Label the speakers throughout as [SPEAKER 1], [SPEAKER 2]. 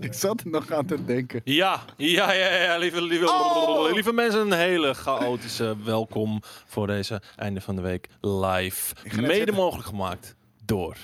[SPEAKER 1] ik zat er nog aan te denken.
[SPEAKER 2] Ja, ja, ja, ja, lieve, lieve,
[SPEAKER 1] Oh!
[SPEAKER 2] lieve mensen, een hele chaotische welkom voor deze einde van de week live.
[SPEAKER 1] net
[SPEAKER 2] Mede
[SPEAKER 1] zitten.
[SPEAKER 2] mogelijk gemaakt door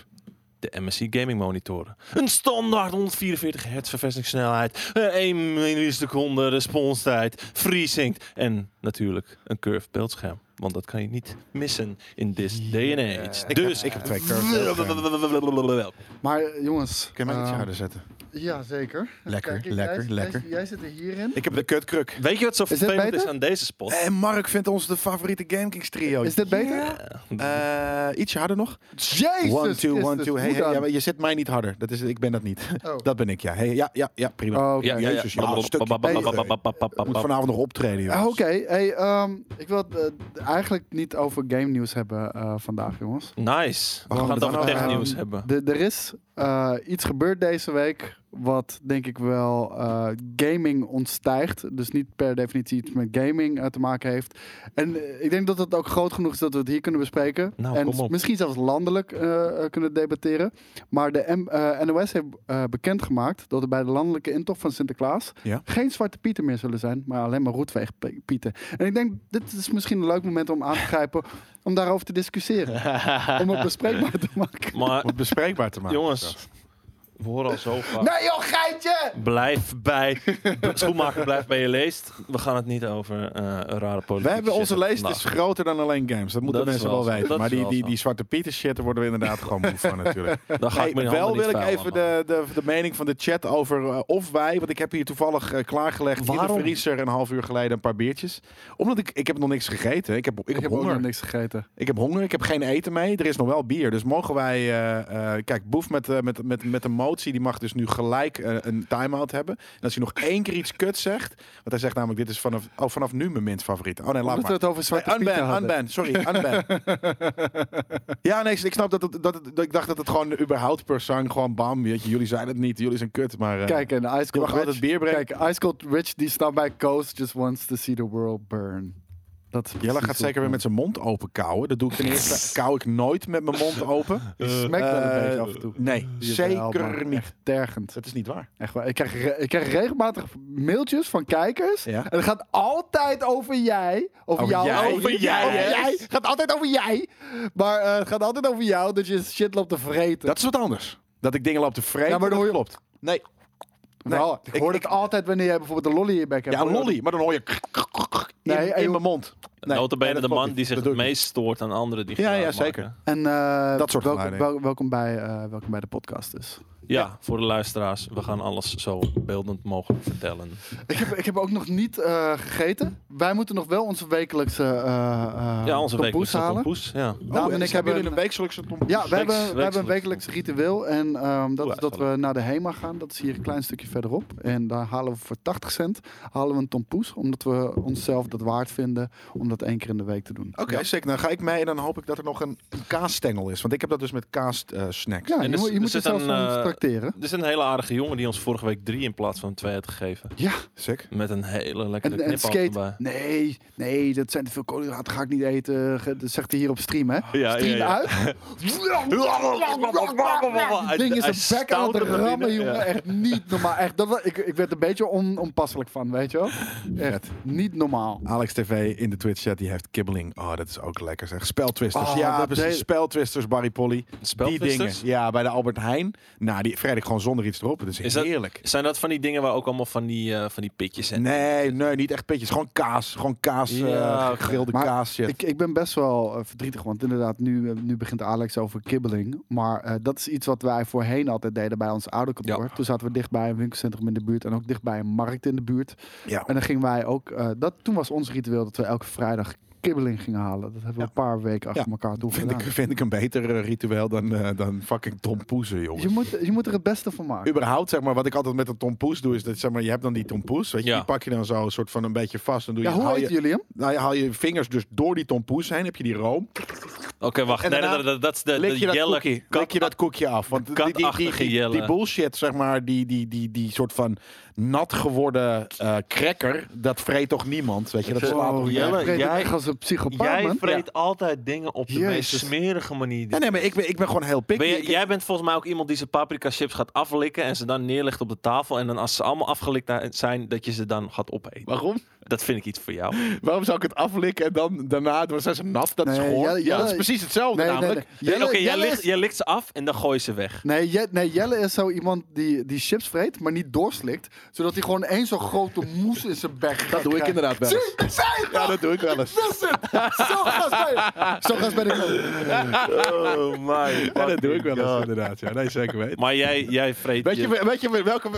[SPEAKER 2] de MSC Gaming Monitoren. Een standaard 144 hertz vervestingssnelheid, eh, 1 milliseconde responstijd, FreeSync en natuurlijk een curved beeldscherm. Want dat kan je niet missen in this day and age.
[SPEAKER 1] Ik heb-
[SPEAKER 2] Dus
[SPEAKER 1] ik heb twee curved beeldschermen.
[SPEAKER 2] Welkom.
[SPEAKER 1] Maar eh, jongens.
[SPEAKER 3] Kun je mij iets
[SPEAKER 1] eh,
[SPEAKER 3] harder zetten?
[SPEAKER 1] Ja, zeker.
[SPEAKER 3] dus. Lekker,
[SPEAKER 1] Kijk, jij
[SPEAKER 3] lekker,
[SPEAKER 1] zit- jij,
[SPEAKER 3] lekker.
[SPEAKER 1] Jij, zit er hierin.
[SPEAKER 3] Ik heb de kutkruk.
[SPEAKER 2] Weet je wat zo
[SPEAKER 1] dit
[SPEAKER 2] vervelend is
[SPEAKER 1] beter?
[SPEAKER 2] aan deze spot?
[SPEAKER 3] En Mark vindt ons de favoriete GameKings trio.
[SPEAKER 1] Is dit beter?
[SPEAKER 3] Eh, ietsje harder nog.
[SPEAKER 1] Jezus
[SPEAKER 3] one, two, one,
[SPEAKER 1] Christus,
[SPEAKER 3] two.
[SPEAKER 1] hoe
[SPEAKER 3] Hey, hey,
[SPEAKER 1] dan?
[SPEAKER 3] ja, maar je zit mij niet harder. Dat is, ik ben dat niet.
[SPEAKER 1] Oh.
[SPEAKER 3] Dat ben ik, ja. Hey, ja, ja, ja, prima.
[SPEAKER 1] Oh, oké.
[SPEAKER 2] Ja, ja, ja.
[SPEAKER 3] Jezus, joh, een stukje Ik moet
[SPEAKER 2] Babababababababababab.
[SPEAKER 3] vanavond nog optreden, jongens.
[SPEAKER 1] Ah, Oké, hey, ehm, ik wil het eh, eigenlijk niet over game nieuws hebben eh, vandaag, jongens.
[SPEAKER 2] Nice. We
[SPEAKER 3] gaan
[SPEAKER 2] gaan
[SPEAKER 3] we
[SPEAKER 2] het
[SPEAKER 3] dan
[SPEAKER 2] over
[SPEAKER 3] over
[SPEAKER 2] technieuws
[SPEAKER 1] Ehm,
[SPEAKER 2] hebben.
[SPEAKER 1] de- er is eh, iets gebeurd deze week wat denk ik wel eh, gaming ontstijgt. Dus niet per definitie iets met gaming eh, te maken heeft. En eh, ik denk dat het ook groot genoeg is dat we het hier kunnen bespreken.
[SPEAKER 2] Nou,
[SPEAKER 1] en
[SPEAKER 2] kom op.
[SPEAKER 1] misschien zelfs landelijk eh, eh, kunnen debatteren. Maar de M- eh, NOS heeft eh, bekendgemaakt dat er bij de landelijke intocht van Sinterklaas
[SPEAKER 3] Ja.
[SPEAKER 1] geen zwarte pieten meer zullen zijn, maar alleen maar roetveegpieten. En ik denk, dit is misschien een leuk moment om aan te grijpen om daarover te discussiëren. om het bespreekbaar te maken.
[SPEAKER 2] Maar
[SPEAKER 3] Om het bespreekbaar te maken.
[SPEAKER 2] jongens, we horen al zo vaak.
[SPEAKER 1] Nee joh, geitje!
[SPEAKER 2] Blijf bij. Schoenmaker, blijf bij je leest. We gaan het niet over eh, een rare politiek.
[SPEAKER 3] We hebben onze
[SPEAKER 2] shit Nou,
[SPEAKER 3] lijst
[SPEAKER 2] vandaag.
[SPEAKER 3] is groter dan alleen games. Dat moeten
[SPEAKER 2] Dat is
[SPEAKER 3] mensen
[SPEAKER 2] wel
[SPEAKER 3] wel
[SPEAKER 2] zo.
[SPEAKER 3] weten.
[SPEAKER 2] Dat
[SPEAKER 3] Maar
[SPEAKER 2] is
[SPEAKER 3] die,
[SPEAKER 2] wel
[SPEAKER 3] die,
[SPEAKER 2] zo.
[SPEAKER 3] die zwarte Pieter shit, daar worden we inderdaad gewoon moe van natuurlijk.
[SPEAKER 2] Daar ga
[SPEAKER 3] Hey,
[SPEAKER 2] ik mijn
[SPEAKER 3] wel
[SPEAKER 2] handen
[SPEAKER 3] wil
[SPEAKER 2] niet
[SPEAKER 3] ik
[SPEAKER 2] vuil aan
[SPEAKER 3] even de, de, de mening van de chat over eh, of wij, want ik heb hier toevallig eh, klaargelegd in
[SPEAKER 2] Waarom?
[SPEAKER 3] de vriezer een half uur geleden een paar biertjes. Omdat ik, ik heb nog niks gegeten. Ik heb, ik
[SPEAKER 1] Ik
[SPEAKER 3] heb
[SPEAKER 1] heb ook nog
[SPEAKER 3] honger.
[SPEAKER 1] niks gegeten.
[SPEAKER 3] Ik heb honger, ik heb geen eten mee. Er is nog wel bier. Dus mogen wij. eh, eh, kijk, Boef met, eh, met, met, met een motie, die mag dus nu gelijk eh, een time-out hebben. En als hij nog één keer iets kut zegt. Want hij zegt namelijk: Dit is vanaf, oh, vanaf nu mijn minst favoriete. Oh nee, laat
[SPEAKER 1] Omdat we
[SPEAKER 3] maar.
[SPEAKER 1] het over zwarte
[SPEAKER 3] Hey,
[SPEAKER 1] pieten
[SPEAKER 3] unban,
[SPEAKER 1] hadden.
[SPEAKER 3] unban, sorry, unban. ja, nee, ik snap dat, het, dat, het- dat ik dacht dat het gewoon überhaupt per sang gewoon bam. Weet je, jullie zijn het niet, jullie zijn kut, maar eh,
[SPEAKER 1] Kijk, en Ice
[SPEAKER 3] je
[SPEAKER 1] Cold
[SPEAKER 3] mag wel
[SPEAKER 1] Rich...
[SPEAKER 3] het bier brengen.
[SPEAKER 1] Kijk, Ice Cold Rich, die staat bij Coast, just wants to see the world burn. Dat is
[SPEAKER 3] Jelle
[SPEAKER 1] precies
[SPEAKER 3] gaat
[SPEAKER 1] hoe-
[SPEAKER 3] zeker weer met zijn mond open kauwen. Dat doe ik ten eerste. Kauw ik nooit met mijn mond open.
[SPEAKER 1] Die smekt wel een
[SPEAKER 3] Eh,
[SPEAKER 1] beetje af en toe.
[SPEAKER 3] Nee,
[SPEAKER 1] Die is wel, maar
[SPEAKER 3] zeker niet.
[SPEAKER 1] Echt tergend.
[SPEAKER 3] Dat is niet waar.
[SPEAKER 1] Echt waar. Ik krijg, re- ik krijg regelmatig mailtjes van kijkers.
[SPEAKER 3] Ja.
[SPEAKER 1] En het gaat altijd over jij. Over,
[SPEAKER 3] Over
[SPEAKER 1] jou.
[SPEAKER 3] jij.
[SPEAKER 1] Over
[SPEAKER 3] Over
[SPEAKER 1] jij.
[SPEAKER 3] jij,
[SPEAKER 1] Over
[SPEAKER 3] hè?
[SPEAKER 1] jij. Het gaat altijd over jij. Maar eh, het gaat altijd over jou dat je shit loopt te vreten.
[SPEAKER 3] Dat is wat anders. Dat ik dingen loop te vreten.
[SPEAKER 1] Ja, maar dan hoor je-
[SPEAKER 3] klopt. Nee. Nee,
[SPEAKER 1] Nou, ik
[SPEAKER 3] ik-
[SPEAKER 1] hoor
[SPEAKER 3] ik-
[SPEAKER 1] het altijd wanneer jij bijvoorbeeld een lolly in je bek hebt.
[SPEAKER 3] Ja, een lolly. Maar dan hoor je in,
[SPEAKER 1] Nee,
[SPEAKER 3] in
[SPEAKER 1] joh.
[SPEAKER 3] mijn mond. Nee,
[SPEAKER 2] Notabene
[SPEAKER 3] nee, dat
[SPEAKER 2] de
[SPEAKER 3] klopt
[SPEAKER 2] man
[SPEAKER 3] niet.
[SPEAKER 2] die zich
[SPEAKER 3] Dat
[SPEAKER 2] het
[SPEAKER 3] doe ik
[SPEAKER 2] meest stoort aan anderen. Die
[SPEAKER 3] Ja,
[SPEAKER 2] geluid
[SPEAKER 3] ja,
[SPEAKER 2] maken.
[SPEAKER 3] zeker.
[SPEAKER 1] En eh,
[SPEAKER 3] Dat soort
[SPEAKER 1] welkom,
[SPEAKER 3] geluiden.
[SPEAKER 1] wel- welkom, bij, eh, welkom bij de podcast dus.
[SPEAKER 2] Ja, voor de luisteraars. We gaan alles zo beeldend mogelijk vertellen.
[SPEAKER 1] Ik heb, ik heb ook nog niet eh, gegeten. Wij moeten nog wel onze wekelijkse eh eh,
[SPEAKER 2] Ja, onze
[SPEAKER 1] tompoes
[SPEAKER 2] week is
[SPEAKER 1] halen.
[SPEAKER 2] poes. Ja.
[SPEAKER 3] niet.
[SPEAKER 1] Daan
[SPEAKER 3] Oh,
[SPEAKER 1] Nou, en
[SPEAKER 3] en
[SPEAKER 1] ik
[SPEAKER 3] ik heb
[SPEAKER 1] hebben
[SPEAKER 3] jullie een wekelijkse tompoes?
[SPEAKER 1] Ja, we hebben,
[SPEAKER 2] wekelijks.
[SPEAKER 1] we hebben een wekelijks ritueel. En ehm, dat
[SPEAKER 2] Doe
[SPEAKER 1] is dat we naar de HEMA gaan. Dat is hier een klein stukje verderop. En daar halen we voor 80 cent halen we een tompoes. Omdat we onszelf dat waard vinden om dat één keer in de week te doen.
[SPEAKER 3] Oké, zeker. Dan ga ik mee en dan hoop ik dat er nog een, een kaasstengel is. Want ik heb dat dus met kaassnacks. snacks.
[SPEAKER 1] Ja,
[SPEAKER 2] En
[SPEAKER 1] je,
[SPEAKER 2] dus-
[SPEAKER 1] moet- je
[SPEAKER 2] er
[SPEAKER 1] moet
[SPEAKER 2] zit
[SPEAKER 1] jezelf
[SPEAKER 2] een,
[SPEAKER 1] van
[SPEAKER 2] eh,
[SPEAKER 1] tracteren.
[SPEAKER 2] Er is een hele aardige jongen die ons vorige week drie in plaats van twee had gegeven.
[SPEAKER 1] Ja,
[SPEAKER 3] Sick.
[SPEAKER 2] Met een hele lekkere
[SPEAKER 1] En, en
[SPEAKER 2] knipoog
[SPEAKER 1] skate.
[SPEAKER 2] erbij.
[SPEAKER 1] Nee, nee, dat zijn te veel koolhydraten. Ga ik niet eten. Ge- Dat zegt hij hier op stream, hè?
[SPEAKER 2] Ja,
[SPEAKER 1] Stream uit. Het ding
[SPEAKER 2] Hij
[SPEAKER 1] is een bek aan het
[SPEAKER 2] stouterde
[SPEAKER 1] rammen,
[SPEAKER 2] binnen.
[SPEAKER 1] jongen.
[SPEAKER 2] Ja.
[SPEAKER 1] Echt niet normaal. Echt, dat, wa- ik, ik werd een beetje on, onpasselijk van, weet je wel? Echt niet normaal.
[SPEAKER 3] Alex TV in de Twitch chat, die heeft kibbeling. Oh, dat is ook lekker zeg. Speltwisters.
[SPEAKER 1] Oh,
[SPEAKER 3] ja,
[SPEAKER 1] dat
[SPEAKER 3] precies.
[SPEAKER 1] deed-
[SPEAKER 3] Speltwisters, Barry Polly. Die dingen.
[SPEAKER 2] Spelvisters?
[SPEAKER 3] Ja, bij de Albert Heijn. Nou, die vrij ik gewoon zonder iets erop. Dat is,
[SPEAKER 2] Is dat-
[SPEAKER 3] heerlijk.
[SPEAKER 2] Zijn dat van die dingen waar ook allemaal van die, eh, van die pitjes en
[SPEAKER 3] Nee, nee, niet echt pitjes. Gewoon kaas. Gewoon kaas. eh,
[SPEAKER 2] Ja, oké.
[SPEAKER 3] gegrilde
[SPEAKER 1] Maar
[SPEAKER 3] kaas shit.
[SPEAKER 1] Ik, ik ben best wel eh, verdrietig, want inderdaad, nu, eh, nu begint Alex over kibbeling. Maar eh, dat is iets wat wij voorheen altijd deden bij ons oude kantoor.
[SPEAKER 2] Ja.
[SPEAKER 1] Toen zaten we dichtbij een winkelcentrum in de buurt en ook dichtbij een markt in de buurt.
[SPEAKER 3] ja.
[SPEAKER 1] En dan gingen wij ook, eh, dat, toen was ons ritueel dat we elke vrijdag kibbeling gingen halen. Dat hebben we
[SPEAKER 3] Ja.
[SPEAKER 1] een paar weken achter
[SPEAKER 3] Ja.
[SPEAKER 1] elkaar toen
[SPEAKER 3] Vind ik,
[SPEAKER 1] gedaan.
[SPEAKER 3] vind ik een beter eh, ritueel dan, eh, dan fucking tompoezen, jongens.
[SPEAKER 1] Je moet, Dus je moet er het beste van maken.
[SPEAKER 3] Überhaupt, zeg maar, wat ik altijd met een tompoes doe, is dat zeg maar, je hebt dan die tompoes, weet je,
[SPEAKER 2] Ja.
[SPEAKER 3] die pak je dan zo een soort van een beetje vast. Dan doe je,
[SPEAKER 1] Ja, hoe
[SPEAKER 3] haal
[SPEAKER 1] heet
[SPEAKER 3] je,
[SPEAKER 1] jullie hem?
[SPEAKER 3] nou, je haal je vingers dus door die tompoes heen, heb je die room.
[SPEAKER 2] wacht.
[SPEAKER 3] En
[SPEAKER 2] Nee,
[SPEAKER 3] daarna
[SPEAKER 2] dat, dat, dat is de,
[SPEAKER 3] Lik
[SPEAKER 2] de
[SPEAKER 3] je, dat
[SPEAKER 2] jelle
[SPEAKER 3] koekje,
[SPEAKER 2] kat-
[SPEAKER 3] lik je dat koekje af. Want die, die, die, die,
[SPEAKER 2] katachtige
[SPEAKER 3] die-
[SPEAKER 2] jelle.
[SPEAKER 3] die bullshit, zeg maar, die, die, die, die soort van nat geworden eh cracker, dat vreet toch niemand? Weet je, dat
[SPEAKER 2] Wow,
[SPEAKER 3] slaat toch
[SPEAKER 1] Oh,
[SPEAKER 3] nergens
[SPEAKER 1] jij
[SPEAKER 2] Jelle,
[SPEAKER 1] spreekt
[SPEAKER 2] jij-
[SPEAKER 1] echt als een psychopaat,
[SPEAKER 2] Jij
[SPEAKER 1] man.
[SPEAKER 2] vreet altijd dingen op de meest
[SPEAKER 1] Jezus.
[SPEAKER 2] smerige manier.
[SPEAKER 3] Nee, nee, maar ik ben, ik ben gewoon heel picky.
[SPEAKER 2] Ben je-
[SPEAKER 3] Ik-
[SPEAKER 2] jij bent volgens mij ook iemand die zijn paprika chips gaat aflikken en ze dan neerlegt op de tafel. En dan als ze allemaal afgelikt da- zijn, dat je ze dan gaat opeten.
[SPEAKER 3] Waarom?
[SPEAKER 2] Dat vind ik iets voor jou.
[SPEAKER 3] Waarom zou ik het aflikken en dan daarna, dan zijn ze nat, dat is
[SPEAKER 1] Nee,
[SPEAKER 3] goor.
[SPEAKER 1] Jelle-
[SPEAKER 3] ja, dat is
[SPEAKER 1] Jelle-
[SPEAKER 3] precies hetzelfde
[SPEAKER 1] Nee, nee,
[SPEAKER 3] namelijk.
[SPEAKER 1] nee.
[SPEAKER 2] Oké,
[SPEAKER 1] Jelle-
[SPEAKER 2] jij,
[SPEAKER 1] Jelle
[SPEAKER 2] likt,
[SPEAKER 1] is-
[SPEAKER 2] jij likt ze af en dan gooi je ze weg.
[SPEAKER 1] Nee, Je- nee, Jelle is zo iemand die, die chips vreet, maar niet doorslikt. Zodat hij gewoon één zo'n grote moes in zijn bek
[SPEAKER 3] Dat doe ik inderdaad wel eens.
[SPEAKER 1] Dat zei je
[SPEAKER 3] Ja,
[SPEAKER 1] toch?
[SPEAKER 3] dat doe ik wel eens.
[SPEAKER 1] Dat is het! Zo gast ben je. Zo gast ben ik ook.
[SPEAKER 2] Oh my
[SPEAKER 3] Ja, dat doe ik wel eens, inderdaad. Ja, nee, zeker weten.
[SPEAKER 2] Maar jij, jij vreet
[SPEAKER 3] Weet je, weet je welke.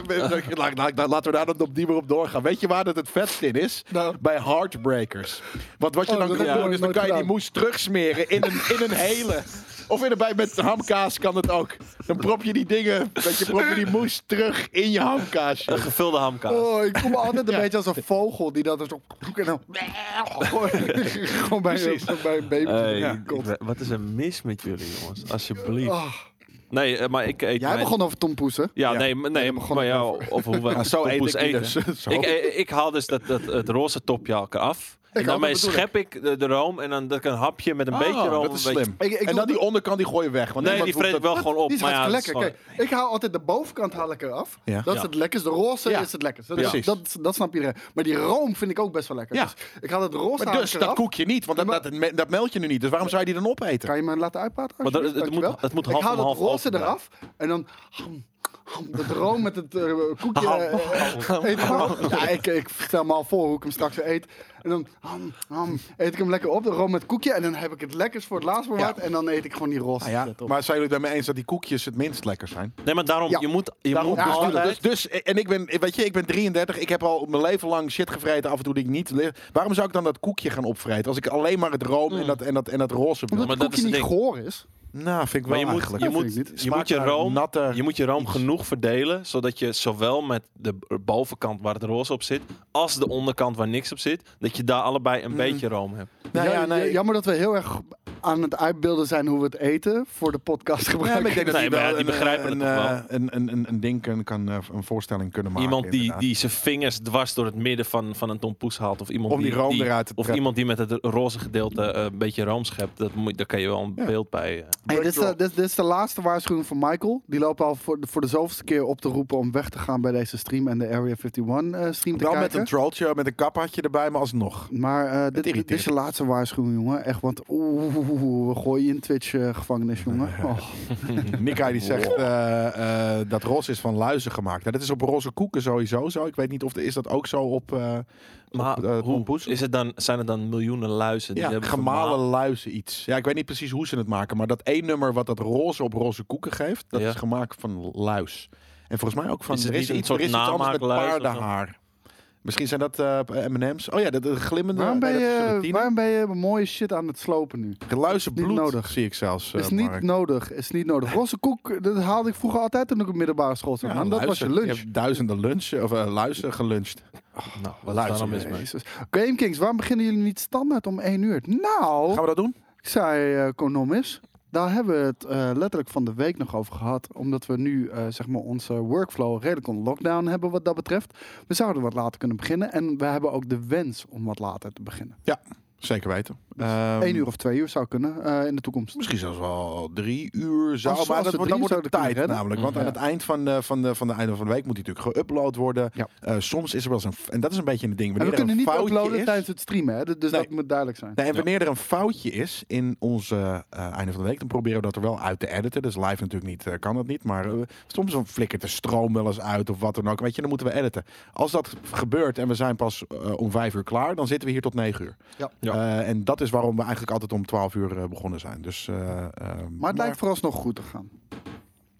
[SPEAKER 3] laat- laat- laat- Laten we daar dan op die manier op doorgaan. Weet je waar dat het vetst in is?
[SPEAKER 1] Nou.
[SPEAKER 3] Bij Heartbreakers. Want wat je
[SPEAKER 1] Oh,
[SPEAKER 3] dan
[SPEAKER 1] dat
[SPEAKER 3] kan
[SPEAKER 1] heb ik
[SPEAKER 3] doen, is dan
[SPEAKER 1] nooit
[SPEAKER 3] kan je die
[SPEAKER 1] gedaan.
[SPEAKER 3] moes terugsmeren in een, in een hele. Of in een, bij, met hamkaas kan het ook. Dan prop je die dingen. Weet je, prop je die moes terug in je hamkaasje.
[SPEAKER 2] een gevulde hamkaas.
[SPEAKER 1] Oh, ik voel me altijd een beetje als een vogel die dat er zo... En dan... Gewoon bij,
[SPEAKER 3] Precies.
[SPEAKER 1] bij een baby.
[SPEAKER 2] Hey,
[SPEAKER 1] Ja,
[SPEAKER 2] ik
[SPEAKER 1] god.
[SPEAKER 2] ben- wat is er mis met jullie, jongens? Alsjeblieft.
[SPEAKER 1] Ah,
[SPEAKER 2] Nee, eh, maar ik eet
[SPEAKER 1] jij
[SPEAKER 2] mijn-
[SPEAKER 1] begon over Tom Poesen.
[SPEAKER 2] Ja,
[SPEAKER 3] Ja.
[SPEAKER 2] nee, maar-
[SPEAKER 1] daar
[SPEAKER 2] nee,
[SPEAKER 1] begon
[SPEAKER 2] maar
[SPEAKER 1] ik
[SPEAKER 2] ja, of hoe wij
[SPEAKER 3] Ja, zo eet
[SPEAKER 2] tompoes
[SPEAKER 3] ik die dus. Zo.
[SPEAKER 2] Ik, eh, ik haal dus dat, dat, het roze topje al eraf. En
[SPEAKER 1] ook,
[SPEAKER 2] daarmee
[SPEAKER 1] dat bedoel
[SPEAKER 2] schep ik de, de room en dan dat ik een hapje met een beetje room.
[SPEAKER 3] Oh, Ah, dat is
[SPEAKER 2] een beetje-
[SPEAKER 1] Ik-
[SPEAKER 3] slim.
[SPEAKER 1] ik
[SPEAKER 3] en
[SPEAKER 1] doe-
[SPEAKER 3] dan die onderkant die gooi je weg. Want
[SPEAKER 2] Nee,
[SPEAKER 3] niemand
[SPEAKER 2] die vreet
[SPEAKER 3] hoeft
[SPEAKER 2] ik wel
[SPEAKER 3] dat-
[SPEAKER 2] gewoon op.
[SPEAKER 1] Die is
[SPEAKER 2] maar ja,
[SPEAKER 1] hartstikke
[SPEAKER 2] dat is
[SPEAKER 1] lekker. Kijk, ik haal altijd de bovenkant haal ik eraf.
[SPEAKER 3] Ja.
[SPEAKER 1] Dat is
[SPEAKER 2] Ja.
[SPEAKER 1] het lekkerst. De roze
[SPEAKER 3] Ja.
[SPEAKER 1] is het lekkerst. Dat,
[SPEAKER 3] Precies.
[SPEAKER 1] dat, dat snapt iedereen. Maar die room vind ik ook best wel lekker.
[SPEAKER 3] Ja.
[SPEAKER 1] Dus ik haal het roze
[SPEAKER 3] Maar
[SPEAKER 1] haal
[SPEAKER 3] dus
[SPEAKER 1] ik
[SPEAKER 3] dat
[SPEAKER 1] eraf.
[SPEAKER 3] koekje niet, want dat,
[SPEAKER 1] Maar-
[SPEAKER 3] dat, me- dat meld je nu niet. Dus waarom zou je die dan opeten?
[SPEAKER 1] Kan je me laten uitpraten?
[SPEAKER 2] Maar dat-
[SPEAKER 1] alsjeblieft?
[SPEAKER 2] het moet-
[SPEAKER 1] Dankjewel.
[SPEAKER 2] het moet
[SPEAKER 1] Ik
[SPEAKER 2] half
[SPEAKER 1] haal
[SPEAKER 2] om half
[SPEAKER 1] het roze
[SPEAKER 2] open
[SPEAKER 1] eraf en dan... ham, ham, Dat room met het eh, koekje.
[SPEAKER 2] Ham,
[SPEAKER 1] eh, eet ik gewoon. ja, ik, ik stel me al voor hoe ik hem straks eet. En dan ham, ham, eet ik hem lekker op, de room met het koekje. En dan heb ik het lekkers voor het laatst bewaard. En dan eet ik gewoon die roze.
[SPEAKER 3] Ah ja,
[SPEAKER 1] shit op.
[SPEAKER 3] maar zijn jullie het met me eens dat die koekjes het minst lekker zijn?
[SPEAKER 2] Nee, maar daarom,
[SPEAKER 1] Ja.
[SPEAKER 2] je moet, je
[SPEAKER 3] Daarom,
[SPEAKER 2] moet
[SPEAKER 3] dus,
[SPEAKER 1] Ja,
[SPEAKER 2] altijd...
[SPEAKER 3] dus, dus- en ik ben, weet je, ik ben 33. Ik heb al mijn leven lang shit gevreten af en toe die ik niet... li- Waarom zou ik dan dat koekje gaan opvreten? Als ik alleen maar het room en, dat, en, dat, en dat roze
[SPEAKER 1] Omdat
[SPEAKER 2] Hmm.
[SPEAKER 3] wil.
[SPEAKER 2] maar
[SPEAKER 1] het
[SPEAKER 2] dat is
[SPEAKER 1] koekje
[SPEAKER 2] het
[SPEAKER 1] niet
[SPEAKER 2] ding.
[SPEAKER 1] goor is.
[SPEAKER 3] nou, vind ik
[SPEAKER 2] Maar
[SPEAKER 3] wel
[SPEAKER 2] je moet,
[SPEAKER 3] eigenlijk.
[SPEAKER 2] je,
[SPEAKER 1] Dat
[SPEAKER 2] moet,
[SPEAKER 1] vind ik niet.
[SPEAKER 2] je, moet je,
[SPEAKER 3] Smaakt naar
[SPEAKER 2] room,
[SPEAKER 3] natte
[SPEAKER 2] je moet je room genoeg verdelen, zodat je zowel met de bovenkant waar het roze op zit, als de onderkant waar niks op zit, dat je daar allebei
[SPEAKER 3] Mm.
[SPEAKER 2] een beetje room hebt.
[SPEAKER 3] Nou ja,
[SPEAKER 1] Ja,
[SPEAKER 3] nee.
[SPEAKER 1] Jammer dat we heel erg aan het uitbeelden zijn hoe we het eten voor de podcast
[SPEAKER 3] Ja, maar
[SPEAKER 1] gebruiken.
[SPEAKER 3] ik denk dat
[SPEAKER 2] Nee,
[SPEAKER 3] je
[SPEAKER 2] maar ja,
[SPEAKER 3] wel
[SPEAKER 2] die
[SPEAKER 3] een,
[SPEAKER 2] begrijpen
[SPEAKER 3] een,
[SPEAKER 2] het toch wel.
[SPEAKER 3] eh, Een, een, een, een ding kan, kan, eh, een voorstelling kunnen maken.
[SPEAKER 2] Iemand die,
[SPEAKER 3] inderdaad.
[SPEAKER 2] die zijn vingers dwars door het midden van, van een tompoes haalt. Of iemand
[SPEAKER 3] Om die room eruit te
[SPEAKER 2] Of
[SPEAKER 3] trekken.
[SPEAKER 2] iemand die met het roze gedeelte eh, een beetje room schept. Dat moet, daar kan je wel een beeld bij. eh.
[SPEAKER 1] Hey, dit, is de, dit, dit is de laatste waarschuwing van Michael. Die loopt al voor, de- voor de zoveelste keer op te roepen om weg te gaan bij deze stream en de Area 51 eh, stream te
[SPEAKER 3] Wel met
[SPEAKER 1] kijken.
[SPEAKER 3] een trolltje, met een kaphatje erbij, maar alsnog.
[SPEAKER 1] maar eh, dit, dit
[SPEAKER 3] irriteert
[SPEAKER 1] is de laatste waarschuwing, jongen. Echt, want oeh, we gooien je in Twitch-gevangenis, jongen. Oh.
[SPEAKER 3] Nikkei die zegt eh, eh, dat ros is van luizen gemaakt. Nou, dat is op roze koeken sowieso zo. Ik weet niet of de, is dat ook zo op... eh,
[SPEAKER 2] Maar
[SPEAKER 3] Op, eh,
[SPEAKER 2] hoe
[SPEAKER 3] tompoes?
[SPEAKER 2] is het dan, zijn er dan miljoenen luizen? Die
[SPEAKER 3] Ja,
[SPEAKER 2] hebben
[SPEAKER 3] gemalen
[SPEAKER 2] vermalen-
[SPEAKER 3] luizen iets. Ja, ik weet niet precies hoe ze het maken, maar dat één nummer wat dat roze op roze koeken geeft, dat
[SPEAKER 2] Ja.
[SPEAKER 3] is gemaakt van luis. En volgens mij ook van
[SPEAKER 2] Is het
[SPEAKER 3] er is
[SPEAKER 2] niet een
[SPEAKER 3] iets,
[SPEAKER 2] soort
[SPEAKER 3] er is iets anders met
[SPEAKER 2] namaakluis of zo?
[SPEAKER 3] paardenhaar. Misschien zijn dat eh, M&M's. Oh ja, dat, dat glimmende.
[SPEAKER 1] waarom, ben
[SPEAKER 3] nee, dat is
[SPEAKER 1] je,
[SPEAKER 3] gelatine.
[SPEAKER 1] waarom ben je mooie shit aan het slopen nu?
[SPEAKER 3] De luizenbloed
[SPEAKER 1] Niet nodig.
[SPEAKER 3] zie ik zelfs. eh,
[SPEAKER 1] Is niet
[SPEAKER 3] Mark.
[SPEAKER 1] nodig, is niet nodig. Rosse koek, dat haalde ik vroeger altijd toen ik op middelbare school zat.
[SPEAKER 3] Ja,
[SPEAKER 1] man. dat was je
[SPEAKER 3] luizen.
[SPEAKER 1] lunch.
[SPEAKER 3] hebt duizenden lunchen of eh, luizen geluncht.
[SPEAKER 2] Nou, wat
[SPEAKER 3] Luizen,
[SPEAKER 2] is daar nou mis mee?
[SPEAKER 1] Jezus. Game Kings, waarom beginnen jullie niet standaard om 1 uur? Nou,
[SPEAKER 3] Gaan we dat doen?
[SPEAKER 1] ik zei eh Konomis, daar hebben we het eh, letterlijk van de week nog over gehad. Omdat we nu eh, zeg maar onze workflow redelijk on lockdown hebben wat dat betreft. We zouden wat later kunnen beginnen en we hebben ook de wens om wat later te beginnen.
[SPEAKER 3] Zeker weten.
[SPEAKER 1] 1 uur of 2 uur zou kunnen eh, in de toekomst.
[SPEAKER 3] Ehm, Misschien zelfs wel drie uur zou.
[SPEAKER 1] Als-
[SPEAKER 3] maar
[SPEAKER 1] als
[SPEAKER 3] dat
[SPEAKER 1] we
[SPEAKER 3] wordt,
[SPEAKER 1] drie
[SPEAKER 3] dan wordt het
[SPEAKER 1] zouden kunnen
[SPEAKER 3] tijd
[SPEAKER 1] redden.
[SPEAKER 3] namelijk. Want
[SPEAKER 2] Mhm.
[SPEAKER 3] aan het eind van de, van, de, van de einde van de week moet die natuurlijk geüpload worden.
[SPEAKER 1] Ja.
[SPEAKER 3] Eh, soms is er wel eens een. f- En dat is een beetje een ding.
[SPEAKER 1] En
[SPEAKER 3] Wanneer
[SPEAKER 1] we
[SPEAKER 3] er
[SPEAKER 1] kunnen
[SPEAKER 3] een
[SPEAKER 1] niet
[SPEAKER 3] foutje
[SPEAKER 1] uploaden
[SPEAKER 3] is,
[SPEAKER 1] tijdens het streamen, hè? dus
[SPEAKER 3] Nee.
[SPEAKER 1] dat moet duidelijk zijn.
[SPEAKER 3] Nee, en wanneer er een foutje is in onze eh, einde van de week, dan proberen we dat er wel uit te editen. Dus live natuurlijk niet, eh, kan dat niet. Maar eh, soms dan flikkert de stroom wel eens uit of wat dan ook. Weet je, dan moeten we editen. Als dat gebeurt en we zijn pas eh, om vijf uur klaar, dan zitten we hier tot negen uur.
[SPEAKER 1] Ja.
[SPEAKER 2] Ja.
[SPEAKER 3] Eh, en dat is waarom we eigenlijk altijd om twaalf uur eh, begonnen zijn. Dus, eh, eh,
[SPEAKER 1] Maar het lijkt vooralsnog goed te gaan.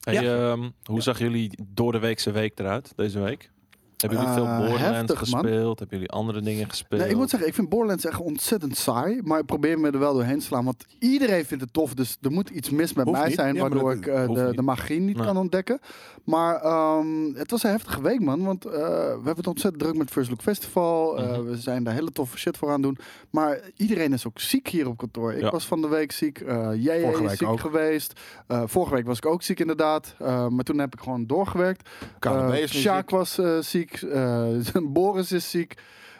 [SPEAKER 2] Hey, ehm, hoe zag jullie door de weekse week eruit deze week? Hebben jullie veel
[SPEAKER 1] Eh,
[SPEAKER 2] Borderlands
[SPEAKER 1] heftig, man.
[SPEAKER 2] gespeeld? Hebben jullie andere dingen gespeeld?
[SPEAKER 1] Nee, ik moet zeggen, ik vind Borderlands echt ontzettend saai. Maar ik probeer me er wel doorheen te slaan. Want iedereen vindt het tof. Dus er moet iets mis met
[SPEAKER 3] Hoeft
[SPEAKER 1] mij
[SPEAKER 3] niet.
[SPEAKER 1] zijn.
[SPEAKER 3] Ja, maar
[SPEAKER 1] waardoor
[SPEAKER 3] dat-
[SPEAKER 1] ik eh,
[SPEAKER 2] hoeft
[SPEAKER 1] de,
[SPEAKER 2] niet.
[SPEAKER 1] de magie niet
[SPEAKER 2] Nee.
[SPEAKER 1] kan ontdekken. Maar ehm, het was een heftige week, man. Want eh, we hebben het ontzettend druk met First Look Festival. Eh,
[SPEAKER 2] Mhm.
[SPEAKER 1] we zijn daar hele toffe shit voor aan het doen. Maar iedereen is ook ziek hier op kantoor. Ik
[SPEAKER 2] Ja.
[SPEAKER 1] was van de week ziek. eh, jij
[SPEAKER 3] Vorige
[SPEAKER 1] is
[SPEAKER 3] week
[SPEAKER 1] ziek
[SPEAKER 3] ook.
[SPEAKER 1] geweest. Eh, vorige week was ik ook ziek, inderdaad. Eh, maar toen heb ik gewoon doorgewerkt.
[SPEAKER 3] KNB
[SPEAKER 1] Eh,
[SPEAKER 3] is nu
[SPEAKER 1] Sjaak was eh, ziek. eh, Boris is ziek.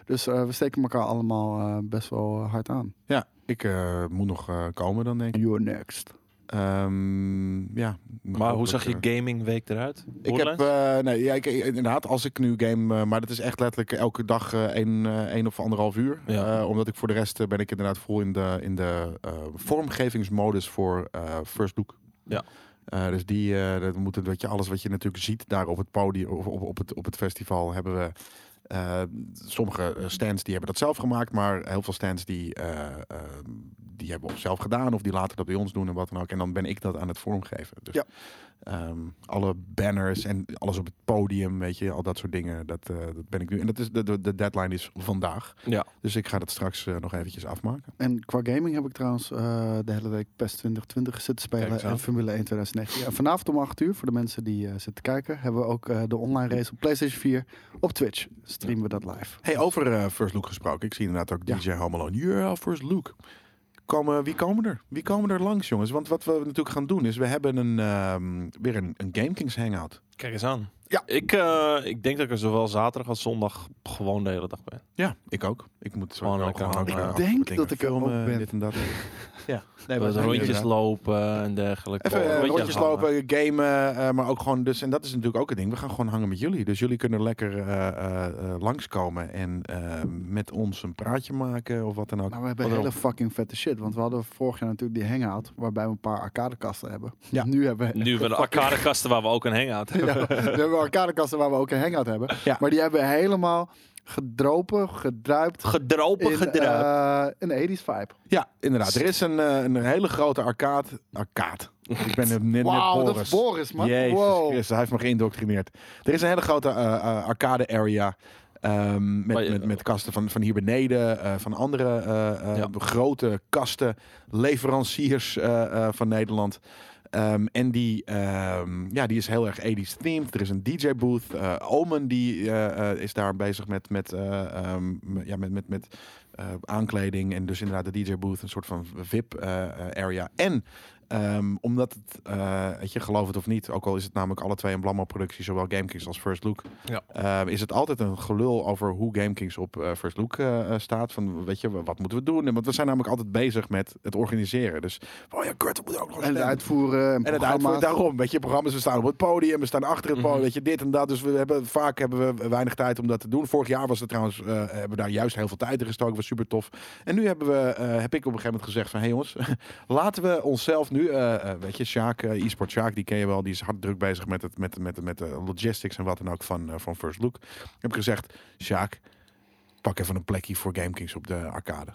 [SPEAKER 1] Dus eh, we steken elkaar allemaal eh, best wel eh, hard aan.
[SPEAKER 3] ziek. Ja, ik eh, moet nog eh, komen dan denk ik.
[SPEAKER 1] You're next.
[SPEAKER 3] Ehm, ja.
[SPEAKER 2] Maar hoe zag je
[SPEAKER 3] Hopelijk, eh,
[SPEAKER 2] gaming week eruit?
[SPEAKER 3] Ik heb,
[SPEAKER 2] Borderlands?
[SPEAKER 3] eh, nee, ja, ik, inderdaad, als ik nu game, eh, maar dat is echt letterlijk elke dag eh één, eh, één of anderhalf uur.
[SPEAKER 2] Ja.
[SPEAKER 3] Eh, omdat ik voor de rest eh, ben ik inderdaad vol in de, in de eh, vormgevingsmodus voor eh, First Look.
[SPEAKER 2] Ja.
[SPEAKER 3] Eh, dus die, eh, dat moet, weet je, alles wat je natuurlijk ziet daar op het podium, of op, op, het, op het festival, hebben we eh, sommige eh, stands die hebben dat zelf gemaakt, maar heel veel stands die, eh, eh, die hebben of zelf gedaan of die laten dat bij ons doen en wat dan ook. En dan ben ik dat aan het vormgeven. Dus,
[SPEAKER 1] Ja.
[SPEAKER 3] ehm, alle banners en alles op het podium, weet je, al dat soort dingen, dat, eh, dat ben ik nu. En dat is, de, de, de deadline is vandaag,
[SPEAKER 2] Ja.
[SPEAKER 3] dus ik ga dat straks eh, nog eventjes afmaken.
[SPEAKER 1] En qua gaming heb ik trouwens eh, de hele week PES 2020 zitten spelen
[SPEAKER 2] Kijk eens aan.
[SPEAKER 1] en Formule 1 2019. En vanavond om 8 uur, voor de mensen die eh, zitten kijken, hebben we ook eh, de online race op PlayStation 4 op Twitch. Streamen we dat live.
[SPEAKER 3] Hey, over eh, First Look gesproken, ik zie inderdaad ook
[SPEAKER 1] Ja.
[SPEAKER 3] DJ Homelone. Ja, First Look. Komen, wie komen er? Wie komen er langs, jongens? Want wat we natuurlijk gaan doen is, we hebben een, ehm, weer een, een Game Kings hangout.
[SPEAKER 2] Kijk eens aan.
[SPEAKER 3] Ja.
[SPEAKER 2] Ik, eh, ik denk dat ik er zowel zaterdag als zondag gewoon de hele dag ben.
[SPEAKER 3] Ja, ik ook. Ik moet zo
[SPEAKER 2] Gewoon
[SPEAKER 3] wel
[SPEAKER 2] lekker
[SPEAKER 3] gewoon
[SPEAKER 2] hangen.
[SPEAKER 3] ook, eh,
[SPEAKER 2] Ik
[SPEAKER 3] andere
[SPEAKER 1] denk
[SPEAKER 3] dingen
[SPEAKER 1] dat ik er ook
[SPEAKER 3] filmen,
[SPEAKER 1] ben.
[SPEAKER 3] Dit en dat. ja, nee,
[SPEAKER 2] Wat
[SPEAKER 3] zijn er
[SPEAKER 2] Eh, rondjes
[SPEAKER 3] inderdaad.
[SPEAKER 2] lopen en dergelijke.
[SPEAKER 3] Even eh,
[SPEAKER 2] Rondjes
[SPEAKER 3] rondjes
[SPEAKER 2] hangen.
[SPEAKER 3] lopen, gamen, eh, maar ook gewoon... Dus, en dat is natuurlijk ook het ding. We gaan gewoon hangen met jullie. Dus jullie kunnen lekker eh, eh, eh, langskomen en eh, met ons een praatje maken of wat dan ook.
[SPEAKER 1] Maar we hebben
[SPEAKER 3] Wat
[SPEAKER 1] hele
[SPEAKER 3] erop.
[SPEAKER 1] fucking vette shit. Want we hadden vorig jaar natuurlijk die hangout, waarbij we een paar arcadekasten hebben.
[SPEAKER 3] Ja.
[SPEAKER 1] Nu hebben we
[SPEAKER 2] Nu hebben we de
[SPEAKER 1] fucking-
[SPEAKER 2] arcadekasten waar we ook een hangout hebben.
[SPEAKER 1] Ja, we hebben arcadekasten waar we ook een hangout hebben.
[SPEAKER 3] Ja.
[SPEAKER 1] Maar die hebben we helemaal gedropen, gedruipt.
[SPEAKER 2] Gedropen,
[SPEAKER 1] in,
[SPEAKER 2] gedruipt.
[SPEAKER 1] eh, een 80s vibe.
[SPEAKER 3] Ja, inderdaad. Er is een, eh, een hele grote arcade... Arcade. Ik ben net, net
[SPEAKER 1] Wauw, dat is
[SPEAKER 3] Boris.
[SPEAKER 1] Boris, man.
[SPEAKER 3] Jezus
[SPEAKER 1] wow.
[SPEAKER 3] Christus, hij heeft me geïndoctrineerd. Er is een hele grote eh, eh, arcade area. ehm,
[SPEAKER 2] Maar
[SPEAKER 3] met,
[SPEAKER 2] je-
[SPEAKER 3] met, met kasten van, van hier beneden, eh, van andere eh, eh,
[SPEAKER 2] Ja.
[SPEAKER 3] grote kasten, leveranciers eh, eh, van Nederland. Ehm, en die, ehm, ja, die is heel erg 80s themed. Er is een DJ booth. Eh, Omen die, eh, eh, is daar bezig met, met, eh, ehm, m- ja, met, met, met eh, aankleding. En dus inderdaad de DJ booth, een soort van VIP eh, eh, area. En ehm, omdat het, eh, weet je, geloof het of niet, ook al is het namelijk alle twee een blammo productie, zowel GameKings als First Look.
[SPEAKER 2] Ja.
[SPEAKER 3] ehm, is het altijd een gelul over hoe GameKings op eh, First Look eh, eh, staat. Van weet je, wat moeten we doen? En Want we zijn namelijk altijd bezig met het organiseren. Dus, oh ja, Kurt, we moeten ook nog een
[SPEAKER 1] En eh, het
[SPEAKER 3] stand
[SPEAKER 1] uitvoeren en,
[SPEAKER 3] en het
[SPEAKER 1] programma's.
[SPEAKER 3] uitvoeren daarom. Weet je, programma's, we staan op het podium, we staan achter het podium,
[SPEAKER 2] Mhm.
[SPEAKER 3] weet je, dit en dat. Dus we hebben, vaak hebben we weinig tijd om dat te doen. Vorig jaar was het trouwens, eh, hebben we daar juist heel veel tijd in gestoken, was super tof. En nu hebben we, eh, heb ik op een gegeven moment gezegd van, hé hey jongens, laten we onszelf nu, eh, eh, weet je, Sjaak, eh, e-sport Sjaak, die ken je wel, die is hard druk bezig met, het, met, met, met de logistics en wat dan ook van, eh, van First Look. Heb ik gezegd, Sjaak, pak even een plekje voor GameKings op de arcade.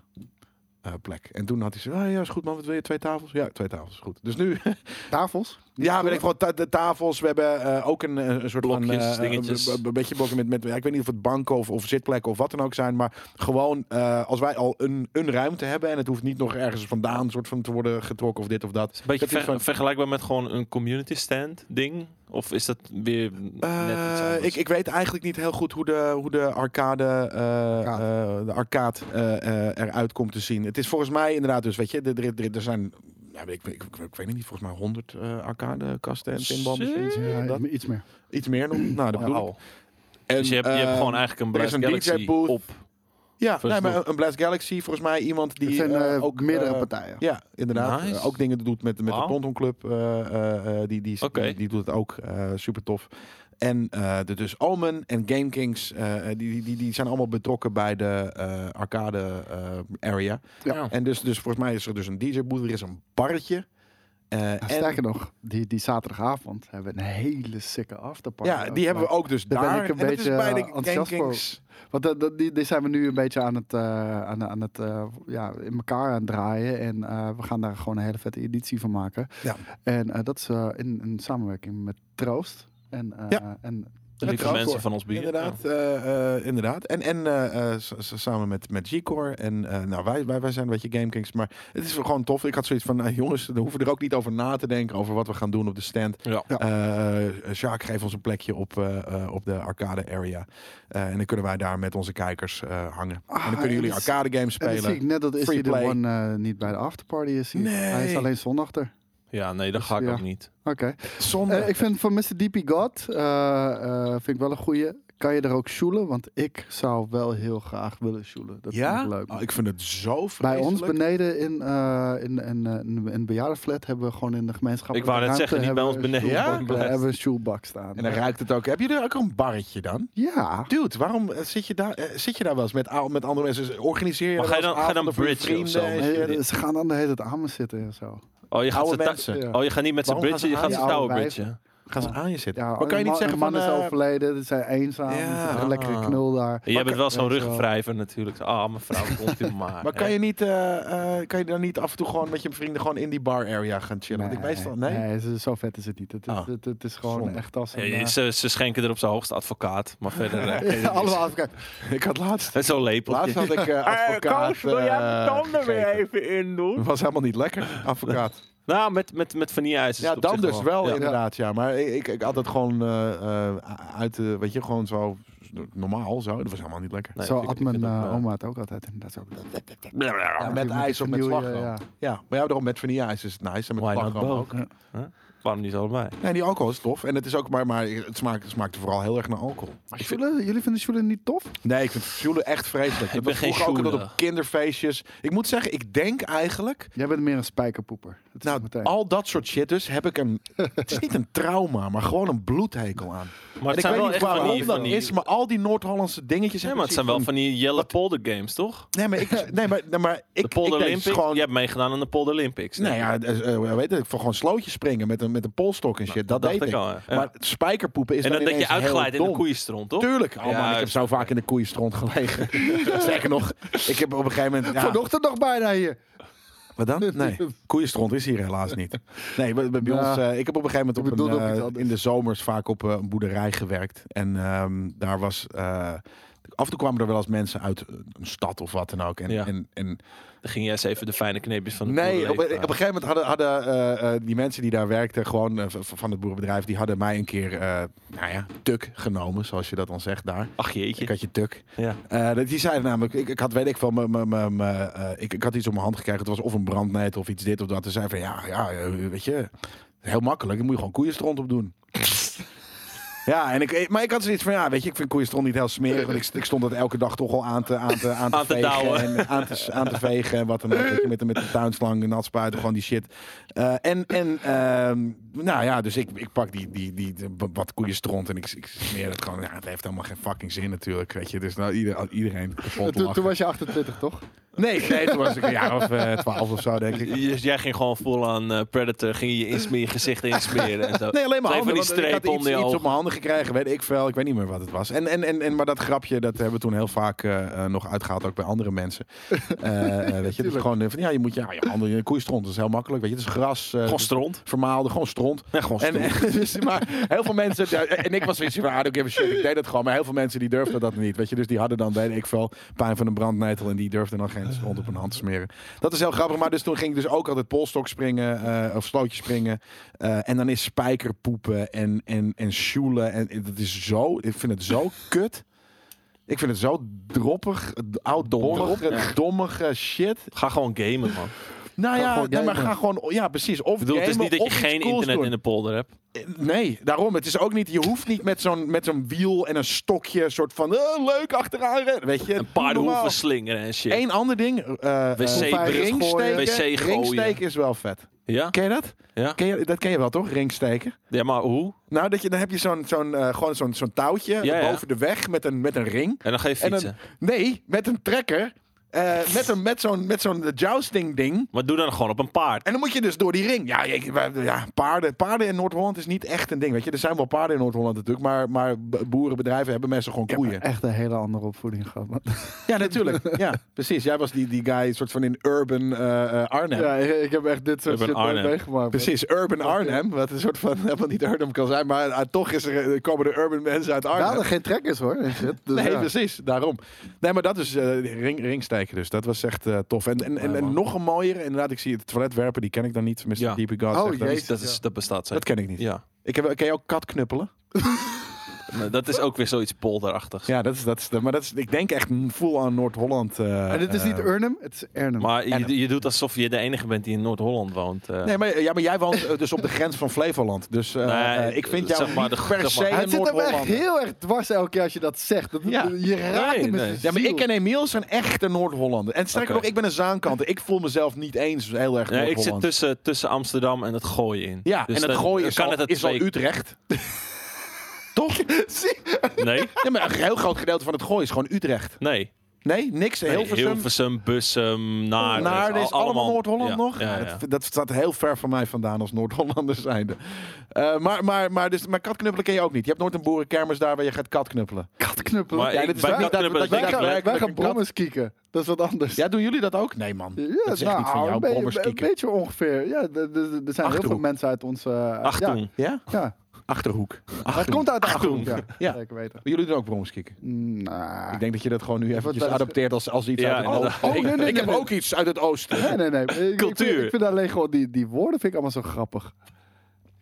[SPEAKER 3] eh, plek. En toen had hij gezegd, ah, ja, is goed man, wat wil je? Twee tafels? Ja, twee tafels, is goed. Dus nu
[SPEAKER 1] Tafels.
[SPEAKER 3] ja, weet ik wel, ta- de tafels. We hebben eh, ook een, eh, een soort van...
[SPEAKER 2] Blokjes,
[SPEAKER 3] eh,
[SPEAKER 2] dingetjes.
[SPEAKER 3] Een een beetje blokken met, met... ja, ik weet niet of het banken of, of zitplekken of wat dan ook zijn. Maar gewoon, eh, als wij al een, een ruimte hebben... en het hoeft niet nog ergens vandaan soort van te worden getrokken of dit of dat.
[SPEAKER 2] Is een beetje
[SPEAKER 3] Dat is
[SPEAKER 2] ver-
[SPEAKER 3] gewoon-
[SPEAKER 2] vergelijkbaar met gewoon een community stand ding? Of is dat weer net iets
[SPEAKER 3] Eh,
[SPEAKER 2] anders?
[SPEAKER 3] ik, ik weet eigenlijk niet heel goed hoe de, hoe de arcade, eh, eh, de arcade eh, eh, eruit komt te zien. Het is volgens mij inderdaad dus, weet je, er, er, er- er zijn... Ja, weet ik, ik, ik, ik weet het niet, volgens mij 100 eh, arcadekasten en pinbalmachines. en
[SPEAKER 1] Ja,
[SPEAKER 3] dat.
[SPEAKER 1] iets meer.
[SPEAKER 3] Iets meer nog. Nou, dat bedoel ik.
[SPEAKER 2] Wauw. dus je hebt, je hebt
[SPEAKER 3] ehm,
[SPEAKER 2] gewoon eigenlijk een
[SPEAKER 3] er is
[SPEAKER 2] Blast
[SPEAKER 3] een
[SPEAKER 2] Galaxy
[SPEAKER 3] DJ-booth.
[SPEAKER 2] op.
[SPEAKER 3] Ja,
[SPEAKER 2] First
[SPEAKER 3] nee, maar
[SPEAKER 2] look.
[SPEAKER 3] een- een Blast Galaxy, volgens mij iemand die
[SPEAKER 1] het zijn
[SPEAKER 3] eh,
[SPEAKER 1] eh,
[SPEAKER 3] ook
[SPEAKER 1] meerdere
[SPEAKER 3] eh,
[SPEAKER 1] partijen.
[SPEAKER 3] Ja, inderdaad.
[SPEAKER 2] Nice.
[SPEAKER 3] eh, ook dingen doet met, met
[SPEAKER 2] Wauw.
[SPEAKER 3] de Ponton Club. eh, eh, eh, die, die,
[SPEAKER 2] Oké.
[SPEAKER 3] die, die doet het ook eh, super tof. En eh, de, dus Omen en Game Kings, eh, die, die, die, die zijn allemaal betrokken bij de eh, arcade eh, area.
[SPEAKER 1] Ja.
[SPEAKER 2] Ja.
[SPEAKER 3] En dus, dus volgens mij is er dus een DJ-boot, er is een barretje. eh,
[SPEAKER 1] Ja,
[SPEAKER 3] en,
[SPEAKER 1] Sterker nog, die, die zaterdagavond hebben we een hele sikke afterparty.
[SPEAKER 3] ja, die hebben we ook dus
[SPEAKER 1] Daar
[SPEAKER 3] daar.
[SPEAKER 1] ben ik een
[SPEAKER 3] En dat is
[SPEAKER 1] beetje,
[SPEAKER 3] bij
[SPEAKER 1] eh,
[SPEAKER 3] de Game
[SPEAKER 1] enthousiast voor.
[SPEAKER 3] Kings.
[SPEAKER 1] Want dat, dat- die, die zijn we nu een beetje aan het, eh, aan, aan het eh, ja, in elkaar aan het draaien. En eh, we gaan daar gewoon een hele vette editie van maken.
[SPEAKER 3] Ja.
[SPEAKER 1] En eh, dat is eh, in, in samenwerking met Troost. En, eh,
[SPEAKER 3] Ja.
[SPEAKER 1] en
[SPEAKER 2] de
[SPEAKER 3] Ja,
[SPEAKER 2] lieve
[SPEAKER 3] trouw,
[SPEAKER 2] mensen
[SPEAKER 3] hoor.
[SPEAKER 2] van ons bier.
[SPEAKER 3] Inderdaad, eh, eh, inderdaad. En, en eh, eh, s- s- samen met, met G-Core. En eh, nou, wij, wij, wij zijn een beetje GameKings. Maar het is gewoon tof. Ik had zoiets van, eh, jongens, we hoeven er ook niet over na te denken. Over wat we gaan doen op de stand.
[SPEAKER 2] Ja. Ja.
[SPEAKER 1] Ja.
[SPEAKER 3] Eh, Sjaak, geef ons een plekje op, eh, eh, op de arcade area. Eh, en dan kunnen wij daar met onze kijkers eh, hangen. en dan kunnen
[SPEAKER 1] Ah, en
[SPEAKER 3] jullie
[SPEAKER 1] dat is-
[SPEAKER 3] arcade games
[SPEAKER 1] En dan zie ik
[SPEAKER 3] spelen.
[SPEAKER 1] net dat
[SPEAKER 3] Free
[SPEAKER 1] Izzy de
[SPEAKER 3] play.
[SPEAKER 1] One eh, niet bij de afterparty is. hier.
[SPEAKER 3] Nee.
[SPEAKER 1] Hij is alleen zondag er.
[SPEAKER 2] Ja, nee,
[SPEAKER 3] Dus,
[SPEAKER 2] dat ga ik
[SPEAKER 1] Ja.
[SPEAKER 2] ook niet.
[SPEAKER 1] Oké.
[SPEAKER 3] Zonde.
[SPEAKER 1] Eh, ik vind van Mr. DP God, eh, eh, vind ik wel een goeie. Kan je er ook shoelen? Want ik zou wel heel graag willen shoelen. Dat
[SPEAKER 3] ja?
[SPEAKER 1] vind ik leuk.
[SPEAKER 3] Oh, ik vind het zo
[SPEAKER 1] Bij
[SPEAKER 3] vreselijk.
[SPEAKER 1] ons beneden in, eh, in, in, eh, in, in een bejaardenflat hebben we gewoon in de gemeenschap.
[SPEAKER 2] Ik wou net zeggen, niet bij ons beneden.
[SPEAKER 1] Ja?
[SPEAKER 2] Ja?
[SPEAKER 1] hebben we een shoelbak staan.
[SPEAKER 3] En dan ruikt het ook. Heb je er ook een barretje dan?
[SPEAKER 1] Ja.
[SPEAKER 3] Dude, waarom eh, zit je daar, eh, zit je daar wel eens met, ou- met andere mensen? Dus Organiseer je
[SPEAKER 2] Maar
[SPEAKER 3] wel
[SPEAKER 2] ga je
[SPEAKER 3] eens
[SPEAKER 2] dan- ga je dan
[SPEAKER 3] avonden voor je
[SPEAKER 2] bridgen of
[SPEAKER 3] vrienden
[SPEAKER 2] zo?
[SPEAKER 3] en
[SPEAKER 2] Nee,
[SPEAKER 3] shit?
[SPEAKER 1] Eh, ze gaan dan de hele tijd aan me zitten en zo.
[SPEAKER 2] Oh, je gaat,
[SPEAKER 3] Oude
[SPEAKER 2] ze ta-
[SPEAKER 3] mensen.
[SPEAKER 1] Ja.
[SPEAKER 2] oh, je gaat niet met z'n
[SPEAKER 3] Waarom
[SPEAKER 2] bridgen, je
[SPEAKER 3] gaan
[SPEAKER 2] gaat
[SPEAKER 1] ze
[SPEAKER 2] z'n
[SPEAKER 1] aan-
[SPEAKER 2] touwen
[SPEAKER 1] die oude
[SPEAKER 2] bridgen.
[SPEAKER 3] Gaan ze aan je zitten?
[SPEAKER 1] Ja,
[SPEAKER 3] maar kan je
[SPEAKER 1] een
[SPEAKER 3] niet
[SPEAKER 1] man-
[SPEAKER 3] zeggen
[SPEAKER 1] een
[SPEAKER 3] van...
[SPEAKER 1] man is
[SPEAKER 3] eh,
[SPEAKER 1] overleden, ze zijn eenzaam,
[SPEAKER 3] Ja. Ah.
[SPEAKER 1] ja. een lekkere knul daar.
[SPEAKER 2] Jij bent wel zo'n
[SPEAKER 1] weet je wel.
[SPEAKER 2] ruggenwrijver natuurlijk. Ah, mevrouw, komt u maar.
[SPEAKER 3] maar kan je, niet, eh, eh, kan je dan niet af en toe gewoon met je vrienden gewoon in die bar area gaan chillen? Want ik meestal... Nee?
[SPEAKER 1] ze- zo vet is het niet. Het is,
[SPEAKER 3] Ah.
[SPEAKER 1] het, het is gewoon
[SPEAKER 3] Zonde.
[SPEAKER 1] echt als een...
[SPEAKER 2] Hey,
[SPEAKER 1] eh,
[SPEAKER 2] ze, ze schenken er op zijn hoogste advocaat, maar verder... eh,
[SPEAKER 1] ja, allemaal afkijken.
[SPEAKER 3] Ik had laatst...
[SPEAKER 2] Met zo'n
[SPEAKER 3] Laatst
[SPEAKER 2] lepeltje.
[SPEAKER 3] had ik eh advocaat... eh, gegeten.
[SPEAKER 2] even in doen?
[SPEAKER 3] Het was helemaal niet lekker, advocaat.
[SPEAKER 2] Nou, met, met, met vanille-ijzers.
[SPEAKER 3] ja, dan dus wel,
[SPEAKER 2] Ja.
[SPEAKER 3] inderdaad. Ja. Maar ik, ik, ik had het gewoon eh, eh, uit de... weet je, gewoon zo normaal zo. Dat was helemaal niet lekker.
[SPEAKER 2] Nee,
[SPEAKER 1] zo
[SPEAKER 2] ik-
[SPEAKER 1] at
[SPEAKER 2] ik vind
[SPEAKER 1] mijn
[SPEAKER 2] dat,
[SPEAKER 1] eh,
[SPEAKER 2] eh,
[SPEAKER 1] oma het ook altijd. En dat is ook dat.
[SPEAKER 3] Ja,
[SPEAKER 1] Ja,
[SPEAKER 3] met
[SPEAKER 1] die
[SPEAKER 3] ijs of met
[SPEAKER 1] vernieuwen,
[SPEAKER 3] slagroom.
[SPEAKER 1] ja.
[SPEAKER 3] Ja, maar ja, daarom met vanille-ijs is het nice. En met
[SPEAKER 2] Why not
[SPEAKER 3] slagroom
[SPEAKER 2] both?
[SPEAKER 3] ook.
[SPEAKER 2] Waarom niet allebei?
[SPEAKER 3] Nee, die alcohol is tof. En het is ook maar, maar het smaakt, het smaakt vooral heel erg naar alcohol.
[SPEAKER 1] Sjoelen, jullie vinden Sjoelen niet tof?
[SPEAKER 3] Nee, ik vind joelen echt vreselijk.
[SPEAKER 2] ben
[SPEAKER 3] Dat was
[SPEAKER 2] geen
[SPEAKER 3] vroeger ook dat
[SPEAKER 2] joeler.
[SPEAKER 3] op kinderfeestjes. Ik moet zeggen, ik denk eigenlijk...
[SPEAKER 1] Jij bent meer een spijkerpoeper. Dat is
[SPEAKER 3] Nou,
[SPEAKER 1] het meteen.
[SPEAKER 3] al dat soort shit dus heb ik een... het is niet een trauma, maar gewoon een bloedhekel aan.
[SPEAKER 2] Maar
[SPEAKER 3] En
[SPEAKER 2] het
[SPEAKER 3] ik
[SPEAKER 2] zijn wel
[SPEAKER 3] weet niet
[SPEAKER 2] echt van
[SPEAKER 3] waarom
[SPEAKER 2] die...
[SPEAKER 3] dat
[SPEAKER 2] Van
[SPEAKER 3] is,
[SPEAKER 2] die
[SPEAKER 3] maar al die Noord-Hollandse dingetjes...
[SPEAKER 2] ja,
[SPEAKER 3] heb
[SPEAKER 2] maar
[SPEAKER 3] ik
[SPEAKER 2] het zijn wel van
[SPEAKER 3] zoiets
[SPEAKER 2] die Jelle Polder games, toch?
[SPEAKER 3] Nee, maar ik... Nee, maar, nee, maar ik,
[SPEAKER 2] De
[SPEAKER 3] ik
[SPEAKER 2] Polder
[SPEAKER 3] denk
[SPEAKER 2] Olympics.
[SPEAKER 3] gewoon...
[SPEAKER 2] Je hebt meegedaan aan de Polder Olympics.
[SPEAKER 3] Nou ja, eh, eh, weet het, voor gewoon slootjes springen met een, met een polstok en shit.
[SPEAKER 2] Nou,
[SPEAKER 3] Dat,
[SPEAKER 2] dacht
[SPEAKER 3] deed
[SPEAKER 2] ik
[SPEAKER 3] ik.
[SPEAKER 2] al, ja.
[SPEAKER 3] Maar spijkerpoepen is
[SPEAKER 2] en dan
[SPEAKER 3] dan
[SPEAKER 2] dat je
[SPEAKER 3] ineens heel
[SPEAKER 2] uitglijdt in de
[SPEAKER 3] dom.
[SPEAKER 2] koeienstront, toch?
[SPEAKER 3] Tuurlijk. Oh man,
[SPEAKER 2] Ja,
[SPEAKER 3] ik heb zo vaak in de koeienstront gelegen. Sterker nog, ik heb op een gegeven moment... Ja,
[SPEAKER 1] Vanochtend nog bijna hier.
[SPEAKER 3] wat dan? Nee, koeienstront is hier helaas niet. Nee, bij, bij
[SPEAKER 1] Ja.
[SPEAKER 3] ons... eh, ik heb op een gegeven
[SPEAKER 1] Ik
[SPEAKER 3] moment op
[SPEAKER 1] bedoel
[SPEAKER 3] een,
[SPEAKER 1] ook iets
[SPEAKER 3] eh,
[SPEAKER 1] anders.
[SPEAKER 3] in de zomers vaak op eh, een boerderij gewerkt. En ehm, daar was... eh, af en toe kwamen er wel eens mensen uit een stad of wat dan ook. En,
[SPEAKER 2] Ja.
[SPEAKER 3] en, en
[SPEAKER 2] Dan ging je eens even de fijne kneepjes van de
[SPEAKER 3] Nee,
[SPEAKER 2] Polder
[SPEAKER 3] op, op een
[SPEAKER 2] even-
[SPEAKER 3] gegeven moment hadden, hadden eh, eh, die mensen die daar werkten, gewoon eh, v- van het boerenbedrijf, die hadden mij een keer, eh nou ja, tuk genomen, zoals je dat dan zegt daar.
[SPEAKER 2] Ach
[SPEAKER 3] Ik
[SPEAKER 2] jeetje.
[SPEAKER 3] had je tuk.
[SPEAKER 2] Ja.
[SPEAKER 3] Eh, dat- die zeiden namelijk, ik, ik had weet ik van, eh, ik, ik had iets op mijn hand gekregen. Het was of een brandnetel of iets dit of dat. Ze zeiden van, ja, ja, eh, weet je, heel makkelijk. Dan moet je gewoon koeienstront op doen. ja, en ik, maar ik had zoiets van, ja, weet je, ik vind koeienstront niet heel smerig. Want ik, ik stond dat elke dag toch al aan te, aan te, aan te,
[SPEAKER 2] Aan te
[SPEAKER 3] vegen
[SPEAKER 2] douwen.
[SPEAKER 3] En aan, te, aan te vegen en wat dan ook. Weet je, met, de- met de tuinslang en nat spuiten, gewoon die shit. Eh, en, en ehm, nou ja, dus ik, ik pak die, die, die, de- wat koeienstront en ik, ik smeer het gewoon. Ja, het heeft helemaal geen fucking zin natuurlijk, weet je. Dus nou, ieder, iedereen kapot
[SPEAKER 1] Toen, toen
[SPEAKER 3] lachen.
[SPEAKER 1] was je 28, toch?
[SPEAKER 3] Nee, nee, toen was ik een jaar of eh, 12 of zo, denk ik.
[SPEAKER 2] J- dus Jij ging gewoon vol aan eh, Predator, ging je insmeren, je gezicht insmeren en zo.
[SPEAKER 3] Nee, alleen maar
[SPEAKER 2] Twee
[SPEAKER 3] handen.
[SPEAKER 2] van die
[SPEAKER 3] want eh, ik had
[SPEAKER 2] strepen
[SPEAKER 3] iets,
[SPEAKER 2] onder je
[SPEAKER 3] iets
[SPEAKER 2] ogen.
[SPEAKER 3] op mijn handen gekregen, weet ik veel. Ik weet niet meer wat het was. En, en, en, en, maar dat grapje, dat hebben we toen heel vaak eh, eh, nog uitgehaald, ook bij andere mensen. Eh, eh, weet je, dus gewoon eh, van, ja, je moet je, ja, je handen in een koeienstront. Dat is heel makkelijk, weet je. Het is gras, eh,
[SPEAKER 2] Gewoon stront.
[SPEAKER 3] vermaalde, gewoon stront.
[SPEAKER 2] Ja, gewoon
[SPEAKER 3] En,
[SPEAKER 2] stront.
[SPEAKER 3] en- dus, maar heel veel mensen, ja, en ik was zoiets van, ah, I don't give a shit, ik deed dat gewoon. Maar heel veel mensen die durfden dat niet, weet je. Dus die hadden dan, weet ik veel, pijn van een brandnetel en die durfden dan geen stront op hun hand te smeren. Dat is heel grappig, maar dus toen ging ik dus ook altijd polstok springen eh, of slootje springen. Eh, en dan is spijkerpoepen en, en, en sjoelen en en dat is zo, ik vind het zo kut. Ik vind het zo droppig, oud-dommig, dommige shit.
[SPEAKER 2] Ga gewoon gamen, man.
[SPEAKER 3] Nou
[SPEAKER 1] Ga
[SPEAKER 3] ja,
[SPEAKER 1] gewoon
[SPEAKER 3] nee, maar
[SPEAKER 1] gamen.
[SPEAKER 3] ga gewoon, ja precies. Of
[SPEAKER 2] Ik bedoel, het is
[SPEAKER 3] gamen
[SPEAKER 2] niet dat je
[SPEAKER 3] of iets
[SPEAKER 2] geen
[SPEAKER 3] cools
[SPEAKER 2] internet
[SPEAKER 3] doen.
[SPEAKER 2] in de polder hebt.
[SPEAKER 3] Nee, daarom. Het is ook niet, je hoeft niet met zo'n met zo'n wiel en een stokje, soort van eh, leuk achteraan rennen. Weet je,
[SPEAKER 2] Een paar
[SPEAKER 3] doe normaal.
[SPEAKER 2] hoeven slingeren en shit.
[SPEAKER 3] Eén ander ding, eh, eh,
[SPEAKER 2] Wc
[SPEAKER 1] bril
[SPEAKER 3] eh,
[SPEAKER 1] gooien.
[SPEAKER 3] ringsteken.
[SPEAKER 2] Wc gooien.
[SPEAKER 3] Ringsteken is wel vet.
[SPEAKER 2] Ja?
[SPEAKER 3] Ken je dat?
[SPEAKER 2] Ja?
[SPEAKER 3] Ken je, dat ken je wel toch? Ringsteken.
[SPEAKER 2] ja, maar hoe?
[SPEAKER 3] Nou, dat je, dan heb je zo'n zo'n eh, gewoon zo'n zo'n touwtje
[SPEAKER 2] Ja, ja.
[SPEAKER 3] boven de weg met een, met een ring.
[SPEAKER 2] En dan ga je
[SPEAKER 3] En
[SPEAKER 2] fietsen.
[SPEAKER 3] een- nee, met een trekker Eh, met een- met zo'n met zo'n jousting ding.
[SPEAKER 2] Maar doe dan gewoon op een paard.
[SPEAKER 3] En dan moet je dus door die ring. Ja, ik- wij- ja paarden, paarden in Noord-Holland is niet echt een ding. Weet je, er zijn wel paarden in Noord-Holland natuurlijk. Maar, maar b- boerenbedrijven hebben mensen gewoon
[SPEAKER 1] Ik
[SPEAKER 3] koeien.
[SPEAKER 1] heb echt een hele andere opvoeding gehad. man.
[SPEAKER 3] Ja, natuurlijk. ja, precies. Jij was die, die guy, soort van in urban eh, eh, Arnhem.
[SPEAKER 1] Ja, ik, ik heb echt dit soort
[SPEAKER 2] Urban
[SPEAKER 1] shit nooit
[SPEAKER 2] Arnhem.
[SPEAKER 1] meegemaakt.
[SPEAKER 3] Precies, urban Arnhem. Wat een soort van, helemaal niet Arnhem kan zijn. Maar eh, toch is er, eh, komen er urban mensen uit
[SPEAKER 1] Daar
[SPEAKER 3] Arnhem.
[SPEAKER 1] hadden geen trekkers hoor. en shit. Dus
[SPEAKER 3] nee,
[SPEAKER 1] ja.
[SPEAKER 3] precies. Daarom. Nee, maar dat is eh ring, ringsteken dus. Dat was echt eh, tof. En, en, en,
[SPEAKER 2] Ja,
[SPEAKER 3] en
[SPEAKER 2] man.
[SPEAKER 3] nog een mooier. Inderdaad, ik zie het toilet werpen. Die ken ik dan niet. Mr.
[SPEAKER 2] Ja.
[SPEAKER 3] DP God.
[SPEAKER 1] Oh,
[SPEAKER 3] zegt dat.
[SPEAKER 1] jezus.
[SPEAKER 2] Dat, is, dat bestaat
[SPEAKER 3] Dat
[SPEAKER 2] zeker.
[SPEAKER 3] ken ik niet.
[SPEAKER 2] Ja.
[SPEAKER 3] Ik heb, ken je ook kat knuppelen?
[SPEAKER 2] Maar Dat is ook weer zoiets polderachtigs.
[SPEAKER 3] Ja, dat is, dat is, de- maar dat is, ik denk echt full aan Noord-Holland. eh,
[SPEAKER 1] En dit is
[SPEAKER 3] eh,
[SPEAKER 1] niet Urnhem, het is Ernhem.
[SPEAKER 2] Maar
[SPEAKER 3] En-
[SPEAKER 2] je, je doet alsof je de enige bent die in Noord-Holland woont. eh.
[SPEAKER 3] Nee, maar, ja, maar jij woont eh, dus op de grens van Flevoland. Dus eh,
[SPEAKER 2] Nee,
[SPEAKER 3] eh, ik vind
[SPEAKER 2] zeg
[SPEAKER 3] jou
[SPEAKER 2] maar
[SPEAKER 3] niet
[SPEAKER 2] de- zeg
[SPEAKER 3] per
[SPEAKER 2] maar-
[SPEAKER 3] se
[SPEAKER 1] Maar
[SPEAKER 3] een
[SPEAKER 1] het zit hem echt
[SPEAKER 3] Noord-Holland.
[SPEAKER 1] heel erg dwars elke keer als je dat zegt. Dat,
[SPEAKER 3] Ja.
[SPEAKER 1] Je raakt
[SPEAKER 2] Nee,
[SPEAKER 1] hem met
[SPEAKER 2] nee.
[SPEAKER 1] zijn
[SPEAKER 3] Ja, maar
[SPEAKER 1] ziel.
[SPEAKER 3] ik en Emiel zijn echte Noord-Hollander. En sterker
[SPEAKER 2] Oké.
[SPEAKER 3] nog, ik ben een zaankanter. Ik voel mezelf niet eens heel erg
[SPEAKER 2] Nee, ik
[SPEAKER 3] Noord-Holland.
[SPEAKER 2] zit tussen, tussen Amsterdam en het gooien in.
[SPEAKER 3] Ja,
[SPEAKER 2] Dus
[SPEAKER 3] en het
[SPEAKER 2] dan-
[SPEAKER 3] gooien
[SPEAKER 2] dan
[SPEAKER 3] is,
[SPEAKER 2] kan
[SPEAKER 3] al,
[SPEAKER 2] het het
[SPEAKER 3] is al
[SPEAKER 2] twee-
[SPEAKER 3] Utrecht. Toch?
[SPEAKER 2] Nee,
[SPEAKER 3] Ja, maar een heel groot gedeelte van het gooien is gewoon Utrecht.
[SPEAKER 2] nee.
[SPEAKER 3] Nee, niks.
[SPEAKER 2] nee.
[SPEAKER 3] heel veel
[SPEAKER 2] Hilversum, Bussum, Naarden.
[SPEAKER 3] Naarden is
[SPEAKER 2] al-
[SPEAKER 3] allemaal Noord-Holland
[SPEAKER 2] ja,
[SPEAKER 3] nog.
[SPEAKER 2] Ja, ja.
[SPEAKER 3] Dat, dat staat heel ver van mij vandaan als Noord-Hollander zijnde. Eh, maar, maar, maar, dus, maar katknuppelen ken je ook niet. Je hebt nooit een boerenkermis daar waar je gaat katknuppelen.
[SPEAKER 1] katknuppelen.
[SPEAKER 2] Maar
[SPEAKER 3] Ja,
[SPEAKER 2] ik-
[SPEAKER 3] dit is
[SPEAKER 2] bij
[SPEAKER 3] waar- dat-
[SPEAKER 2] katknuppelen ben
[SPEAKER 3] dat-
[SPEAKER 1] wij,
[SPEAKER 2] ik
[SPEAKER 3] dat-
[SPEAKER 1] gaan,
[SPEAKER 2] werkelijk
[SPEAKER 1] wij gaan
[SPEAKER 3] een kat-
[SPEAKER 1] brommers kieken. Dat is wat anders.
[SPEAKER 3] Ja, doen jullie dat ook? Nee, man.
[SPEAKER 1] Ja,
[SPEAKER 3] dat is echt niet
[SPEAKER 1] nou,
[SPEAKER 3] van jou,
[SPEAKER 1] een beetje-
[SPEAKER 3] brommers
[SPEAKER 1] Een
[SPEAKER 3] kieken.
[SPEAKER 1] beetje ongeveer. Ja, d- d- d- er zijn heel
[SPEAKER 3] Achterhoek.
[SPEAKER 1] veel mensen uit onze... eh,
[SPEAKER 2] Achtung.
[SPEAKER 3] Ja?
[SPEAKER 1] Ja, ja.
[SPEAKER 3] Achterhoek.
[SPEAKER 1] Maar het komt uit de Achterhoek.
[SPEAKER 2] Achterhoek.
[SPEAKER 1] Ja,
[SPEAKER 3] Ja.
[SPEAKER 1] zeker weten.
[SPEAKER 3] Jullie doen ook bromskikken.
[SPEAKER 1] Nou.
[SPEAKER 3] Ik denk dat je dat gewoon nu eventjes
[SPEAKER 1] dat is-
[SPEAKER 3] adopteert als, als iets
[SPEAKER 2] Ja,
[SPEAKER 3] uit het
[SPEAKER 2] inderdaad.
[SPEAKER 3] oosten.
[SPEAKER 1] Oh, nee, nee,
[SPEAKER 3] ik
[SPEAKER 1] nee,
[SPEAKER 3] ik heb
[SPEAKER 1] nee.
[SPEAKER 3] ook iets uit het oosten.
[SPEAKER 1] Nee, nee, nee. Ik- Ik, Ik
[SPEAKER 2] Cultuur.
[SPEAKER 1] vind, ik vind alleen gewoon die, die woorden vind ik allemaal zo grappig.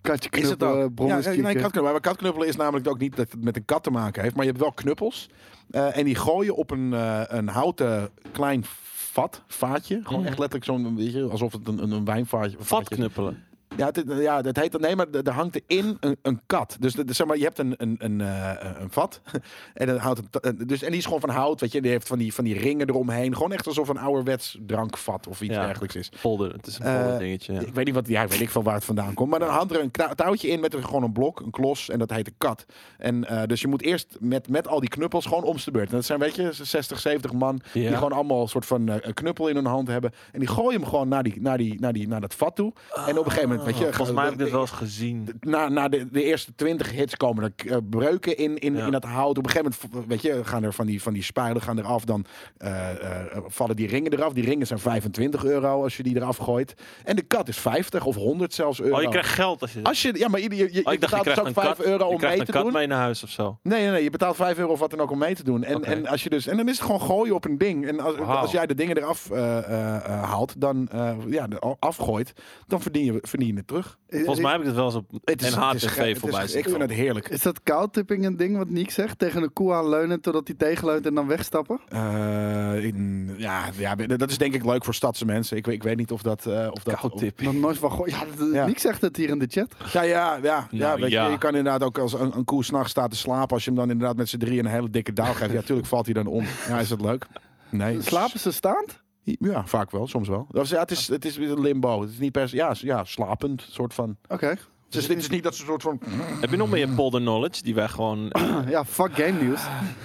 [SPEAKER 1] Katje
[SPEAKER 3] Is het ook?
[SPEAKER 1] knuppelen, brommers
[SPEAKER 3] ja, nee,
[SPEAKER 1] kieken.
[SPEAKER 3] katknuppelen. Maar katknuppelen is namelijk ook niet dat het met een kat te maken heeft. Maar je hebt wel knuppels. Eh, en die gooien op een, eh, een houten klein vat, vaatje. Gewoon
[SPEAKER 2] Mhm.
[SPEAKER 3] echt letterlijk zo'n, weet je, alsof het een, een, een wijnvaatje
[SPEAKER 2] Vat
[SPEAKER 3] vaatje is.
[SPEAKER 2] knuppelen.
[SPEAKER 3] Ja, het, ja, dat heet dat. Nee, maar er er hangt erin een, een kat. Dus dat- zeg maar, je hebt een, een, een, eh, een vat. En, dan houdt het, eh, dus, en die is gewoon van hout. Weet je, die heeft van die, van die ringen eromheen. Gewoon echt alsof een ouderwets drankvat of iets
[SPEAKER 2] Ja.
[SPEAKER 3] dergelijks is.
[SPEAKER 2] Polder. Het is een
[SPEAKER 3] Eh,
[SPEAKER 2] polder dingetje. ja.
[SPEAKER 3] Ik weet niet wat, ja, ik weet ik veel waar het vandaan komt. Maar dan hangt er een kna- touwtje in met er gewoon een blok, een klos. En dat heet een kat. En eh, dus je moet eerst met, met al die knuppels gewoon om de beurt. En dat zijn, weet je, 60, 70 man.
[SPEAKER 2] Ja.
[SPEAKER 3] Die gewoon allemaal een soort van eh, een knuppel in hun hand hebben. En die gooien hem gewoon naar, die, naar, die, naar, die, naar dat vat toe. en op een gegeven moment, weet je...
[SPEAKER 2] Ah, volgens mij heb ik
[SPEAKER 3] de-
[SPEAKER 2] dit wel eens gezien.
[SPEAKER 3] na, na de, de eerste 20 hits komen er eh, breuken in, in,
[SPEAKER 2] Ja.
[SPEAKER 3] in dat hout. Op een gegeven moment weet je, gaan er van die, van die spijlen gaan eraf. Dan eh, eh, vallen die ringen eraf. Die ringen zijn 25 euro als je die eraf gooit. En de kat is 50 of 100 zelfs euro.
[SPEAKER 2] Oh, je krijgt geld als je...
[SPEAKER 3] als je, ja, maar ieder- je, je,
[SPEAKER 2] Oh,
[SPEAKER 3] je
[SPEAKER 2] ik dacht, je
[SPEAKER 3] betaalt dus
[SPEAKER 2] krijgt
[SPEAKER 3] ook
[SPEAKER 2] een
[SPEAKER 3] 5
[SPEAKER 2] kat,
[SPEAKER 3] euro
[SPEAKER 2] je
[SPEAKER 3] om
[SPEAKER 2] krijgt
[SPEAKER 3] mee te
[SPEAKER 2] een kat
[SPEAKER 3] doen.
[SPEAKER 2] mee naar huis of zo.
[SPEAKER 3] Nee, nee, nee, je betaalt 5 euro of wat dan ook om mee te doen. En,
[SPEAKER 2] Oké.
[SPEAKER 3] en, als je dus, en dan is het gewoon gooien op een ding. En als,
[SPEAKER 2] Wauw.
[SPEAKER 3] als jij de dingen eraf eh, eh, eh, haalt, dan eh, ja, de- afgooit, dan verdien je, verdien je het terug.
[SPEAKER 2] Volgens mij heb ik het wel eens op
[SPEAKER 3] Het is- het is ge-
[SPEAKER 2] NHTV
[SPEAKER 3] het
[SPEAKER 2] voorbij
[SPEAKER 3] is- Ik vind het heerlijk.
[SPEAKER 1] Is dat kaaltipping een ding wat Niek zegt? Tegen een koe aanleunen totdat hij tegenleunt en dan wegstappen?
[SPEAKER 3] Eh, in, ja, ja, dat is denk ik leuk voor stadse mensen. Ik, weet- ik weet niet of dat... eh of dat
[SPEAKER 2] Koud
[SPEAKER 3] of-
[SPEAKER 2] tip.
[SPEAKER 1] Nog nooit van goh. Ja, dat-
[SPEAKER 3] Ja.
[SPEAKER 1] Niek zegt het hier in de chat.
[SPEAKER 3] ja, ja, ja. ja,
[SPEAKER 2] Nou,
[SPEAKER 3] weet
[SPEAKER 2] ja.
[SPEAKER 3] Je, je kan inderdaad ook als een, een koe s'nachts staat te slapen... als je hem dan inderdaad met z'n drieën een hele dikke dauw geeft. Ja, tuurlijk valt hij dan om. Ja, is dat leuk? Nee.
[SPEAKER 1] Slapen ze staand?
[SPEAKER 3] Ja, vaak wel, soms wel. Dus ja, het is, het is weer een limbo. Het is niet per se... Ja, s- ja slapend, soort van...
[SPEAKER 1] Oké.
[SPEAKER 3] Het is, het is niet dat ze een soort van...
[SPEAKER 2] Heb je nog meer polder knowledge die wij gewoon... Ja,
[SPEAKER 1] Ja, fuck game news.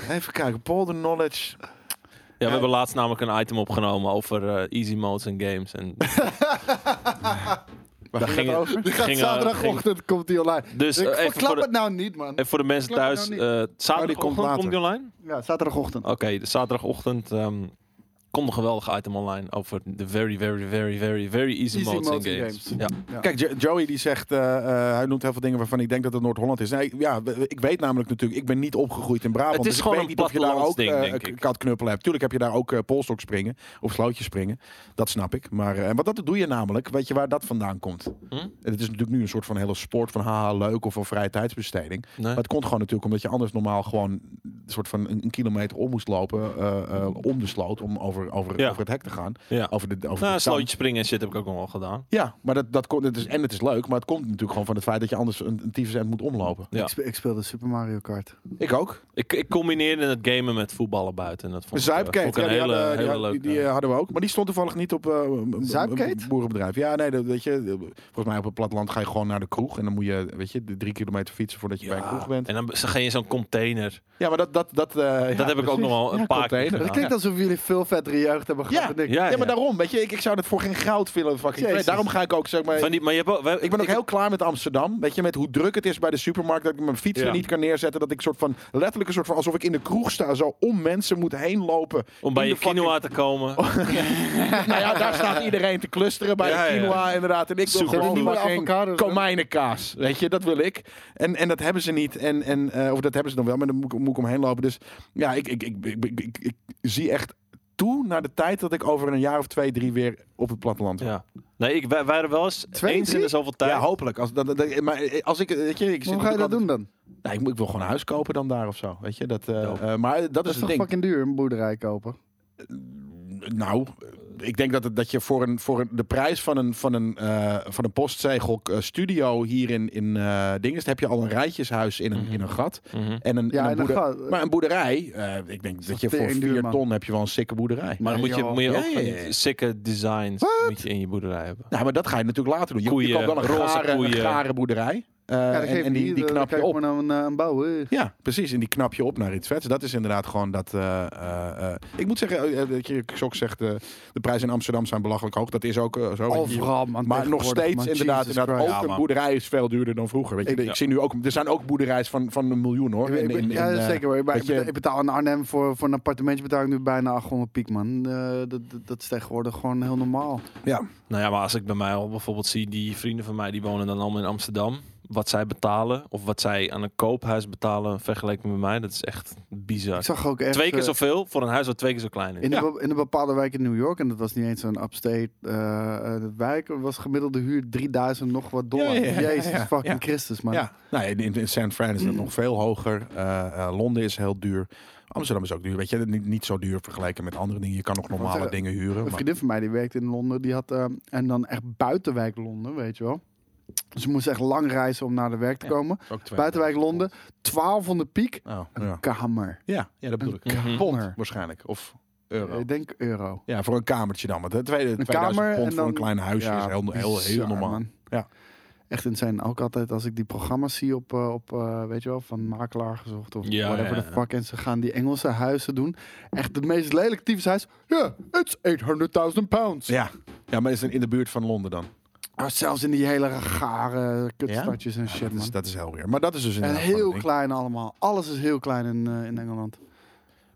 [SPEAKER 2] Ah,
[SPEAKER 3] Even kijken, polder knowledge.
[SPEAKER 2] we hebben laatst namelijk een item opgenomen over eh, easy modes en games. En
[SPEAKER 3] Waar
[SPEAKER 2] Daar
[SPEAKER 3] ging het
[SPEAKER 2] ging-
[SPEAKER 3] over?
[SPEAKER 1] Die gaat
[SPEAKER 2] Ging, eh,
[SPEAKER 1] zaterdagochtend komt die online.
[SPEAKER 2] Dus,
[SPEAKER 1] ik
[SPEAKER 2] eh, even
[SPEAKER 1] verklap
[SPEAKER 2] voor de-
[SPEAKER 1] het nou niet, man.
[SPEAKER 2] En voor de mensen
[SPEAKER 1] Klap het
[SPEAKER 2] thuis,
[SPEAKER 1] nou
[SPEAKER 2] eh zaterdagochtend
[SPEAKER 3] die komt later.
[SPEAKER 2] komt die online?
[SPEAKER 1] Ja, zaterdagochtend.
[SPEAKER 2] Oké, de zaterdagochtend ehm, komt een geweldig item online over de very, very, very, very, very easy,
[SPEAKER 1] Easy
[SPEAKER 2] modes
[SPEAKER 1] modes
[SPEAKER 2] in
[SPEAKER 1] in
[SPEAKER 2] games.
[SPEAKER 1] games.
[SPEAKER 2] Ja.
[SPEAKER 3] Kijk, Jo- Joey die zegt, eh, eh, hij noemt heel veel dingen waarvan ik denk dat het Noord-Holland is. Nee, ja, we- we- ik weet namelijk natuurlijk, ik ben niet opgegroeid in Brabant.
[SPEAKER 2] Het is
[SPEAKER 3] dus
[SPEAKER 2] gewoon
[SPEAKER 3] ik weet
[SPEAKER 2] een
[SPEAKER 3] niet of je daar ook
[SPEAKER 2] plattelandsding,
[SPEAKER 3] eh,
[SPEAKER 2] denk
[SPEAKER 3] k-
[SPEAKER 2] ik.
[SPEAKER 3] katknuppelen hebt. Tuurlijk heb je daar ook eh polstok springen of slootjes springen. Dat snap ik. Maar eh, wat dat doe je namelijk, weet je waar dat vandaan komt?
[SPEAKER 2] Hm?
[SPEAKER 3] En Het is natuurlijk nu een soort van hele sport van haha leuk of een vrije tijdsbesteding.
[SPEAKER 2] Nee.
[SPEAKER 3] Maar het komt gewoon natuurlijk omdat je anders normaal gewoon een soort van een, een kilometer om moest lopen eh, eh, om de sloot om over, over,
[SPEAKER 2] Ja.
[SPEAKER 3] over het hek te gaan.
[SPEAKER 2] Ja.
[SPEAKER 3] Over de, over
[SPEAKER 2] Nou,
[SPEAKER 3] de dam.
[SPEAKER 2] slootje springen en shit heb ik ook nog wel gedaan.
[SPEAKER 3] Ja, maar dat, dat komt, het is, en het is leuk, maar het komt natuurlijk gewoon van het feit dat je anders een, een tyfusend moet omlopen.
[SPEAKER 2] Ja.
[SPEAKER 1] Ik, spe- ik speelde Super Mario Kart.
[SPEAKER 3] Ik ook.
[SPEAKER 2] Ik, ik combineerde het gamen met voetballen buiten. Dat vond ik, eh,
[SPEAKER 3] Zuipkate,
[SPEAKER 2] vond ik
[SPEAKER 3] ja,
[SPEAKER 2] een
[SPEAKER 3] die,
[SPEAKER 2] hele,
[SPEAKER 3] hadden, die,
[SPEAKER 2] hele
[SPEAKER 3] had- die,
[SPEAKER 2] leuke.
[SPEAKER 3] die, eh, hadden we ook. Maar die stond toevallig niet op eh, een- een-
[SPEAKER 1] Zuipkate?
[SPEAKER 3] een boerenbedrijf. Ja, nee, dat, weet je, eh, volgens mij op het platteland ga je gewoon naar de kroeg. En dan moet je, weet je, de drie kilometer fietsen voordat je bij een kroeg bent.
[SPEAKER 2] En dan ging je in zo'n container.
[SPEAKER 3] Ja, maar dat, dat, dat, eh, ja,
[SPEAKER 2] dat heb ik ook
[SPEAKER 3] precies.
[SPEAKER 2] nog wel een
[SPEAKER 3] Ja,
[SPEAKER 2] paar keer
[SPEAKER 3] container.
[SPEAKER 1] Het
[SPEAKER 2] gedaan.
[SPEAKER 1] klinkt alsof jullie veel vettere jeugd hebben gehad
[SPEAKER 3] Ja,
[SPEAKER 1] dan ik.
[SPEAKER 2] Ja,
[SPEAKER 3] Ja,
[SPEAKER 2] ja.
[SPEAKER 3] maar daarom, weet je, ik, ik zou dat voor geen goud willen fucking
[SPEAKER 1] Jezus.
[SPEAKER 3] Daarom ga ik ook, zeg maar...
[SPEAKER 2] Van die, maar je hebt ook, wij-
[SPEAKER 3] ik ben ook heel klaar met Amsterdam. Weet je, met hoe druk het is bij de supermarkt. Dat ik mijn fiets
[SPEAKER 2] Ja.
[SPEAKER 3] er niet kan neerzetten. Dat ik soort van, letterlijk een soort van, alsof ik in de kroeg sta. Zo om mensen moet heen lopen.
[SPEAKER 2] om bij
[SPEAKER 3] in
[SPEAKER 2] je
[SPEAKER 3] de fucking-
[SPEAKER 2] quinoa te komen.
[SPEAKER 3] Oh. nou ja, daar staat iedereen te clusteren bij
[SPEAKER 2] Ja,
[SPEAKER 3] de
[SPEAKER 2] ja.
[SPEAKER 3] quinoa inderdaad. En ik
[SPEAKER 2] Zoek
[SPEAKER 3] wil
[SPEAKER 1] Zijn er
[SPEAKER 3] gewoon
[SPEAKER 1] niet meer
[SPEAKER 3] fucking
[SPEAKER 1] avocado's, hè?
[SPEAKER 3] komijnenkaas. Weet je, dat wil ik. En, en dat hebben ze niet. En, en, eh, of dat hebben ze dan wel, maar dan moet ik, moet ik omheen lopen. Dus ja, ik, ik, ik, ik, ik, ik- ik zie echt toe naar de tijd dat ik over een jaar of twee, drie weer op het platteland ben.
[SPEAKER 2] Ja. Nee, ik, wij waren wel eens
[SPEAKER 1] Twee,
[SPEAKER 2] eens in de
[SPEAKER 1] drie?
[SPEAKER 2] zoveel
[SPEAKER 3] Ja,
[SPEAKER 2] tijd.
[SPEAKER 3] hopelijk. Als, dat, dat- maar eh, als ik, weet je, ik zit
[SPEAKER 1] Hoe ga je dat
[SPEAKER 3] natuurlijk
[SPEAKER 1] doen dan?
[SPEAKER 3] altijd- Nou, ik, moet- ik wil gewoon een huis kopen dan daar of zo. Weet je, dat, eh,
[SPEAKER 2] Dope.
[SPEAKER 3] eh, maar dat,
[SPEAKER 1] Dat
[SPEAKER 3] is
[SPEAKER 1] is
[SPEAKER 3] het
[SPEAKER 1] toch
[SPEAKER 3] ding.
[SPEAKER 1] fucking duur, een boerderij kopen?
[SPEAKER 3] Nou, ik denk dat, het- dat je voor, een, voor een, de prijs van een, van een, eh, van een postzegel eh, studio hier in, in eh Dinges, heb je al een rijtjeshuis in een, in een gat.
[SPEAKER 2] Mhm.
[SPEAKER 3] En een,
[SPEAKER 1] Ja, en
[SPEAKER 3] en
[SPEAKER 1] dan
[SPEAKER 3] een boerder-
[SPEAKER 1] gaat...
[SPEAKER 3] maar een boerderij, eh, ik denk dat je voor
[SPEAKER 1] tering duur,
[SPEAKER 3] 4
[SPEAKER 1] man.
[SPEAKER 3] ton heb je wel een sikke boerderij.
[SPEAKER 2] Maar dan moet je,
[SPEAKER 1] joh.
[SPEAKER 2] moet je
[SPEAKER 3] Ja,
[SPEAKER 2] ook
[SPEAKER 3] ja,
[SPEAKER 2] van
[SPEAKER 3] ja.
[SPEAKER 2] die sikke designs moet je in je boerderij hebben.
[SPEAKER 3] Nou, maar dat ga je natuurlijk later doen. Je,
[SPEAKER 2] Koeien,
[SPEAKER 3] je koopt wel een
[SPEAKER 2] roze
[SPEAKER 3] gare,
[SPEAKER 2] koeien.
[SPEAKER 3] een gare boerderij. Eh,
[SPEAKER 1] Ja, dan geef
[SPEAKER 3] en,
[SPEAKER 1] je
[SPEAKER 3] en die, die
[SPEAKER 1] dan
[SPEAKER 3] knap je
[SPEAKER 1] kijk
[SPEAKER 3] op.
[SPEAKER 1] maar naar een, eh, een bouw. hè.
[SPEAKER 3] Ja, precies. En die knap je op naar iets vets. Dat is inderdaad gewoon dat... eh, eh, eh, ik moet zeggen, eh, eh, dat je Sok zegt... eh, de prijzen in Amsterdam zijn belachelijk hoog. Dat is ook eh, zo. Je-
[SPEAKER 1] Overal, man.
[SPEAKER 3] Maar nog
[SPEAKER 1] tegenwoordig,
[SPEAKER 3] steeds
[SPEAKER 1] man.
[SPEAKER 3] inderdaad,
[SPEAKER 1] Jesus
[SPEAKER 3] inderdaad
[SPEAKER 1] Christ.
[SPEAKER 3] ook
[SPEAKER 2] Ja,
[SPEAKER 3] een
[SPEAKER 2] man.
[SPEAKER 3] boerderij is veel duurder dan vroeger. Weet je.
[SPEAKER 1] Ik-
[SPEAKER 3] Ik, zie nu ook, er zijn ook boerderijs van, van een miljoen hoor.
[SPEAKER 1] Ik-
[SPEAKER 3] In-
[SPEAKER 1] ik-
[SPEAKER 3] in- in,
[SPEAKER 1] ja,
[SPEAKER 3] eh,
[SPEAKER 1] zeker. Maar ik- maar
[SPEAKER 3] weet
[SPEAKER 1] ik,
[SPEAKER 3] je-
[SPEAKER 1] betaal, ik betaal in Arnhem voor, voor een appartementje betaal ik nu bijna 800 piek, man. Eh, dat, dat, dat is tegenwoordig gewoon heel normaal.
[SPEAKER 3] ja.
[SPEAKER 2] Nou ja, maar als ik bij mij al bijvoorbeeld zie, die vrienden van mij die wonen dan allemaal in Amsterdam. Wat zij betalen, of wat zij aan een koophuis betalen vergeleken met mij, dat is echt bizar.
[SPEAKER 1] Ik zag ook echt...
[SPEAKER 2] Twee keer
[SPEAKER 1] eh,
[SPEAKER 2] zoveel voor een huis wat twee keer zo klein is.
[SPEAKER 1] In, een, be- in een bepaalde wijk in New York, en dat was niet eens een upstate eh, eh, wijk, was gemiddelde huur 3000 nog wat dollar.
[SPEAKER 3] Ja, ja, ja, ja,
[SPEAKER 1] Jezus
[SPEAKER 3] ja.
[SPEAKER 1] fucking
[SPEAKER 3] Ja.
[SPEAKER 1] Christus, man.
[SPEAKER 3] ja. Nou, in, in- in San Fran is dat nog veel hoger. Eh, eh, Londen is heel duur. Amsterdam is ook duur. Weet je, niet, niet zo duur vergeleken met andere dingen. Je kan nog normale
[SPEAKER 1] zeggen,
[SPEAKER 3] dingen huren.
[SPEAKER 1] Een
[SPEAKER 3] Maar,
[SPEAKER 1] vriendin van mij die werkte in Londen, die had, eh, en dan echt buitenwijk Londen, weet je wel. Dus ze moest echt lang reizen om naar de werk te
[SPEAKER 3] Ja.
[SPEAKER 1] komen.
[SPEAKER 3] ook twee-
[SPEAKER 1] Buitenwijk Londen, 1200 piek,
[SPEAKER 3] Oh, ja.
[SPEAKER 1] een kamer.
[SPEAKER 3] ja. ja, dat bedoel
[SPEAKER 1] Een
[SPEAKER 3] ik.
[SPEAKER 2] Mhm.
[SPEAKER 3] Pond
[SPEAKER 1] kamer.
[SPEAKER 3] waarschijnlijk. Of euro.
[SPEAKER 1] Ik denk euro.
[SPEAKER 3] Eh, Ja, voor een kamertje dan. Want de tweede,
[SPEAKER 1] Een
[SPEAKER 3] 2000
[SPEAKER 1] kamer
[SPEAKER 3] pond
[SPEAKER 1] en
[SPEAKER 3] voor een
[SPEAKER 1] dan-
[SPEAKER 3] klein huisje is heel, heel, heel
[SPEAKER 1] bizar,
[SPEAKER 3] normaal.
[SPEAKER 1] man.
[SPEAKER 3] Ja.
[SPEAKER 1] Echt insane. Ook altijd als ik die programma's zie op, eh, op eh, weet je wel, van makelaar gezocht of
[SPEAKER 2] Ja,
[SPEAKER 1] whatever
[SPEAKER 2] ja,
[SPEAKER 1] the
[SPEAKER 2] ja.
[SPEAKER 1] fuck. En ze gaan die Engelse huizen doen. Echt het meest lelijk typisch huis. Ja, it's 800.000 pounds.
[SPEAKER 3] Ja. ja, maar is het in de buurt van Londen dan?
[SPEAKER 1] Ah, zelfs in die hele gare kutstadjes en shit,
[SPEAKER 3] Ah, Dat is,
[SPEAKER 1] man.
[SPEAKER 3] dat is heel weer. Maar dat is dus
[SPEAKER 1] En
[SPEAKER 3] inderdaad gewoon
[SPEAKER 1] heel
[SPEAKER 3] een ding.
[SPEAKER 1] klein allemaal. Alles is heel klein in, eh, in Engeland.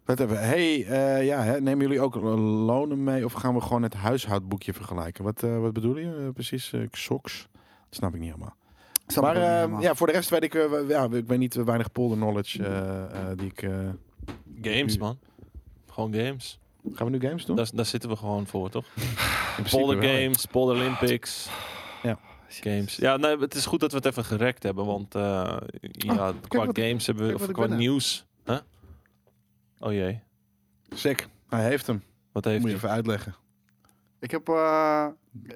[SPEAKER 3] Wat hebben we? Hey, eh, ja, hè, nemen jullie ook lonen mee of gaan we gewoon het huishoudboekje vergelijken? Wat, eh, wat bedoel je eh, precies? eh soks? Dat snap ik niet helemaal.
[SPEAKER 1] Snap ik
[SPEAKER 3] maar
[SPEAKER 1] ook niet
[SPEAKER 3] eh,
[SPEAKER 1] helemaal.
[SPEAKER 3] ja, voor de rest weet ik, eh, w- ja, ik weet niet eh, weinig polder knowledge eh, eh, die ik. eh,
[SPEAKER 2] Games, man. Gewoon games.
[SPEAKER 3] Gaan we nu games doen?
[SPEAKER 2] Daar, daar zitten we gewoon voor, toch?
[SPEAKER 3] In principe
[SPEAKER 2] Polder
[SPEAKER 3] wel, hè.
[SPEAKER 2] Games, Polder Olympics.
[SPEAKER 3] Ja.
[SPEAKER 2] Games. Ja, nee, het is goed dat we het even gerekt hebben, want eh, ja, qua
[SPEAKER 1] wat-
[SPEAKER 2] games hebben we,
[SPEAKER 1] Oh, kijk
[SPEAKER 2] of
[SPEAKER 1] wat ik
[SPEAKER 2] qua
[SPEAKER 1] ben, hè.
[SPEAKER 2] nieuws. Huh? Oh jee,
[SPEAKER 3] Sick. Hij heeft hem.
[SPEAKER 2] wat heeft
[SPEAKER 3] Moet je
[SPEAKER 2] hij?
[SPEAKER 3] even uitleggen.
[SPEAKER 1] Ik heb. eh,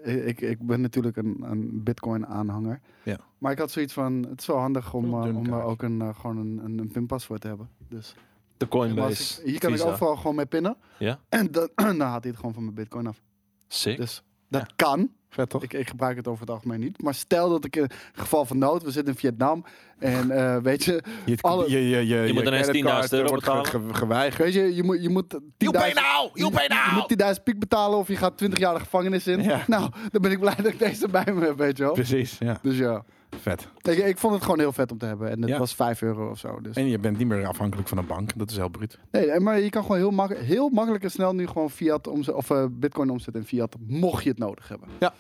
[SPEAKER 1] ik, ik ben natuurlijk een, een Bitcoin-aanhanger.
[SPEAKER 3] Ja.
[SPEAKER 1] Maar ik had zoiets van: het is wel handig om,
[SPEAKER 3] Een
[SPEAKER 1] eh,
[SPEAKER 3] dun
[SPEAKER 1] om eh,
[SPEAKER 3] kaartje.
[SPEAKER 1] ook een, eh, gewoon een, een, een pinpaswoord te hebben. Dus
[SPEAKER 2] De
[SPEAKER 1] als
[SPEAKER 2] Coinbase.
[SPEAKER 1] ik- hier kan
[SPEAKER 2] Visa.
[SPEAKER 1] ik overal gewoon mee pinnen.
[SPEAKER 2] Ja.
[SPEAKER 1] En dan, dan haalt hij het gewoon van mijn Bitcoin af.
[SPEAKER 2] Sick.
[SPEAKER 1] Dus dat kan.
[SPEAKER 3] Vet toch?
[SPEAKER 1] Ik, ik gebruik het over het algemeen niet. Maar stel dat ik in geval van nood, we zitten in Vietnam. En eh, weet je,
[SPEAKER 3] Je,
[SPEAKER 1] alle-
[SPEAKER 3] je, je, je,
[SPEAKER 2] moet ineens 10.000
[SPEAKER 3] creditcard, eh,
[SPEAKER 2] euro
[SPEAKER 3] wordt ge-
[SPEAKER 2] betalen.
[SPEAKER 3] ge- geweigerd.
[SPEAKER 1] weet je, je moet. Je moet 10.000
[SPEAKER 3] nou!
[SPEAKER 1] Je moet 10.000 piek betalen of je gaat 20 jaar de gevangenis in.
[SPEAKER 3] Ja.
[SPEAKER 1] Nou, dan ben ik blij dat ik deze bij me heb, weet je wel.
[SPEAKER 3] Precies, ja.
[SPEAKER 1] Dus ja.
[SPEAKER 3] Vet.
[SPEAKER 1] Ik, ik vond het gewoon heel vet om te hebben. En het
[SPEAKER 3] Ja.
[SPEAKER 1] was 5 euro of zo. Dus.
[SPEAKER 3] En je bent niet meer afhankelijk van een bank. Dat is heel bruut.
[SPEAKER 1] Nee, nee, maar je kan gewoon heel, mak- heel makkelijk en snel nu gewoon fiat omzet, of eh, bitcoin omzetten in fiat. Mocht je het nodig hebben.
[SPEAKER 3] Ja.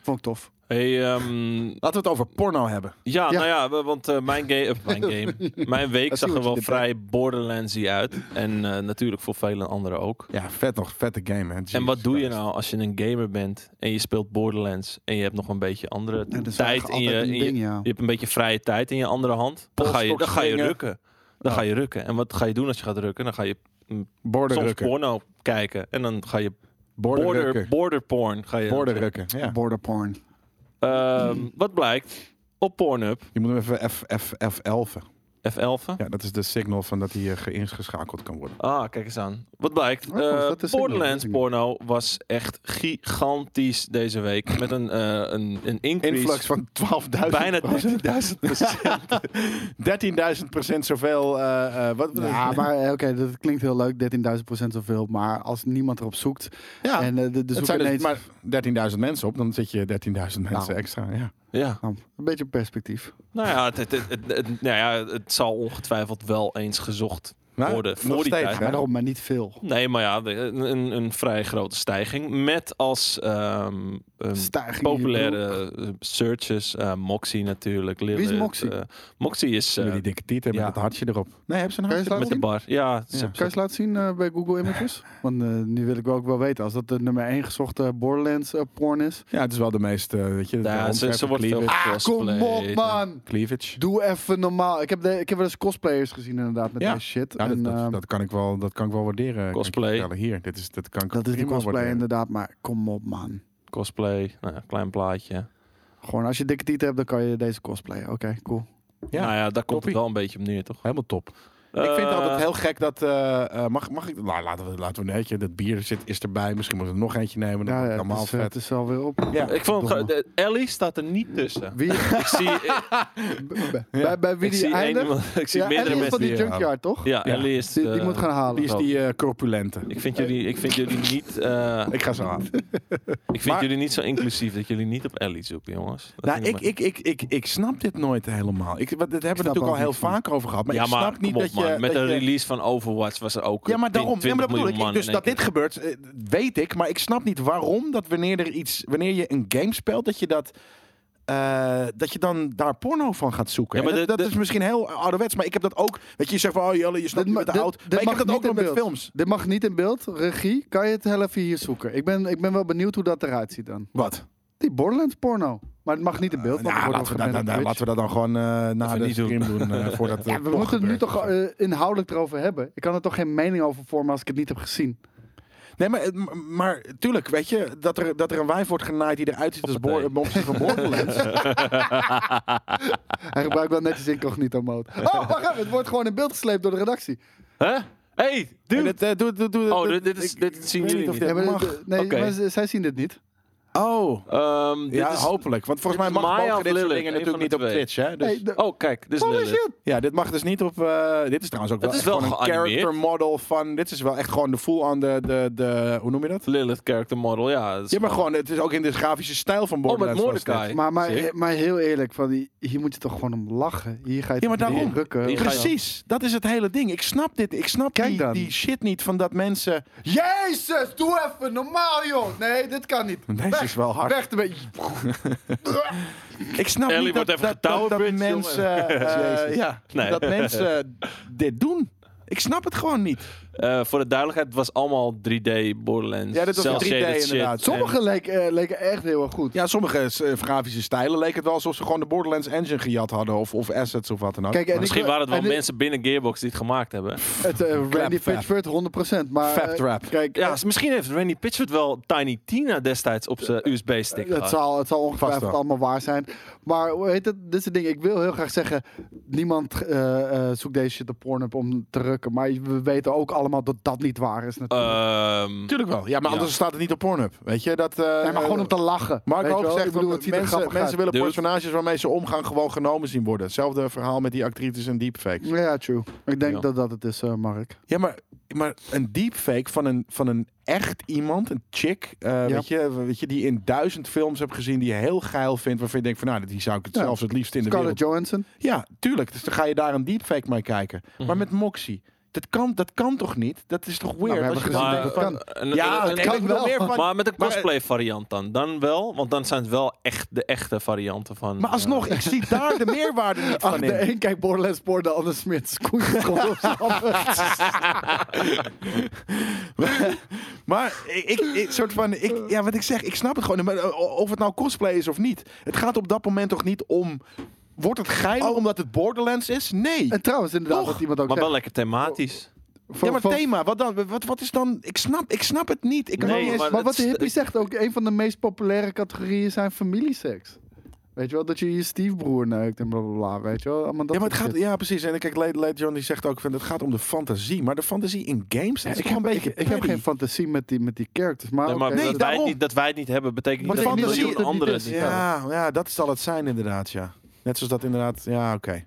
[SPEAKER 1] Vond ik tof.
[SPEAKER 2] Hey, ehm,
[SPEAKER 3] Laten we het over porno hebben.
[SPEAKER 2] ja,
[SPEAKER 1] Ja.
[SPEAKER 2] nou ja, we- want eh, mijn, ga- eh, mijn game, mijn week
[SPEAKER 1] Dat
[SPEAKER 2] zag
[SPEAKER 1] zie
[SPEAKER 2] er
[SPEAKER 1] je wat
[SPEAKER 2] wel
[SPEAKER 1] je
[SPEAKER 2] vrij borderlandsy uit. En eh, natuurlijk voor vele anderen ook.
[SPEAKER 3] Ja, vet nog. Vette game, hè.
[SPEAKER 2] en wat
[SPEAKER 3] Jesus
[SPEAKER 2] doe je
[SPEAKER 3] Christ.
[SPEAKER 2] nou als je een gamer bent en je speelt Borderlands en je hebt nog een beetje andere
[SPEAKER 1] En dat is
[SPEAKER 2] tijd in
[SPEAKER 1] eigenlijk
[SPEAKER 2] je,
[SPEAKER 1] altijd
[SPEAKER 2] in
[SPEAKER 1] een
[SPEAKER 2] je-
[SPEAKER 1] ding, ja.
[SPEAKER 2] Je hebt een beetje vrije tijd in je andere hand. Dan ga je, dan ga je
[SPEAKER 3] Polsstok
[SPEAKER 2] rukken. Dan ga je rukken. En wat ga je doen als je gaat rukken? Dan ga je
[SPEAKER 3] Border
[SPEAKER 2] soms
[SPEAKER 3] rukken.
[SPEAKER 2] porno kijken. En dan ga je
[SPEAKER 3] Border,
[SPEAKER 2] border,
[SPEAKER 3] rukken.
[SPEAKER 2] border porn. Ga je
[SPEAKER 3] Border rukken, ja.
[SPEAKER 1] Border porn.
[SPEAKER 2] Ehm, Wat blijkt? Op Pornhub
[SPEAKER 3] Je moet hem even F, F, F11.
[SPEAKER 2] F11.
[SPEAKER 3] Ja, dat is de signal van dat hij eh, geïngeschakeld kan worden.
[SPEAKER 2] Ah, kijk eens aan. Wat blijkt?
[SPEAKER 1] Oh, is
[SPEAKER 2] Eh,
[SPEAKER 1] dat de signal?
[SPEAKER 2] Borderlands
[SPEAKER 1] Weet ik
[SPEAKER 2] porno was echt gigantisch deze week. Met een, eh een, een increase.
[SPEAKER 3] Influx van 12.000.
[SPEAKER 2] Bijna 13.000
[SPEAKER 3] 13.000 procent zoveel. eh, eh, wat,
[SPEAKER 1] Ja, maar eh, oké, dat klinkt heel leuk, 13.000 procent zoveel. Maar als niemand erop zoekt
[SPEAKER 3] Ja,
[SPEAKER 1] en eh, de, de
[SPEAKER 3] het
[SPEAKER 1] zoek
[SPEAKER 3] zijn dus
[SPEAKER 1] ineens...
[SPEAKER 3] maar 13.000 mensen op, dan zit je 13.000 mensen extra. Ja.
[SPEAKER 2] Ja.
[SPEAKER 1] Nou, een beetje perspectief.
[SPEAKER 2] Nou ja het, het, het, het- het- nou ja, het zal ongetwijfeld wel eens gezocht
[SPEAKER 3] Maar
[SPEAKER 2] worden.
[SPEAKER 3] nog
[SPEAKER 2] Voor die
[SPEAKER 3] steeds,
[SPEAKER 2] tijd.
[SPEAKER 3] hè?
[SPEAKER 1] Maar daarom, maar niet veel.
[SPEAKER 2] Nee, maar ja, de- een, een vrij grote stijging. Met als ehm, ehm,
[SPEAKER 1] Stijging in je broek.
[SPEAKER 2] populaire eh, searches. eh Moxie natuurlijk. Lilith,
[SPEAKER 1] is Moxie?
[SPEAKER 2] eh, Moxie is eh,
[SPEAKER 3] Met die dikke tieten
[SPEAKER 2] ja.
[SPEAKER 3] met het hartje erop. Nee, hebben ze een
[SPEAKER 1] Kan je
[SPEAKER 3] hartje
[SPEAKER 1] eens
[SPEAKER 2] met de bar. Ja, ze-
[SPEAKER 3] Ja.
[SPEAKER 1] Kan je eens laten zien eh, bij Google Images? Want eh, nu wil ik wel ook wel weten, als dat de nummer 1 gezochte Borderlands eh, porn is.
[SPEAKER 3] Ja, het is wel de meest, eh, weet je, de
[SPEAKER 2] Ja, ze, ze
[SPEAKER 3] handverf-
[SPEAKER 2] wordt veel
[SPEAKER 3] cleavage.
[SPEAKER 2] gecosplay.
[SPEAKER 1] Ah, Kom op, man!
[SPEAKER 3] cleavage.
[SPEAKER 1] Doe even normaal. Ik heb, de, ik heb wel eens cosplayers gezien inderdaad met
[SPEAKER 3] Ja.
[SPEAKER 1] deze shit.
[SPEAKER 3] Ja, dat,
[SPEAKER 1] En,
[SPEAKER 3] dat-
[SPEAKER 1] ehm,
[SPEAKER 3] dat kan ik wel, dat kan ik wel waarderen. kan ik je
[SPEAKER 2] Cosplay.
[SPEAKER 3] vertellen. Hier, dit is, dat kan ik
[SPEAKER 1] dat is de
[SPEAKER 3] prima
[SPEAKER 1] cosplay
[SPEAKER 3] waarderen.
[SPEAKER 1] inderdaad, maar kom op, man.
[SPEAKER 2] Cosplay, nou ja, klein plaatje.
[SPEAKER 1] Gewoon als je dikke tieten hebt, dan kan je deze cosplayen. Oké, cool.
[SPEAKER 3] Ja,
[SPEAKER 2] nou ja, daar komt het
[SPEAKER 3] toppie.
[SPEAKER 2] wel een beetje op neer, toch?
[SPEAKER 3] Helemaal top. ik vind het altijd heel gek dat... eh, eh, mag, mag ik... Nou, laten we, laten we een eentje. Dat bier zit, is erbij. Misschien moeten we er nog eentje nemen. Dan
[SPEAKER 1] Ja,
[SPEAKER 3] wordt
[SPEAKER 1] ja,
[SPEAKER 3] het allemaal
[SPEAKER 1] het, is, eh,
[SPEAKER 3] vet.
[SPEAKER 1] het is alweer op.
[SPEAKER 3] Ja.
[SPEAKER 2] Ik
[SPEAKER 1] Domme.
[SPEAKER 2] vond hem gewoon- de- Ellie staat er niet tussen.
[SPEAKER 1] Wie,
[SPEAKER 2] Ik zie, ik,
[SPEAKER 1] bij, bij- bij wie
[SPEAKER 2] ik zie,
[SPEAKER 1] die
[SPEAKER 2] één
[SPEAKER 1] eindigt?
[SPEAKER 2] iemand- ik zie
[SPEAKER 1] Ja,
[SPEAKER 2] meerdere
[SPEAKER 1] Ellie is
[SPEAKER 2] mensen.
[SPEAKER 1] van die
[SPEAKER 3] die, eh,
[SPEAKER 1] junkyard, toch?
[SPEAKER 2] Ja,
[SPEAKER 3] Ja.
[SPEAKER 2] Ellie is.
[SPEAKER 1] Die, die
[SPEAKER 2] de-
[SPEAKER 1] moet gaan halen.
[SPEAKER 3] Die is die eh, corpulente.
[SPEAKER 2] Ik vind jullie, ik vind jullie niet. eh,
[SPEAKER 3] Ik ga zo aan.
[SPEAKER 2] ik vind
[SPEAKER 3] Maar-
[SPEAKER 2] jullie niet zo inclusief dat jullie niet op Ellie zoeken, jongens. Dat
[SPEAKER 3] Nou,
[SPEAKER 2] vind
[SPEAKER 3] ik, ik, ik, ik, ik snap dit nooit helemaal. Ik, want dit hebben we
[SPEAKER 1] snap
[SPEAKER 3] natuurlijk al
[SPEAKER 1] ook
[SPEAKER 3] heel
[SPEAKER 1] niet van.
[SPEAKER 3] vaak over gehad. Maar
[SPEAKER 2] ja,
[SPEAKER 3] ik
[SPEAKER 2] maar
[SPEAKER 3] snap niet
[SPEAKER 2] kom op,
[SPEAKER 3] dat
[SPEAKER 2] man.
[SPEAKER 3] je...
[SPEAKER 2] Met
[SPEAKER 3] dat
[SPEAKER 2] de
[SPEAKER 3] je-
[SPEAKER 2] release van Overwatch was er ook.
[SPEAKER 3] Ja, maar
[SPEAKER 2] 10,
[SPEAKER 3] daarom. Ja,
[SPEAKER 2] 20
[SPEAKER 3] maar dat bedoel ik.
[SPEAKER 2] miljoen man
[SPEAKER 3] Ik- Dus
[SPEAKER 2] in één
[SPEAKER 3] dat dit
[SPEAKER 2] keer.
[SPEAKER 3] gebeurt, eh, weet ik. Maar ik snap niet waarom dat wanneer er iets, wanneer je een game speelt, dat je dat. eh, dat je dan daar porno van gaat zoeken.
[SPEAKER 2] Ja, maar
[SPEAKER 3] En dat
[SPEAKER 2] de-
[SPEAKER 3] dat
[SPEAKER 2] de-
[SPEAKER 3] is misschien heel ouderwets, maar ik heb dat ook. Weet je, je zegt van, oh Jelle, je snapt
[SPEAKER 1] Dit
[SPEAKER 3] niet
[SPEAKER 1] ma-
[SPEAKER 3] met de
[SPEAKER 1] dit-
[SPEAKER 3] oud.
[SPEAKER 1] dit
[SPEAKER 3] Maar ik
[SPEAKER 1] mag
[SPEAKER 3] heb dat
[SPEAKER 1] niet
[SPEAKER 3] ook nog
[SPEAKER 1] in
[SPEAKER 3] met
[SPEAKER 1] beeld.
[SPEAKER 3] films.
[SPEAKER 1] Dit mag niet in beeld. Regie, kan je het heel even hier zoeken? Ik ben, ik ben wel benieuwd hoe dat eruit ziet dan.
[SPEAKER 3] Wat?
[SPEAKER 1] Die Borderlands porno. Maar het mag niet in beeld. want
[SPEAKER 3] nou,
[SPEAKER 1] het wordt
[SPEAKER 3] laten we, dat,
[SPEAKER 1] opgenomen
[SPEAKER 3] nou,
[SPEAKER 1] op
[SPEAKER 3] nou,
[SPEAKER 1] Twitch.
[SPEAKER 3] laten we dat dan gewoon eh, na
[SPEAKER 2] we
[SPEAKER 3] de
[SPEAKER 2] niet doen.
[SPEAKER 3] stream doen. eh, voordat
[SPEAKER 1] Ja,
[SPEAKER 3] het
[SPEAKER 1] we moeten het nu
[SPEAKER 3] gebeurt.
[SPEAKER 1] toch eh, inhoudelijk erover hebben. Ik kan er toch geen mening over vormen als ik het niet heb gezien.
[SPEAKER 3] Nee, maar, eh, m- maar tuurlijk, weet je, dat er, dat er een wijf wordt genaaid die eruit ziet als
[SPEAKER 2] Hoppatee.
[SPEAKER 3] boor- Momsen van Borderlands.
[SPEAKER 1] Hij gebruikt wel netjes incognito mode. Oh, wacht even. Het wordt gewoon in beeld gesleept door de redactie.
[SPEAKER 2] Huh? Hey,
[SPEAKER 3] En
[SPEAKER 2] dude!
[SPEAKER 3] dit, eh, doe- doe- doe-
[SPEAKER 2] Oh,
[SPEAKER 3] dit-
[SPEAKER 2] dit, dit, is,
[SPEAKER 3] ik-
[SPEAKER 2] dit zien
[SPEAKER 3] weet
[SPEAKER 2] jullie
[SPEAKER 3] niet of
[SPEAKER 2] niet.
[SPEAKER 1] Ja,
[SPEAKER 3] dit-
[SPEAKER 1] maar
[SPEAKER 3] mag.
[SPEAKER 1] dit- Nee,
[SPEAKER 2] Oké.
[SPEAKER 1] maar ze- zij zien dit niet.
[SPEAKER 3] Oh,
[SPEAKER 2] Ehm, dit
[SPEAKER 3] Ja,
[SPEAKER 2] is-
[SPEAKER 3] hopelijk. Want volgens mij
[SPEAKER 2] dit
[SPEAKER 3] mag
[SPEAKER 2] is Maya
[SPEAKER 3] mogen
[SPEAKER 2] of
[SPEAKER 3] dit soort
[SPEAKER 2] Lilith,
[SPEAKER 3] dingen
[SPEAKER 2] één van
[SPEAKER 3] natuurlijk niet
[SPEAKER 2] de
[SPEAKER 3] op
[SPEAKER 2] twee.
[SPEAKER 3] Twitch. Hè? Dus,
[SPEAKER 1] Nee, de-
[SPEAKER 2] Oh, kijk, dit is
[SPEAKER 1] Holy
[SPEAKER 2] Lilith.
[SPEAKER 1] shit.
[SPEAKER 3] ja, dit mag dus niet op... eh, dit is trouwens ook
[SPEAKER 2] Het
[SPEAKER 3] wel,
[SPEAKER 2] is wel
[SPEAKER 3] echt gewoon een
[SPEAKER 2] geanimeerd.
[SPEAKER 3] character model van... Dit is wel echt gewoon de full aan de, de, de... Hoe noem je dat?
[SPEAKER 2] Lilith character model, ja. dat is
[SPEAKER 3] Ja, maar gewoon... Het is ook in de grafische stijl van
[SPEAKER 2] Oh, met
[SPEAKER 3] Borderlands. was dit.
[SPEAKER 2] Mordecai.
[SPEAKER 1] Maar, maar,
[SPEAKER 2] Sick.
[SPEAKER 1] maar heel eerlijk, van die, hier moet je toch gewoon om lachen. Hier ga je
[SPEAKER 3] Ja, maar
[SPEAKER 1] toch niet
[SPEAKER 3] daarom.
[SPEAKER 1] rukken.
[SPEAKER 2] Hier ga je-
[SPEAKER 3] Precies, dat is het hele ding. Ik snap dit. Ik snap
[SPEAKER 1] Kijk
[SPEAKER 3] die,
[SPEAKER 1] dan.
[SPEAKER 3] die shit niet van dat mensen...
[SPEAKER 1] Jezus, doe even normaal, joh. Nee, dit kan niet.
[SPEAKER 3] Deze is wel hard.
[SPEAKER 1] Weg ermee.
[SPEAKER 3] Ik snap
[SPEAKER 2] Ellie
[SPEAKER 3] niet dat,
[SPEAKER 2] wordt even
[SPEAKER 3] dat, dat, dat
[SPEAKER 2] getouwbridged,
[SPEAKER 3] mensen... eh,
[SPEAKER 1] Jezus.
[SPEAKER 3] ja,
[SPEAKER 2] Nee.
[SPEAKER 3] dat mensen dit doen. Ik snap het gewoon niet.
[SPEAKER 2] Eh, voor de duidelijkheid, het was allemaal 3D Borderlands.
[SPEAKER 3] Ja, dit was
[SPEAKER 2] cel-shaded
[SPEAKER 3] 3D
[SPEAKER 2] shit.
[SPEAKER 3] inderdaad.
[SPEAKER 1] Sommige leken, eh, leken echt heel erg goed.
[SPEAKER 3] Ja, sommige eh, grafische stijlen leek het wel alsof ze gewoon de Borderlands engine gejat hadden. Of, of assets of wat dan ook.
[SPEAKER 1] Kijk, eh, en
[SPEAKER 3] Maar-
[SPEAKER 2] Misschien
[SPEAKER 1] Ik-
[SPEAKER 2] waren het wel
[SPEAKER 1] en dit-
[SPEAKER 2] mensen binnen Gearbox die het gemaakt hebben.
[SPEAKER 1] Het, eh, Randy
[SPEAKER 3] Claptrap.
[SPEAKER 1] Pitchford, 100%. Maar,
[SPEAKER 3] Fab
[SPEAKER 1] eh,
[SPEAKER 3] Trap.
[SPEAKER 1] Kijk,
[SPEAKER 2] Ja, s- misschien heeft Randy Pitchford wel Tiny Tina destijds op zijn USB-stick
[SPEAKER 1] Het
[SPEAKER 2] gehad.
[SPEAKER 1] zal, het zal
[SPEAKER 3] Vast
[SPEAKER 1] ongetwijfeld
[SPEAKER 3] wel.
[SPEAKER 1] allemaal waar zijn. Maar hoe heet het? Dit is het ding. Ik wil heel graag zeggen: niemand eh, eh, zoekt deze shit op Pornhub om te rukken. Maar we weten ook allemaal dat dat niet waar is. Natuurlijk.
[SPEAKER 2] Ehm,
[SPEAKER 3] Tuurlijk wel. Ja, maar
[SPEAKER 2] Ja.
[SPEAKER 3] anders staat het niet op Pornhub. Weet je, dat... eh,
[SPEAKER 1] nee, maar gewoon om te lachen.
[SPEAKER 3] Mark
[SPEAKER 1] Weet je
[SPEAKER 3] Hoog
[SPEAKER 1] wel?
[SPEAKER 3] zegt,
[SPEAKER 1] Ik bedoel,
[SPEAKER 3] dat
[SPEAKER 1] het ziet er
[SPEAKER 3] mensen,
[SPEAKER 1] grappig
[SPEAKER 3] mensen
[SPEAKER 1] uit.
[SPEAKER 3] willen
[SPEAKER 2] Dude.
[SPEAKER 3] personages waarmee ze omgaan gewoon genomen zien worden. Hetzelfde verhaal met die actrices en deepfakes.
[SPEAKER 1] Ja, true. Ik denk
[SPEAKER 2] Ja.
[SPEAKER 1] dat dat het is, eh, Mark.
[SPEAKER 3] Ja, maar, maar een deepfake van een, van een echt iemand, een chick, eh, weet, je, weet je, die in duizend films heb gezien, die je heel geil vindt, waarvan je denkt van, nou, die zou ik het
[SPEAKER 1] Ja.
[SPEAKER 3] zelfs het liefst in de wereld
[SPEAKER 1] Scarlett Johansson.
[SPEAKER 3] Ja, tuurlijk. Dus dan ga je daar een deepfake mee kijken. Maar met Moxie. Dat kan, dat kan toch niet? Dat is toch weird?
[SPEAKER 1] Nou, we hebben
[SPEAKER 3] als je
[SPEAKER 1] gezien
[SPEAKER 3] dan
[SPEAKER 2] maar,
[SPEAKER 1] dat
[SPEAKER 3] denkt
[SPEAKER 1] het
[SPEAKER 3] van,
[SPEAKER 1] kan.
[SPEAKER 2] eh, een-
[SPEAKER 3] Ja,
[SPEAKER 2] een-
[SPEAKER 3] het
[SPEAKER 2] een-
[SPEAKER 3] kan
[SPEAKER 1] ik
[SPEAKER 3] wel.
[SPEAKER 1] wil meer van-
[SPEAKER 2] Maar met een
[SPEAKER 3] Maar-
[SPEAKER 2] cosplay variant dan. Dan wel, want dan zijn het wel echt de echte varianten van... eh,
[SPEAKER 3] Maar alsnog, ik zie daar de meerwaarde niet
[SPEAKER 1] Ach,
[SPEAKER 3] van
[SPEAKER 1] de
[SPEAKER 3] in.
[SPEAKER 1] een kijkt Borderlands Poor, de ander Smits. Koen is gewoon op z'n ander.
[SPEAKER 3] Maar ik, ik, ik- soort van, ik, ja, wat ik zeg, ik snap het gewoon. Maar, eh, Of het nou cosplay is of niet. Het gaat op dat moment toch niet om... Wordt het geil
[SPEAKER 1] Oh.
[SPEAKER 3] omdat het Borderlands is? Nee.
[SPEAKER 1] En trouwens, inderdaad,
[SPEAKER 3] Toch?
[SPEAKER 1] wat iemand ook
[SPEAKER 2] maar
[SPEAKER 1] zegt.
[SPEAKER 2] wel lekker thematisch.
[SPEAKER 1] Van-
[SPEAKER 3] Ja, maar
[SPEAKER 1] van-
[SPEAKER 3] thema, wat, dan, wat, wat is dan... Ik snap, ik snap het niet. Ik kan
[SPEAKER 2] Nee,
[SPEAKER 3] niet eens...
[SPEAKER 1] maar
[SPEAKER 2] maar
[SPEAKER 1] wat de
[SPEAKER 2] het-
[SPEAKER 1] hippie zegt, ook een van de meest populaire categorieën zijn familieseks. Weet je wel, dat je je stiefbroer neukt en blablabla, weet je wel. Allemaal dat
[SPEAKER 3] ja, maar het
[SPEAKER 1] soort
[SPEAKER 3] gaat,
[SPEAKER 1] shit.
[SPEAKER 3] ja, precies. En kijk, Late, Late John die zegt ook van het gaat om de fantasie. Maar de fantasie in games, dat
[SPEAKER 1] Ja,
[SPEAKER 3] is
[SPEAKER 1] ik,
[SPEAKER 3] gewoon
[SPEAKER 1] heb,
[SPEAKER 3] een beetje.
[SPEAKER 1] ik, ik heb
[SPEAKER 3] petty.
[SPEAKER 1] geen fantasie met die, met die characters, maar,
[SPEAKER 2] Nee, maar
[SPEAKER 1] oké,
[SPEAKER 3] nee,
[SPEAKER 2] dat,
[SPEAKER 1] dat-
[SPEAKER 2] wij het
[SPEAKER 3] daarom.
[SPEAKER 2] niet, dat wij het niet hebben, betekent niet
[SPEAKER 1] Maar
[SPEAKER 2] dat een
[SPEAKER 1] betekent
[SPEAKER 3] niet
[SPEAKER 2] miljoen
[SPEAKER 1] dat het niet is.
[SPEAKER 2] anderen het niet hebben.
[SPEAKER 3] Ja, ja, dat zal het zijn inderdaad, ja. Net zoals dat inderdaad, ja, oké.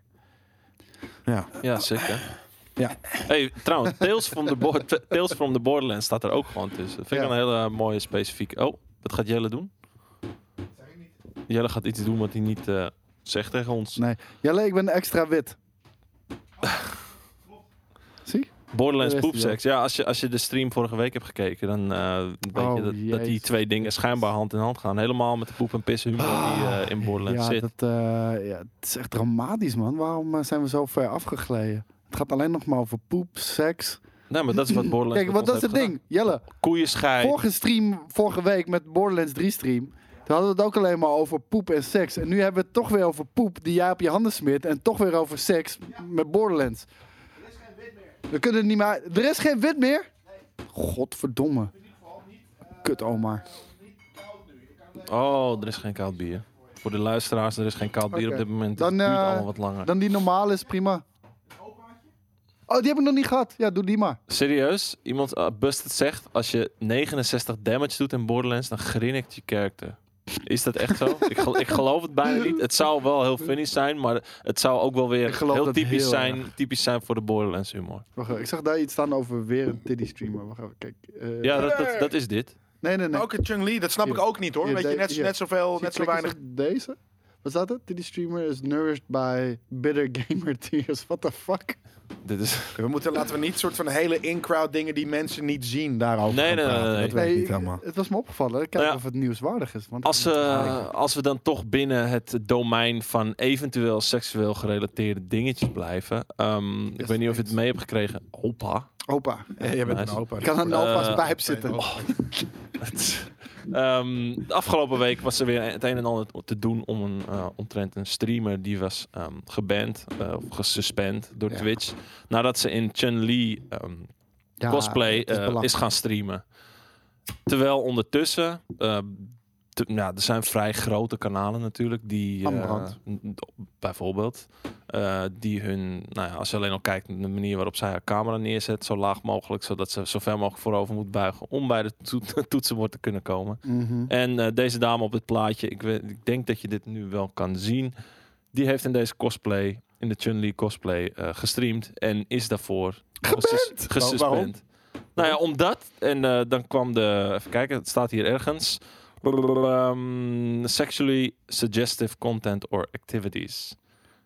[SPEAKER 3] Ja,
[SPEAKER 2] Ja, zeker.
[SPEAKER 3] Ja.
[SPEAKER 2] Hey, trouwens, Tales from, the Bo- Tales from the Borderlands staat er ook gewoon tussen. Dat vind ik
[SPEAKER 1] Ja.
[SPEAKER 2] een hele mooie specifieke... Oh, wat gaat Jelle doen? Jelle gaat iets doen wat hij niet eh, zegt tegen ons.
[SPEAKER 1] Nee. Jelle, ik ben extra wit. Zie?
[SPEAKER 2] Borderlands
[SPEAKER 1] Dat wist hij
[SPEAKER 2] poepseks. Ja, als je, als je de stream vorige week hebt gekeken, dan eh, weet
[SPEAKER 1] Oh,
[SPEAKER 2] je dat, dat die
[SPEAKER 1] jezus.
[SPEAKER 2] twee dingen schijnbaar hand in hand gaan. Helemaal met de poep en pissen humor die eh, in Borderlands
[SPEAKER 1] Ja,
[SPEAKER 2] zit.
[SPEAKER 1] dat, eh, ja, het is echt dramatisch, man. Waarom eh, zijn we zo ver afgegleden? Het gaat alleen nog maar over poep, seks.
[SPEAKER 2] Nee, maar dat is wat Borderlands
[SPEAKER 1] Kijk,
[SPEAKER 2] met
[SPEAKER 1] wat
[SPEAKER 2] ons
[SPEAKER 1] dat is het
[SPEAKER 2] heeft gedaan.
[SPEAKER 1] ding. Jelle,
[SPEAKER 2] Koeien scheiden.
[SPEAKER 1] vorige stream, vorige week met Borderlands 3 stream... Toen hadden we het ook alleen maar over poep en seks. En nu hebben we het toch weer over poep die jij op je handen smeert. En toch weer over seks met Borderlands. We kunnen het niet meer... uit- Er is geen wit meer? Godverdomme. Kut, Omar.
[SPEAKER 2] Oh, er is geen koud bier. Voor de luisteraars, er is geen koud bier
[SPEAKER 1] Oké.
[SPEAKER 2] op dit moment.
[SPEAKER 1] Dan,
[SPEAKER 2] het duurt
[SPEAKER 1] eh,
[SPEAKER 2] allemaal wat langer.
[SPEAKER 1] Dan die normale is prima. Oh, die heb ik nog niet gehad. Ja, doe die maar.
[SPEAKER 2] Serieus, iemand uh, Busted zegt, als je 69 damage doet in Borderlands, dan grinnikt je character. Is dat echt zo? ik, gel- ik geloof het bijna niet. Het zou wel heel funny zijn, maar het zou ook wel
[SPEAKER 1] Ik
[SPEAKER 2] weer
[SPEAKER 1] geloof
[SPEAKER 2] heel
[SPEAKER 1] dat
[SPEAKER 2] typisch,
[SPEAKER 1] heel
[SPEAKER 2] zijn, typisch zijn voor de Borderlands humor.
[SPEAKER 1] Wacht even, ik zag daar iets staan over weer een titty streamer. Wacht even, kijk. Eh,
[SPEAKER 2] Ja, dat, dat, dat is dit.
[SPEAKER 1] Nee, nee, nee.
[SPEAKER 3] Ook een Chung Lee, dat snap
[SPEAKER 1] Hier.
[SPEAKER 3] ik ook niet hoor.
[SPEAKER 1] Hier,
[SPEAKER 3] Weet je,
[SPEAKER 1] de-
[SPEAKER 3] net,
[SPEAKER 1] hier.
[SPEAKER 3] net zoveel, net zo
[SPEAKER 1] Klik eens
[SPEAKER 3] weinig.
[SPEAKER 1] op Deze? Wat staat het? Titty streamer is nourished by bitter gamer tears. What the fuck?
[SPEAKER 2] dit is...
[SPEAKER 3] We moeten, laten we niet soort van hele in-crowd dingen die mensen niet zien daarover
[SPEAKER 2] Nee,
[SPEAKER 3] gaan
[SPEAKER 2] nee, nee,
[SPEAKER 3] praten.
[SPEAKER 2] nee,
[SPEAKER 3] Dat
[SPEAKER 2] nee.
[SPEAKER 3] weet ik
[SPEAKER 1] ik-
[SPEAKER 3] niet allemaal.
[SPEAKER 1] het was me opgevallen. Kijken
[SPEAKER 2] Nou ja.
[SPEAKER 1] of het nieuwswaardig is. Want
[SPEAKER 2] Als,
[SPEAKER 1] ik-
[SPEAKER 2] eh, als we dan toch binnen het domein van eventueel seksueel gerelateerde dingetjes blijven. ehm, ik
[SPEAKER 1] Yes,
[SPEAKER 2] weet niet of je het mee hebt gekregen. Opa.
[SPEAKER 1] Opa.
[SPEAKER 3] Ja, jij bent
[SPEAKER 2] Nice.
[SPEAKER 3] een opa.
[SPEAKER 1] Ik kan aan de opa's
[SPEAKER 2] Eh,
[SPEAKER 1] pijp zitten.
[SPEAKER 2] Oh, Ehm, de afgelopen week was er weer het een en ander te doen om een, eh, omtrent een streamer die was ehm, geband eh, of gesuspend door
[SPEAKER 1] Ja.
[SPEAKER 2] Twitch. Nadat ze in Chun-Li ehm,
[SPEAKER 1] Ja,
[SPEAKER 2] cosplay
[SPEAKER 1] het is
[SPEAKER 2] eh, is
[SPEAKER 1] belachelijk.
[SPEAKER 2] gaan streamen. Terwijl ondertussen, eh, te- nou, er zijn vrij grote kanalen natuurlijk die, eh,
[SPEAKER 1] Ambrand.
[SPEAKER 2] n- n- bijvoorbeeld, eh, die hun, nou ja, als je alleen al kijkt naar de manier waarop zij haar camera neerzet, zo laag mogelijk, zodat ze zo ver mogelijk voorover moet buigen om bij de toet- toetsenbord te kunnen komen.
[SPEAKER 1] Mhm.
[SPEAKER 2] En eh, deze dame op het plaatje, ik, weet, ik denk dat je dit nu wel kan zien. Die heeft in deze cosplay, in de Chun-Li cosplay, eh, gestreamd. En is daarvoor gesus- gesuspend.
[SPEAKER 3] Wa- waarom?
[SPEAKER 2] Nou ja, omdat. En eh, dan kwam de. Even kijken, het staat hier ergens. Ehm, sexually suggestive content or activities.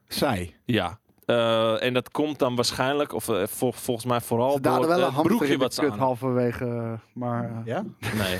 [SPEAKER 3] Zij.
[SPEAKER 2] Ja. Eh, en dat komt dan waarschijnlijk, of eh, vol- volgens mij vooral
[SPEAKER 1] Ze
[SPEAKER 2] door
[SPEAKER 1] daden wel een
[SPEAKER 2] het
[SPEAKER 1] hamster
[SPEAKER 2] broekje
[SPEAKER 1] in de
[SPEAKER 2] eh, wat ze
[SPEAKER 1] kut
[SPEAKER 2] aan.
[SPEAKER 1] halverwege. eh, Maar eh,
[SPEAKER 3] Ja?
[SPEAKER 2] Nee.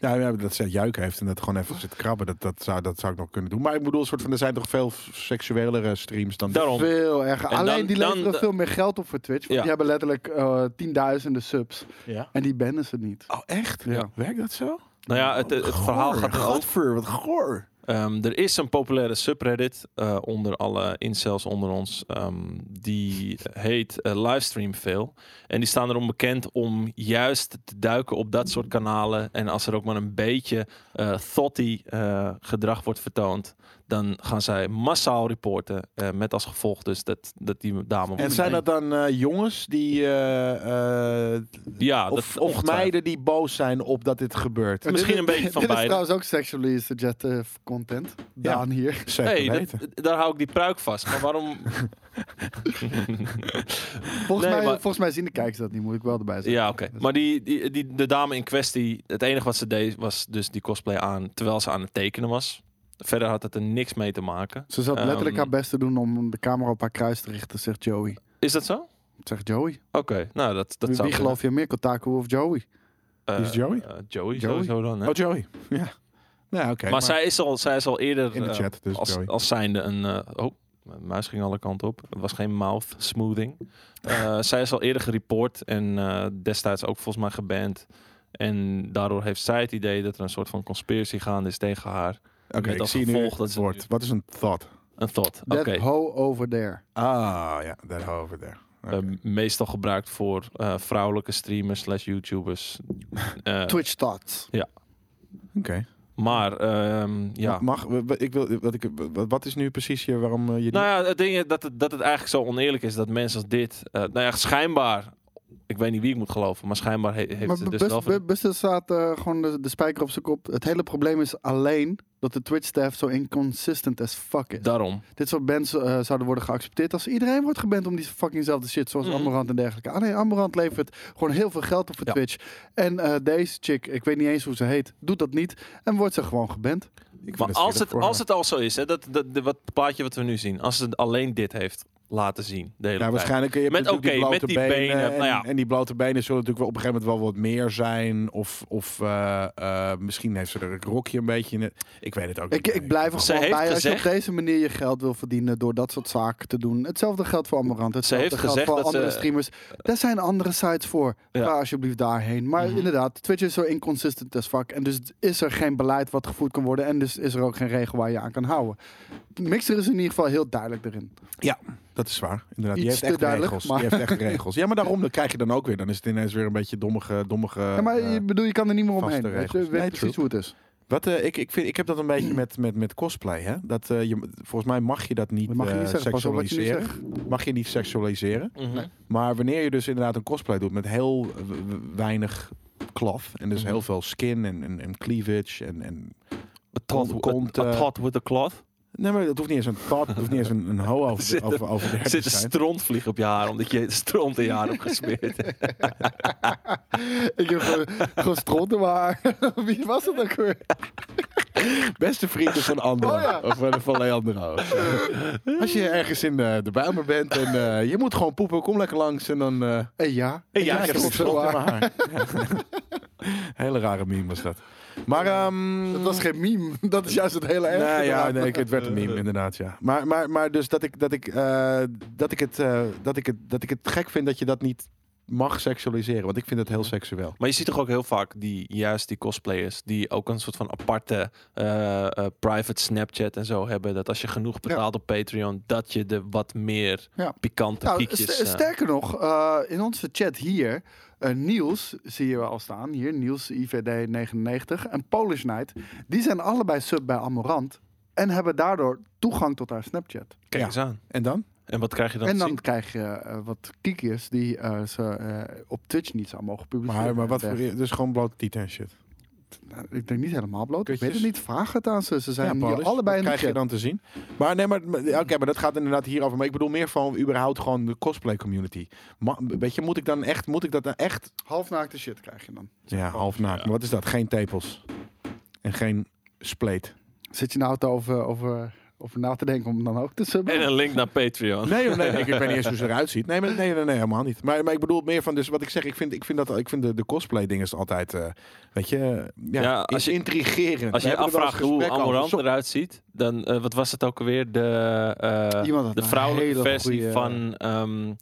[SPEAKER 3] Ja, ja, dat zij juik heeft en dat gewoon even zit krabben. Dat, dat, zou, dat zou ik nog kunnen doen. Maar ik bedoel, soort van, er zijn toch veel seksuelere streams dan
[SPEAKER 2] Daarom.
[SPEAKER 1] eh, veel erger.
[SPEAKER 2] En
[SPEAKER 1] Alleen
[SPEAKER 2] dan-
[SPEAKER 1] die leveren
[SPEAKER 2] dan-
[SPEAKER 1] veel meer geld op voor Twitch. Want
[SPEAKER 2] Ja.
[SPEAKER 1] die hebben letterlijk eh, tienduizenden subs.
[SPEAKER 3] Ja.
[SPEAKER 1] En die bannen ze niet.
[SPEAKER 3] Oh, echt?
[SPEAKER 1] Ja.
[SPEAKER 3] Werkt dat zo?
[SPEAKER 2] Nou ja, het, het verhaal gaat er over.
[SPEAKER 3] Godver, wat goor.
[SPEAKER 2] Ehm, er is een populaire subreddit eh, onder alle incels onder ons. ehm, die heet eh, Livestream Fail. En die staan erom bekend om juist te duiken op dat soort kanalen. En als er ook maar een beetje eh thotty eh, gedrag wordt vertoond... dan gaan zij massaal reporten. eh, met als gevolg dus dat, dat die dame...
[SPEAKER 3] En
[SPEAKER 2] wordt
[SPEAKER 3] zijn dat
[SPEAKER 2] verdenkt.
[SPEAKER 3] dan eh, jongens die... eh, eh,
[SPEAKER 2] Ja,
[SPEAKER 3] of,
[SPEAKER 2] Ah, dat,
[SPEAKER 3] of meiden die boos zijn op dat dit gebeurt?
[SPEAKER 1] Dit
[SPEAKER 2] Misschien
[SPEAKER 1] is-
[SPEAKER 2] een beetje van
[SPEAKER 1] Dit is
[SPEAKER 2] beide.
[SPEAKER 1] trouwens ook sexually suggestive content. Daan hier.
[SPEAKER 3] Zeker
[SPEAKER 2] Hey,
[SPEAKER 3] weten.
[SPEAKER 2] dat- daar hou ik die pruik vast. Maar waarom...
[SPEAKER 1] Volgens,
[SPEAKER 2] Nee,
[SPEAKER 1] mij,
[SPEAKER 2] maar-
[SPEAKER 1] volgens mij zien de kijkers dat niet, moet ik wel erbij zeggen.
[SPEAKER 2] Ja, oké. Maar die, die, die, de dame in kwestie, het enige wat ze deed was dus die cosplay aan terwijl ze aan het tekenen was. Verder had het er niks mee te maken.
[SPEAKER 1] Ze zat
[SPEAKER 2] Ehm,
[SPEAKER 1] letterlijk haar best te doen om de camera op haar kruis te richten, zegt Joey.
[SPEAKER 2] Is dat zo? Oké,
[SPEAKER 1] Zegt Joey.
[SPEAKER 2] nou dat, dat
[SPEAKER 1] Wie,
[SPEAKER 2] zou
[SPEAKER 1] wie geloof je meer, Kotaku of Joey?
[SPEAKER 2] Eh,
[SPEAKER 3] Wie is Joey?
[SPEAKER 2] eh, Joey,
[SPEAKER 1] Joey?
[SPEAKER 2] sowieso dan. Hè?
[SPEAKER 3] Oh, Joey. Ja. Nou, oké.
[SPEAKER 2] maar, zij, is al, zij is al eerder
[SPEAKER 3] In de
[SPEAKER 2] eh,
[SPEAKER 3] chat, dus
[SPEAKER 2] als,
[SPEAKER 3] Joey.
[SPEAKER 2] als zijnde een... eh, oh, mijn muis ging alle kanten op. Het was geen mouth smoothing. Eh, zij is al eerder gereport en eh, destijds ook volgens mij geband. En daardoor heeft zij het idee dat er een soort van conspiracy gaande is tegen haar.
[SPEAKER 3] Oké,
[SPEAKER 2] met
[SPEAKER 3] ik
[SPEAKER 2] als
[SPEAKER 3] zie nu
[SPEAKER 2] gevolg dat
[SPEAKER 3] het
[SPEAKER 2] ze
[SPEAKER 3] woord. Wat is een thought?
[SPEAKER 2] Een thought. Oké.
[SPEAKER 1] That ho over there.
[SPEAKER 3] Ah, ja, that over there.
[SPEAKER 2] Eh, meestal gebruikt voor eh, vrouwelijke streamers slash YouTubers. Eh,
[SPEAKER 1] Twitch thoughts.
[SPEAKER 3] Oké.
[SPEAKER 2] Maar ehm, ja.
[SPEAKER 3] Mag, we- we- ik wil, wat, ik, wat- wat is nu precies je, waarom eh, je... die-
[SPEAKER 2] Nou ja, het ding is dat het, dat het eigenlijk zo oneerlijk is dat mensen als dit... eh, nou ja, schijnbaar... Ik weet niet wie ik moet geloven, maar schijnbaar he- heeft
[SPEAKER 1] Maar
[SPEAKER 2] het dus
[SPEAKER 1] Bus-
[SPEAKER 2] wel...
[SPEAKER 1] Bu- Buster staat eh, gewoon de, de spijker op zijn kop. Het hele probleem is alleen dat de Twitch-staff zo inconsistent as fuck is.
[SPEAKER 2] Daarom.
[SPEAKER 1] Dit soort bands eh, zouden worden geaccepteerd als iedereen wordt geband om die fuckingzelfde shit, zoals
[SPEAKER 2] Mhm.
[SPEAKER 1] Amorant en dergelijke. Ah nee, Amorant levert gewoon heel veel geld op voor
[SPEAKER 2] Ja.
[SPEAKER 1] Twitch. En eh, deze chick, ik weet niet eens hoe ze heet, doet dat niet en wordt ze gewoon geband.
[SPEAKER 3] Ik vind
[SPEAKER 2] Maar als
[SPEAKER 3] zielig
[SPEAKER 2] het,
[SPEAKER 3] voor
[SPEAKER 2] als
[SPEAKER 3] haar.
[SPEAKER 2] het al zo is, hè, dat, dat, de- wat plaatje wat we nu zien, als het alleen dit heeft laten zien, de hele
[SPEAKER 3] Ja,
[SPEAKER 2] tijd.
[SPEAKER 3] Nou, waarschijnlijk. Je hebt
[SPEAKER 2] Met-
[SPEAKER 3] natuurlijk die
[SPEAKER 2] oké, met
[SPEAKER 3] blote
[SPEAKER 2] die benen,
[SPEAKER 3] En,
[SPEAKER 2] nou ja.
[SPEAKER 3] en die blote benen zullen natuurlijk wel op een gegeven moment wel wat meer zijn. Of, of eh, eh, misschien heeft ze er het rokje een beetje in. het- Ik weet het ook
[SPEAKER 1] Ik,
[SPEAKER 3] niet.
[SPEAKER 1] ik blijf er
[SPEAKER 2] Ze
[SPEAKER 1] gewoon bij
[SPEAKER 2] heeft
[SPEAKER 1] als je op
[SPEAKER 2] gezegd-
[SPEAKER 1] deze manier je geld wil verdienen door dat soort zaken te doen. Hetzelfde geldt voor Amorant. Hetzelfde
[SPEAKER 2] heeft
[SPEAKER 1] geldt
[SPEAKER 2] gezegd
[SPEAKER 1] voor
[SPEAKER 2] dat
[SPEAKER 1] andere
[SPEAKER 2] ze-
[SPEAKER 1] streamers. Daar zijn andere sites voor.
[SPEAKER 2] Ja.
[SPEAKER 1] Ga alsjeblieft daarheen. Maar
[SPEAKER 2] Mhm.
[SPEAKER 1] inderdaad, Twitch is zo inconsistent as fuck. En dus is er geen beleid wat gevoerd kan worden. En dus is er ook geen regel waar je aan kan houden. Mixer is in ieder geval heel duidelijk erin.
[SPEAKER 3] Dat is waar. Inderdaad. Die
[SPEAKER 1] Iets
[SPEAKER 3] heeft
[SPEAKER 1] te
[SPEAKER 3] echt
[SPEAKER 1] duidelijk,
[SPEAKER 3] regels.
[SPEAKER 1] maar-
[SPEAKER 3] Die heeft echt regels. Ja, maar daarom dat krijg je dan ook weer. Dan is het ineens weer een beetje dommige. dommige
[SPEAKER 1] ja, maar
[SPEAKER 3] eh,
[SPEAKER 1] je bedoel, je kan er niet meer
[SPEAKER 3] vaste
[SPEAKER 1] omheen. Weet je
[SPEAKER 3] regels.
[SPEAKER 1] weet
[SPEAKER 3] Nee,
[SPEAKER 1] precies hoe het is.
[SPEAKER 3] Wat, eh, ik, ik, vind, ik heb dat een beetje met, met, met cosplay. Hè? Dat, eh, je, volgens mij mag je dat niet,
[SPEAKER 1] Dat mag je
[SPEAKER 3] eh,
[SPEAKER 1] niet zeggen. Pas op wat je nu
[SPEAKER 3] seksualiseren.
[SPEAKER 1] zegt.
[SPEAKER 3] Mag je niet seksualiseren.
[SPEAKER 2] Mhm.
[SPEAKER 1] Nee.
[SPEAKER 3] Maar wanneer je dus inderdaad een cosplay doet met heel eh, w- w- weinig klaf. En dus
[SPEAKER 2] Mhm.
[SPEAKER 3] heel veel skin en, en, en cleavage. En, en...
[SPEAKER 2] A tot-
[SPEAKER 3] Komt,
[SPEAKER 2] a-
[SPEAKER 3] eh,
[SPEAKER 2] a tot with a cloth.
[SPEAKER 3] Nee, maar dat hoeft niet eens een tot, dat hoeft niet eens een, een ho over,
[SPEAKER 2] Zit
[SPEAKER 3] de,
[SPEAKER 2] er-
[SPEAKER 3] over, over de
[SPEAKER 2] Er
[SPEAKER 3] herten
[SPEAKER 2] zit
[SPEAKER 3] te
[SPEAKER 2] een
[SPEAKER 3] zijn.
[SPEAKER 2] strontvlieg op je haar, omdat je stront in je haar hebt gesmeerd.
[SPEAKER 1] Ik heb gewoon, gewoon stront in mijn haar. Wie was dat ook weer?
[SPEAKER 3] Beste vrienden van Andro.
[SPEAKER 1] Oh ja.
[SPEAKER 3] Of eh, van Leandro. Als je ergens in eh, de buimen bent en eh, je moet gewoon poepen, kom lekker langs en dan... eh,
[SPEAKER 1] Eh, ja.
[SPEAKER 2] En ja, ik heb
[SPEAKER 1] stront
[SPEAKER 2] een
[SPEAKER 1] in mijn haar.
[SPEAKER 3] Hele rare meme was dat. Maar... ehm,
[SPEAKER 1] Dat was geen meme. Dat is juist het hele erg.
[SPEAKER 3] Nou ja,
[SPEAKER 1] inderdaad.
[SPEAKER 3] nee, ik- het werd een meme, inderdaad, ja. Maar, maar, maar dus dat ik, dat, ik, eh, dat, ik het, eh, dat, ik het, dat ik het gek vind dat je dat niet mag seksualiseren. Want ik vind het heel seksueel.
[SPEAKER 2] maar je ziet toch ook heel vaak die, juist die cosplayers, die ook een soort van aparte eh, eh, private Snapchat en zo hebben. Dat als je genoeg betaalt op Patreon, dat je de wat meer
[SPEAKER 1] Ja.
[SPEAKER 2] pikante
[SPEAKER 1] Nou,
[SPEAKER 2] piekjes...
[SPEAKER 1] st-
[SPEAKER 2] eh,
[SPEAKER 1] sterker nog, eh, in onze chat hier, eh, Niels, zie je al staan hier, Niels IVD 99 en Polish Knight, die zijn allebei sub bij Amorant en hebben daardoor toegang tot haar Snapchat.
[SPEAKER 2] kijk
[SPEAKER 3] Ja.
[SPEAKER 2] eens aan.
[SPEAKER 3] En dan?
[SPEAKER 2] En wat krijg je dan,
[SPEAKER 1] en
[SPEAKER 2] te
[SPEAKER 1] dan
[SPEAKER 2] zien?
[SPEAKER 1] krijg je eh, wat kiekjes die eh, ze eh, op Twitch niet zou mogen publiceren.
[SPEAKER 3] Maar, maar wat voor,
[SPEAKER 1] voor...
[SPEAKER 3] dus gewoon blote tieten en shit.
[SPEAKER 1] ik denk niet helemaal bloot, ik weet
[SPEAKER 3] Kutjes.
[SPEAKER 1] het niet. Vraag het aan ze, ze zijn
[SPEAKER 3] Paulus,
[SPEAKER 1] hier allebei in
[SPEAKER 3] dat
[SPEAKER 1] de
[SPEAKER 3] krijg je
[SPEAKER 1] chat.
[SPEAKER 3] dan te zien. Maar nee, maar, maar- oké, maar dat gaat inderdaad hierover. Maar ik bedoel meer van überhaupt gewoon de cosplay community. Ma- weet je, moet ik dan echt, moet ik dat dan echt
[SPEAKER 1] Halfnaakte shit krijg je dan.
[SPEAKER 3] Ja, half naakt. Maar wat is dat? Geen tepels. En geen spleet.
[SPEAKER 1] Zit je nou te over, over, over na te denken om dan ook te subben?
[SPEAKER 2] En een link naar Patreon.
[SPEAKER 3] Nee, joh, nee ik, ik weet niet eens hoe ze eruit ziet. Nee, maar, nee, nee, nee, helemaal niet. Maar, maar ik bedoel meer van, dus wat ik zeg, ik vind, ik vind, dat, ik vind de, de cosplay ding is altijd, eh, weet je, eh, ja,
[SPEAKER 2] Ja,
[SPEAKER 3] als
[SPEAKER 2] als
[SPEAKER 3] je,
[SPEAKER 2] je-
[SPEAKER 3] intrigerend.
[SPEAKER 2] Als
[SPEAKER 3] We
[SPEAKER 2] je je
[SPEAKER 3] hebben er wel
[SPEAKER 2] afvraagt
[SPEAKER 3] eens
[SPEAKER 2] hoe
[SPEAKER 3] gesprek over.
[SPEAKER 2] Amorant
[SPEAKER 3] Zo-
[SPEAKER 2] eruit ziet, dan eh, wat was het ook alweer? De, eh,
[SPEAKER 1] Iemand had
[SPEAKER 2] de
[SPEAKER 1] een
[SPEAKER 2] vrouwelijke
[SPEAKER 1] hele
[SPEAKER 2] versie
[SPEAKER 1] goeie-
[SPEAKER 2] van ehm,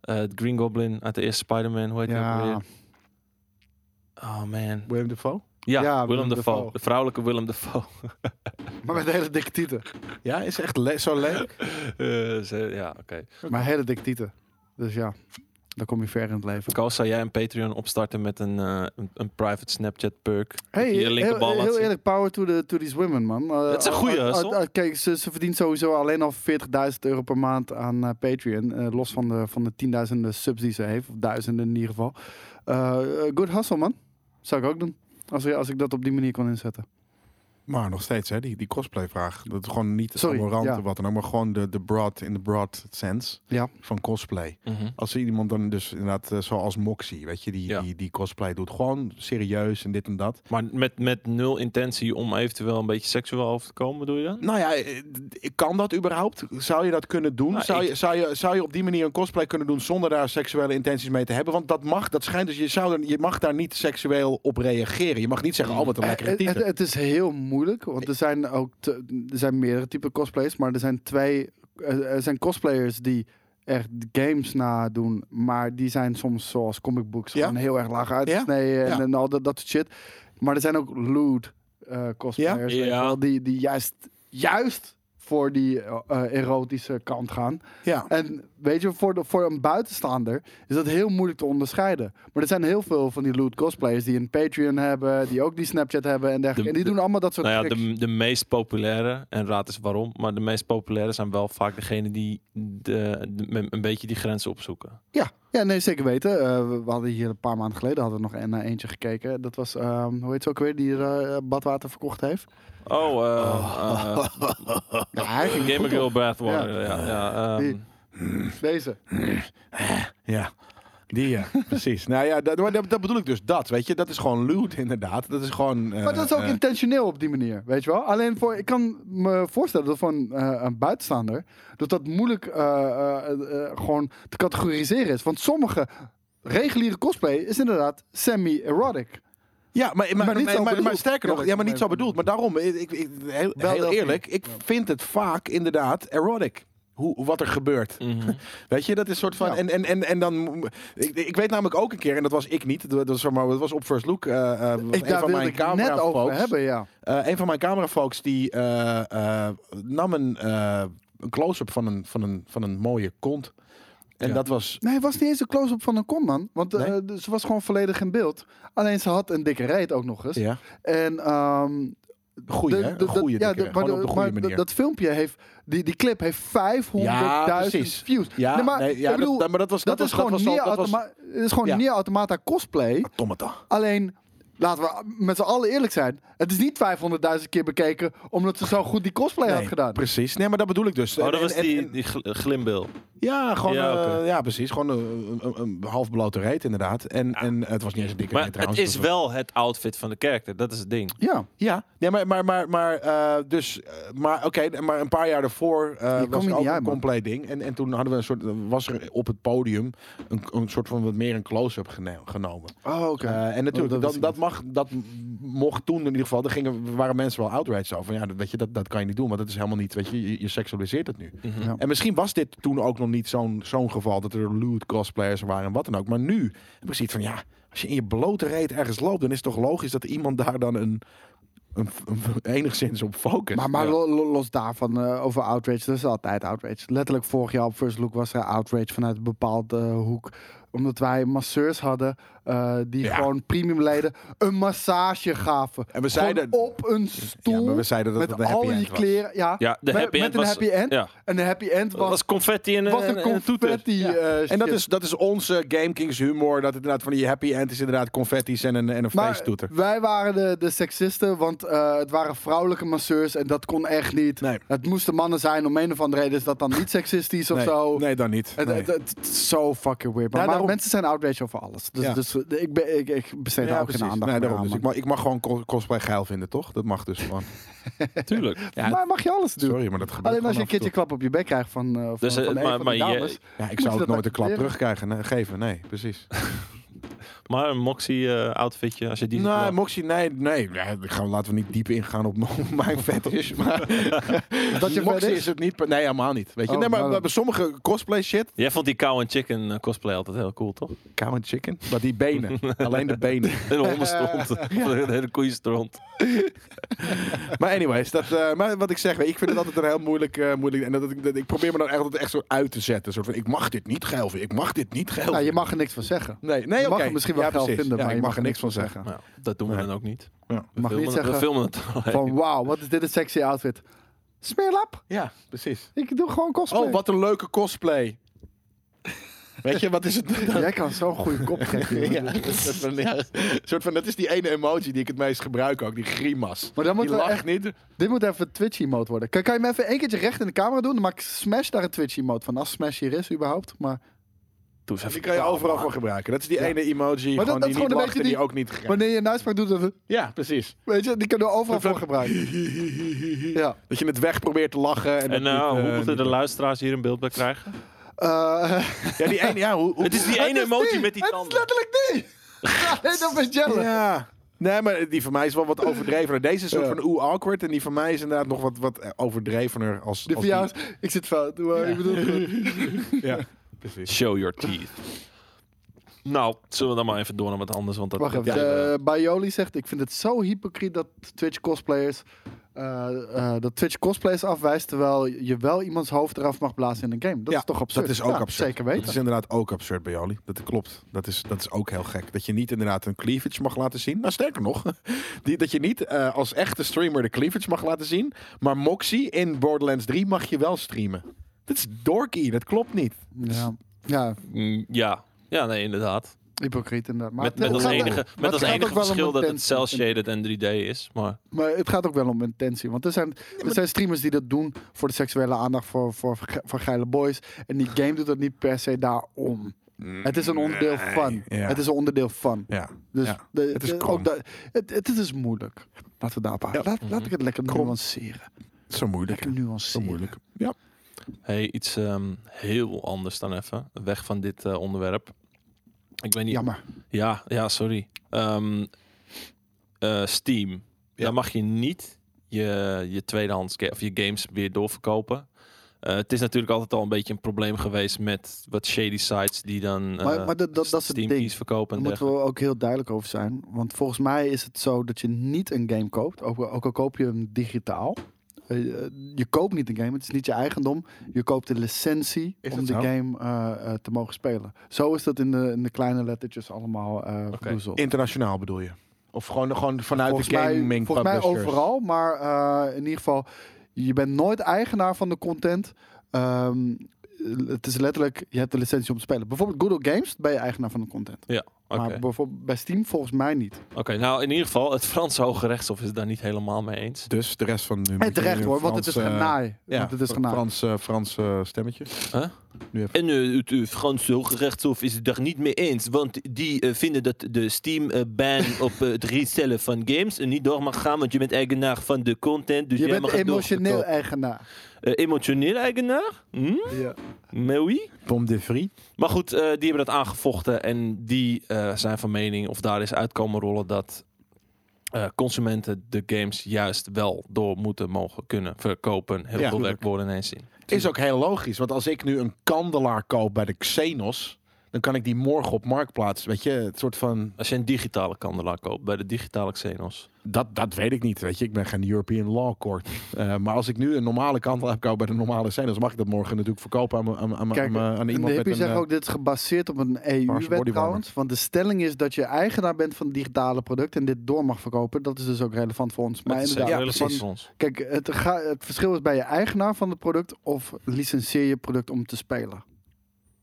[SPEAKER 2] eh, Green Goblin uit de eerste Spider-Man. Hoe heet die ook
[SPEAKER 1] ja,
[SPEAKER 2] alweer? Oh man.
[SPEAKER 3] Willem Dafoe?
[SPEAKER 2] Ja,
[SPEAKER 1] Ja, Willem
[SPEAKER 2] Willem Dafoe.
[SPEAKER 1] Dafoe.
[SPEAKER 2] De vrouwelijke Willem Dafoe.
[SPEAKER 1] maar met hele dikke tieten.
[SPEAKER 3] Ja, is echt le- zo leuk.
[SPEAKER 2] Eh, ze- ja, oké.
[SPEAKER 1] Maar hele dik tieten. Dus ja, dan kom je ver in het leven.
[SPEAKER 2] Koos, zou jij een Patreon opstarten met een, eh, een, een private Snapchat perk? Dat
[SPEAKER 1] Hey,
[SPEAKER 2] je je
[SPEAKER 1] heel,
[SPEAKER 2] linkerbal laat
[SPEAKER 1] heel
[SPEAKER 2] zien?
[SPEAKER 1] eerlijk, power to, the, to these women, man. Eh,
[SPEAKER 2] Het is een goeie,
[SPEAKER 1] eh, eh,
[SPEAKER 2] Sol.
[SPEAKER 1] eh, Kijk, ze, ze verdient sowieso alleen al 40.000 euro per maand aan eh, Patreon. eh, los van de, van de tienduizenden subs die ze heeft. Of duizenden in ieder geval. Eh, eh, good hustle, man. Zou ik ook doen. Als, als ik dat op die manier kon inzetten.
[SPEAKER 3] Maar nog steeds, hè, die, die cosplay vraag. Dat is gewoon niet
[SPEAKER 1] Sorry,
[SPEAKER 3] Amorant
[SPEAKER 1] ja.
[SPEAKER 3] of wat dan ook, maar gewoon de, de broad, in de broad sense
[SPEAKER 1] Ja.
[SPEAKER 3] van cosplay.
[SPEAKER 2] Mhm.
[SPEAKER 3] Als er iemand dan dus inderdaad, eh, zoals Moxie, weet je, die,
[SPEAKER 2] Ja.
[SPEAKER 3] die, die cosplay doet. Gewoon serieus en dit en dat.
[SPEAKER 2] Maar met, met nul intentie om eventueel een beetje seksueel over te komen, bedoel je dan?
[SPEAKER 3] Nou ja, eh, d- kan dat überhaupt? Zou je dat kunnen doen?
[SPEAKER 2] Nou,
[SPEAKER 3] zou,
[SPEAKER 2] ik-
[SPEAKER 3] je, zou, je, zou je op die manier een cosplay kunnen doen zonder daar seksuele intenties mee te hebben? Want dat mag, dat schijnt dus, je, zou er, je mag daar niet seksueel op reageren. Je mag niet zeggen, oh wat een lekkere
[SPEAKER 1] Eh, het,
[SPEAKER 3] titel.
[SPEAKER 1] het is heel moeilijk, want er zijn ook te- er zijn meerdere typen cosplays, maar er zijn twee, er er zijn cosplayers die echt games nadoen, maar die zijn soms zoals comic books
[SPEAKER 3] Ja.
[SPEAKER 1] gewoon heel erg laag uitgesneden en,
[SPEAKER 3] Ja.
[SPEAKER 1] en al dat, dat soort shit. Maar er zijn ook lewd eh, cosplayers
[SPEAKER 2] Ja.
[SPEAKER 1] weet je wel, die, die juist, juist voor die eh, erotische kant gaan.
[SPEAKER 3] Ja.
[SPEAKER 1] En weet je, voor, de, voor een buitenstaander is dat heel moeilijk te onderscheiden. Maar er zijn heel veel van die loot cosplayers die een Patreon hebben, die ook die Snapchat hebben en dergelijke.
[SPEAKER 2] De-
[SPEAKER 1] en die
[SPEAKER 2] de-
[SPEAKER 1] doen allemaal dat soort
[SPEAKER 2] Nou ja,
[SPEAKER 1] tricks.
[SPEAKER 2] de, de meest populaire, en raad eens waarom, maar de meest populaire zijn wel vaak degene die de, de- me- een beetje die grenzen opzoeken.
[SPEAKER 1] Ja, ja, nee, zeker weten. Eh, we- we hadden hier een paar maanden geleden hadden we nog een, naar eentje gekeken. Dat was, ehm, hoe heet ze ook weer, die eh, badwater verkocht heeft.
[SPEAKER 2] Oh, eh
[SPEAKER 1] Ja, hij ging
[SPEAKER 2] Game
[SPEAKER 1] goed
[SPEAKER 2] Girl
[SPEAKER 1] op.
[SPEAKER 2] Bathwater. Ja, ja, ehm,
[SPEAKER 1] Die- Deze.
[SPEAKER 3] Ja. Die, ja, precies. Nou ja, dat, maar dat, dat bedoel ik dus. Dat, weet je, dat is gewoon lewd, inderdaad. Dat is gewoon. eh,
[SPEAKER 1] Maar dat is ook
[SPEAKER 3] eh,
[SPEAKER 1] intentioneel op die manier, weet je wel. Alleen voor, ik kan me voorstellen dat voor een, eh, een buitenstaander dat dat moeilijk eh, eh, eh, eh, gewoon te categoriseren is. Want sommige reguliere cosplay is inderdaad semi-erotic.
[SPEAKER 3] Ja, maar, maar,
[SPEAKER 1] Maar niet
[SPEAKER 3] maar-
[SPEAKER 1] zo
[SPEAKER 3] maar- maar
[SPEAKER 1] bedoeld.
[SPEAKER 3] sterker nog, ja, maar niet zo bedoeld. Maar daarom, ik, ik, ik- heel,
[SPEAKER 1] Wel
[SPEAKER 3] heel
[SPEAKER 1] dat
[SPEAKER 3] eerlijk, ik vind het vaak inderdaad erotic. Hoe, wat er gebeurt.
[SPEAKER 2] mhm.
[SPEAKER 3] Weet je, dat is soort van.
[SPEAKER 1] Ja.
[SPEAKER 3] En, en, en, en dan. Ik, ik weet namelijk ook een keer, en dat was ik niet. Dat was, zeg maar, dat was op First Look. eh, eh, was
[SPEAKER 1] Ik,
[SPEAKER 3] een
[SPEAKER 1] daar
[SPEAKER 3] van
[SPEAKER 1] wilde
[SPEAKER 3] mijn
[SPEAKER 1] ik het net
[SPEAKER 3] camerafolks.
[SPEAKER 1] over hebben, ja.
[SPEAKER 3] Eh, een van mijn camerafolks die eh, eh, nam een, eh, een close-up van een, van, een, van een mooie kont. En
[SPEAKER 2] Ja.
[SPEAKER 3] dat was.
[SPEAKER 1] Nee, het was niet eens een close-up van een kom, man. Want eh,
[SPEAKER 3] Nee?
[SPEAKER 1] de- ze was gewoon volledig in beeld. Alleen ze had een dikke reet ook nog eens.
[SPEAKER 3] Ja.
[SPEAKER 1] En ehm,
[SPEAKER 3] Goeie,
[SPEAKER 1] de-
[SPEAKER 3] hè?
[SPEAKER 1] de-
[SPEAKER 3] Een goeie.
[SPEAKER 1] ja,
[SPEAKER 3] Ja,
[SPEAKER 1] de- maar
[SPEAKER 3] Gewoon
[SPEAKER 1] de-
[SPEAKER 3] op de
[SPEAKER 1] maar
[SPEAKER 3] goede
[SPEAKER 1] d-
[SPEAKER 3] manier.
[SPEAKER 1] dat filmpje heeft, die, die clip heeft 500.000
[SPEAKER 3] Ja, precies.
[SPEAKER 1] views.
[SPEAKER 3] ja,
[SPEAKER 1] Nee, maar
[SPEAKER 3] nee,
[SPEAKER 1] ik
[SPEAKER 3] ja
[SPEAKER 1] bedoel,
[SPEAKER 3] dat, maar dat was.
[SPEAKER 1] Dat,
[SPEAKER 3] was,
[SPEAKER 1] is gewoon
[SPEAKER 3] was,
[SPEAKER 1] Nier
[SPEAKER 3] dat was,
[SPEAKER 1] Automa- het is gewoon
[SPEAKER 3] Ja.
[SPEAKER 1] Nier Automata cosplay.
[SPEAKER 3] Automata.
[SPEAKER 1] Alleen, laten we met z'n allen eerlijk zijn. Het is niet 500.000 keer bekeken omdat ze zo goed die cosplay had
[SPEAKER 3] Nee,
[SPEAKER 1] gedaan.
[SPEAKER 3] Precies. Nee, maar dat bedoel ik dus.
[SPEAKER 2] Oh,
[SPEAKER 3] En-
[SPEAKER 2] dat was
[SPEAKER 3] en-
[SPEAKER 2] die,
[SPEAKER 3] en-
[SPEAKER 2] die gl- glimbil.
[SPEAKER 3] ja, gewoon,
[SPEAKER 2] Ja,
[SPEAKER 3] eh,
[SPEAKER 2] oké.
[SPEAKER 3] ja, precies. Gewoon eh, een, een, een halfblote reet, inderdaad. En, en het was niet eens een dikke
[SPEAKER 2] Maar
[SPEAKER 3] reet, trouwens.
[SPEAKER 2] het is
[SPEAKER 3] Het was-
[SPEAKER 2] wel het outfit van de karakter, dat is het ding.
[SPEAKER 1] Ja,
[SPEAKER 3] Ja, nee, maar, maar, maar, maar, eh, dus, eh, maar oké, maar een paar jaar daarvoor eh,
[SPEAKER 1] kom
[SPEAKER 3] was
[SPEAKER 1] je
[SPEAKER 3] het
[SPEAKER 1] niet
[SPEAKER 3] ook
[SPEAKER 1] uit,
[SPEAKER 3] een
[SPEAKER 1] man.
[SPEAKER 3] compleet ding. En, en toen hadden we een soort, was er op het podium een, een soort van wat meer een close-up gene- genomen.
[SPEAKER 1] oh, oké.
[SPEAKER 3] Eh, en
[SPEAKER 1] Oh, dat
[SPEAKER 3] natuurlijk, dat,
[SPEAKER 1] wist
[SPEAKER 3] dat,
[SPEAKER 1] ik
[SPEAKER 3] mag, dat mocht toen in ieder geval. Daar gingen, waren mensen wel outraged over. Van, ja, dat, weet je, dat, dat kan je niet doen, want dat is helemaal niet. Weet je, je, je seksualiseert het nu.
[SPEAKER 2] Mhm.
[SPEAKER 1] Ja.
[SPEAKER 3] En misschien was dit toen ook nog niet zo'n zo'n geval dat er lewd cosplayers waren en wat dan ook. Maar nu heb ik zoiets van ja, als je in je blote reet ergens loopt, dan is het toch logisch dat iemand daar dan een, een, een- enigszins op focust.
[SPEAKER 1] maar maar
[SPEAKER 3] Ja.
[SPEAKER 1] lo- lo- los daarvan, eh, over outrage, er is altijd outrage. Letterlijk vorig jaar op First Look was er outrage vanuit een bepaalde eh, hoek. Omdat wij masseurs hadden eh, die
[SPEAKER 3] Ja.
[SPEAKER 1] gewoon premium leden een massage gaven.
[SPEAKER 3] En we zeiden-
[SPEAKER 1] Gewoon op een stoel.
[SPEAKER 3] Ja, maar we zeiden dat
[SPEAKER 1] met
[SPEAKER 3] het een happy
[SPEAKER 1] al
[SPEAKER 3] end
[SPEAKER 1] je
[SPEAKER 3] was.
[SPEAKER 1] kleren. Ja,
[SPEAKER 2] Ja, de
[SPEAKER 1] met,
[SPEAKER 2] happy
[SPEAKER 1] met
[SPEAKER 2] end
[SPEAKER 1] een
[SPEAKER 2] was-
[SPEAKER 1] happy end.
[SPEAKER 2] ja.
[SPEAKER 1] En de happy end
[SPEAKER 2] Dat
[SPEAKER 1] was
[SPEAKER 2] was confetti en een,
[SPEAKER 1] Wat een
[SPEAKER 2] en een toeter.
[SPEAKER 1] confetti
[SPEAKER 3] Ja.
[SPEAKER 1] eh,
[SPEAKER 3] En dat
[SPEAKER 1] shit.
[SPEAKER 3] is, dat is onze Game Kings humor. Dat het inderdaad van die happy end is inderdaad confetti's en een, en een
[SPEAKER 1] maar
[SPEAKER 3] feesttoeter.
[SPEAKER 1] wij waren de, de seksisten, want eh, het waren vrouwelijke masseurs en dat kon echt niet.
[SPEAKER 3] Nee.
[SPEAKER 1] Het moesten mannen zijn, om een of andere reden is dat dan niet seksistisch of
[SPEAKER 3] nee,
[SPEAKER 1] zo.
[SPEAKER 3] nee, dan niet.
[SPEAKER 1] Het,
[SPEAKER 3] Nee.
[SPEAKER 1] het, het- het is zo fucking weird. Maar,
[SPEAKER 3] Ja,
[SPEAKER 1] maar
[SPEAKER 3] daarom-
[SPEAKER 1] mensen zijn outrage over alles. Dus,
[SPEAKER 3] Ja.
[SPEAKER 1] dus ik, ben, ik, ik besteed daar
[SPEAKER 3] ja,
[SPEAKER 1] ook
[SPEAKER 3] precies.
[SPEAKER 1] geen aandacht
[SPEAKER 3] nee,
[SPEAKER 1] meer aan,
[SPEAKER 3] daarom. Dus ik,
[SPEAKER 1] man.
[SPEAKER 3] mag, ik mag gewoon cos- cosplay geil vinden, toch? Dat mag dus gewoon.
[SPEAKER 2] Tuurlijk.
[SPEAKER 1] maar mag je alles doen.
[SPEAKER 3] Sorry, maar dat gebeurt
[SPEAKER 1] Alleen als
[SPEAKER 3] gewoon
[SPEAKER 1] je een
[SPEAKER 3] af en toe.
[SPEAKER 1] keertje klap op je bek krijgt van, eh van,
[SPEAKER 2] Dus, eh,
[SPEAKER 1] van een
[SPEAKER 2] maar-
[SPEAKER 1] van
[SPEAKER 2] maar
[SPEAKER 1] de
[SPEAKER 2] je-
[SPEAKER 1] dames.
[SPEAKER 3] Ja, ik
[SPEAKER 1] Moet je
[SPEAKER 3] zou ook
[SPEAKER 1] dat
[SPEAKER 3] nooit een klap
[SPEAKER 1] accepteren?
[SPEAKER 3] terugkrijgen, nee, geven. Nee, precies.
[SPEAKER 2] Maar een Moxie eh, outfitje, als je die...
[SPEAKER 3] nee, Nou, Moxie, nee, nee. Ja, ik ga- laten we niet diep ingaan op m- mijn fetish. Maar
[SPEAKER 1] Dat je
[SPEAKER 3] Moxie
[SPEAKER 1] vet is?
[SPEAKER 3] is het niet. per- Nee, helemaal niet. Weet je,
[SPEAKER 1] Oh,
[SPEAKER 3] nee, maar
[SPEAKER 1] nou
[SPEAKER 3] bij
[SPEAKER 1] dan.
[SPEAKER 3] bij sommige cosplay shit.
[SPEAKER 2] Jij vond die cow and chicken eh, cosplay altijd heel cool, toch?
[SPEAKER 3] Cow and chicken. Maar die benen. Alleen de benen.
[SPEAKER 2] Een hondenstront. Een hele koeienstront.
[SPEAKER 3] Maar anyways, dat, eh, maar wat ik zeg, ik vind het altijd een heel moeilijk... eh, moeilijk en dat, ik- dat, ik probeer me dan echt, altijd echt zo uit te zetten. Soort van, ik mag dit niet geil vinden. Ik mag dit niet geil
[SPEAKER 1] Nou, je
[SPEAKER 3] vinden.
[SPEAKER 1] mag er niks van zeggen.
[SPEAKER 3] Nee, nee,
[SPEAKER 1] je mag
[SPEAKER 3] oké.
[SPEAKER 1] het misschien wel
[SPEAKER 3] ja,
[SPEAKER 1] geil
[SPEAKER 3] precies.
[SPEAKER 1] vinden,
[SPEAKER 3] Ja,
[SPEAKER 1] maar
[SPEAKER 3] ik
[SPEAKER 1] je
[SPEAKER 3] mag er niks van zeggen.
[SPEAKER 2] Nou, dat doen we
[SPEAKER 3] Nee.
[SPEAKER 2] dan ook niet.
[SPEAKER 3] Ja.
[SPEAKER 2] We
[SPEAKER 1] Mag niet
[SPEAKER 2] filmen- We
[SPEAKER 1] zeggen
[SPEAKER 2] filmen het alleen.
[SPEAKER 1] Van wauw, wat is dit een sexy outfit. Smeerlap,
[SPEAKER 3] ja, precies.
[SPEAKER 1] ik doe gewoon cosplay.
[SPEAKER 3] Oh, wat een leuke cosplay. Weet je, wat is het?
[SPEAKER 1] Jij kan zo'n goede kop geven.
[SPEAKER 3] Ja,
[SPEAKER 1] joh.
[SPEAKER 3] een soort van, ja, een soort van, dat is die ene emoji die ik het meest gebruik ook, die grimas.
[SPEAKER 1] Maar dan
[SPEAKER 3] Die
[SPEAKER 1] moeten we
[SPEAKER 3] lacht
[SPEAKER 1] echt,
[SPEAKER 3] niet.
[SPEAKER 1] dit moet even een Twitch-emote worden. Kan, kan je me even één keertje recht in de camera doen? Dan maak ik Smash daar een Twitch-emote van. Als Smash hier is überhaupt. Maar
[SPEAKER 2] Doe eens
[SPEAKER 3] Die
[SPEAKER 2] even
[SPEAKER 3] kan je
[SPEAKER 2] normaal,
[SPEAKER 3] overal
[SPEAKER 2] man.
[SPEAKER 3] voor gebruiken. Dat is die ene emoji
[SPEAKER 1] dat-
[SPEAKER 3] gewoon,
[SPEAKER 1] dat
[SPEAKER 3] die
[SPEAKER 1] is
[SPEAKER 3] niet
[SPEAKER 1] gewoon een
[SPEAKER 3] lacht en
[SPEAKER 1] beetje
[SPEAKER 3] die
[SPEAKER 1] die-
[SPEAKER 3] ook niet grijpt.
[SPEAKER 1] wanneer je een uitspraak doet, dan-
[SPEAKER 3] Ja, precies.
[SPEAKER 1] weet je, die kunnen we overal voor gebruiken. Ja.
[SPEAKER 3] Dat je het weg probeert te lachen.
[SPEAKER 2] En
[SPEAKER 3] En, dat
[SPEAKER 2] nou,
[SPEAKER 3] niet,
[SPEAKER 2] hoe
[SPEAKER 3] eh,
[SPEAKER 2] moeten de
[SPEAKER 3] niet-
[SPEAKER 2] luisteraars hier een beeld bij krijgen?
[SPEAKER 1] Eh,
[SPEAKER 3] Ja, die ene, ja, hoe... hoe-
[SPEAKER 2] Het is die ene emoji met die
[SPEAKER 1] Het is
[SPEAKER 2] tanden.
[SPEAKER 1] letterlijk die! Nee, dat ben Jelle.
[SPEAKER 3] Ja. Nee, maar die van mij is wel wat overdrevener. Deze is een soort van oeh awkward. En die van mij is inderdaad nog wat, wat eh, overdrevener als,
[SPEAKER 1] De
[SPEAKER 3] als die-
[SPEAKER 1] verjaardag. Ik zit fout. maar Ik bedoel, het goed.
[SPEAKER 3] Ja, precies.
[SPEAKER 2] Show your teeth. Nou, zullen we dan maar even door naar wat anders. Want dat,
[SPEAKER 1] Wacht even.
[SPEAKER 2] dat-
[SPEAKER 1] eh, Baioli zegt: Ik vind het zo hypocriet dat Twitch cosplayers. eh, eh, dat Twitch cosplayers afwijst terwijl je wel iemands hoofd eraf mag blazen in een game. Dat
[SPEAKER 3] Ja,
[SPEAKER 1] is toch absurd?
[SPEAKER 3] Dat is ook
[SPEAKER 1] Ja,
[SPEAKER 3] absurd.
[SPEAKER 1] Zeker
[SPEAKER 3] Dat
[SPEAKER 1] weten.
[SPEAKER 3] is inderdaad ook absurd bij Jolly. Dat klopt. Dat is, dat is ook heel gek. Dat je niet inderdaad een cleavage mag laten zien. Nou, sterker nog. Die, dat je niet eh, als echte streamer de cleavage mag laten zien. Maar Moxie in Borderlands 3 mag je wel streamen. Dat is dorky. Dat klopt niet.
[SPEAKER 1] Ja. ja,
[SPEAKER 2] Mm, ja. ja, nee, inderdaad.
[SPEAKER 1] hypocriet inderdaad. Maar
[SPEAKER 2] Met,
[SPEAKER 1] het
[SPEAKER 2] met als
[SPEAKER 1] gaat-
[SPEAKER 2] enige,
[SPEAKER 1] maar
[SPEAKER 2] met
[SPEAKER 1] het
[SPEAKER 2] als
[SPEAKER 1] gaat
[SPEAKER 2] enige
[SPEAKER 1] ook wel om
[SPEAKER 2] verschil dat het
[SPEAKER 1] intentie.
[SPEAKER 2] cel-shaded en 3D is. Maar
[SPEAKER 1] Maar het gaat ook wel om intentie. Want er zijn, er zijn streamers die dat doen voor de seksuele aandacht voor, voor, ge- voor geile boys. En die game doet dat niet per se daarom. Het is een onderdeel van.
[SPEAKER 3] Mm. Ja.
[SPEAKER 1] Het is een onderdeel van.
[SPEAKER 3] Ja.
[SPEAKER 1] Dus
[SPEAKER 3] Ja.
[SPEAKER 1] de-
[SPEAKER 3] Het is
[SPEAKER 1] de-
[SPEAKER 3] krom.
[SPEAKER 1] ook dat- het, het is dus moeilijk. Laten we daarop houden.
[SPEAKER 3] Ja.
[SPEAKER 1] Laat, laat ik het lekker
[SPEAKER 3] Krom.
[SPEAKER 1] nuanceren.
[SPEAKER 3] Zo moeilijk.
[SPEAKER 1] Lekker
[SPEAKER 3] hè? Zo
[SPEAKER 1] nuanceren.
[SPEAKER 3] moeilijk. Ja.
[SPEAKER 2] hey, iets ehm, heel anders dan even. Weg van dit eh, onderwerp. Ik weet niet.
[SPEAKER 1] Jammer.
[SPEAKER 2] Ja, ja, sorry. Ehm, eh, Steam. Daar mag je niet je, je tweedehands ga- of je games weer doorverkopen. Eh, het is natuurlijk altijd al een beetje een probleem geweest met wat shady sites die dan eh
[SPEAKER 1] Maar- maar dat- dat- dat is het
[SPEAKER 2] Steam
[SPEAKER 1] ding.
[SPEAKER 2] keys verkopen
[SPEAKER 1] Daar
[SPEAKER 2] en
[SPEAKER 1] moeten we ook heel duidelijk over zijn. Want volgens mij is het zo dat je niet een game koopt. Ook, ook al koop je hem digitaal. Eh, je koopt niet een game, het is niet je eigendom. Je koopt de licentie
[SPEAKER 3] Is
[SPEAKER 1] om
[SPEAKER 3] dat
[SPEAKER 1] de
[SPEAKER 3] zo?
[SPEAKER 1] game eh, eh, te mogen spelen. Zo is dat in de, in de kleine lettertjes allemaal eh verdoezeld.
[SPEAKER 3] Internationaal bedoel je? Of gewoon, gewoon vanuit
[SPEAKER 1] volgens
[SPEAKER 3] de gaming
[SPEAKER 1] mij, volgens mij
[SPEAKER 3] publishers?
[SPEAKER 1] overal, maar eh, in ieder geval, je bent nooit eigenaar van de content. Ehm, het is letterlijk, je hebt de licentie om te spelen. Bijvoorbeeld Google Games, ben je eigenaar van de content.
[SPEAKER 2] dergelijke. Oké.
[SPEAKER 1] Maar bijvoorbeeld bij Steam volgens mij niet.
[SPEAKER 2] Oké, nou in ieder geval, het Franse Hoge Rechtshof is het daar niet helemaal mee eens.
[SPEAKER 3] Dus de rest van... Nu
[SPEAKER 1] En terecht hoor, want het is
[SPEAKER 3] genaaid.
[SPEAKER 1] genaai. want het is genaai.
[SPEAKER 3] eh, Frans, eh, Frans eh, stemmetje.
[SPEAKER 2] En eh, het eh, Franse Hoge Rechtshof is het daar niet mee eens. Want die eh, vinden dat de Steam-ban op eh, het resellen van games eh, niet door mag gaan. Want je bent eigenaar van de content. Dus
[SPEAKER 1] je
[SPEAKER 2] jij
[SPEAKER 1] bent
[SPEAKER 2] mag het
[SPEAKER 1] emotioneel
[SPEAKER 2] doorverkopen.
[SPEAKER 1] eigenaar.
[SPEAKER 2] Eh, emotioneel eigenaar? Hm?
[SPEAKER 1] Ja.
[SPEAKER 2] Mais oui.
[SPEAKER 3] Tom de Vries.
[SPEAKER 2] Maar goed, eh, die hebben dat aangevochten en die eh, zijn van mening, of daar is uitkomen rollen, dat eh, consumenten de games juist wel door moeten mogen kunnen verkopen. Heel
[SPEAKER 3] Ja.
[SPEAKER 2] veel werkwoorden ineens in.
[SPEAKER 3] Is ook heel logisch, want als ik nu een kandelaar koop bij de Xenos, dan kan ik die morgen op marktplaats, weet je, het soort van
[SPEAKER 2] Als je een digitale kandelaar koopt bij de digitale Xenos.
[SPEAKER 3] dat, dat weet ik niet, weet je, ik ben geen European Law Court. Eh, maar als ik nu een normale kandelaar koop bij de normale Xenos, mag ik dat morgen natuurlijk verkopen aan, aan, aan,
[SPEAKER 1] Kijk,
[SPEAKER 3] aan, aan
[SPEAKER 1] En
[SPEAKER 3] iemand
[SPEAKER 1] de
[SPEAKER 3] met
[SPEAKER 1] hippies
[SPEAKER 3] een.
[SPEAKER 1] zeggen
[SPEAKER 3] eh,
[SPEAKER 1] ook dit is gebaseerd op een EU-wet
[SPEAKER 3] bodywarmer.
[SPEAKER 1] trouwens. Want de stelling is dat je eigenaar bent van digitale producten en dit door mag verkopen. Dat is dus ook relevant voor ons. Maar
[SPEAKER 2] dat is
[SPEAKER 1] inderdaad,
[SPEAKER 2] heel
[SPEAKER 1] want-
[SPEAKER 2] relevant voor ons.
[SPEAKER 1] kijk, het, ga- het verschil is bij je eigenaar van het product of licenseer je product om te spelen.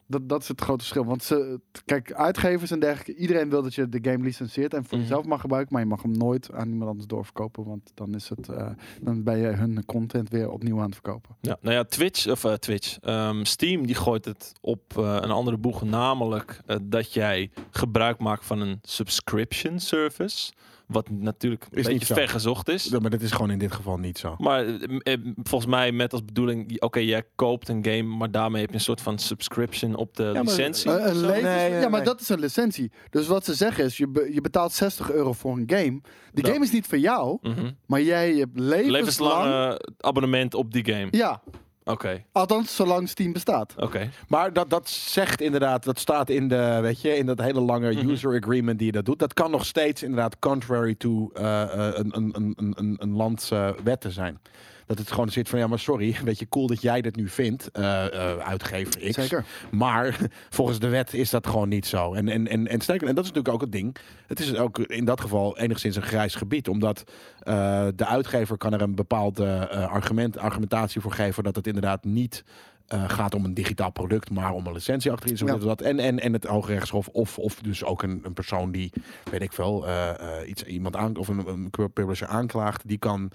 [SPEAKER 1] Dat, dat is het grote verschil. Want ze, kijk, uitgevers en dergelijke, iedereen wil dat je de game licenseert en voor
[SPEAKER 2] Mhm.
[SPEAKER 1] jezelf mag gebruiken, maar je mag hem nooit aan iemand anders doorverkopen, want dan, is het, eh, dan ben je hun content weer opnieuw aan het verkopen.
[SPEAKER 2] Ja, nou ja, Twitch, of eh, Twitch, ehm, Steam die gooit het op eh, een andere boeg. Namelijk eh, dat jij gebruik maakt van een subscription service. Wat natuurlijk een
[SPEAKER 3] Is niet
[SPEAKER 2] beetje
[SPEAKER 3] zo.
[SPEAKER 2] vergezocht is.
[SPEAKER 3] Maar dat is gewoon in dit geval niet zo.
[SPEAKER 2] Maar eh, eh, volgens mij met als bedoeling, oké, jij koopt een game, maar daarmee heb je een soort van subscription op de
[SPEAKER 3] maar-
[SPEAKER 2] licentie.
[SPEAKER 1] Eh, een
[SPEAKER 3] Zo?
[SPEAKER 1] levens-
[SPEAKER 3] Nee, nee,
[SPEAKER 1] ja, maar
[SPEAKER 3] nee.
[SPEAKER 1] dat is een licentie. Dus wat ze zeggen is, je, be- je betaalt 60 euro voor een game. De
[SPEAKER 2] Ja.
[SPEAKER 1] game is niet van jou,
[SPEAKER 2] Mhm.
[SPEAKER 1] maar jij hebt levenslang...
[SPEAKER 2] Levenslange eh, abonnement op die game.
[SPEAKER 1] Ja,
[SPEAKER 2] Oké,
[SPEAKER 1] althans zolang Steam bestaat.
[SPEAKER 2] oké.
[SPEAKER 3] Maar dat, dat zegt inderdaad, dat staat in, de, weet je, in dat hele lange
[SPEAKER 2] Mhm.
[SPEAKER 3] user agreement die je dat doet. Dat kan nog steeds inderdaad contrary to eh, eh, een, een, een, een- een, een lands eh, wetten zijn. Dat het gewoon zit van, ja maar sorry, weet je, cool dat jij dit nu vindt, eh, eh, uitgever X.
[SPEAKER 1] Zeker.
[SPEAKER 3] Maar volgens de wet is dat gewoon niet zo. En, en, en, en sterker, en dat is natuurlijk ook het ding. Het is ook in dat geval enigszins een grijs gebied. Omdat eh, de uitgever kan er een bepaalde eh, argument, argumentatie voor geven dat het inderdaad niet. eh, gaat om een digitaal product, maar om een licentie achter iets. of
[SPEAKER 1] Ja.
[SPEAKER 3] dit of dat. En, en, en het Hoogrechtshof. Of, of dus ook een, een persoon die, weet ik veel, eh, eh, iets, iemand aan, of een, een publisher aanklaagt. Die kan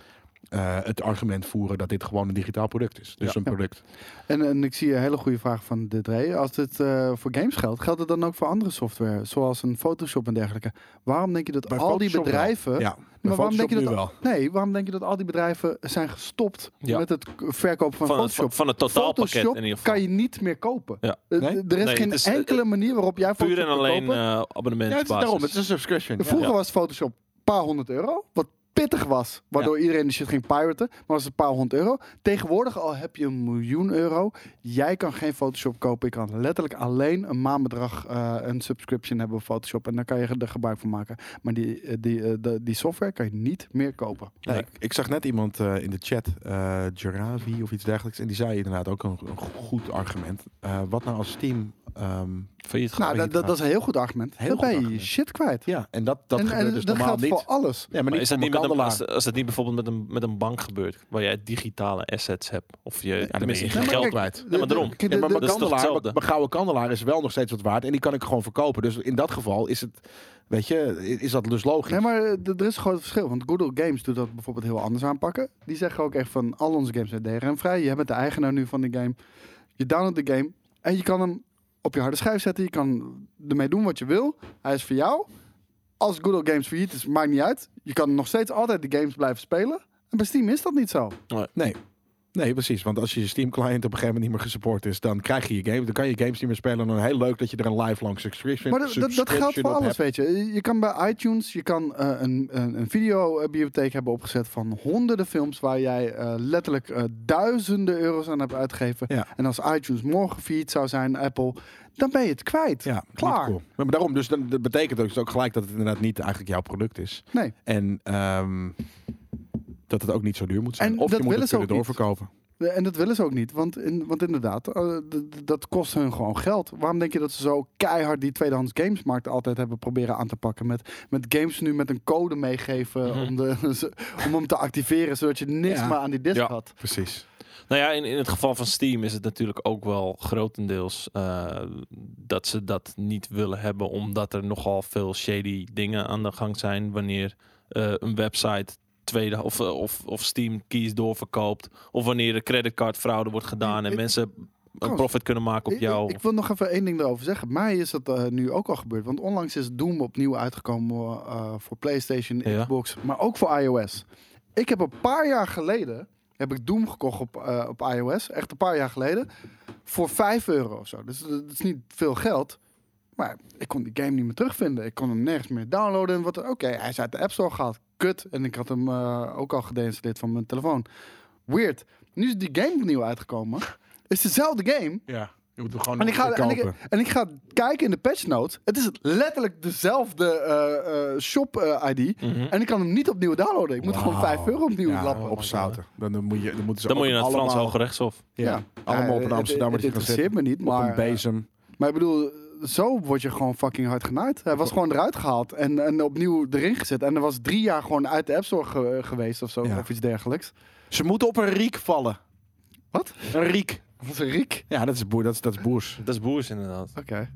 [SPEAKER 3] eh, het argument voeren dat dit gewoon een digitaal product is. Dus
[SPEAKER 2] Ja.
[SPEAKER 3] een product.
[SPEAKER 1] En, en ik zie een hele goede vraag van de Dre. Als dit eh, voor games geldt, geldt het dan ook voor andere software, zoals een Photoshop en dergelijke? Waarom denk je dat
[SPEAKER 3] Bij
[SPEAKER 1] al die
[SPEAKER 3] Photoshop wel.
[SPEAKER 1] bedrijven...
[SPEAKER 3] Ja,
[SPEAKER 1] Maar waarom denk je
[SPEAKER 3] Photoshop
[SPEAKER 1] dat
[SPEAKER 3] nu wel?
[SPEAKER 1] Nee, waarom denk je dat al die bedrijven zijn gestopt
[SPEAKER 2] Ja.
[SPEAKER 1] met het k- verkopen van,
[SPEAKER 2] Van, het-
[SPEAKER 1] Photoshop?
[SPEAKER 2] van het totaalpakket
[SPEAKER 1] Photoshop
[SPEAKER 2] in ieder geval.
[SPEAKER 1] kan je niet meer kopen.
[SPEAKER 2] Ja.
[SPEAKER 1] Eh,
[SPEAKER 3] Nee?
[SPEAKER 1] d- Er is
[SPEAKER 2] Nee,
[SPEAKER 1] geen
[SPEAKER 2] het is, eh,
[SPEAKER 1] enkele manier waarop jij
[SPEAKER 2] Puur
[SPEAKER 1] Photoshop
[SPEAKER 2] en
[SPEAKER 1] kan
[SPEAKER 2] alleen
[SPEAKER 1] kopen.
[SPEAKER 3] Oh,
[SPEAKER 2] eh abonnementbasis.
[SPEAKER 3] Ja, het is daarom. Het is een subscription.
[SPEAKER 1] Vroeger
[SPEAKER 2] Ja.
[SPEAKER 1] was Photoshop een paar honderd euro, wat pittig was. Waardoor iedereen de shit ging piraten. Maar was het een paar honderd euro. Tegenwoordig al heb je een miljoen euro. Jij kan geen Photoshop kopen. Ik kan letterlijk alleen een maandbedrag eh, een subscription hebben op Photoshop. En dan kan je er gebruik van maken. Maar die, eh, die, eh, de- die software kan je niet meer kopen.
[SPEAKER 3] Nee,
[SPEAKER 2] Nee.
[SPEAKER 3] ik, ik zag net iemand eh, in de chat, eh Giravi of iets dergelijks, en die zei inderdaad ook een, een go- goed argument. Eh, wat nou als Steam... ehm,
[SPEAKER 2] Failliet gaan.
[SPEAKER 1] Nou,
[SPEAKER 3] weet
[SPEAKER 1] dat,
[SPEAKER 3] niet
[SPEAKER 1] dat,
[SPEAKER 3] waar.
[SPEAKER 1] dat is een heel goed argument.
[SPEAKER 3] Heel
[SPEAKER 1] dan
[SPEAKER 3] goed
[SPEAKER 1] ben je je
[SPEAKER 3] argument.
[SPEAKER 1] shit kwijt.
[SPEAKER 3] ja, en dat, dat
[SPEAKER 1] en
[SPEAKER 3] gebeurt
[SPEAKER 1] en
[SPEAKER 3] dus
[SPEAKER 1] dat
[SPEAKER 3] normaal
[SPEAKER 1] geldt
[SPEAKER 3] niet.
[SPEAKER 1] voor alles.
[SPEAKER 3] Ja, maar,
[SPEAKER 2] Maar
[SPEAKER 3] niet
[SPEAKER 2] is dat
[SPEAKER 3] voor
[SPEAKER 2] niet met een,
[SPEAKER 3] Mandela.
[SPEAKER 2] als, als dat niet bijvoorbeeld met een, met een bank gebeurt, waar jij digitale assets hebt, of je, ja, dan ben je
[SPEAKER 3] Nee,
[SPEAKER 2] geen
[SPEAKER 3] maar
[SPEAKER 2] geld
[SPEAKER 1] kijk,
[SPEAKER 2] kwijt.
[SPEAKER 1] de-
[SPEAKER 2] Ja, maar daarom.
[SPEAKER 1] de- de-
[SPEAKER 3] Ja, maar
[SPEAKER 1] de-
[SPEAKER 3] mijn,
[SPEAKER 2] dat is toch
[SPEAKER 3] kandelaar,
[SPEAKER 2] hetzelfde?
[SPEAKER 3] mijn- mijn gouden kandelaar is wel nog steeds wat waard. En die kan ik gewoon verkopen. Dus in dat geval is het, weet je, i- is dat dus logisch.
[SPEAKER 1] Nee, maar eh, d- er is een groot verschil. Want Google Games doet dat bijvoorbeeld heel anders aanpakken. Die zeggen ook echt van al onze games zijn DRM-vrij. Je bent de eigenaar nu van de game. Je downloadt de game en je kan hem op je harde schijf zetten. Je kan ermee doen wat je wil. Hij is voor jou. Als Google Games failliet is, maakt niet uit. Je kan nog steeds altijd de games blijven spelen. En bij Steam is dat niet zo.
[SPEAKER 3] Nee. Nee, precies. Want als je Steam client op een gegeven moment niet meer gesupport is, dan krijg je je game. Dan kan je games niet meer spelen. En dan heel leuk dat je er een lifelong subscription
[SPEAKER 1] Maar dat, dat, dat
[SPEAKER 3] subscription
[SPEAKER 1] geldt voor
[SPEAKER 3] op
[SPEAKER 1] alles, weet
[SPEAKER 3] hebt.
[SPEAKER 1] je. Je kan bij iTunes, je kan eh, een, een, een videobibliotheek hebben opgezet van honderden films waar jij eh, letterlijk eh, duizenden euro's aan hebt uitgegeven.
[SPEAKER 3] Ja.
[SPEAKER 1] En als iTunes morgen failliet zou zijn, Apple, dan ben je het kwijt.
[SPEAKER 3] Ja,
[SPEAKER 1] Klaar.
[SPEAKER 3] niet cool. Maar daarom, dus dan, dat betekent ook, dus ook gelijk dat het inderdaad niet eigenlijk jouw product is.
[SPEAKER 1] Nee.
[SPEAKER 3] En ehm, dat het ook niet zo duur moet zijn.
[SPEAKER 1] En
[SPEAKER 3] of
[SPEAKER 1] dat
[SPEAKER 3] je moet
[SPEAKER 1] willen
[SPEAKER 3] het
[SPEAKER 1] ze
[SPEAKER 3] kunnen
[SPEAKER 1] ook niet.
[SPEAKER 3] doorverkopen.
[SPEAKER 1] Eh, En dat willen ze ook niet, want, in, want inderdaad, eh, d- d- dat kost hun gewoon geld. Waarom denk je dat ze zo keihard die tweedehands gamesmarkt altijd hebben proberen aan te pakken? Met, met games nu met een code meegeven
[SPEAKER 2] Mhm.
[SPEAKER 1] om, de, om hem te activeren, zodat je niks
[SPEAKER 3] Ja.
[SPEAKER 1] meer aan die disc
[SPEAKER 2] Ja.
[SPEAKER 1] had.
[SPEAKER 3] Precies.
[SPEAKER 2] Nou ja, in, in het geval van Steam is het natuurlijk ook wel grotendeels eh, dat ze dat niet willen hebben, omdat er nogal veel shady dingen aan de gang zijn wanneer eh, een website tweede of, eh, of, of Steam keys doorverkoopt, of wanneer er creditcardfraude wordt gedaan en
[SPEAKER 1] Ik-
[SPEAKER 2] mensen een
[SPEAKER 1] Trouwens,
[SPEAKER 2] profit kunnen maken op
[SPEAKER 1] Ik-
[SPEAKER 2] jou.
[SPEAKER 1] Ik, ik wil nog even één ding daarover zeggen. Mij is dat eh, nu ook al gebeurd. Want onlangs is Doom opnieuw uitgekomen eh, voor PlayStation,
[SPEAKER 2] Ja.
[SPEAKER 1] Xbox, maar ook voor iOS. Ik heb een paar jaar geleden heb ik Doom gekocht op, eh, op iOS. Echt een paar jaar geleden. Voor 5 euro of zo. Dus dat dat is niet veel geld. Maar ik kon die game niet meer terugvinden. Ik kon hem nergens meer downloaden. En wat- Oké, hij is uit de App Store gehaald. Kut. En ik had hem eh, ook al geïnstalleerd van mijn telefoon. Weird. Nu is die game opnieuw uitgekomen. Het is dezelfde game.
[SPEAKER 3] Ja. Je moet hem gewoon
[SPEAKER 1] En ik, ga, en, ik,
[SPEAKER 3] kopen.
[SPEAKER 1] en ik ga kijken in de patch notes. Het is letterlijk dezelfde eh, eh, shop eh, ID.
[SPEAKER 2] Mhm.
[SPEAKER 1] En ik kan hem niet opnieuw downloaden. Ik moet gewoon
[SPEAKER 3] Wauw.
[SPEAKER 1] 5 euro opnieuw
[SPEAKER 3] Ja,
[SPEAKER 1] lappen.
[SPEAKER 3] opzouten. Dan, dan, moet je, dan moeten ze
[SPEAKER 2] Dan moet
[SPEAKER 3] ook
[SPEAKER 2] je naar het Frans
[SPEAKER 3] allemaal,
[SPEAKER 2] Hoge Rechtshof.
[SPEAKER 3] ja, allemaal op een
[SPEAKER 1] het-
[SPEAKER 3] Amsterdammer
[SPEAKER 1] Het,
[SPEAKER 3] die
[SPEAKER 1] het
[SPEAKER 3] gaan
[SPEAKER 1] interesseert
[SPEAKER 3] zitten.
[SPEAKER 1] me niet,
[SPEAKER 3] Op een
[SPEAKER 1] maar... eh,
[SPEAKER 3] bezem.
[SPEAKER 1] maar ik bedoel, zo word je gewoon fucking hard genaaid. Hij was gewoon eruit gehaald en, en opnieuw erin gezet. En er was drie jaar gewoon uit de App Store ge- geweest of zo,
[SPEAKER 3] Ja.
[SPEAKER 1] of iets dergelijks.
[SPEAKER 3] Ze moeten op een riek vallen.
[SPEAKER 1] Wat?
[SPEAKER 3] Een riek.
[SPEAKER 1] Dat is een riek.
[SPEAKER 3] Ja, dat is, boer, dat is, dat is boers.
[SPEAKER 2] Dat is boers inderdaad.
[SPEAKER 1] Oké.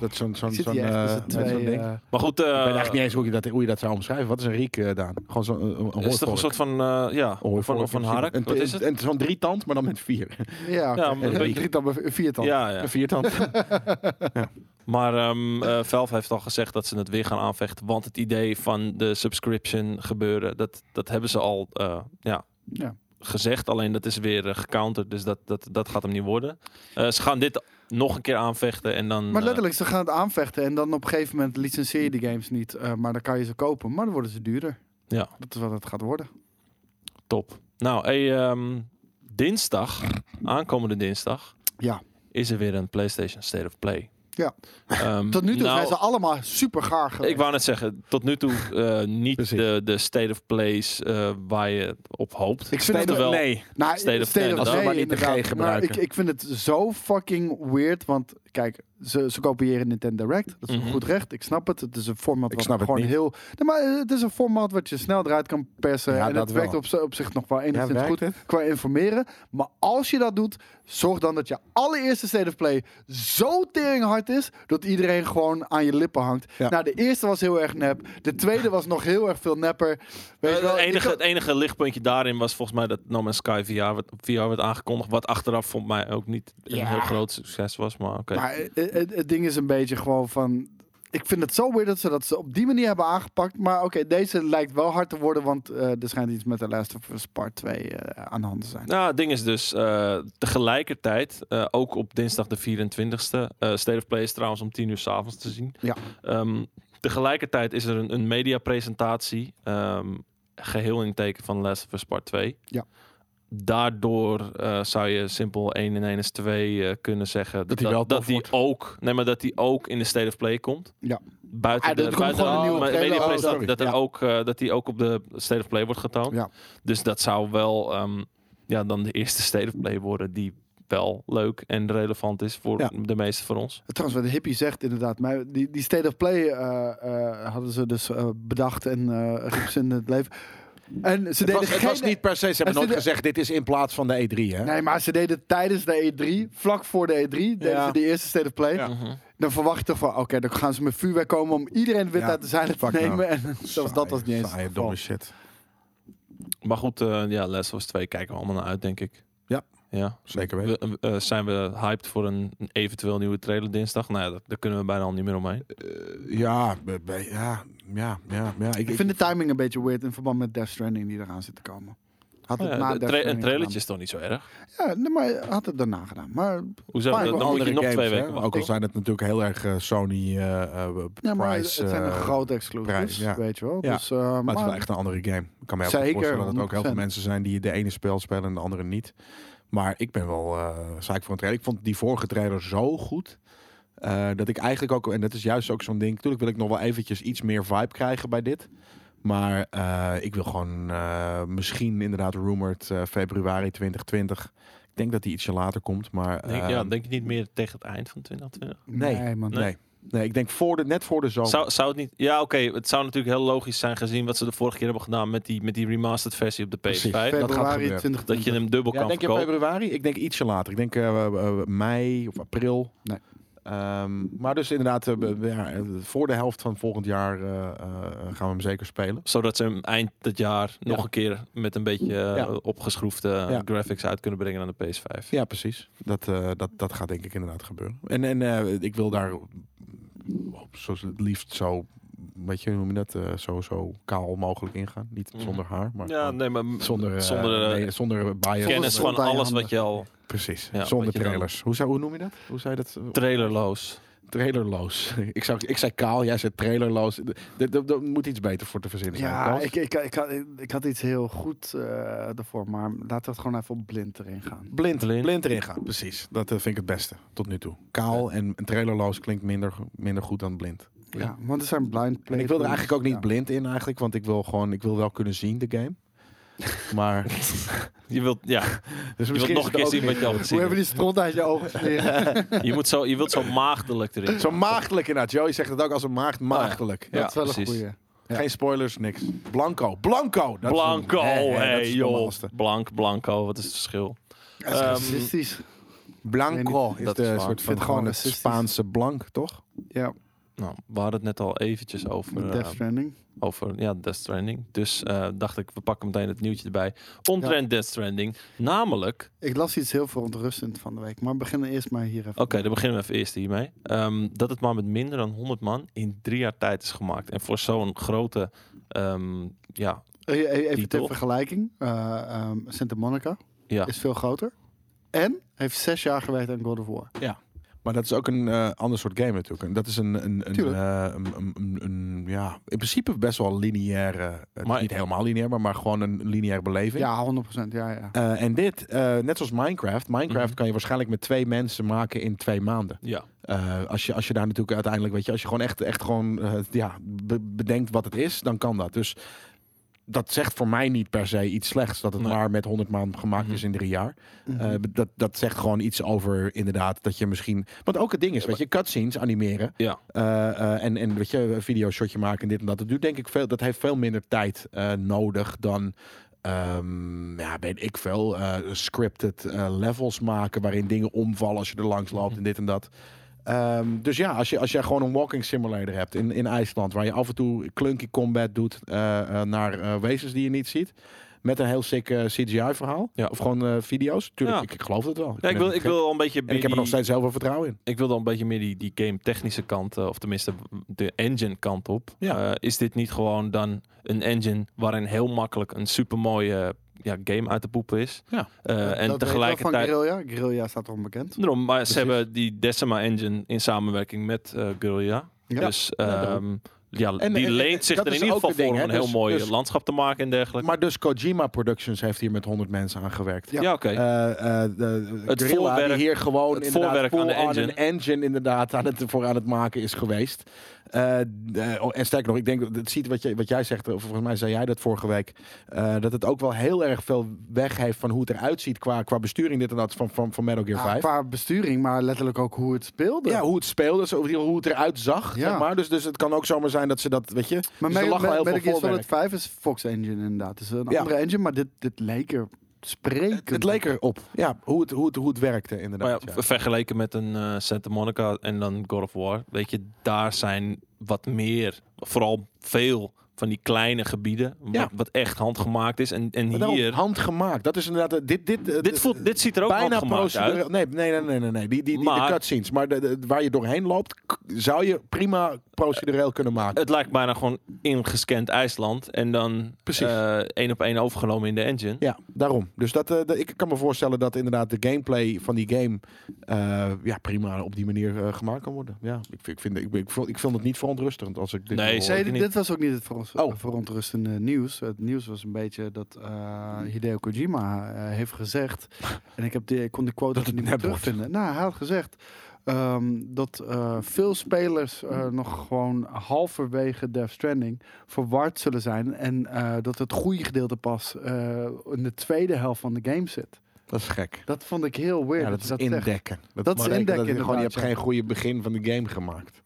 [SPEAKER 3] Dat is zo'n zo'n
[SPEAKER 1] Ik zit
[SPEAKER 3] zo'n
[SPEAKER 1] hier echt
[SPEAKER 3] eh,
[SPEAKER 1] tussen
[SPEAKER 3] zo'n
[SPEAKER 1] twee...
[SPEAKER 3] ding.
[SPEAKER 1] eh,
[SPEAKER 2] Maar goed,
[SPEAKER 3] Ik
[SPEAKER 2] eh
[SPEAKER 3] weet eigenlijk niet eens hoe je dat, hoe je dat zou omschrijven. Wat is een riek, eh, Daan? Gewoon zo'n een-
[SPEAKER 2] is
[SPEAKER 3] een
[SPEAKER 2] toch een
[SPEAKER 3] hoorvork.
[SPEAKER 2] soort van eh, ja,
[SPEAKER 3] Een hoorvork
[SPEAKER 2] van, of een
[SPEAKER 3] in principe.
[SPEAKER 2] hark?
[SPEAKER 3] En-
[SPEAKER 2] Wat is het?
[SPEAKER 3] En, en zo'n drietand, maar dan met vier.
[SPEAKER 1] ja, oké.
[SPEAKER 2] Ja, maar een
[SPEAKER 1] Drie
[SPEAKER 2] beetje-
[SPEAKER 1] dan, maar vier dan.
[SPEAKER 2] Ja, ja.
[SPEAKER 3] Een viertand.
[SPEAKER 2] Maar ehm eh, Valve heeft al gezegd dat ze het weer gaan aanvechten. Want het idee van de subscription gebeuren, dat, dat hebben ze al eh, ja,
[SPEAKER 1] Ja.
[SPEAKER 2] gezegd. Alleen dat is weer eh, gecounterd, dus dat, dat, dat gaat hem niet worden. Eh, ze gaan dit nog een keer aanvechten en dan...
[SPEAKER 1] Maar
[SPEAKER 2] eh,
[SPEAKER 1] letterlijk, ze gaan het aanvechten en dan op een gegeven moment licenseer je die games niet. eh, maar dan kan je ze kopen, maar dan worden ze duurder.
[SPEAKER 2] Ja.
[SPEAKER 1] Dat is wat het gaat worden.
[SPEAKER 2] top. Nou, hey, ehm, dinsdag, aankomende dinsdag,
[SPEAKER 1] Ja.
[SPEAKER 2] is er weer een PlayStation State of Play.
[SPEAKER 1] Ja.
[SPEAKER 2] Ehm,
[SPEAKER 1] Tot nu toe
[SPEAKER 2] nou,
[SPEAKER 1] zijn ze allemaal super gaar geweest.
[SPEAKER 2] Ik wou net zeggen, tot nu toe eh, niet
[SPEAKER 3] Precies.
[SPEAKER 2] de, de State of Plays eh, waar je op hoopt.
[SPEAKER 1] Ik vind het
[SPEAKER 2] Oftewel-
[SPEAKER 3] Nee.
[SPEAKER 1] Nou,
[SPEAKER 2] State of Play, dat
[SPEAKER 3] is maar niet de G
[SPEAKER 1] inderdaad.
[SPEAKER 3] gebruiken.
[SPEAKER 1] Maar ik, ik vind het zo fucking weird, want kijk, ze, ze kopiëren Nintendo Direct. Dat is een
[SPEAKER 2] Mhm.
[SPEAKER 1] goed recht, ik snap het. Het is een format
[SPEAKER 3] Ik
[SPEAKER 1] wat
[SPEAKER 3] snap het
[SPEAKER 1] gewoon
[SPEAKER 3] niet.
[SPEAKER 1] heel... Nee, maar eh, het is een format wat je snel eruit kan persen.
[SPEAKER 3] Ja,
[SPEAKER 1] en
[SPEAKER 3] dat
[SPEAKER 1] het werkt
[SPEAKER 3] wel.
[SPEAKER 1] op, zi- op zich nog wel
[SPEAKER 3] Ja,
[SPEAKER 1] enigszins
[SPEAKER 3] werkt
[SPEAKER 1] goed
[SPEAKER 3] het?
[SPEAKER 1] qua informeren. Maar als je dat doet, zorg dan dat je allereerste State of Play zo teringhard is... dat iedereen gewoon aan je lippen hangt.
[SPEAKER 3] Ja.
[SPEAKER 1] Nou, de eerste was heel erg nep. De tweede was nog heel erg veel nepper. Weet je
[SPEAKER 2] Eh,
[SPEAKER 1] wel,
[SPEAKER 2] het,
[SPEAKER 1] ik
[SPEAKER 2] enige,
[SPEAKER 1] kan-
[SPEAKER 2] het enige lichtpuntje daarin was volgens mij dat No Man's Sky VR werd, VR werd aangekondigd. Wat achteraf vond mij ook niet een
[SPEAKER 1] Ja.
[SPEAKER 2] heel groot succes was. Maar oké.
[SPEAKER 1] Maar het, het- het ding is een beetje gewoon van... Ik vind het zo weird dat ze dat ze op die manier hebben aangepakt. Maar oké, deze lijkt wel hard te worden. Want eh, er schijnt iets met The Last of Us Part 2 eh, aan de hand te zijn.
[SPEAKER 2] Nou, het ding is dus eh, tegelijkertijd, eh, ook op dinsdag de 24e, eh State of Play is trouwens om 10 uur s'avonds te zien.
[SPEAKER 1] Ja.
[SPEAKER 2] Ehm, tegelijkertijd is er een, een mediapresentatie ehm, geheel in het teken van Last of Us Part 2.
[SPEAKER 1] Ja.
[SPEAKER 2] Daardoor eh, zou je simpel 1 en 1 is 2 eh, kunnen zeggen. Dat,
[SPEAKER 3] die wel
[SPEAKER 2] dat,
[SPEAKER 3] tof
[SPEAKER 2] die
[SPEAKER 3] wordt.
[SPEAKER 2] ook, nee, maar dat die ook in de State of Play komt.
[SPEAKER 1] Ja.
[SPEAKER 2] Buiten
[SPEAKER 1] Ah,
[SPEAKER 2] de,
[SPEAKER 1] dat komt
[SPEAKER 2] buiten
[SPEAKER 1] gewoon een nieuwe
[SPEAKER 2] maar-
[SPEAKER 1] trailer.
[SPEAKER 2] media
[SPEAKER 1] Oh,
[SPEAKER 2] presentatie,
[SPEAKER 1] sorry.
[SPEAKER 2] dat, er
[SPEAKER 1] Ja.
[SPEAKER 2] ook, eh, dat die ook op de State of Play wordt getoond.
[SPEAKER 1] Ja.
[SPEAKER 2] Dus dat zou wel ehm, ja, dan de eerste State of Play worden die wel leuk en relevant is voor
[SPEAKER 1] Ja.
[SPEAKER 2] de meeste van ons.
[SPEAKER 1] Trouwens, wat de hippie zegt inderdaad. Maar die, die State of Play eh, eh, hadden ze dus eh, bedacht en eh riepen ze in het leven. En ze
[SPEAKER 3] Het
[SPEAKER 1] deden
[SPEAKER 3] was, het
[SPEAKER 1] geen...
[SPEAKER 3] was niet per se, ze
[SPEAKER 1] het
[SPEAKER 3] hebben nooit
[SPEAKER 1] is-
[SPEAKER 3] gezegd, dit is in plaats van de E3, hè?
[SPEAKER 1] Nee, maar ze deden tijdens de E3, vlak voor de E3, deden
[SPEAKER 3] Ja.
[SPEAKER 1] ze de eerste State of Play.
[SPEAKER 3] Ja.
[SPEAKER 2] Mhm.
[SPEAKER 1] Dan verwacht je toch van, oké, dan gaan ze met vuurwerk komen om iedereen wit
[SPEAKER 3] Ja,
[SPEAKER 1] uit de zeilen te
[SPEAKER 3] fuck
[SPEAKER 1] nemen.
[SPEAKER 3] no.
[SPEAKER 1] En zelfs dat was niet eens
[SPEAKER 3] Saaie,
[SPEAKER 1] het geval.
[SPEAKER 3] domme shit.
[SPEAKER 2] Maar goed, eh, ja, Last of Us 2 kijken we allemaal naar uit, denk ik.
[SPEAKER 3] Ja.
[SPEAKER 2] ja.
[SPEAKER 3] Zeker weten.
[SPEAKER 2] We, eh, zijn we hyped voor een eventueel nieuwe trailer dinsdag? Nou ja, dat- daar kunnen we bijna al niet meer omheen.
[SPEAKER 3] Ja, be- be- ja, ja, ja. ja.
[SPEAKER 1] Ik vind de timing een beetje weird in verband met Death Stranding die eraan zit te komen. Had het
[SPEAKER 2] Nou ja,
[SPEAKER 1] na
[SPEAKER 2] de-
[SPEAKER 1] Death
[SPEAKER 2] tra- een
[SPEAKER 1] Stranding
[SPEAKER 2] trailertje is toch niet zo erg?
[SPEAKER 1] gedaan. Ja, nee, maar had het daarna gedaan. Maar
[SPEAKER 2] Hoezo?
[SPEAKER 1] Fijn,
[SPEAKER 2] Dan
[SPEAKER 1] maar
[SPEAKER 2] moet je nog twee weken
[SPEAKER 3] Ook al
[SPEAKER 2] wachten.
[SPEAKER 3] zijn het natuurlijk heel erg eh, Sony eh eh,
[SPEAKER 1] Ja, maar
[SPEAKER 3] price.
[SPEAKER 1] het zijn een
[SPEAKER 3] eh,
[SPEAKER 1] grote exclusives,
[SPEAKER 3] prijs, ja.
[SPEAKER 1] weet je wel.
[SPEAKER 3] Ja,
[SPEAKER 1] Dus, eh,
[SPEAKER 3] Maar
[SPEAKER 1] maar
[SPEAKER 3] het is wel echt een andere game. Ik kan me heel goed
[SPEAKER 1] Zeker,
[SPEAKER 3] voorstellen dat er ook heel veel
[SPEAKER 1] 100%.
[SPEAKER 3] mensen zijn die de ene spel spelen en de andere niet. Maar ik ben wel eh zaak voor een trailer. Ik vond die vorige trailer zo goed. eh, dat ik eigenlijk ook, en dat is juist ook zo'n ding. Natuurlijk wil ik nog wel eventjes iets meer vibe krijgen bij dit. Maar eh, ik wil gewoon eh, misschien inderdaad rumored eh, februari 2020. Ik denk dat die ietsje later komt. Maar
[SPEAKER 2] Denk,
[SPEAKER 3] eh,
[SPEAKER 2] ja,
[SPEAKER 1] Ehm.
[SPEAKER 2] denk je niet meer tegen het eind van 2020?
[SPEAKER 1] nee, man.
[SPEAKER 3] nee. nee. ik denk voor de, net voor de zomer.
[SPEAKER 2] Zou, zou het niet... Ja, oké. het zou natuurlijk heel logisch zijn gezien wat ze de vorige keer hebben gedaan met die, met die remastered versie op de PS5.
[SPEAKER 3] Precies.
[SPEAKER 2] Dat-
[SPEAKER 3] gaat
[SPEAKER 1] Februari
[SPEAKER 3] gebeuren.
[SPEAKER 1] 2020.
[SPEAKER 2] Dat je hem dubbel
[SPEAKER 3] Ja,
[SPEAKER 2] kan
[SPEAKER 3] denk
[SPEAKER 2] verkopen.
[SPEAKER 3] je februari? Ik denk ietsje later. Ik denk eh, eh, eh, mei of april.
[SPEAKER 1] Nee.
[SPEAKER 3] Ehm, maar dus inderdaad, eh, we- we- ja, eh, voor de helft van volgend jaar eh, eh, gaan we hem zeker spelen.
[SPEAKER 2] Zodat ze hem eind dit jaar nog
[SPEAKER 3] Ja.
[SPEAKER 2] een keer met een beetje eh,
[SPEAKER 3] Ja.
[SPEAKER 2] opgeschroefde
[SPEAKER 3] Ja.
[SPEAKER 2] graphics uit kunnen brengen aan de PS5.
[SPEAKER 3] Ja, precies. Dat, eh, dat, dat gaat denk ik inderdaad gebeuren. En, en eh, ik wil daar op zo, het liefst zo, weet je, hoe noem je dat, Eh, zo, zo kaal mogelijk ingaan. Niet
[SPEAKER 2] Mhm.
[SPEAKER 3] zonder haar, maar
[SPEAKER 2] Ja, nee, maar m-
[SPEAKER 3] zonder, eh,
[SPEAKER 2] zonder, eh,
[SPEAKER 3] nee, zonder bias.
[SPEAKER 2] kennis van
[SPEAKER 1] Zonder
[SPEAKER 2] alles
[SPEAKER 1] handen.
[SPEAKER 2] wat je al
[SPEAKER 3] Precies,
[SPEAKER 2] Ja,
[SPEAKER 3] zonder
[SPEAKER 2] wat je dan-
[SPEAKER 3] trailers. Hoe, zou, hoe noem je dat? Hoe zei je dat? eh,
[SPEAKER 2] trailerloos.
[SPEAKER 3] Trailerloos. ik, zou, ik zei kaal, jij zei trailerloos. Er moet iets beter voor te verzinnen zijn.
[SPEAKER 1] Ja,
[SPEAKER 3] Klaas?
[SPEAKER 1] ik, ik, ik, had, ik, ik had iets heel goed eh ervoor, maar laten we het gewoon even op blind erin gaan.
[SPEAKER 3] Blind,
[SPEAKER 2] Blind.
[SPEAKER 3] blind. erin gaan, precies. Dat eh, vind ik het beste tot nu toe. Kaal en trailerloos klinkt minder, minder goed dan blind.
[SPEAKER 1] Ja, want er zijn blind
[SPEAKER 3] En
[SPEAKER 1] plays.
[SPEAKER 3] ik wil er eigenlijk ook niet
[SPEAKER 1] Ja.
[SPEAKER 3] blind in eigenlijk, want ik wil gewoon, ik wil wel kunnen zien de game. Maar,
[SPEAKER 2] Je wilt, ja,
[SPEAKER 3] dus
[SPEAKER 2] je wilt
[SPEAKER 3] misschien
[SPEAKER 2] nog een keer zien wat je al hebt
[SPEAKER 1] Hoe hebben
[SPEAKER 2] gezien.
[SPEAKER 1] die stront uit je ogen vliegen?
[SPEAKER 2] Je, moet zo, je wilt zo maagdelijk erin.
[SPEAKER 3] Zo maagdelijk inderdaad. Joey zegt het ook als een maagd, maagdelijk.
[SPEAKER 2] Ja,
[SPEAKER 1] dat is wel
[SPEAKER 2] precies.
[SPEAKER 1] een goeie.
[SPEAKER 3] Ja. Geen spoilers, niks. Blanco, Blanco! Dat is een-
[SPEAKER 2] Blanco,
[SPEAKER 3] hè, hè, dat
[SPEAKER 2] hey,
[SPEAKER 3] is het
[SPEAKER 2] joh.
[SPEAKER 3] normaalste.
[SPEAKER 2] Blank, blanco, wat is het verschil?
[SPEAKER 1] Dat is
[SPEAKER 2] Ehm,
[SPEAKER 1] racistisch.
[SPEAKER 3] Blanco
[SPEAKER 1] Nee,
[SPEAKER 3] is
[SPEAKER 2] dat
[SPEAKER 3] de
[SPEAKER 2] is waar.
[SPEAKER 3] soort
[SPEAKER 1] Ik
[SPEAKER 3] van
[SPEAKER 1] vind het
[SPEAKER 3] gewoon
[SPEAKER 1] gewoon
[SPEAKER 3] het
[SPEAKER 1] racistisch.
[SPEAKER 3] Spaanse blank, toch?
[SPEAKER 1] Ja,
[SPEAKER 2] Nou, we hadden het net al eventjes over, eh,
[SPEAKER 1] Death Stranding.
[SPEAKER 2] over ja, Death Stranding. Dus eh, dacht ik, we pakken meteen het nieuwtje erbij. Omtrent Death Stranding. Namelijk,
[SPEAKER 1] Ik las iets heel verontrustend van de week, maar we beginnen eerst maar hier even.
[SPEAKER 2] oké, dan beginnen we even eerst hiermee. Ehm, dat het maar met minder dan 100 man in drie jaar tijd is gemaakt. En voor zo'n grote, ehm, ja,
[SPEAKER 1] Eh, eh, Even
[SPEAKER 2] Titel.
[SPEAKER 1] ter vergelijking. eh, ehm, Santa Monica
[SPEAKER 2] ja.
[SPEAKER 1] is veel groter. En heeft zes jaar gewerkt aan God of War.
[SPEAKER 3] Maar dat is ook een eh, ander soort game natuurlijk. En dat is een, een, een,
[SPEAKER 1] Tuurlijk.
[SPEAKER 3] eh, een, een, een- een- ja, in principe best wel lineaire, eh, het is
[SPEAKER 2] Maar-
[SPEAKER 3] niet helemaal lineair, maar, maar gewoon een lineaire beleving.
[SPEAKER 1] Ja, 100%. Ja, ja.
[SPEAKER 3] Eh, en dit, eh, net zoals Minecraft, Minecraft
[SPEAKER 2] Mhm.
[SPEAKER 3] kan je waarschijnlijk met twee mensen maken in twee maanden.
[SPEAKER 2] ja.
[SPEAKER 3] Eh, als, je, als je daar natuurlijk uiteindelijk, weet je, als je gewoon echt, echt gewoon, eh, ja, be- bedenkt wat het is, dan kan dat. Dus dat zegt voor mij niet per se iets slechts, dat het
[SPEAKER 2] Nee.
[SPEAKER 3] maar met 100 maanden gemaakt
[SPEAKER 2] Mhm.
[SPEAKER 3] is in drie jaar.
[SPEAKER 1] Mhm.
[SPEAKER 3] Eh, dat, dat zegt gewoon iets over inderdaad dat je misschien... Want ook het ding is, weet je, cutscenes animeren.
[SPEAKER 2] Ja.
[SPEAKER 3] Eh, eh, en, en weet je, een videoshotje maken en dit en dat. Dat, duurt denk ik veel, dat heeft veel minder tijd eh, nodig dan... ehm, ja, weet ik veel. eh, scripted eh, levels maken waarin dingen omvallen als je er langs loopt en dit en dat. Ehm, dus ja, als je, als je gewoon een walking simulator hebt in, in IJsland, waar je af en toe clunky combat doet eh, eh, naar eh, wezens die je niet ziet, met een heel sick eh, CGI-verhaal,
[SPEAKER 2] Ja.
[SPEAKER 3] of gewoon eh, video's, tuurlijk,
[SPEAKER 2] Ja.
[SPEAKER 3] ik, ik geloof het wel.
[SPEAKER 2] Ja, ik
[SPEAKER 3] ben
[SPEAKER 2] wil,
[SPEAKER 3] niet
[SPEAKER 2] ik
[SPEAKER 3] gek.
[SPEAKER 2] wil al een beetje
[SPEAKER 3] En
[SPEAKER 2] bij
[SPEAKER 3] ik heb er nog
[SPEAKER 2] die-
[SPEAKER 3] steeds heel veel vertrouwen in.
[SPEAKER 2] ik wil dan een beetje meer die, die game technische kant, eh, of tenminste de engine kant op.
[SPEAKER 3] Ja.
[SPEAKER 2] Eh, is dit niet gewoon dan een engine waarin heel makkelijk een supermooie ja, game uit te poepen is?
[SPEAKER 3] Ja.
[SPEAKER 2] Eh,
[SPEAKER 1] Dat-
[SPEAKER 2] en
[SPEAKER 1] dat
[SPEAKER 2] tegelijkertijd...
[SPEAKER 1] Weet je wel van Guerrilla. Guerrilla staat onbekend.
[SPEAKER 2] Daarom, maar ze
[SPEAKER 3] Precies.
[SPEAKER 2] hebben die Decima engine in samenwerking met eh Guerrilla.
[SPEAKER 1] Ja.
[SPEAKER 2] Dus
[SPEAKER 3] Ja,
[SPEAKER 2] ehm, Ja,
[SPEAKER 3] En-
[SPEAKER 2] die
[SPEAKER 3] en- en-
[SPEAKER 2] leent zich
[SPEAKER 3] dat
[SPEAKER 2] er in
[SPEAKER 3] is
[SPEAKER 2] ieder
[SPEAKER 3] ook
[SPEAKER 2] geval
[SPEAKER 3] een ding,
[SPEAKER 2] voor om een
[SPEAKER 3] hè?
[SPEAKER 2] heel
[SPEAKER 3] Dus-
[SPEAKER 2] mooi eh,
[SPEAKER 3] dus-
[SPEAKER 2] landschap te maken en dergelijke.
[SPEAKER 3] Maar dus Kojima Productions heeft hier met 100 mensen aan gewerkt.
[SPEAKER 2] ja, oké.
[SPEAKER 3] Eh, eh, de
[SPEAKER 2] Het
[SPEAKER 3] het Gorilla die
[SPEAKER 2] voorwerk-
[SPEAKER 3] hier gewoon
[SPEAKER 2] het
[SPEAKER 3] inderdaad
[SPEAKER 2] voorwerk
[SPEAKER 3] full
[SPEAKER 2] aan de
[SPEAKER 3] on
[SPEAKER 2] engine.
[SPEAKER 3] een engine inderdaad aan het, voor aan het maken is geweest. Eh, eh, oh, en sterker nog, ik denk dat het ziet wat, je, wat jij zegt, of volgens mij zei jij dat vorige week, eh, dat het ook wel heel erg veel weg heeft van hoe het eruit ziet qua, qua besturing dit en dat van, van, van Metal Gear 5.
[SPEAKER 1] Ah, qua besturing, maar letterlijk ook hoe het speelde.
[SPEAKER 3] Ja, hoe het speelde, zo- hoe het eruit zag.
[SPEAKER 1] Ja.
[SPEAKER 3] Zeg maar. dus, dus het kan ook zomaar zijn dat ze dat, weet je.
[SPEAKER 1] maar
[SPEAKER 3] dus er lag wel heel
[SPEAKER 1] Metal
[SPEAKER 3] veel
[SPEAKER 1] Gear
[SPEAKER 3] voorwerk.
[SPEAKER 1] Solid 5 is Fox Engine inderdaad. Het is een
[SPEAKER 3] Ja.
[SPEAKER 1] andere engine, maar dit, dit leek er sprekend.
[SPEAKER 3] Het, het leek erop. Ja, hoe het, hoe het, hoe het werkte
[SPEAKER 2] Maar ja,
[SPEAKER 3] inderdaad. ja.
[SPEAKER 2] ver- vergeleken met een eh, Santa Monica en dan God of War, weet je, daar zijn wat meer, vooral veel van die kleine gebieden,
[SPEAKER 3] Ja.
[SPEAKER 2] wat, wat echt handgemaakt is. En, en
[SPEAKER 3] Maar daarom,
[SPEAKER 2] hier,
[SPEAKER 3] handgemaakt. Dat is inderdaad. eh, Dit, dit, eh,
[SPEAKER 2] dit, voelt, dit ziet er ook
[SPEAKER 3] bijna
[SPEAKER 2] handgemaakt uit.
[SPEAKER 3] procedureel. Nee, nee, nee, nee, nee, nee. Die, die, die,
[SPEAKER 2] Maar-
[SPEAKER 3] de cutscenes. Maar de, de- waar je doorheen loopt, k- zou je prima procedureel kunnen maken.
[SPEAKER 2] Het lijkt bijna gewoon ingescand IJsland en dan
[SPEAKER 3] Precies.
[SPEAKER 2] eh, één op één overgenomen in de engine.
[SPEAKER 3] Ja, daarom. Dus dat, eh, dat- ik kan me voorstellen dat inderdaad de gameplay van die game eh, ja, prima op die manier eh, gemaakt kan worden. Ja, ik, vind- ik, vind, ik, ik, vond- ik vond het niet verontrustend als ik dit
[SPEAKER 2] Nee,
[SPEAKER 3] hoor.
[SPEAKER 2] zeker.
[SPEAKER 1] Nee,
[SPEAKER 2] ik
[SPEAKER 1] dit,
[SPEAKER 2] niet.
[SPEAKER 1] dit was ook niet het veront-
[SPEAKER 3] Oh.
[SPEAKER 1] verontrustende nieuws. Het nieuws was een beetje dat eh, Hideo Kojima eh, heeft gezegd. en ik, heb die, ik kon die quote
[SPEAKER 3] het
[SPEAKER 1] niet meer
[SPEAKER 3] nep wordt.
[SPEAKER 1] terugvinden. Nou, hij had gezegd ehm, dat eh, veel spelers eh, nog gewoon halverwege Death Stranding verward zullen zijn. En eh, dat het goede gedeelte pas eh, in de tweede helft van de game zit.
[SPEAKER 3] Dat is gek.
[SPEAKER 1] Dat vond ik heel weird.
[SPEAKER 3] Ja, dat is indekken.
[SPEAKER 1] Dat is
[SPEAKER 3] betekent
[SPEAKER 1] indekken,
[SPEAKER 3] dat je gewoon, je
[SPEAKER 1] inderdaad,
[SPEAKER 3] hebt geen goede begin van de game gemaakt.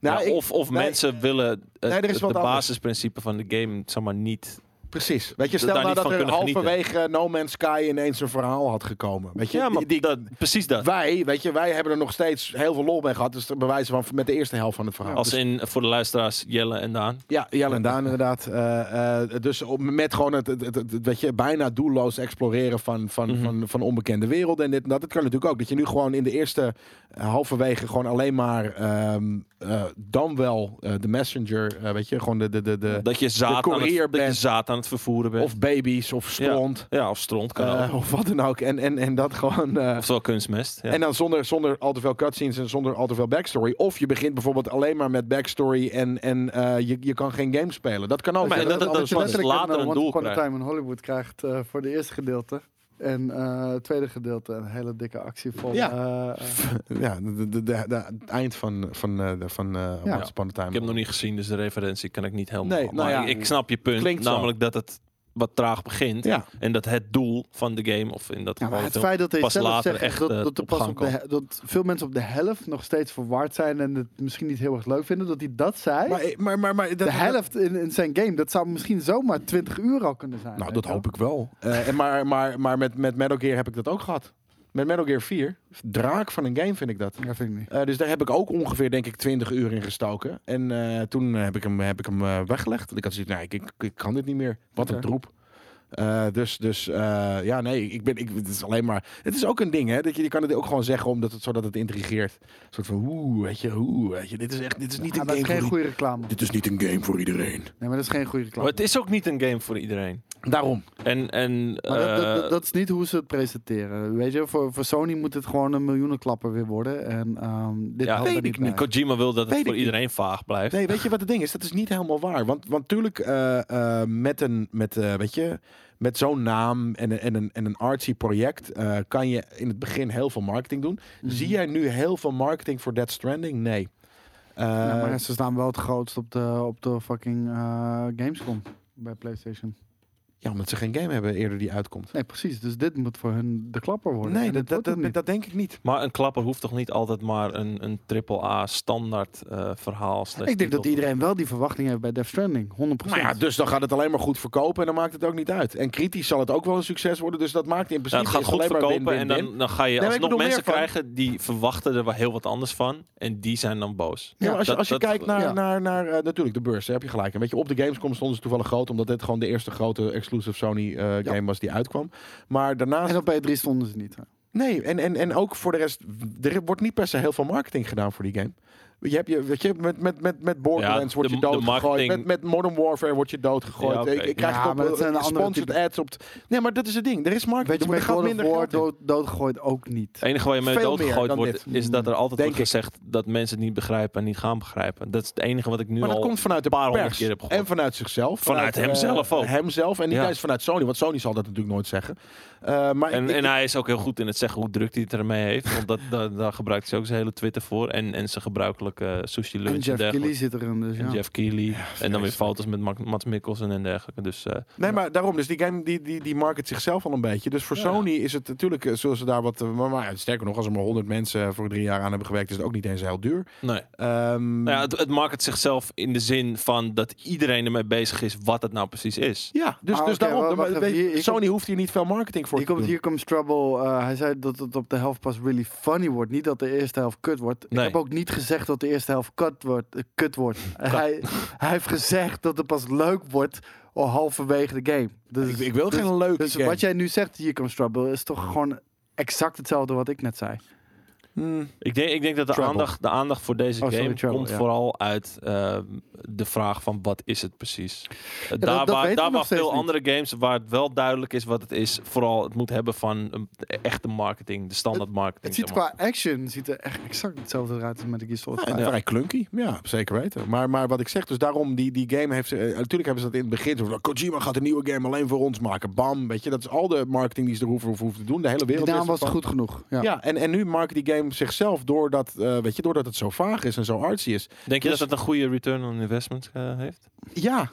[SPEAKER 3] Nou,
[SPEAKER 2] Ja,
[SPEAKER 3] ik-
[SPEAKER 2] of of
[SPEAKER 3] nee.
[SPEAKER 2] mensen willen het,
[SPEAKER 3] Nee, er is
[SPEAKER 2] het-
[SPEAKER 3] wat
[SPEAKER 2] de
[SPEAKER 3] anders.
[SPEAKER 2] basisprincipe van de game zeg maar, niet.
[SPEAKER 3] Precies. Weet je,
[SPEAKER 2] Dat
[SPEAKER 3] stel
[SPEAKER 2] daar
[SPEAKER 3] nou
[SPEAKER 2] niet
[SPEAKER 3] dat
[SPEAKER 2] van
[SPEAKER 3] er
[SPEAKER 2] kunnen genieten.
[SPEAKER 3] halverwege eh, No Man's Sky ineens een verhaal had gekomen. Weet je,
[SPEAKER 2] Ja, maar
[SPEAKER 3] Die- die,
[SPEAKER 2] dat, precies dat.
[SPEAKER 3] wij, weet je, wij hebben er nog steeds heel veel lol bij gehad. Dus bewijzen van met de eerste helft van het verhaal.
[SPEAKER 2] Als
[SPEAKER 3] Dus-
[SPEAKER 2] in eh, voor de luisteraars Jelle en Daan.
[SPEAKER 3] ja, Jelle en Daan inderdaad. Eh, eh, dus op, met gewoon het, het, het, het- weet je, bijna doelloos exploreren van, van,
[SPEAKER 2] Mhm.
[SPEAKER 3] van, van onbekende werelden en dit en dat. Dat kan natuurlijk ook. Dat je nu gewoon in de eerste eh, halverwege gewoon alleen maar ehm, eh, dan wel eh, de messenger, eh, weet je, gewoon de, de, de, de
[SPEAKER 2] dat je zaad, aan
[SPEAKER 3] courier
[SPEAKER 2] het, dat je
[SPEAKER 3] bent.
[SPEAKER 2] zaad aan het vervoeren bent.
[SPEAKER 3] of baby's of stront.
[SPEAKER 2] ja, of stront kan
[SPEAKER 3] eh,
[SPEAKER 2] ook.
[SPEAKER 3] of wat dan ook. En, en, en dat gewoon. eh,
[SPEAKER 2] Oftewel kunstmest. Ja.
[SPEAKER 3] En dan zonder, zonder al te veel cutscenes en zonder al te veel backstory. Of je begint bijvoorbeeld alleen maar met backstory en, en eh, je, je kan geen game spelen. Dat kan ook.
[SPEAKER 2] Maar
[SPEAKER 3] Dat-
[SPEAKER 2] dat-
[SPEAKER 3] dat-
[SPEAKER 2] dat-
[SPEAKER 3] dat-
[SPEAKER 1] je
[SPEAKER 2] pas
[SPEAKER 1] letterlijk
[SPEAKER 2] later een
[SPEAKER 1] een
[SPEAKER 2] doel
[SPEAKER 1] Once Upon a
[SPEAKER 2] krijgt.
[SPEAKER 1] Time in Hollywood krijgt eh, voor de eerste gedeelte. En eh, het tweede gedeelte, een hele dikke actie vol.
[SPEAKER 3] Ja.
[SPEAKER 1] eh, eh,
[SPEAKER 3] ja, de, de, de, de- het eind van, van, eh, de- van eh
[SPEAKER 1] Ja.
[SPEAKER 3] Once Upon a Time.
[SPEAKER 2] Ik heb hem nog niet gezien, dus de referentie kan ik niet helemaal.
[SPEAKER 3] Nee, nou
[SPEAKER 2] maar
[SPEAKER 3] ja,
[SPEAKER 2] ik, ik snap je punt.
[SPEAKER 3] klinkt zo.
[SPEAKER 2] namelijk dat het wat traag begint.
[SPEAKER 3] Ja.
[SPEAKER 2] En dat het doel van de game, of in dat
[SPEAKER 1] ja,
[SPEAKER 2] geval
[SPEAKER 1] maar
[SPEAKER 2] de
[SPEAKER 1] het
[SPEAKER 2] film,
[SPEAKER 1] feit dat hij
[SPEAKER 2] pas
[SPEAKER 1] zelf
[SPEAKER 2] later
[SPEAKER 1] zegt
[SPEAKER 2] echt,
[SPEAKER 1] dat,
[SPEAKER 2] eh,
[SPEAKER 1] dat, er
[SPEAKER 2] op
[SPEAKER 1] pas
[SPEAKER 2] gang
[SPEAKER 1] op de, he- dat veel mensen op de helft nog steeds verward zijn en het misschien niet heel erg leuk vinden, dat hij dat zei.
[SPEAKER 3] Maar, maar, maar, maar dat,
[SPEAKER 1] de helft in, in zijn game, dat zou misschien zomaar 20 uur al kunnen zijn.
[SPEAKER 3] Nou,
[SPEAKER 1] weet
[SPEAKER 3] dat
[SPEAKER 1] je wel.
[SPEAKER 3] hoop ik wel. Eh, en maar maar, maar met, met Metal Gear heb ik dat ook gehad. Met Metal Gear 4. Draak van een game vind ik dat.
[SPEAKER 1] Ja, vind ik niet.
[SPEAKER 3] Eh, dus daar heb ik ook ongeveer, denk ik, 20 uur in gestoken. En eh, toen heb ik hem, heb ik hem eh, weggelegd. Want Ik had zoiets, nou, ik, ik, ik kan dit niet meer. Wat een
[SPEAKER 1] Oké.
[SPEAKER 3] troep. Eh, dus dus eh, ja, nee, ik ben, ik, het is alleen maar. Het is ook een ding, hè? Dat je, je kan het ook gewoon zeggen omdat het, zodat het intrigeert. Een soort van, oeh, weet je, oeh, weet je, dit is echt, dit is niet
[SPEAKER 1] Ja,
[SPEAKER 3] een
[SPEAKER 1] Ah, dat is
[SPEAKER 3] game.
[SPEAKER 1] geen
[SPEAKER 3] Voor
[SPEAKER 1] goede reclame.
[SPEAKER 3] i- dit is niet een game voor iedereen.
[SPEAKER 1] Nee, maar dat is geen goede
[SPEAKER 2] Maar
[SPEAKER 1] reclame.
[SPEAKER 2] het is ook niet een game voor iedereen.
[SPEAKER 3] Daarom.
[SPEAKER 2] En, en
[SPEAKER 1] Maar dat, dat,
[SPEAKER 2] eh,
[SPEAKER 1] dat, dat is niet hoe ze het presenteren. Weet je, voor, voor Sony moet het gewoon een miljoenenklapper weer worden. En ehm, dit
[SPEAKER 2] Ja,
[SPEAKER 1] helpt er
[SPEAKER 3] weet ik
[SPEAKER 1] bij.
[SPEAKER 3] niet.
[SPEAKER 2] Kojima wil dat het
[SPEAKER 3] Weet ik
[SPEAKER 2] voor
[SPEAKER 3] niet.
[SPEAKER 2] iedereen vaag blijft.
[SPEAKER 3] Nee, weet je wat het ding is? Dat is niet helemaal waar. Want, want tuurlijk, eh, eh, met een, met, eh, weet je, met zo'n naam en, een- en, een, en een artsy project eh, kan je in het begin heel veel marketing doen.
[SPEAKER 1] Mhm.
[SPEAKER 3] Zie jij nu heel veel marketing voor Dead Stranding? Nee. Eh,
[SPEAKER 1] Ja, maar ze staan wel het grootst op de, op de fucking eh, Gamescom bij PlayStation.
[SPEAKER 3] ja, omdat ze geen game hebben eerder die uitkomt.
[SPEAKER 1] Nee, precies. Dus dit moet voor hun de klapper worden.
[SPEAKER 3] Nee,
[SPEAKER 1] En
[SPEAKER 3] dat,
[SPEAKER 1] dit
[SPEAKER 3] dat,
[SPEAKER 1] wordt
[SPEAKER 3] dat,
[SPEAKER 1] het
[SPEAKER 3] dat denk ik niet.
[SPEAKER 2] Maar een klapper hoeft toch niet altijd maar een, een AAA standaard eh, verhaal.
[SPEAKER 1] niet. Ik denk dat iedereen wel die verwachting heeft bij Death Stranding. 100%.
[SPEAKER 3] Maar ja, dus dan gaat het alleen maar goed verkopen en dan maakt het ook niet uit. En kritisch zal het ook wel een succes worden, dus dat maakt in
[SPEAKER 2] Ja,
[SPEAKER 3] principe
[SPEAKER 2] het gaat
[SPEAKER 3] is
[SPEAKER 2] goed
[SPEAKER 3] alleen maar
[SPEAKER 2] verkopen
[SPEAKER 3] win, win,
[SPEAKER 2] en dan,
[SPEAKER 3] win.
[SPEAKER 2] dan ga je
[SPEAKER 3] maar ik
[SPEAKER 2] alsnog
[SPEAKER 3] bedoel meer
[SPEAKER 2] mensen
[SPEAKER 3] van-
[SPEAKER 2] krijgen die verwachten er wel heel wat anders van. En die zijn dan boos.
[SPEAKER 3] Ja, maar als je,
[SPEAKER 2] dat-
[SPEAKER 3] als je
[SPEAKER 2] dat-
[SPEAKER 3] kijkt naar,
[SPEAKER 1] ja.
[SPEAKER 3] naar, naar eh, natuurlijk de beurs, daar heb je gelijk. En weet je, op de Gamescom stonden ze toevallig groot, omdat dit gewoon de eerste grote exclusive Sony eh, game was die uitkwam. Maar daarnaast,
[SPEAKER 1] En op E3 stonden ze niet. hè.
[SPEAKER 3] nee, en, en, en ook voor de rest, er wordt niet per se heel veel marketing gedaan voor die game. Je hebt je, weet je, met, met, met, met Borderlands
[SPEAKER 2] Ja,
[SPEAKER 3] word
[SPEAKER 2] de-
[SPEAKER 3] je
[SPEAKER 2] de
[SPEAKER 3] doodgegooid.
[SPEAKER 2] marketing-
[SPEAKER 3] Met, met Modern Warfare word je doodgegooid.
[SPEAKER 2] Ja, oké.
[SPEAKER 3] ik, ik krijg
[SPEAKER 1] Ja,
[SPEAKER 3] het op
[SPEAKER 1] maar dat zijn
[SPEAKER 3] eh,
[SPEAKER 1] andere
[SPEAKER 3] sponsored
[SPEAKER 1] type-
[SPEAKER 3] ads op. t- Nee, maar dat is het ding. Er is marketing.
[SPEAKER 1] Weet je,
[SPEAKER 3] er
[SPEAKER 1] met
[SPEAKER 3] gaat
[SPEAKER 1] God of
[SPEAKER 3] minder
[SPEAKER 1] War
[SPEAKER 3] geld in.
[SPEAKER 1] dood, doodgegooid ook niet.
[SPEAKER 2] Het enige waar je mee
[SPEAKER 3] Veel meer
[SPEAKER 2] doodgegooid
[SPEAKER 3] dan
[SPEAKER 2] wordt,
[SPEAKER 3] dit.
[SPEAKER 2] is dat er altijd
[SPEAKER 3] Denk
[SPEAKER 2] wordt gezegd dat mensen het niet begrijpen en niet gaan begrijpen. Dat is het enige wat ik nu
[SPEAKER 3] Maar dat
[SPEAKER 2] al...
[SPEAKER 3] komt vanuit de
[SPEAKER 2] paar honderd
[SPEAKER 3] pers
[SPEAKER 2] keer heb gehoord.
[SPEAKER 3] en vanuit zichzelf.
[SPEAKER 2] Vanuit
[SPEAKER 3] eh,
[SPEAKER 2] hemzelf ook.
[SPEAKER 3] Hemzelf en niet
[SPEAKER 2] Ja.
[SPEAKER 3] eens vanuit Sony, want Sony zal dat natuurlijk nooit zeggen. Eh, maar
[SPEAKER 2] En,
[SPEAKER 3] ik-
[SPEAKER 2] en hij is ook heel goed in het zeggen hoe druk hij het ermee heeft. Want dat, daar, daar gebruikt hij ook zijn hele Twitter voor. En, en zijn gebruikelijke eh, sushi lunch
[SPEAKER 1] En
[SPEAKER 2] en,
[SPEAKER 1] Jeff
[SPEAKER 2] dergelijke.
[SPEAKER 1] Keighley zit erin, dus
[SPEAKER 2] En
[SPEAKER 1] ja.
[SPEAKER 2] Jeff Keighley. en dan weer
[SPEAKER 3] vreselijk.
[SPEAKER 2] foto's met Mark- Mats Mikkelsen en dergelijke. Dus eh,
[SPEAKER 3] nee, maar daarom. Dus die game die, die, die market zichzelf al een beetje. Dus voor
[SPEAKER 2] Ja.
[SPEAKER 3] Sony is het natuurlijk, eh, zullen ze daar wat. eh, Maar, maar sterker nog, als er maar 100 mensen voor drie jaar aan hebben gewerkt, is het ook niet eens heel duur.
[SPEAKER 2] nee.
[SPEAKER 3] Ehm,
[SPEAKER 2] Nou ja,
[SPEAKER 3] ja,
[SPEAKER 2] het, het market zichzelf in de zin van dat iedereen ermee bezig is wat het nou precies is.
[SPEAKER 3] dus,
[SPEAKER 1] Ah,
[SPEAKER 3] dus
[SPEAKER 1] oké,
[SPEAKER 3] daarom.
[SPEAKER 1] wacht
[SPEAKER 3] maar
[SPEAKER 1] even,
[SPEAKER 3] weet je,
[SPEAKER 1] hier- hier
[SPEAKER 3] Sony hoeft hier niet veel marketing voor
[SPEAKER 1] Hier
[SPEAKER 3] te
[SPEAKER 1] komt,
[SPEAKER 3] doen.
[SPEAKER 1] hier comes trouble. eh, hij zei dat het op de helft pas really funny wordt. Niet dat de eerste helft kut wordt.
[SPEAKER 2] Nee.
[SPEAKER 1] Ik heb ook niet gezegd dat de eerste helft kut wordt. eh, kut wordt. hij, hij heeft gezegd dat het pas leuk wordt al halverwege de game. Dus,
[SPEAKER 3] ik, ik wil
[SPEAKER 1] dus-
[SPEAKER 3] geen leuke
[SPEAKER 1] Dus
[SPEAKER 3] game. Mm.
[SPEAKER 1] wat jij nu zegt, hier comes trouble, is toch gewoon exact hetzelfde wat ik net zei.
[SPEAKER 3] Hmm.
[SPEAKER 2] Ik denk, ik denk dat de
[SPEAKER 3] Trouble.
[SPEAKER 2] aandacht, de aandacht voor deze
[SPEAKER 1] Oh,
[SPEAKER 2] game
[SPEAKER 1] sorry, Trouble,
[SPEAKER 2] komt
[SPEAKER 1] ja.
[SPEAKER 2] vooral uit eh, de vraag van wat is het precies. Eh, daar
[SPEAKER 1] dat- dat
[SPEAKER 2] waar,
[SPEAKER 1] weten
[SPEAKER 2] daar
[SPEAKER 1] we
[SPEAKER 2] waar
[SPEAKER 1] nog steeds
[SPEAKER 2] veel
[SPEAKER 1] niet.
[SPEAKER 2] andere games waar het wel duidelijk is wat het is, vooral het moet hebben van een echte marketing, de standaard marketing.
[SPEAKER 1] Het ziet
[SPEAKER 2] zeg maar.
[SPEAKER 1] qua action ziet er echt exact hetzelfde uit als met de Gear Solid
[SPEAKER 3] Ja,
[SPEAKER 1] vijf.
[SPEAKER 2] Ja.
[SPEAKER 3] Vrij klunky, ja, zeker weten. Maar, maar wat ik zeg, dus daarom, die, die game heeft... ze- eh, natuurlijk hebben ze dat in het begin. Zo, van, nou, Kojima gaat een nieuwe game alleen voor ons maken. Bam, weet je. Dat is al de marketing die ze er hoeven, hoeven hoeven te doen. De hele
[SPEAKER 1] Die
[SPEAKER 3] wereld
[SPEAKER 1] naam
[SPEAKER 3] is
[SPEAKER 1] was
[SPEAKER 3] ervan.
[SPEAKER 1] goed genoeg. Ja.
[SPEAKER 3] Ja, en, en nu maakt die game zichzelf doordat, eh, weet je, doordat het zo vaag is en zo artsy is.
[SPEAKER 2] Denk je
[SPEAKER 3] Dus-
[SPEAKER 2] dat het een goede return on investment eh, heeft?
[SPEAKER 3] Ja,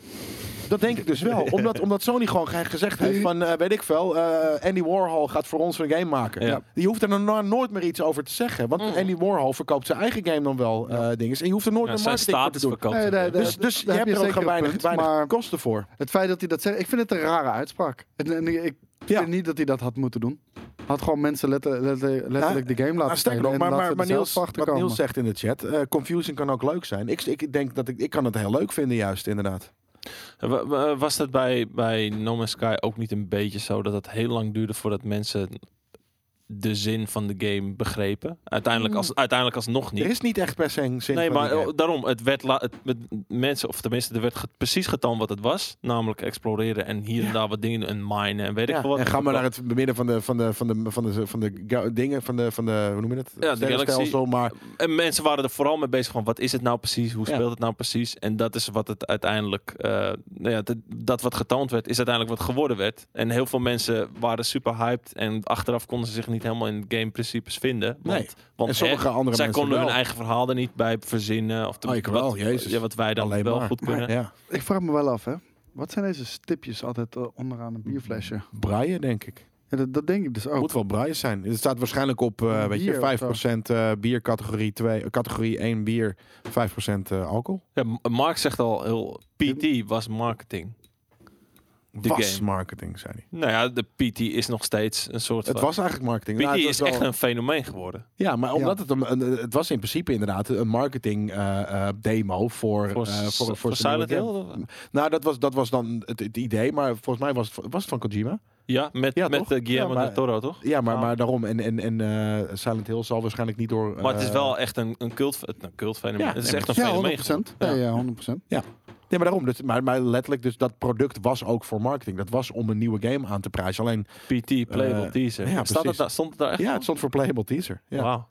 [SPEAKER 3] dat denk ik dus wel. Omdat, omdat Sony gewoon ge- gezegd heeft van, eh, weet ik veel, eh, Andy Warhol gaat voor ons een game maken.
[SPEAKER 2] Ja.
[SPEAKER 3] Die hoeft er nou nooit meer iets over te zeggen. Want
[SPEAKER 2] Mm.
[SPEAKER 3] Andy Warhol verkoopt zijn eigen game dan wel eh dingen. En je hoeft er nooit
[SPEAKER 2] Ja,
[SPEAKER 3] meer
[SPEAKER 2] zijn
[SPEAKER 3] marketing voor te
[SPEAKER 2] status
[SPEAKER 3] doen.
[SPEAKER 2] verkoopt.
[SPEAKER 1] Nee, nee,
[SPEAKER 2] het.
[SPEAKER 1] nee.
[SPEAKER 3] Dus, dus je
[SPEAKER 1] daar heb
[SPEAKER 3] hebt
[SPEAKER 1] je
[SPEAKER 3] er ook
[SPEAKER 1] zeker
[SPEAKER 3] gewoon
[SPEAKER 1] een
[SPEAKER 3] weinig,
[SPEAKER 1] punt,
[SPEAKER 3] weinig
[SPEAKER 1] maar-
[SPEAKER 3] kosten voor.
[SPEAKER 1] Het feit dat hij dat zegt, ik vind het een rare uitspraak. En, en ik
[SPEAKER 3] Ja.
[SPEAKER 1] vind niet dat hij dat had moeten doen. Had gewoon mensen letter- letter- letterlijk de game
[SPEAKER 3] Nou,
[SPEAKER 1] laten
[SPEAKER 3] sterker
[SPEAKER 1] spelen.
[SPEAKER 3] nog,
[SPEAKER 1] en
[SPEAKER 3] maar,
[SPEAKER 1] laten
[SPEAKER 3] maar,
[SPEAKER 1] ze
[SPEAKER 3] maar
[SPEAKER 1] er zelf
[SPEAKER 3] Niels,
[SPEAKER 1] achter
[SPEAKER 3] wat
[SPEAKER 1] komen.
[SPEAKER 3] Niels zegt in de chat, eh, confusing kan ook leuk zijn. Ik, ik denk dat ik, ik kan het heel leuk vinden juist, inderdaad.
[SPEAKER 2] Wa- wa- Was dat bij, bij No Man's Sky ook niet een beetje zo dat het heel lang duurde voordat mensen de zin van de game begrepen? Uiteindelijk, als, uiteindelijk alsnog
[SPEAKER 3] Mm. Er
[SPEAKER 2] niet.
[SPEAKER 3] is niet echt per se een zin
[SPEAKER 2] Nee,
[SPEAKER 3] van
[SPEAKER 2] maar
[SPEAKER 3] die game.
[SPEAKER 2] eh, daarom, het werd la- het, met mensen, of tenminste, er werd ge- precies getoond wat het was. Namelijk exploreren en hier en daar wat dingen en minen en weet ik
[SPEAKER 3] Ja,
[SPEAKER 2] veel wat.
[SPEAKER 3] en ga maar naar het midden van de, van de, van de, van de, van de, ga- dingen, van de, van de, hoe noem je dat?
[SPEAKER 2] de
[SPEAKER 3] Sterrenstelsel, Maar
[SPEAKER 2] En mensen waren er vooral mee bezig van, wat is het nou precies? Hoe
[SPEAKER 3] Ja.
[SPEAKER 2] speelt het nou precies? En dat is wat het uiteindelijk, eh, nou ja, dat, dat wat getoond werd, is uiteindelijk wat geworden werd. En heel veel mensen waren super hyped en achteraf konden ze zich niet helemaal in game principes vinden. Want,
[SPEAKER 3] Nee.
[SPEAKER 2] want
[SPEAKER 3] en sommige
[SPEAKER 2] hè,
[SPEAKER 3] andere
[SPEAKER 2] zij
[SPEAKER 3] mensen
[SPEAKER 2] konden hun
[SPEAKER 3] wel.
[SPEAKER 2] eigen verhaal er niet bij verzinnen. Of
[SPEAKER 3] Oh, ik
[SPEAKER 2] wat,
[SPEAKER 3] wel, Jezus.
[SPEAKER 2] Ja, wat wij dan
[SPEAKER 3] Alleen
[SPEAKER 2] wel
[SPEAKER 3] maar.
[SPEAKER 2] goed kunnen.
[SPEAKER 3] Ja,
[SPEAKER 1] Ik vraag me wel af, hè. Wat zijn deze stipjes altijd eh, onderaan een bierflesje?
[SPEAKER 3] braaien denk ik.
[SPEAKER 1] Ja, dat, dat denk ik dus ook.
[SPEAKER 3] Moet wel braaien zijn. Het staat waarschijnlijk op, eh, weet
[SPEAKER 1] Bier of
[SPEAKER 3] je, 5% eh bier categorie 2, eh, categorie 1 bier, 5% eh, alcohol.
[SPEAKER 2] Ja, M- Mark zegt al heel, PT was marketing. De
[SPEAKER 3] was
[SPEAKER 2] game.
[SPEAKER 3] marketing, zei hij.
[SPEAKER 2] Nou ja, de PT is nog steeds een soort
[SPEAKER 3] Het
[SPEAKER 2] van...
[SPEAKER 3] was eigenlijk marketing.
[SPEAKER 2] PT
[SPEAKER 3] Nou, het was
[SPEAKER 2] is echt
[SPEAKER 3] wel-
[SPEAKER 2] een fenomeen geworden.
[SPEAKER 3] Ja, maar omdat het een, een- het was in principe inderdaad een marketing eh, eh, demo voor
[SPEAKER 2] Voor,
[SPEAKER 3] eh, voor, voor,
[SPEAKER 2] voor
[SPEAKER 3] zijn
[SPEAKER 2] Silent
[SPEAKER 3] nieuwe
[SPEAKER 2] Hill?
[SPEAKER 3] game. Nou, dat was, dat was dan het, het idee, maar volgens mij was het, was het van Kojima.
[SPEAKER 2] Ja, met,
[SPEAKER 3] Ja,
[SPEAKER 2] met
[SPEAKER 3] toch?
[SPEAKER 2] eh, Guillermo
[SPEAKER 3] Ja, maar-
[SPEAKER 2] del Toro, toch?
[SPEAKER 3] Ja, maar,
[SPEAKER 2] Ah.
[SPEAKER 3] maar daarom. En, en, en eh, Silent Hill zal waarschijnlijk niet door.
[SPEAKER 2] Maar het is
[SPEAKER 3] eh,
[SPEAKER 2] wel echt een, een cult, eh, een cult fenomeen.
[SPEAKER 3] Ja,
[SPEAKER 2] het is
[SPEAKER 3] nee,
[SPEAKER 2] echt een
[SPEAKER 1] ja, 100%.
[SPEAKER 2] fenomeen.
[SPEAKER 1] Ja,
[SPEAKER 2] Ja.
[SPEAKER 1] ja, 100%.
[SPEAKER 3] Nee, maar daarom. Dus, maar, maar letterlijk, dus dat product was ook voor marketing. Dat was om een nieuwe game aan te prijzen. Alleen,
[SPEAKER 2] PT, Playable
[SPEAKER 3] Eh,
[SPEAKER 2] Teaser.
[SPEAKER 3] ja,
[SPEAKER 2] Staat het
[SPEAKER 3] precies.
[SPEAKER 2] daar, stond het daar echt
[SPEAKER 3] ja,
[SPEAKER 2] op?
[SPEAKER 3] het stond voor playable teaser. Ja.
[SPEAKER 2] Wauw.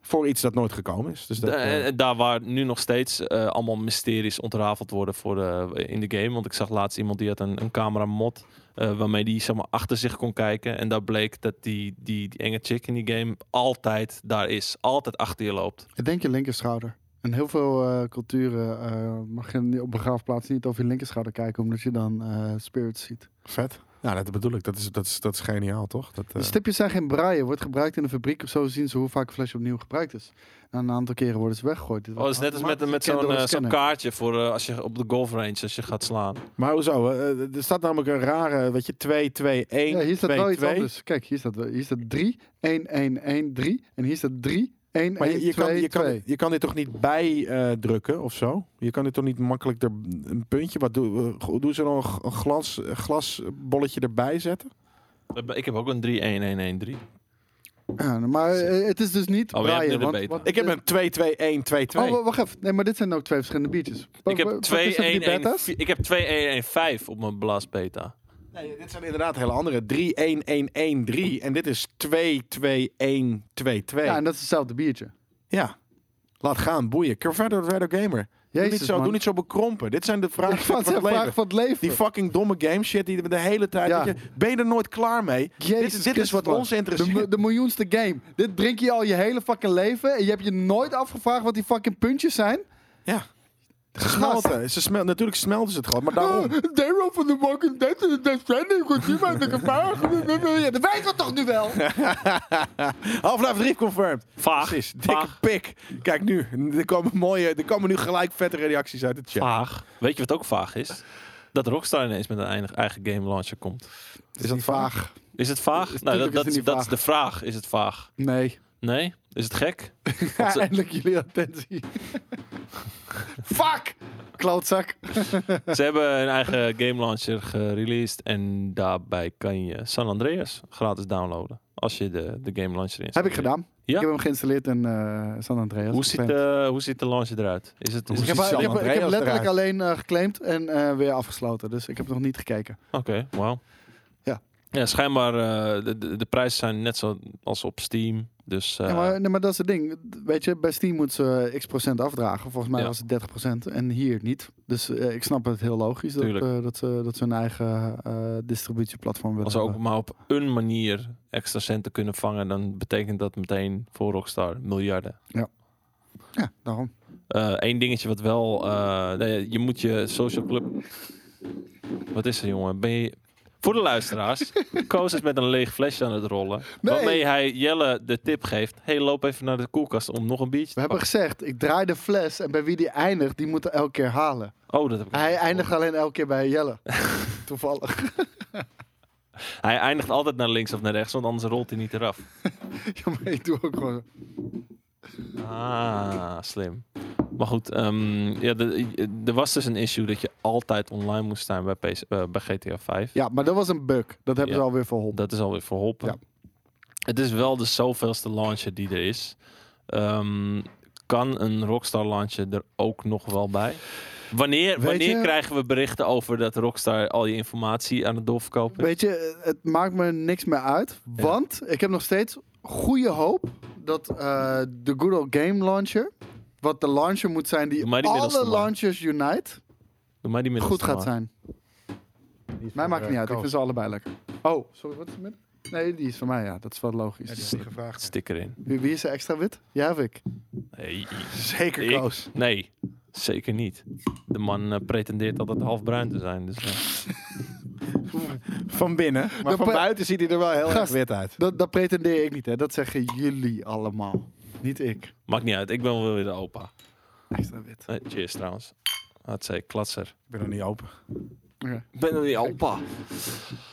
[SPEAKER 3] Voor iets dat nooit gekomen is. Dus dat,
[SPEAKER 2] Da-
[SPEAKER 3] eh,
[SPEAKER 2] en- en daar waar nu nog steeds eh, allemaal mysteries ontrafeld worden voor de, in de game. Want ik zag laatst iemand die had een, een camera mod. eh, waarmee die zeg maar, achter zich kon kijken. En daar bleek dat die, die, die enge chick in die game altijd daar is. Altijd achter je loopt.
[SPEAKER 1] Ik denk je linkerschouder. En heel veel eh, culturen eh, mag je niet- op begraafplaats niet over je linkerschouder kijken, omdat je dan eh, spirits ziet.
[SPEAKER 3] vet. Ja, dat bedoel ik. Dat is, dat is, dat is geniaal, toch? Dat, eh,
[SPEAKER 1] De stipjes zijn geen braaien, wordt gebruikt in de fabriek. Zo zien ze hoe vaak een flesje opnieuw gebruikt is. En een aantal keren worden ze weggegooid. Dit
[SPEAKER 2] Oh, dat is net als met, met
[SPEAKER 1] Scan
[SPEAKER 2] zo'n
[SPEAKER 1] door een
[SPEAKER 2] eh, zo'n
[SPEAKER 1] scanner.
[SPEAKER 2] kaartje voor eh, als je op de golfrange als je gaat slaan.
[SPEAKER 3] Maar hoezo? Eh, er staat namelijk een rare, weet je, 2, 2, 1,
[SPEAKER 1] Ja, hier staat
[SPEAKER 3] 2,
[SPEAKER 1] wel iets
[SPEAKER 3] 2.
[SPEAKER 1] anders. Kijk, hier staat, wel- hier staat 3, 1, 1, 1, 3. En hier staat 3, 1,
[SPEAKER 3] Maar
[SPEAKER 1] 1,
[SPEAKER 3] je, je,
[SPEAKER 1] 2,
[SPEAKER 3] kan, je,
[SPEAKER 1] 2.
[SPEAKER 3] kan, je kan dit toch niet bijdrukken drukken of zo? Je kan dit toch niet makkelijk er een puntje, wat doen doen ze dan een g- een glans, een glasbolletje erbij zetten?
[SPEAKER 2] Ik heb ook een 3-1-1-1-3.
[SPEAKER 1] Ja, maar eh, het is dus niet
[SPEAKER 2] Oh, maar jij hebt
[SPEAKER 1] Brian.
[SPEAKER 2] nu de
[SPEAKER 1] Want,
[SPEAKER 2] beta.
[SPEAKER 1] want-
[SPEAKER 3] Ik heb een 2-2-1-2-2.
[SPEAKER 1] Oh, wa- wacht even. Nee, maar dit zijn ook twee verschillende biertjes. Wa-
[SPEAKER 2] Ik heb
[SPEAKER 1] wa- wat is er met die beta's?
[SPEAKER 2] 2-1-1-4 ik heb 2-1-1-5 op mijn Blast Beta.
[SPEAKER 3] Nee, dit zijn inderdaad hele andere. 3-1-1-1-3. En dit is 2-2-1-2-2.
[SPEAKER 1] Ja,
[SPEAKER 3] Ja,
[SPEAKER 1] en dat is hetzelfde biertje.
[SPEAKER 3] Laat gaan, boeien. Curvado Redo Gamer. doe,
[SPEAKER 1] Jezus,
[SPEAKER 3] niet zo,
[SPEAKER 1] man.
[SPEAKER 3] doe niet zo bekrompen. Dit zijn de vragen van
[SPEAKER 1] Wat
[SPEAKER 3] het
[SPEAKER 1] zijn vragen
[SPEAKER 3] leven.
[SPEAKER 1] van het leven?
[SPEAKER 3] Die fucking domme game shit die we de hele tijd...
[SPEAKER 1] Ja.
[SPEAKER 3] weet je, ben je er nooit klaar mee? dit
[SPEAKER 1] Jezus
[SPEAKER 3] dit is
[SPEAKER 1] Christus,
[SPEAKER 3] wat
[SPEAKER 1] man.
[SPEAKER 3] ons
[SPEAKER 1] de,
[SPEAKER 3] interesseert.
[SPEAKER 1] mo- de miljoenste game. Dit drink je al je hele fucking leven. En je hebt je nooit afgevraagd wat die fucking puntjes zijn.
[SPEAKER 3] Ja. Gesmelten. Ze smel natuurlijk smelten ze het gewoon, maar daarom.
[SPEAKER 1] They were from the Walking Dead en Death Stranding. Goed, niemand de gevaar. Ja, dat weet wat toch nu wel?
[SPEAKER 3] Half-Life 3 confirmed.
[SPEAKER 2] Vaag.
[SPEAKER 3] Precies. Dikke
[SPEAKER 2] Vaag.
[SPEAKER 3] pik. Kijk nu. Er komen, mooie, er komen nu gelijk vette reacties uit de chat.
[SPEAKER 2] Vaag. Weet je wat ook vaag is? Dat Rockstar ineens met een eigen- eigen game launcher komt.
[SPEAKER 3] Is dat vaag?
[SPEAKER 2] Is het vaag? nou,
[SPEAKER 1] tuurlijk
[SPEAKER 2] dat,
[SPEAKER 1] is het
[SPEAKER 2] dat, is,
[SPEAKER 1] niet
[SPEAKER 2] dat is
[SPEAKER 1] vaag.
[SPEAKER 2] de vraag. Is het vaag?
[SPEAKER 1] Nee.
[SPEAKER 2] Nee? Is het gek? ze-
[SPEAKER 1] Eindelijk jullie attentie. Fuck! Klootzak.
[SPEAKER 2] Ze hebben een eigen game launcher gereleased. En daarbij kan je San Andreas gratis downloaden. Als je de, de game launcher in.
[SPEAKER 1] Heb ik gedaan.
[SPEAKER 2] Ja?
[SPEAKER 1] Ik heb hem geïnstalleerd in eh, San Andreas.
[SPEAKER 2] Hoe ziet, de, hoe ziet de launcher eruit? Is het, is
[SPEAKER 1] ik
[SPEAKER 3] ziet
[SPEAKER 1] heb, ik
[SPEAKER 2] het
[SPEAKER 1] heb-
[SPEAKER 3] eh, San
[SPEAKER 1] ik heb
[SPEAKER 3] Andreas
[SPEAKER 1] letterlijk
[SPEAKER 3] eruit?
[SPEAKER 1] alleen eh, geclaimd en eh, weer afgesloten. Dus ik heb nog niet gekeken.
[SPEAKER 2] Oké, wauw.
[SPEAKER 1] Ja.
[SPEAKER 2] Ja, schijnbaar eh, de, de, de prijzen zijn net zo als op Steam. Dus eh,
[SPEAKER 1] Ja, maar, nee, maar dat is het ding. Weet je, bij Steam moeten ze eh, x procent afdragen. Volgens mij
[SPEAKER 2] Ja.
[SPEAKER 1] was het 30 En hier niet. Dus eh, ik snap het heel logisch dat,
[SPEAKER 2] Tuurlijk.
[SPEAKER 1] eh, dat, ze, dat ze hun eigen eh, distributieplatform willen
[SPEAKER 2] als ze ook
[SPEAKER 1] hebben.
[SPEAKER 2] maar op een manier extra centen kunnen vangen, dan betekent dat meteen voor Rockstar miljarden.
[SPEAKER 1] Ja, daarom.
[SPEAKER 2] Eén dingetje wat wel. eh, nee, je moet je social club. Wat is er, jongen? Ben je. Voor de luisteraars, Koos is met een leeg flesje aan het rollen.
[SPEAKER 1] Nee.
[SPEAKER 2] Waarmee hij Jelle de tip geeft. hey, loop even naar de koelkast om nog een biertje
[SPEAKER 1] We
[SPEAKER 2] te
[SPEAKER 1] hebben gezegd, ik draai de fles en bij wie die eindigt, die moet er elke keer halen.
[SPEAKER 2] pakken." Oh, dat heb ik
[SPEAKER 1] Hij
[SPEAKER 2] niet
[SPEAKER 1] eindigt alleen elke keer bij Jelle. Toevallig.
[SPEAKER 2] gehoord. hij eindigt altijd naar links of naar rechts, want anders rolt hij niet eraf.
[SPEAKER 1] ja, maar ik doe ook gewoon...
[SPEAKER 2] Ah, slim. Maar goed, ehm, ja, de- er was dus een issue dat je altijd online moest zijn bij, PS, eh, bij GTA 5.
[SPEAKER 1] Ja, maar dat was een bug. Dat hebben
[SPEAKER 2] Ja.
[SPEAKER 1] ze alweer verholpen.
[SPEAKER 2] Dat is alweer verholpen.
[SPEAKER 1] Ja.
[SPEAKER 2] Het is wel de zoveelste launcher die er is. Ehm, kan een Rockstar launcher er ook nog wel bij? Wanneer,
[SPEAKER 1] Weet
[SPEAKER 2] wanneer
[SPEAKER 1] je-
[SPEAKER 2] krijgen we berichten over dat Rockstar al je informatie aan het doorverkopen is?
[SPEAKER 1] Weet je, het maakt me niks meer uit.
[SPEAKER 2] Ja.
[SPEAKER 1] Want ik heb nog steeds goede hoop dat eh, de Good Old Game Launcher, wat de launcher moet zijn die,
[SPEAKER 2] Doe maar die middelste
[SPEAKER 1] alle
[SPEAKER 2] man.
[SPEAKER 1] launchers unite,
[SPEAKER 2] Doe mij die middelste
[SPEAKER 1] goed gaat
[SPEAKER 2] maar.
[SPEAKER 1] zijn. Mij maakt het niet uit, ik vind ze allebei lekker. Oh, sorry, wat is er met? Nee, die is van mij, ja. Dat is wel logisch.
[SPEAKER 3] gevraagd.
[SPEAKER 2] Sticker in.
[SPEAKER 1] Wie, wie is er extra wit? Ja, heb ik.
[SPEAKER 2] Nee,
[SPEAKER 3] Zeker
[SPEAKER 2] Ik-
[SPEAKER 3] Koos.
[SPEAKER 2] nee, zeker niet. De man eh, pretendeert altijd halfbruin te zijn. Dus, eh.
[SPEAKER 3] Van binnen. Maar
[SPEAKER 1] De
[SPEAKER 3] van
[SPEAKER 1] pe-
[SPEAKER 3] buiten ziet hij er wel heel erg
[SPEAKER 1] Gast.
[SPEAKER 3] wit uit.
[SPEAKER 1] Dat, dat pretendeer ik niet, hè. Dat zeggen jullie allemaal. Niet ik.
[SPEAKER 2] Maakt niet uit, ik ben wel weer de opa.
[SPEAKER 1] Extra wit.
[SPEAKER 2] Eh, cheers trouwens. Hartstikke klatser.
[SPEAKER 3] Ik ben nog niet open.
[SPEAKER 1] Oké.
[SPEAKER 2] Ik ben weer opa.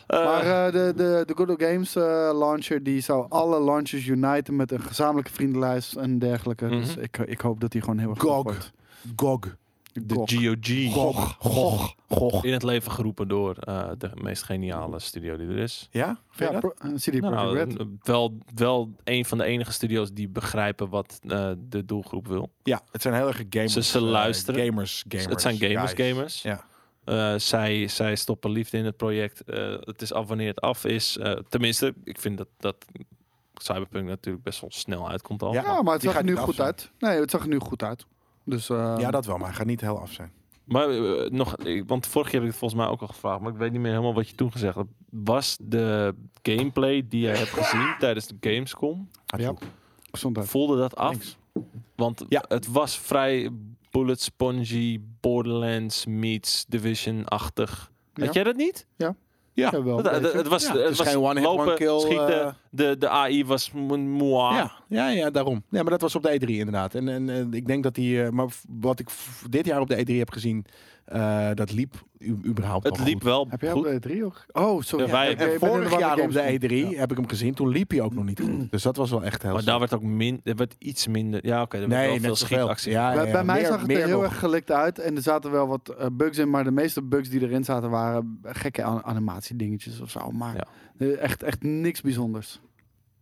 [SPEAKER 1] Maar eh, de, de, de Good Old Games eh, launcher die zou alle launchers uniten met een gezamenlijke vriendenlijst en dergelijke. Dus
[SPEAKER 2] Mhm.
[SPEAKER 1] ik, ik hoop dat die gewoon heel erg
[SPEAKER 3] GOG.
[SPEAKER 1] goed wordt.
[SPEAKER 3] Gog.
[SPEAKER 2] de
[SPEAKER 1] GOG.
[SPEAKER 2] GOG.
[SPEAKER 3] Gog. Gog. Gog.
[SPEAKER 2] in het leven geroepen door eh, de meest geniale studio die er is.
[SPEAKER 3] Ja? Vind
[SPEAKER 1] Ja,
[SPEAKER 3] je dat?
[SPEAKER 1] pro- eh, CD Projekt
[SPEAKER 2] Nou,
[SPEAKER 1] Red.
[SPEAKER 2] eh, wel, wel een van de enige studio's die begrijpen wat eh, de doelgroep wil.
[SPEAKER 3] Ja, het zijn heel erg gamers.
[SPEAKER 2] Ze- ze
[SPEAKER 3] eh,
[SPEAKER 2] luisteren.
[SPEAKER 3] gamers, gamers.
[SPEAKER 2] het zijn gamers,
[SPEAKER 3] guys.
[SPEAKER 2] gamers.
[SPEAKER 3] Ja.
[SPEAKER 2] Eh, zij, zij stoppen liefde in het project. Eh, het is af wanneer het af is. Eh, tenminste, ik vind dat, dat Cyberpunk natuurlijk best wel snel uitkomt al.
[SPEAKER 3] Ja.
[SPEAKER 1] Ja, maar het
[SPEAKER 3] die
[SPEAKER 1] zag er
[SPEAKER 3] gaat
[SPEAKER 1] nu
[SPEAKER 3] niet
[SPEAKER 1] goed
[SPEAKER 3] af
[SPEAKER 1] uit. Nee, het zag er nu goed uit. Dus eh,
[SPEAKER 2] Ehm.
[SPEAKER 3] Ja, dat wel, maar hij gaat niet heel af zijn.
[SPEAKER 2] Maar eh, nog, ik- want vorig jaar heb ik het volgens mij ook al gevraagd, maar ik weet niet meer helemaal wat je toen gezegd hebt. Was de gameplay die je hebt gezien tijdens de Gamescom,
[SPEAKER 1] Ja. gezondheid.
[SPEAKER 2] voelde dat af?
[SPEAKER 3] Thanks.
[SPEAKER 2] Want
[SPEAKER 3] Ja.
[SPEAKER 2] het was vrij bullet spongy, Borderlands meets Division-achtig.
[SPEAKER 1] Ja.
[SPEAKER 2] Had jij dat niet?
[SPEAKER 3] Ja.
[SPEAKER 1] Ja, wel.
[SPEAKER 2] Het- het, eh, het was,
[SPEAKER 3] Ja,
[SPEAKER 2] het
[SPEAKER 3] het is
[SPEAKER 2] was
[SPEAKER 3] geen one-hit,
[SPEAKER 2] lopen,
[SPEAKER 3] one-kill,
[SPEAKER 2] schieten.
[SPEAKER 3] eh.
[SPEAKER 2] de, de AI was mo- moi.
[SPEAKER 3] Ja, ja, ja, daarom. Ja, maar dat was op de E3 inderdaad. En, en, en ik denk dat die... eh, maar f- wat ik f- dit jaar op de E3 heb gezien, eh, dat liep u- überhaupt
[SPEAKER 2] Het
[SPEAKER 3] wel
[SPEAKER 2] liep
[SPEAKER 3] goed.
[SPEAKER 2] wel
[SPEAKER 1] Heb jij
[SPEAKER 2] goed.
[SPEAKER 1] op de E3 ook? Oh, sorry.
[SPEAKER 2] Ja, wij-
[SPEAKER 1] ik- ik ben
[SPEAKER 3] En
[SPEAKER 1] in de war
[SPEAKER 3] vorig
[SPEAKER 1] met
[SPEAKER 3] jaar op de E
[SPEAKER 1] Gamescom.
[SPEAKER 3] E3 heb ik hem gezien. Toen liep hij ook nog niet goed. Dus dat was wel echt heel
[SPEAKER 2] Mm. Maar daar werd ook min, er werd iets minder. Ja, oké, er werd
[SPEAKER 3] Nee,
[SPEAKER 2] wel veel
[SPEAKER 3] net zoveel.
[SPEAKER 2] schietactie.
[SPEAKER 3] Ja, ja,
[SPEAKER 1] Bij,
[SPEAKER 3] ja.
[SPEAKER 1] bij mij
[SPEAKER 3] Meer-
[SPEAKER 1] zag het
[SPEAKER 3] meer
[SPEAKER 1] er heel
[SPEAKER 3] nog.
[SPEAKER 1] erg gelikt uit. En er zaten wel wat eh, bugs in. Maar de meeste bugs die erin zaten waren gekke an- animatiedingetjes of zo. Maar
[SPEAKER 2] Ja.
[SPEAKER 1] eh, echt, echt niks bijzonders.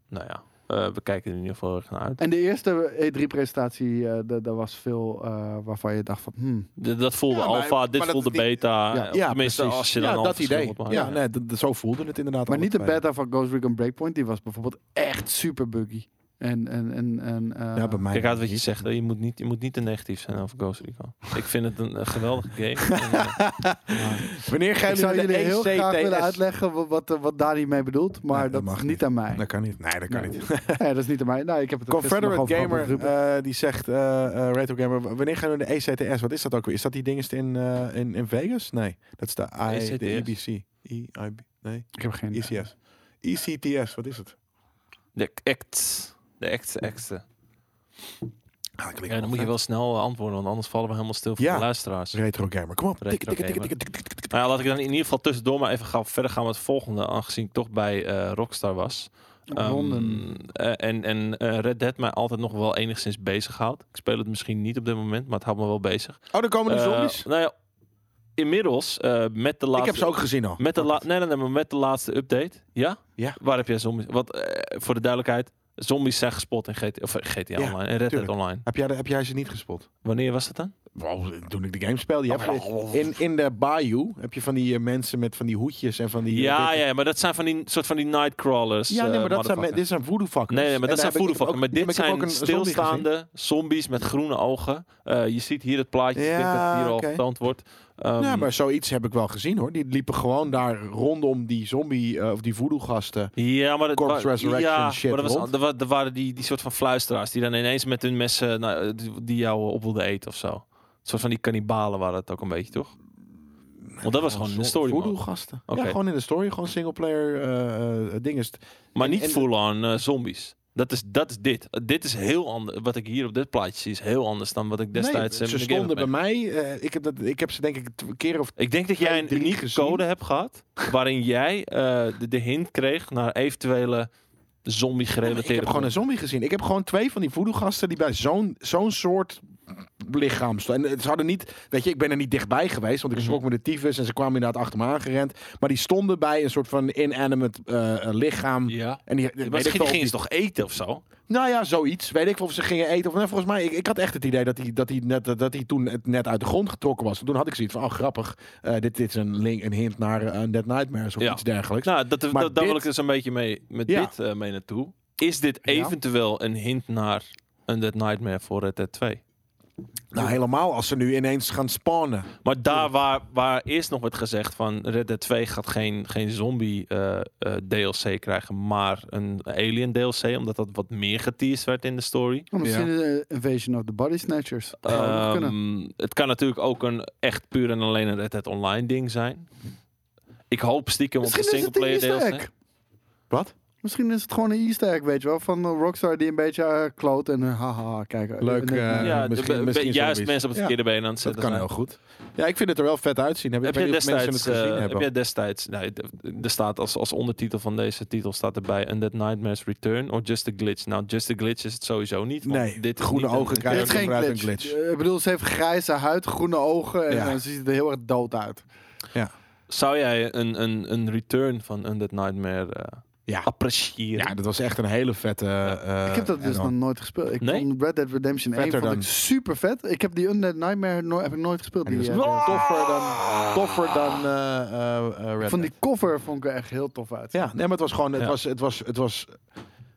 [SPEAKER 2] Nou ja. eh, we kijken er in ieder geval erg naar uit.
[SPEAKER 1] En de eerste E3-presentatie, eh da- daar was veel eh, waarvan je dacht van... Hmm,
[SPEAKER 2] D- dat voelde
[SPEAKER 3] Ja, maar-
[SPEAKER 2] alfa, dit
[SPEAKER 3] maar dat
[SPEAKER 2] voelde
[SPEAKER 3] is niet-
[SPEAKER 2] beta.
[SPEAKER 1] Ja,
[SPEAKER 2] eh,
[SPEAKER 3] ja,
[SPEAKER 2] Tenminste,
[SPEAKER 3] precies.
[SPEAKER 2] als je
[SPEAKER 3] ja,
[SPEAKER 2] dan al
[SPEAKER 3] dat
[SPEAKER 2] verschil
[SPEAKER 3] idee.
[SPEAKER 2] moet maken.
[SPEAKER 3] ja, nee, d- d- zo voelde het inderdaad.
[SPEAKER 1] maar
[SPEAKER 3] alle
[SPEAKER 1] niet de
[SPEAKER 3] twee.
[SPEAKER 1] beta van Ghost Recon Breakpoint, die was bijvoorbeeld echt super buggy. En, en, en, en eh,
[SPEAKER 3] Ja, bij mij.
[SPEAKER 2] Kijk uit wat je zegt. hè. Je moet niet, je moet niet te negatief zijn over Ghost Recon. Ik vind het een, eh, geweldige game. En, eh,
[SPEAKER 3] Wanneer gaan
[SPEAKER 1] ik zou
[SPEAKER 3] jullie
[SPEAKER 1] jullie E
[SPEAKER 3] de
[SPEAKER 1] heel graag
[SPEAKER 3] ECTS?
[SPEAKER 1] willen uitleggen wa- wat, eh, wat Dani mee bedoelt, maar
[SPEAKER 3] Nee, dat
[SPEAKER 1] dat,
[SPEAKER 3] mag
[SPEAKER 1] is niet
[SPEAKER 3] niet.
[SPEAKER 1] aan mij.
[SPEAKER 3] Dat kan niet. Nee, dat kan
[SPEAKER 1] Nee.
[SPEAKER 3] niet.
[SPEAKER 1] Nee, dat is niet aan mij. Nou, ik heb het er gisteren nog
[SPEAKER 3] Confederate
[SPEAKER 1] over gehad met
[SPEAKER 3] Gamer
[SPEAKER 1] Ruben.
[SPEAKER 3] eh, die zegt, eh eh, Retro Gamer, w- wanneer gaan we de E ECTS? Wat is dat ook weer? Is dat die dingenst in, eh, in, in Vegas? Nee, dat is de, I, de E
[SPEAKER 2] ECTS.
[SPEAKER 3] EBC. EIB, nee, E
[SPEAKER 1] ik heb geen idee.
[SPEAKER 3] ECS. ECTS, wat is het?
[SPEAKER 2] de act. De act, act.
[SPEAKER 3] Ah, dat klinkt
[SPEAKER 2] Ja, dan moet je wel snel eh, antwoorden, want anders vallen we helemaal stil voor
[SPEAKER 3] Ja.
[SPEAKER 2] de luisteraars.
[SPEAKER 3] vet. Retro Gamer, kom op.
[SPEAKER 2] Retro
[SPEAKER 3] Tikken, tikken,
[SPEAKER 2] Gamer.
[SPEAKER 3] tikken, tikken, tikken, tikken,
[SPEAKER 2] Nou ja, laat ik dan in ieder geval tussendoor maar even gaan, verder gaan met het volgende, aangezien ik toch bij eh, Rockstar was. Ehm,
[SPEAKER 1] Londen.
[SPEAKER 2] eh, en en eh, Red Dead mij altijd nog wel enigszins bezighoudt. Ik speel het misschien niet op dit moment, maar het houdt me wel bezig.
[SPEAKER 3] tikken. Oh, er komen de
[SPEAKER 2] Eh,
[SPEAKER 3] zombies.
[SPEAKER 2] nou ja, inmiddels eh, met de laatste...
[SPEAKER 3] ik heb ze ook gezien al.
[SPEAKER 2] Met de, la- nee, nee, nee, maar met de laatste update. Ja?
[SPEAKER 3] Ja.
[SPEAKER 2] Waar heb jij zombies? Wat, eh, voor de duidelijkheid, zombies zijn gespot in GTA, of eh, GTA
[SPEAKER 3] Ja,
[SPEAKER 2] Online en Red Dead
[SPEAKER 3] tuurlijk.
[SPEAKER 2] Online.
[SPEAKER 3] Heb jij, de- heb jij ze niet gespot?
[SPEAKER 2] Wanneer was dat dan?
[SPEAKER 3] Wow, toen ik de game speelde. Je hebt, Oh, in, in de bayou heb je van die eh, mensen met van die hoedjes en van die... eh,
[SPEAKER 2] Ja, ja, maar dat zijn van die soort van die nightcrawlers.
[SPEAKER 3] Ja, nee,
[SPEAKER 2] eh,
[SPEAKER 3] maar dat zijn, me-
[SPEAKER 2] motherfuckers.
[SPEAKER 3] dit zijn voodoo-fuckers.
[SPEAKER 2] Nee, nee, maar
[SPEAKER 3] En
[SPEAKER 2] dat zijn
[SPEAKER 3] daar heb ik-
[SPEAKER 2] voedervakken.
[SPEAKER 3] ook-
[SPEAKER 2] Maar dit
[SPEAKER 3] ik heb
[SPEAKER 2] zijn
[SPEAKER 3] ook een zombie gezien.
[SPEAKER 2] stilstaande zombies met groene ogen. Eh, je ziet hier het plaatje. ik denk dat
[SPEAKER 3] Ja,
[SPEAKER 2] het hier al
[SPEAKER 3] oké.
[SPEAKER 2] getoond wordt. Ehm,
[SPEAKER 3] ja, maar zoiets heb ik wel gezien hoor. Die liepen gewoon daar rondom die zombie eh, of die voodoo-gasten.
[SPEAKER 2] Ja, maar dat,
[SPEAKER 3] Corpse
[SPEAKER 2] wa-
[SPEAKER 3] Resurrection
[SPEAKER 2] ja,
[SPEAKER 3] shit
[SPEAKER 2] maar dat was,
[SPEAKER 3] rond.
[SPEAKER 2] er, wa- er waren die, die soort van fluisteraars die dan ineens met hun messen nou, eh, die- die jou op wilden eten of zo. Een soort van die kannibalen waren dat ook een beetje, toch? Want dat was gewoon in de story. mode.
[SPEAKER 3] Voodoo-gasten.
[SPEAKER 2] Oké.
[SPEAKER 3] Ja, gewoon in de story. Gewoon singleplayer eh eh, ding is. het.
[SPEAKER 2] Maar
[SPEAKER 3] En-
[SPEAKER 2] niet
[SPEAKER 3] en-
[SPEAKER 2] full-on eh, zombies. Dat is, dat is dit. Eh, dit is heel anders. Wat ik hier op dit plaatje zie is heel anders dan wat ik destijds...
[SPEAKER 3] Nee,
[SPEAKER 2] eh,
[SPEAKER 3] ze
[SPEAKER 2] met de game heb
[SPEAKER 3] stonden bij mij. eh, ik, heb dat, ik heb ze denk ik twee keer of...
[SPEAKER 2] Ik denk dat jij
[SPEAKER 3] Twee,
[SPEAKER 2] een
[SPEAKER 3] drie
[SPEAKER 2] unieke
[SPEAKER 3] gezien.
[SPEAKER 2] code hebt gehad. waarin jij eh, de, de hint kreeg naar eventuele
[SPEAKER 3] Ik heb
[SPEAKER 2] zombie-gerelateerde.
[SPEAKER 3] gewoon een zombie gezien. Ik heb gewoon twee van die voodoo-gasten die bij zo'n zo'n soort lichaam stonden. En eh, ze hadden niet... Weet je, ik ben er niet dichtbij geweest, want ik
[SPEAKER 2] Mhm.
[SPEAKER 3] schrok me de tyfus en ze kwamen inderdaad achter me aangerend. Maar die stonden bij een soort van inanimate eh, eh, lichaam.
[SPEAKER 2] Ja.
[SPEAKER 3] En die, weet ik
[SPEAKER 2] Maar
[SPEAKER 3] veel
[SPEAKER 2] misschien
[SPEAKER 3] of
[SPEAKER 2] gingen
[SPEAKER 3] die-
[SPEAKER 2] ze toch eten of zo?
[SPEAKER 3] Nou ja, zoiets. Weet ik veel of ze gingen eten. Of, nou, volgens mij, ik, ik had echt het idee dat hij dat die net, dat die toen het net uit de grond getrokken was. Toen had ik zoiets van, oh grappig, eh, dit, dit is een, link, een hint naar eh, Dead Nightmares of
[SPEAKER 2] Ja.
[SPEAKER 3] iets dergelijks.
[SPEAKER 2] Nou, dat, dat, daar
[SPEAKER 3] Maar
[SPEAKER 2] wil
[SPEAKER 3] dit-
[SPEAKER 2] ik dus een beetje mee, met
[SPEAKER 3] Ja.
[SPEAKER 2] dit eh, mee naartoe. Is dit
[SPEAKER 3] Ja.
[SPEAKER 2] eventueel een hint naar een Dead Nightmare voor Red Dead 2?
[SPEAKER 3] Nou, helemaal als ze nu ineens gaan spawnen.
[SPEAKER 2] Maar daar waar, waar eerst nog werd gezegd van Red Dead 2 gaat geen, geen zombie eh, eh, DLC krijgen, maar een alien DLC, omdat dat wat meer geteased werd in de story.
[SPEAKER 1] Oh, misschien een Invasion of the Body Snatchers. Dat zou nog kunnen.
[SPEAKER 2] Ehm, het kan natuurlijk ook een echt puur en alleen een Red Dead Online ding zijn. Ik hoop stiekem op de
[SPEAKER 1] Misschien is het een
[SPEAKER 2] singleplayer
[SPEAKER 1] easter
[SPEAKER 2] DLC.
[SPEAKER 1] egg.
[SPEAKER 3] Wat?
[SPEAKER 1] Misschien is het gewoon een easter egg, weet je wel. Van eh, Rockstar die een beetje eh, kloot en eh, haha, kijk. eh,
[SPEAKER 3] Leuk,
[SPEAKER 1] net-
[SPEAKER 3] eh,
[SPEAKER 2] Ja, de-
[SPEAKER 3] misschien-
[SPEAKER 2] be-
[SPEAKER 3] misschien
[SPEAKER 2] be- juist
[SPEAKER 3] zombies.
[SPEAKER 2] mensen op het
[SPEAKER 3] Ja,
[SPEAKER 2] verkeerde been aan het
[SPEAKER 3] Dat
[SPEAKER 2] zetten.
[SPEAKER 3] kan
[SPEAKER 2] zijn.
[SPEAKER 3] heel goed. Ja, ik vind het er wel vet uitzien. Ik
[SPEAKER 2] Heb
[SPEAKER 3] weet
[SPEAKER 2] je,
[SPEAKER 3] niet of mensen
[SPEAKER 2] destijds,
[SPEAKER 3] het gezien
[SPEAKER 2] eh, heb
[SPEAKER 3] hebben.
[SPEAKER 2] je destijds, nou, d- d- er staat als, als ondertitel van deze titel staat erbij Undead Nightmares Return of Just a Glitch. Nou, Just a Glitch is het sowieso niet. want
[SPEAKER 3] Nee,
[SPEAKER 2] dit is
[SPEAKER 3] groene
[SPEAKER 2] niet een-
[SPEAKER 3] ogen
[SPEAKER 2] een-
[SPEAKER 1] Het
[SPEAKER 3] krijgen.
[SPEAKER 1] is geen
[SPEAKER 3] Gebruik een
[SPEAKER 1] glitch.
[SPEAKER 3] glitch.
[SPEAKER 1] Eh, Ik bedoel, ze heeft grijze huid, groene ogen en
[SPEAKER 3] Ja. Eh,
[SPEAKER 1] eh, ze ziet er heel erg dood uit.
[SPEAKER 2] Zou jij een, een, een return van Undead Nightmare eh,
[SPEAKER 3] Ja.
[SPEAKER 2] appreciëren?
[SPEAKER 3] ja, dat was echt een hele vette... eh,
[SPEAKER 1] ik heb dat dus
[SPEAKER 3] add-on.
[SPEAKER 1] nog nooit gespeeld. Ik
[SPEAKER 2] Nee?
[SPEAKER 1] vond Red Dead Redemption 1
[SPEAKER 3] Vetter
[SPEAKER 1] vond ik
[SPEAKER 3] dan.
[SPEAKER 1] super vet. Ik heb die Undead Nightmare no- heb ik nooit gespeeld.
[SPEAKER 3] En dus- die
[SPEAKER 1] Die, eh,
[SPEAKER 3] was toffer dan, toffer dan eh, eh, eh, Red
[SPEAKER 1] van
[SPEAKER 3] Dead.
[SPEAKER 1] die cover vond ik er echt heel tof uit.
[SPEAKER 3] Ja, nee, maar het was gewoon, het
[SPEAKER 2] Ja.
[SPEAKER 3] was, het was, het was,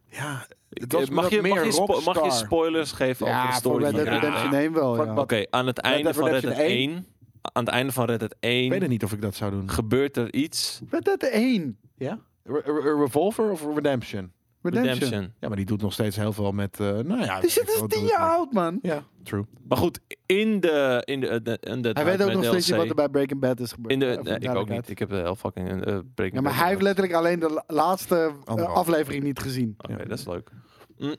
[SPEAKER 3] ja, het was
[SPEAKER 2] Eh, mag,
[SPEAKER 3] wat
[SPEAKER 2] je,
[SPEAKER 3] meer
[SPEAKER 2] mag, je spo-
[SPEAKER 3] Rockstar.
[SPEAKER 2] mag je spoilers geven
[SPEAKER 3] Ja,
[SPEAKER 2] over de
[SPEAKER 3] voor
[SPEAKER 1] Voor
[SPEAKER 2] story?
[SPEAKER 1] Red
[SPEAKER 2] van
[SPEAKER 1] Dead
[SPEAKER 2] Undead
[SPEAKER 1] Redemption 1 wel,
[SPEAKER 3] Fuck,
[SPEAKER 1] ja.
[SPEAKER 3] wat-
[SPEAKER 2] Oké, aan het einde
[SPEAKER 3] Dead
[SPEAKER 2] van Red Dead
[SPEAKER 3] Redemption
[SPEAKER 2] 1, aan het einde van Red Dead
[SPEAKER 3] Ik weet
[SPEAKER 2] 1
[SPEAKER 3] het niet of ik dat zou doen.
[SPEAKER 2] gebeurt er iets.
[SPEAKER 1] Red Dead 1.
[SPEAKER 3] Ja? Re- Re- Re- Revolver of Redemption?
[SPEAKER 1] Redemption.
[SPEAKER 2] Redemption.
[SPEAKER 3] Ja, maar die doet nog steeds heel veel met, eh, nou ja.
[SPEAKER 1] Die zit dus
[SPEAKER 3] wat
[SPEAKER 1] 10
[SPEAKER 3] doet het
[SPEAKER 1] jaar
[SPEAKER 3] nou?
[SPEAKER 1] oud, man.
[SPEAKER 3] Ja, true.
[SPEAKER 2] Maar goed, in de in de, de, in de
[SPEAKER 1] Hij weet ook nog steeds niet
[SPEAKER 2] DLC,
[SPEAKER 1] wat er bij Breaking Bad is gebeurd.
[SPEAKER 2] in de,
[SPEAKER 1] Even
[SPEAKER 2] nee, ik ook
[SPEAKER 1] duidelijkheid.
[SPEAKER 2] niet. Ik heb de heel fucking eh, Breaking
[SPEAKER 1] Ja, maar
[SPEAKER 2] Bad
[SPEAKER 1] hij heeft
[SPEAKER 2] gezien.
[SPEAKER 1] letterlijk alleen de la- laatste eh,
[SPEAKER 3] Anderhalf.
[SPEAKER 1] aflevering niet gezien.
[SPEAKER 2] Oké, dat is leuk.
[SPEAKER 1] Hm.
[SPEAKER 2] Mm.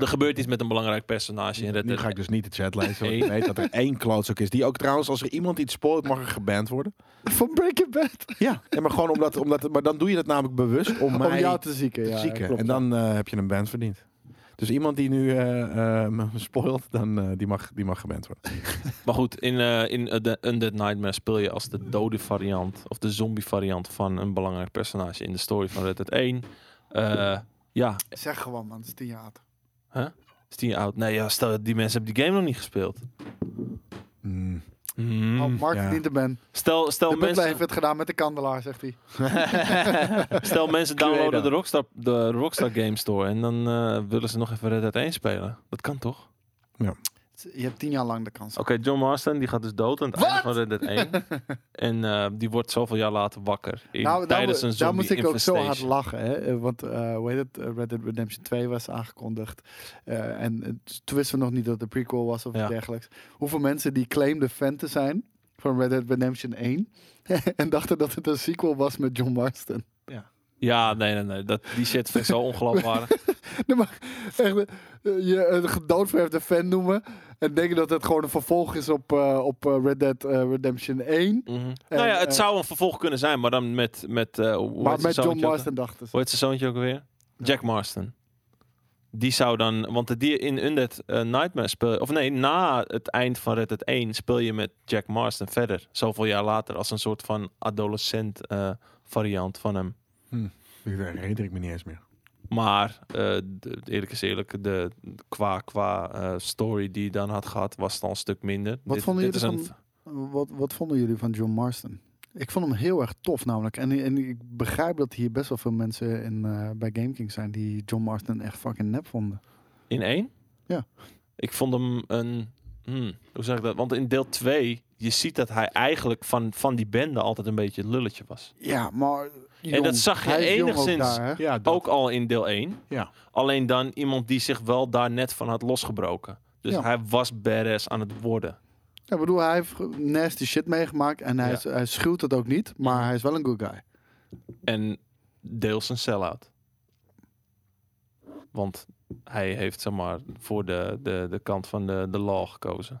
[SPEAKER 2] Er gebeurt iets met een belangrijk personage in Red
[SPEAKER 3] Nu
[SPEAKER 2] Dead.
[SPEAKER 3] ga ik dus niet de chat lezen, want ik
[SPEAKER 2] Nee.
[SPEAKER 3] weet dat er één klootzak is. Die ook trouwens, als er iemand iets spoilt, mag er geband worden.
[SPEAKER 1] Van Breaking Bad.
[SPEAKER 3] Ja, nee, maar gewoon omdat, omdat, maar dan doe je dat namelijk bewust om
[SPEAKER 1] Om
[SPEAKER 3] mij
[SPEAKER 1] jou te zieken.
[SPEAKER 3] te
[SPEAKER 1] ja,
[SPEAKER 3] zieken.
[SPEAKER 1] klopt.
[SPEAKER 3] en dan eh, heb je een band verdiend. Dus iemand die nu eh, eh, me spoilt, dan, eh, die, mag, die mag geband worden.
[SPEAKER 2] Maar goed, in, eh in eh, de Undead Nightmare speel je als de dode variant of de zombie variant van een belangrijk personage in de story van Red Dead 1. Eh, Ja,
[SPEAKER 1] Zeg gewoon, man, het is tien jaar oud.
[SPEAKER 2] is tien jaar oud. Nee, ja, stel dat die mensen hebben die game nog niet gespeeld.
[SPEAKER 3] Hmm.
[SPEAKER 2] Mm.
[SPEAKER 1] Oh, Mark
[SPEAKER 3] ja.
[SPEAKER 1] Dienterben.
[SPEAKER 2] Stel, stel,
[SPEAKER 1] De butler heeft
[SPEAKER 2] mensen,
[SPEAKER 1] het gedaan met de kandelaar, zegt hij.
[SPEAKER 2] stel mensen downloaden
[SPEAKER 3] Cluedo.
[SPEAKER 2] de Rockstar, de Rockstar Game Store en dan eh, willen ze nog even Red Dead 1 spelen. Dat kan toch?
[SPEAKER 1] Je hebt tien jaar lang de kans.
[SPEAKER 2] Oké, John Marston die gaat dus dood aan het einde van Red Dead 1. en eh, die wordt zoveel jaar later wakker. In,
[SPEAKER 1] Nou, daar,
[SPEAKER 2] tijdens
[SPEAKER 1] mo-
[SPEAKER 2] een
[SPEAKER 1] daar
[SPEAKER 2] zombie
[SPEAKER 1] moest ik ook zo hard
[SPEAKER 2] infestation.
[SPEAKER 1] lachen. Hè? Eh, Want eh, hoe heet het? Eh, Red Dead Redemption 2 was aangekondigd. Eh, en eh, t- toen wisten we nog niet dat het een prequel was of
[SPEAKER 2] Ja.
[SPEAKER 1] iets dergelijks. Hoeveel mensen die claimden fan te zijn van Red Dead Redemption 1... en dachten dat het een sequel was met John Marston.
[SPEAKER 2] Ja, nee, nee, nee. Dat, die shit vind ik zo ongeloofwaardig.
[SPEAKER 1] Nee, maar echt, eh, je een gedoodverfde fan noemen... en denken dat het gewoon een vervolg is op, eh, op eh, Red Dead eh, Redemption 1...
[SPEAKER 2] Mhm.
[SPEAKER 1] En,
[SPEAKER 2] nou ja, het
[SPEAKER 1] eh,
[SPEAKER 2] zou een vervolg kunnen zijn, maar dan met... met eh, hoe
[SPEAKER 1] maar
[SPEAKER 2] heet zijn
[SPEAKER 1] met John
[SPEAKER 2] zoontje ook-
[SPEAKER 1] Marston dachten ze.
[SPEAKER 2] Hoe heet zijn zoontje ook alweer? Jack Marston. Die zou dan... Want die in Undead eh, Nightmare speel... Of nee, na het eind van Red Dead 1 speel je met Jack Marston verder. Zoveel jaar later. Als een soort van adolescent eh, variant van hem.
[SPEAKER 3] Daar herinner ik me niet eens meer.
[SPEAKER 2] Maar eh, de- eerlijk is eerlijk, de, qua, qua eh, story die je dan had gehad, was het al een stuk minder.
[SPEAKER 1] Wat vonden
[SPEAKER 2] dit
[SPEAKER 1] jullie
[SPEAKER 2] is een-
[SPEAKER 1] Wat, wat vonden jullie van John Marston? Ik vond hem heel erg tof namelijk. En, en ik begrijp dat hier best wel veel mensen in, eh, bij GameKing zijn die John Marston echt fucking nep vonden.
[SPEAKER 2] In één?
[SPEAKER 1] Ja.
[SPEAKER 2] Ik vond hem een... hmm, hoe zeg ik dat? Want in deel 2, je ziet dat hij eigenlijk van, van die bende altijd een beetje het lulletje was.
[SPEAKER 1] Ja, maar...
[SPEAKER 2] jong. dat zag je
[SPEAKER 1] Hij is jong ook
[SPEAKER 2] enigszins.
[SPEAKER 1] daar, hè?
[SPEAKER 3] Ja,
[SPEAKER 2] Ook al in deel 1.
[SPEAKER 3] Ja.
[SPEAKER 2] Alleen dan iemand die zich wel daar net van had losgebroken. Dus
[SPEAKER 1] Ja.
[SPEAKER 2] hij was badass aan het worden.
[SPEAKER 1] Ja, ik bedoel, hij heeft nasty shit meegemaakt en hij,
[SPEAKER 2] Ja.
[SPEAKER 1] is- hij schuwt het ook niet, maar hij is wel een good guy.
[SPEAKER 2] En deels een sell-out. Want hij heeft zeg maar voor de, de, de kant van de, de law gekozen.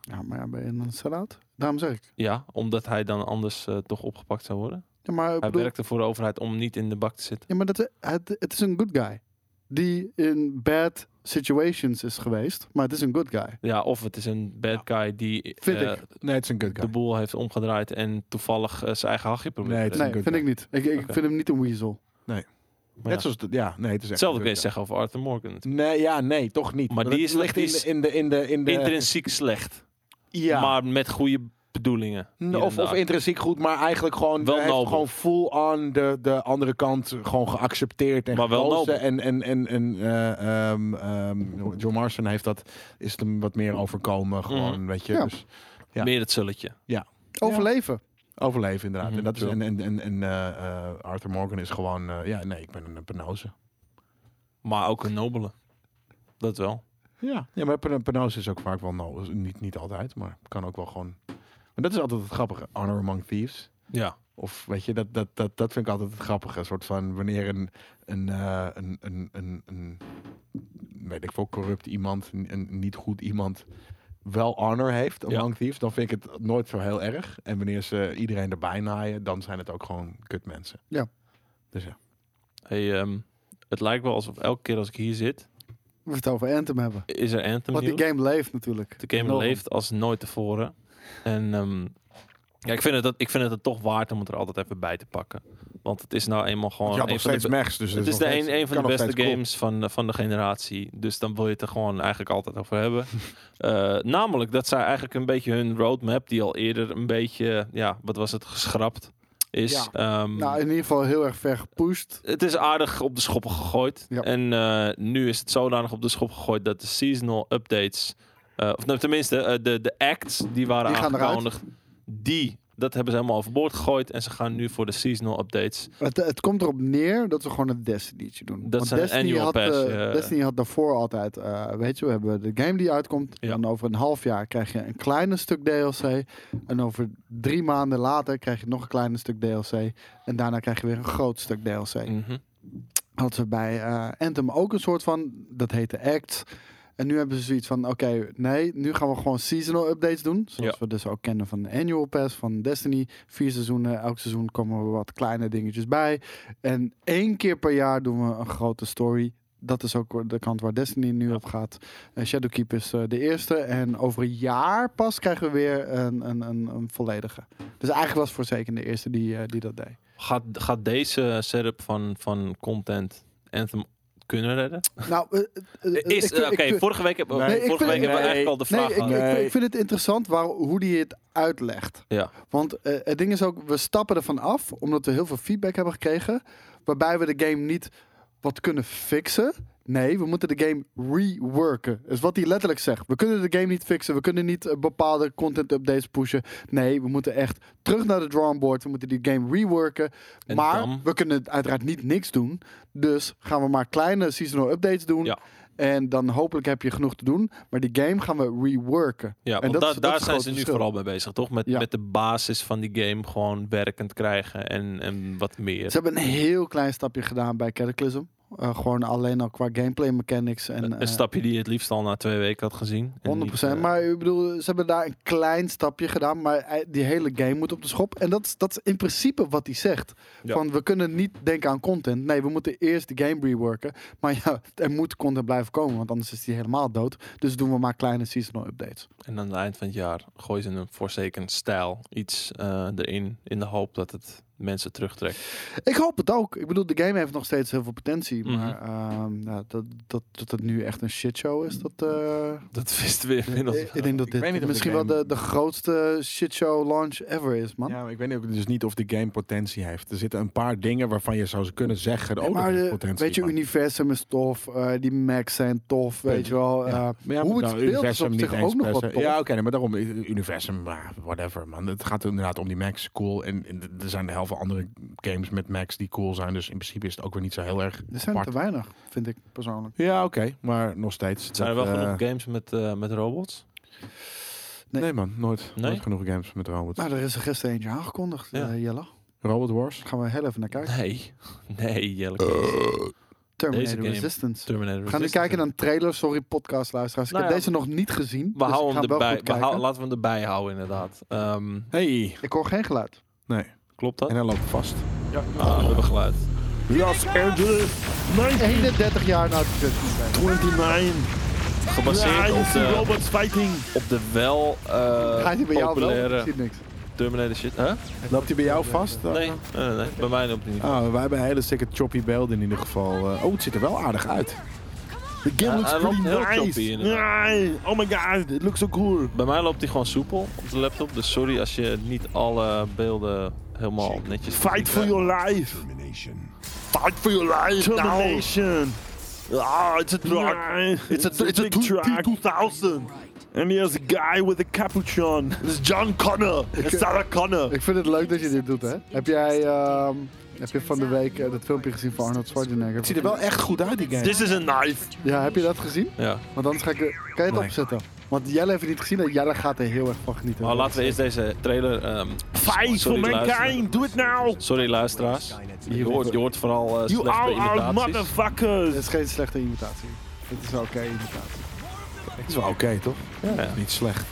[SPEAKER 1] Ja, maar ja, ben je een sell-out? Daarom zeg ik.
[SPEAKER 2] Ja, omdat hij dan anders eh, toch opgepakt zou worden.
[SPEAKER 1] Ja, maar, ik
[SPEAKER 2] Hij
[SPEAKER 1] bedoel,
[SPEAKER 2] werkte voor de overheid om niet in de bak te zitten.
[SPEAKER 1] ja, maar dat, het, het is een good guy. Die in bad situations is geweest, maar het is een good guy.
[SPEAKER 2] Ja, of het is een bad guy die
[SPEAKER 1] Vind
[SPEAKER 2] eh,
[SPEAKER 1] ik.
[SPEAKER 3] Nee, het is een good
[SPEAKER 2] de
[SPEAKER 3] guy.
[SPEAKER 2] boel heeft omgedraaid en toevallig eh, zijn eigen hachje probeert.
[SPEAKER 3] Nee,
[SPEAKER 2] te
[SPEAKER 3] het is
[SPEAKER 2] redden.
[SPEAKER 1] Nee,
[SPEAKER 3] een good
[SPEAKER 1] vind ik
[SPEAKER 3] guy.
[SPEAKER 1] niet. Ik, ik
[SPEAKER 2] Oké.
[SPEAKER 1] vind hem niet een weasel.
[SPEAKER 2] Maar
[SPEAKER 3] Net
[SPEAKER 2] ja,
[SPEAKER 3] zoals... de- ja, nee, het is echt
[SPEAKER 2] Hetzelfde kun
[SPEAKER 3] een
[SPEAKER 2] je
[SPEAKER 3] good
[SPEAKER 2] zeggen over Arthur Morgan.
[SPEAKER 3] guy. Nee, ja, nee, toch niet.
[SPEAKER 2] Maar
[SPEAKER 3] Want
[SPEAKER 2] die
[SPEAKER 3] het
[SPEAKER 2] is-
[SPEAKER 3] ligt
[SPEAKER 2] die
[SPEAKER 3] in,
[SPEAKER 2] is
[SPEAKER 3] de- in de... In de, in de
[SPEAKER 2] Intrinsiek slecht,
[SPEAKER 3] ja.
[SPEAKER 2] maar met goede bedoelingen.
[SPEAKER 3] N-
[SPEAKER 2] hier en
[SPEAKER 3] Of, of
[SPEAKER 2] daar.
[SPEAKER 3] intrinsiek goed, maar eigenlijk gewoon,
[SPEAKER 2] Wel
[SPEAKER 3] hij heeft
[SPEAKER 2] nobel.
[SPEAKER 3] gewoon full on de, de andere kant gewoon geaccepteerd en
[SPEAKER 2] Maar wel
[SPEAKER 3] gekozen.
[SPEAKER 2] nobel.
[SPEAKER 3] En, en, en, en eh, ehm, ehm, John Marston heeft dat, is het hem wat meer
[SPEAKER 2] Mhm.
[SPEAKER 3] overkomen gewoon, weet je.
[SPEAKER 1] Ja.
[SPEAKER 3] Dus Ja.
[SPEAKER 2] Meer het zulletje.
[SPEAKER 1] Overleven.
[SPEAKER 3] overleven inderdaad.
[SPEAKER 2] Mhm,
[SPEAKER 3] en dat is,
[SPEAKER 2] true.
[SPEAKER 3] en, en, en, en eh, eh, Arthur Morgan is gewoon, eh, ja nee, ik ben een penose.
[SPEAKER 2] Maar ook een nobele. Dat wel.
[SPEAKER 3] Ja. ja, maar een penose is ook vaak wel nobel. Niet, niet altijd, maar kan ook wel gewoon. Maar dat is altijd het grappige, honor among thieves.
[SPEAKER 2] Ja.
[SPEAKER 3] Of weet je, dat, dat, dat, dat vind ik altijd het grappige. Een soort van wanneer een, een, eh, een, een, een, een weet ik veel, corrupt iemand, een, een niet goed iemand, wel honor heeft among thieves, dan vind ik het nooit zo heel erg. En wanneer ze iedereen erbij naaien, dan zijn het ook gewoon kut mensen.
[SPEAKER 1] Ja.
[SPEAKER 3] Dus ja.
[SPEAKER 2] Hey, ehm, het lijkt wel alsof elke keer als ik hier zit,
[SPEAKER 1] We het over Anthem hebben.
[SPEAKER 2] is er Anthem
[SPEAKER 1] Want die
[SPEAKER 2] nieuws.
[SPEAKER 1] game leeft natuurlijk.
[SPEAKER 2] De game
[SPEAKER 1] Nog.
[SPEAKER 2] leeft als nooit tevoren. En ehm, ja, ik, vind het, dat- ik vind het het toch waard om het er altijd even bij te pakken. Want het is nou eenmaal
[SPEAKER 3] Want
[SPEAKER 2] gewoon...
[SPEAKER 3] je had
[SPEAKER 2] een
[SPEAKER 3] nog
[SPEAKER 2] van de
[SPEAKER 3] steeds max, dus
[SPEAKER 2] Het is de
[SPEAKER 3] nog
[SPEAKER 2] een,
[SPEAKER 3] steeds-
[SPEAKER 2] een van de
[SPEAKER 3] kan nog
[SPEAKER 2] beste
[SPEAKER 3] steeds kloppen.
[SPEAKER 2] games van, van de generatie. Dus dan wil je het er gewoon eigenlijk altijd over hebben. Eh, namelijk dat zij eigenlijk een beetje hun roadmap, die al eerder een beetje, ja, wat was het, geschrapt is. Ehm,
[SPEAKER 1] Nou, in ieder geval heel erg ver gepusht.
[SPEAKER 2] het is aardig op de schoppen gegooid.
[SPEAKER 1] Ja.
[SPEAKER 2] En eh, nu is het zodanig op de schop gegooid dat de seasonal updates, eh, of nou, tenminste eh, de, de acts die waren
[SPEAKER 1] Die gaan eruit.
[SPEAKER 2] aangekondigd, die, dat hebben ze helemaal overboord gegooid. En ze gaan nu voor de seasonal updates
[SPEAKER 1] Het, het komt erop neer dat we gewoon een Destiny'tje doen.
[SPEAKER 2] Dat is een annual
[SPEAKER 1] had,
[SPEAKER 2] pass,
[SPEAKER 1] eh,
[SPEAKER 2] ja.
[SPEAKER 1] Destiny had daarvoor altijd, eh, weet je, we hebben de game die uitkomt.
[SPEAKER 2] Ja.
[SPEAKER 1] En over een half jaar krijg je een kleine stuk DLC. En over drie maanden later krijg je nog een kleine stuk DLC. En daarna krijg je weer een groot stuk DLC.
[SPEAKER 2] Mhm.
[SPEAKER 1] hadden ze bij eh, Anthem ook een soort van, dat heette Act. En nu hebben ze zoiets van, oké, nee, nu gaan we gewoon seasonal updates doen. Zoals
[SPEAKER 2] Ja.
[SPEAKER 1] we dus ook kennen van de Annual Pass, van Destiny. Vier seizoenen, elk seizoen komen er wat kleine dingetjes bij. En één keer per jaar doen we een grote story. Dat is ook de kant waar Destiny nu op gaat. Eh, Shadowkeep is eh, de eerste. En over een jaar pas krijgen we weer een, een, een, een volledige. Dus eigenlijk was het voorzeker de eerste die, eh, die dat deed.
[SPEAKER 2] Gaat, gaat deze setup van, van content Anthem kunnen redden?
[SPEAKER 1] Nou, eh, eh, eh,
[SPEAKER 2] Is,
[SPEAKER 1] ik-
[SPEAKER 2] eh, Oké,
[SPEAKER 1] ik- ik-
[SPEAKER 2] vorige week hebben
[SPEAKER 3] Nee,
[SPEAKER 2] vorige
[SPEAKER 1] ik
[SPEAKER 2] week
[SPEAKER 1] vind-
[SPEAKER 2] hebben we
[SPEAKER 3] nee,
[SPEAKER 2] eigenlijk al de
[SPEAKER 1] Nee,
[SPEAKER 2] vraag
[SPEAKER 1] ik,
[SPEAKER 2] gehad.
[SPEAKER 1] ik,
[SPEAKER 3] Nee.
[SPEAKER 1] ik vind het interessant waar, hoe die het uitlegt.
[SPEAKER 2] Ja.
[SPEAKER 1] Want eh, het ding is ook, we stappen ervan af, omdat we heel veel feedback hebben gekregen, waarbij we de game niet wat kunnen fixen. Nee, we moeten de game reworken. Is wat hij letterlijk zegt. We kunnen de game niet fixen. We kunnen niet eh, bepaalde content updates pushen. Nee, we moeten echt terug naar de drawing board. We moeten die game reworken.
[SPEAKER 2] En
[SPEAKER 1] maar
[SPEAKER 2] dan?
[SPEAKER 1] we kunnen uiteraard niet niks doen. Dus gaan we maar kleine seasonal updates doen.
[SPEAKER 2] Ja.
[SPEAKER 1] En dan hopelijk heb je genoeg te doen. Maar die game gaan we reworken.
[SPEAKER 2] Ja,
[SPEAKER 1] En
[SPEAKER 2] want
[SPEAKER 1] dat
[SPEAKER 2] da-
[SPEAKER 1] is- dat
[SPEAKER 2] daar
[SPEAKER 1] is het
[SPEAKER 2] zijn
[SPEAKER 1] grote
[SPEAKER 2] ze nu
[SPEAKER 1] verschil.
[SPEAKER 2] vooral mee bezig, toch? Met,
[SPEAKER 1] Ja.
[SPEAKER 2] met de basis van die game gewoon werkend krijgen en, en wat meer.
[SPEAKER 1] Ze hebben een heel klein stapje gedaan bij Cataclysm. Eh, gewoon alleen al qua gameplay mechanics. En,
[SPEAKER 2] een,
[SPEAKER 1] eh,
[SPEAKER 2] een stapje die je het liefst al na twee weken had gezien. En
[SPEAKER 1] 100%.
[SPEAKER 2] niet, eh,
[SPEAKER 1] maar ik bedoel, ze hebben daar een klein stapje gedaan. Maar ei- die hele game moet op de schop. En dat, is- dat is in principe wat hij zegt.
[SPEAKER 2] Ja.
[SPEAKER 1] Van we kunnen niet denken aan content. Nee, we moeten eerst de game reworken. Maar ja, er moet content blijven komen. Want anders is die helemaal dood. Dus doen we maar kleine seasonal updates.
[SPEAKER 2] En aan het eind van het jaar gooien ze in een voorzeker stijl iets eh, erin. In de hoop dat het mensen terugtrekt.
[SPEAKER 1] Ik hoop het ook. Ik bedoel, de game heeft nog steeds heel veel potentie.
[SPEAKER 2] Mhm.
[SPEAKER 1] Maar ehm, ja, dat, dat, dat het nu echt een shitshow is, dat... eh,
[SPEAKER 2] Dat wisten we inmiddels.
[SPEAKER 1] Ik, ik denk dat
[SPEAKER 3] Ik
[SPEAKER 1] dit
[SPEAKER 3] weet niet of de
[SPEAKER 1] misschien
[SPEAKER 3] game-
[SPEAKER 1] wel de, de grootste shitshow launch ever is, man.
[SPEAKER 3] Ja, maar ik weet ook dus niet of de game potentie heeft. Er zitten een paar dingen waarvan je zou kunnen zeggen...
[SPEAKER 1] Nee,
[SPEAKER 3] oh, dat
[SPEAKER 1] maar
[SPEAKER 3] heeft
[SPEAKER 1] eh,
[SPEAKER 3] potentie.
[SPEAKER 1] weet je,
[SPEAKER 3] maar-
[SPEAKER 1] Universum is tof, eh, die Macs zijn tof, weet
[SPEAKER 3] Punt.
[SPEAKER 1] je wel. eh,
[SPEAKER 3] Ja. Maar ja,
[SPEAKER 1] hoe het
[SPEAKER 3] nou,
[SPEAKER 1] speelt is op zich
[SPEAKER 3] eens
[SPEAKER 1] ook nog
[SPEAKER 3] per
[SPEAKER 1] wat
[SPEAKER 3] se.
[SPEAKER 1] tof.
[SPEAKER 3] Ja, oké, nee, maar daarom, eh, Universum, ah, whatever man. Het gaat inderdaad om die Max, cool. En, en er zijn heel veel andere games met Max die cool zijn. Dus in principe is het ook weer niet zo heel erg
[SPEAKER 1] er zijn
[SPEAKER 3] apart.
[SPEAKER 1] te weinig, vind ik persoonlijk.
[SPEAKER 3] Ja, oké, maar nog steeds.
[SPEAKER 2] Zijn er wel
[SPEAKER 3] Dat, eh,
[SPEAKER 2] genoeg games met, eh, met robots?
[SPEAKER 1] Nee.
[SPEAKER 3] Nee, man, nooit.
[SPEAKER 2] Nee?
[SPEAKER 3] Nooit genoeg games met robots.
[SPEAKER 1] Nou, er is er gisteren eentje aangekondigd,
[SPEAKER 2] Ja.
[SPEAKER 1] eh, Jelle.
[SPEAKER 3] Robot Wars?
[SPEAKER 1] Daar gaan we heel even naar kijken.
[SPEAKER 2] Nee. Nee, Jelle.
[SPEAKER 1] Terminator
[SPEAKER 2] game.
[SPEAKER 1] Resistance.
[SPEAKER 2] Terminator
[SPEAKER 1] We gaan nu
[SPEAKER 2] Resistance.
[SPEAKER 1] kijken naar een trailer. Sorry, podcastluisteraars. Ik
[SPEAKER 2] Nou
[SPEAKER 1] heb
[SPEAKER 2] ja.
[SPEAKER 1] deze nog niet gezien.
[SPEAKER 2] We
[SPEAKER 1] dus ik
[SPEAKER 2] houden
[SPEAKER 1] ga
[SPEAKER 2] hem
[SPEAKER 1] hem wel
[SPEAKER 2] erbij.
[SPEAKER 1] goed
[SPEAKER 2] We hou-
[SPEAKER 1] kijken.
[SPEAKER 2] laten we hem erbij houden, inderdaad. Ehm,
[SPEAKER 3] Hey!
[SPEAKER 1] Ik hoor geen geluid.
[SPEAKER 3] Nee.
[SPEAKER 2] klopt dat?
[SPEAKER 3] En hij loopt vast.
[SPEAKER 2] Ah, we hebben geluid.
[SPEAKER 3] Los Angeles
[SPEAKER 1] 31 jaar na de Christmas.
[SPEAKER 3] 29.
[SPEAKER 2] Gebaseerd op de,
[SPEAKER 3] robots fighting.
[SPEAKER 2] op de wel eh,
[SPEAKER 1] Gaat hij bij jou wel? Ik
[SPEAKER 2] populaire
[SPEAKER 1] zie niks.
[SPEAKER 2] Terminator shit. Huh?
[SPEAKER 3] Loopt hij bij jou vast?
[SPEAKER 2] Nee, nee, nee, nee. bij mij loopt het niet.
[SPEAKER 3] Oh, wij hebben een hele stikke choppy beelden in ieder geval. eh. oh, het ziet er wel aardig uit. The game
[SPEAKER 2] Ja, hij loopt heel choppy inderdaad.
[SPEAKER 3] oh my god, it looks so cool.
[SPEAKER 2] Bij mij loopt hij gewoon soepel op de laptop. Dus sorry als je niet alle beelden helemaal netjes...
[SPEAKER 4] Fight for your life.
[SPEAKER 2] Fight for your life
[SPEAKER 4] Termination.
[SPEAKER 2] Ah, it's a
[SPEAKER 4] It's
[SPEAKER 2] a- it's a
[SPEAKER 4] big
[SPEAKER 2] two-
[SPEAKER 4] truck.
[SPEAKER 2] 2000.
[SPEAKER 4] And here's a guy with a capuchon.
[SPEAKER 2] It's John Connor.
[SPEAKER 4] And Sarah Connor.
[SPEAKER 1] Ik vind het leuk dat je dit doet, hè? Heb jij, ehm, heb je van de week eh, dat filmpje gezien van Arnold Schwarzenegger?
[SPEAKER 3] Het ziet er wel echt goed uit, die game.
[SPEAKER 4] This is a knife.
[SPEAKER 1] Ja, heb je dat gezien?
[SPEAKER 2] Ja,
[SPEAKER 1] Want anders ga ik... er- Kan je het
[SPEAKER 3] Nee.
[SPEAKER 1] opzetten? Want Jelle heeft het niet gezien en Jelle gaat er heel erg van genieten.
[SPEAKER 2] maar Oh, laten we eerst deze trailer... ehm,
[SPEAKER 4] Fight for
[SPEAKER 2] sorry, luisteraar.
[SPEAKER 4] mankind. Do it now.
[SPEAKER 2] Sorry luisteraars. Je hoort, je hoort vooral eh
[SPEAKER 4] You
[SPEAKER 2] slechte
[SPEAKER 4] are our
[SPEAKER 2] imitaties.
[SPEAKER 1] Dit is
[SPEAKER 4] motherfuckers.
[SPEAKER 1] geen slechte imitatie. Dit is wel oké imitatie.
[SPEAKER 3] Het is wel oké, toch?
[SPEAKER 2] Ja.
[SPEAKER 3] Niet slecht.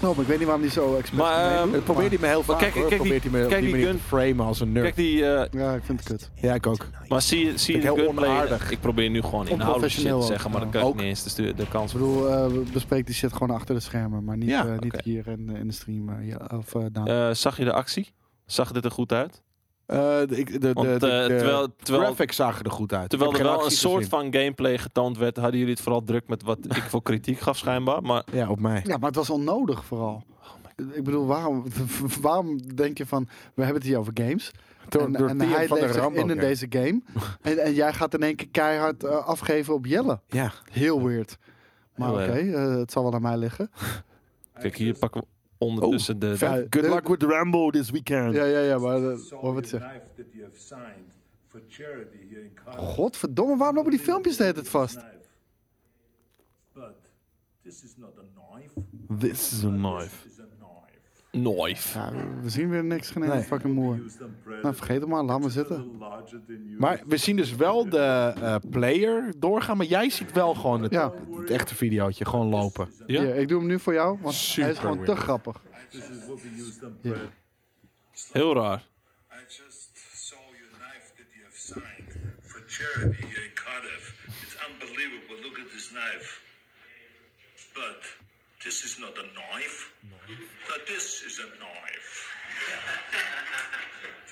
[SPEAKER 1] Nou, maar ik weet niet waarom die zo expres
[SPEAKER 2] Maar,
[SPEAKER 1] mee
[SPEAKER 2] ehm,
[SPEAKER 1] doet,
[SPEAKER 3] Ik probeer die Eh, me heel vaak
[SPEAKER 2] kijk-
[SPEAKER 3] hoor.
[SPEAKER 2] kijk die-
[SPEAKER 3] probeert die me op
[SPEAKER 2] kijk
[SPEAKER 3] die
[SPEAKER 2] die
[SPEAKER 3] manier te framen als een nerd.
[SPEAKER 2] Kijk die... eh,
[SPEAKER 1] Ja, ik vind het kut.
[SPEAKER 3] ja, ik ook.
[SPEAKER 2] maar zie je, zie je
[SPEAKER 3] Vind ik
[SPEAKER 2] de
[SPEAKER 3] heel
[SPEAKER 2] gunplay?
[SPEAKER 3] onaardig.
[SPEAKER 2] Ik probeer nu gewoon inhoudelijk shit te
[SPEAKER 1] Onprofessioneel
[SPEAKER 2] zeggen, maar
[SPEAKER 1] ook.
[SPEAKER 2] dan krijg ik
[SPEAKER 3] Ook.
[SPEAKER 2] niet eens de, stu- de kans.
[SPEAKER 1] Ik bedoel, eh, we bespreken die shit gewoon achter de schermen, maar niet,
[SPEAKER 3] Ja,
[SPEAKER 1] eh, niet
[SPEAKER 2] oké.
[SPEAKER 1] hier in, in de stream. eh, ja, of eh daar.
[SPEAKER 2] Eh, zag je de actie? Zag dit er goed uit?
[SPEAKER 3] Eh, de, ik- de, de,
[SPEAKER 2] Want,
[SPEAKER 3] de-
[SPEAKER 2] eh,
[SPEAKER 3] de
[SPEAKER 2] terwijl- terwijl-
[SPEAKER 3] graphics zagen er goed uit.
[SPEAKER 2] Terwijl
[SPEAKER 3] Ik
[SPEAKER 2] er
[SPEAKER 3] heb geen
[SPEAKER 2] wel een
[SPEAKER 3] acties
[SPEAKER 2] soort
[SPEAKER 3] gezien.
[SPEAKER 2] van gameplay getoond werd, hadden jullie het vooral druk met wat ik voor kritiek gaf schijnbaar. Maar
[SPEAKER 3] Ja, op mij.
[SPEAKER 1] Ja, maar het was onnodig vooral.
[SPEAKER 2] Oh
[SPEAKER 1] ik bedoel, waarom, waarom denk je van, we hebben het hier over games.
[SPEAKER 3] Door,
[SPEAKER 1] en
[SPEAKER 3] door
[SPEAKER 1] en
[SPEAKER 3] Tien
[SPEAKER 1] hij
[SPEAKER 3] van de
[SPEAKER 1] leeft zich
[SPEAKER 3] Rambo.
[SPEAKER 1] in in
[SPEAKER 3] game.
[SPEAKER 1] deze game. en, en jij gaat in één keer keihard eh, afgeven op Jelle.
[SPEAKER 3] Ja.
[SPEAKER 1] Heel weird. Maar
[SPEAKER 2] Heel
[SPEAKER 1] oké, eh, het zal wel aan mij liggen.
[SPEAKER 2] kijk, hier pakken we ondertussen de...
[SPEAKER 3] Oh, vet.
[SPEAKER 1] Ja,
[SPEAKER 3] Good
[SPEAKER 1] de-
[SPEAKER 3] luck
[SPEAKER 4] With Rambo this weekend.
[SPEAKER 1] Ja, ja, ja, maar eh, hoor wat
[SPEAKER 5] Soviet
[SPEAKER 1] ze
[SPEAKER 5] knife that you have signed for charity here in
[SPEAKER 1] Oh,
[SPEAKER 5] Congress.
[SPEAKER 1] Godverdomme, waarom lopen die filmpjes de hele tijd vast?
[SPEAKER 5] Knife. But this is not a knife.
[SPEAKER 3] This is a knife.
[SPEAKER 5] This is a knife.
[SPEAKER 2] Knife.
[SPEAKER 1] Ja, we zien weer niks, geen nee.
[SPEAKER 3] Nee.
[SPEAKER 1] fucking moer.
[SPEAKER 5] Used on
[SPEAKER 1] Nou,
[SPEAKER 5] predators
[SPEAKER 1] vergeet het maar, laat maar
[SPEAKER 5] a
[SPEAKER 1] zitten.
[SPEAKER 5] little larger than you.
[SPEAKER 3] Maar we zien dus wel de eh, player doorgaan, maar jij ziet wel gewoon het,
[SPEAKER 1] Ja.
[SPEAKER 3] het echte videootje, gewoon lopen.
[SPEAKER 2] Ja.
[SPEAKER 1] Hier, ik doe hem nu voor jou, want hij
[SPEAKER 3] Super
[SPEAKER 1] is gewoon te
[SPEAKER 3] weird.
[SPEAKER 1] grappig.
[SPEAKER 5] This is what we used on
[SPEAKER 1] Ja.
[SPEAKER 5] predators.
[SPEAKER 2] Heel raar.
[SPEAKER 5] I just saw your knife that you have signed for charity here in Cardiff. It's unbelievable. Look at this knife. But this is not a knife. But this is a knife.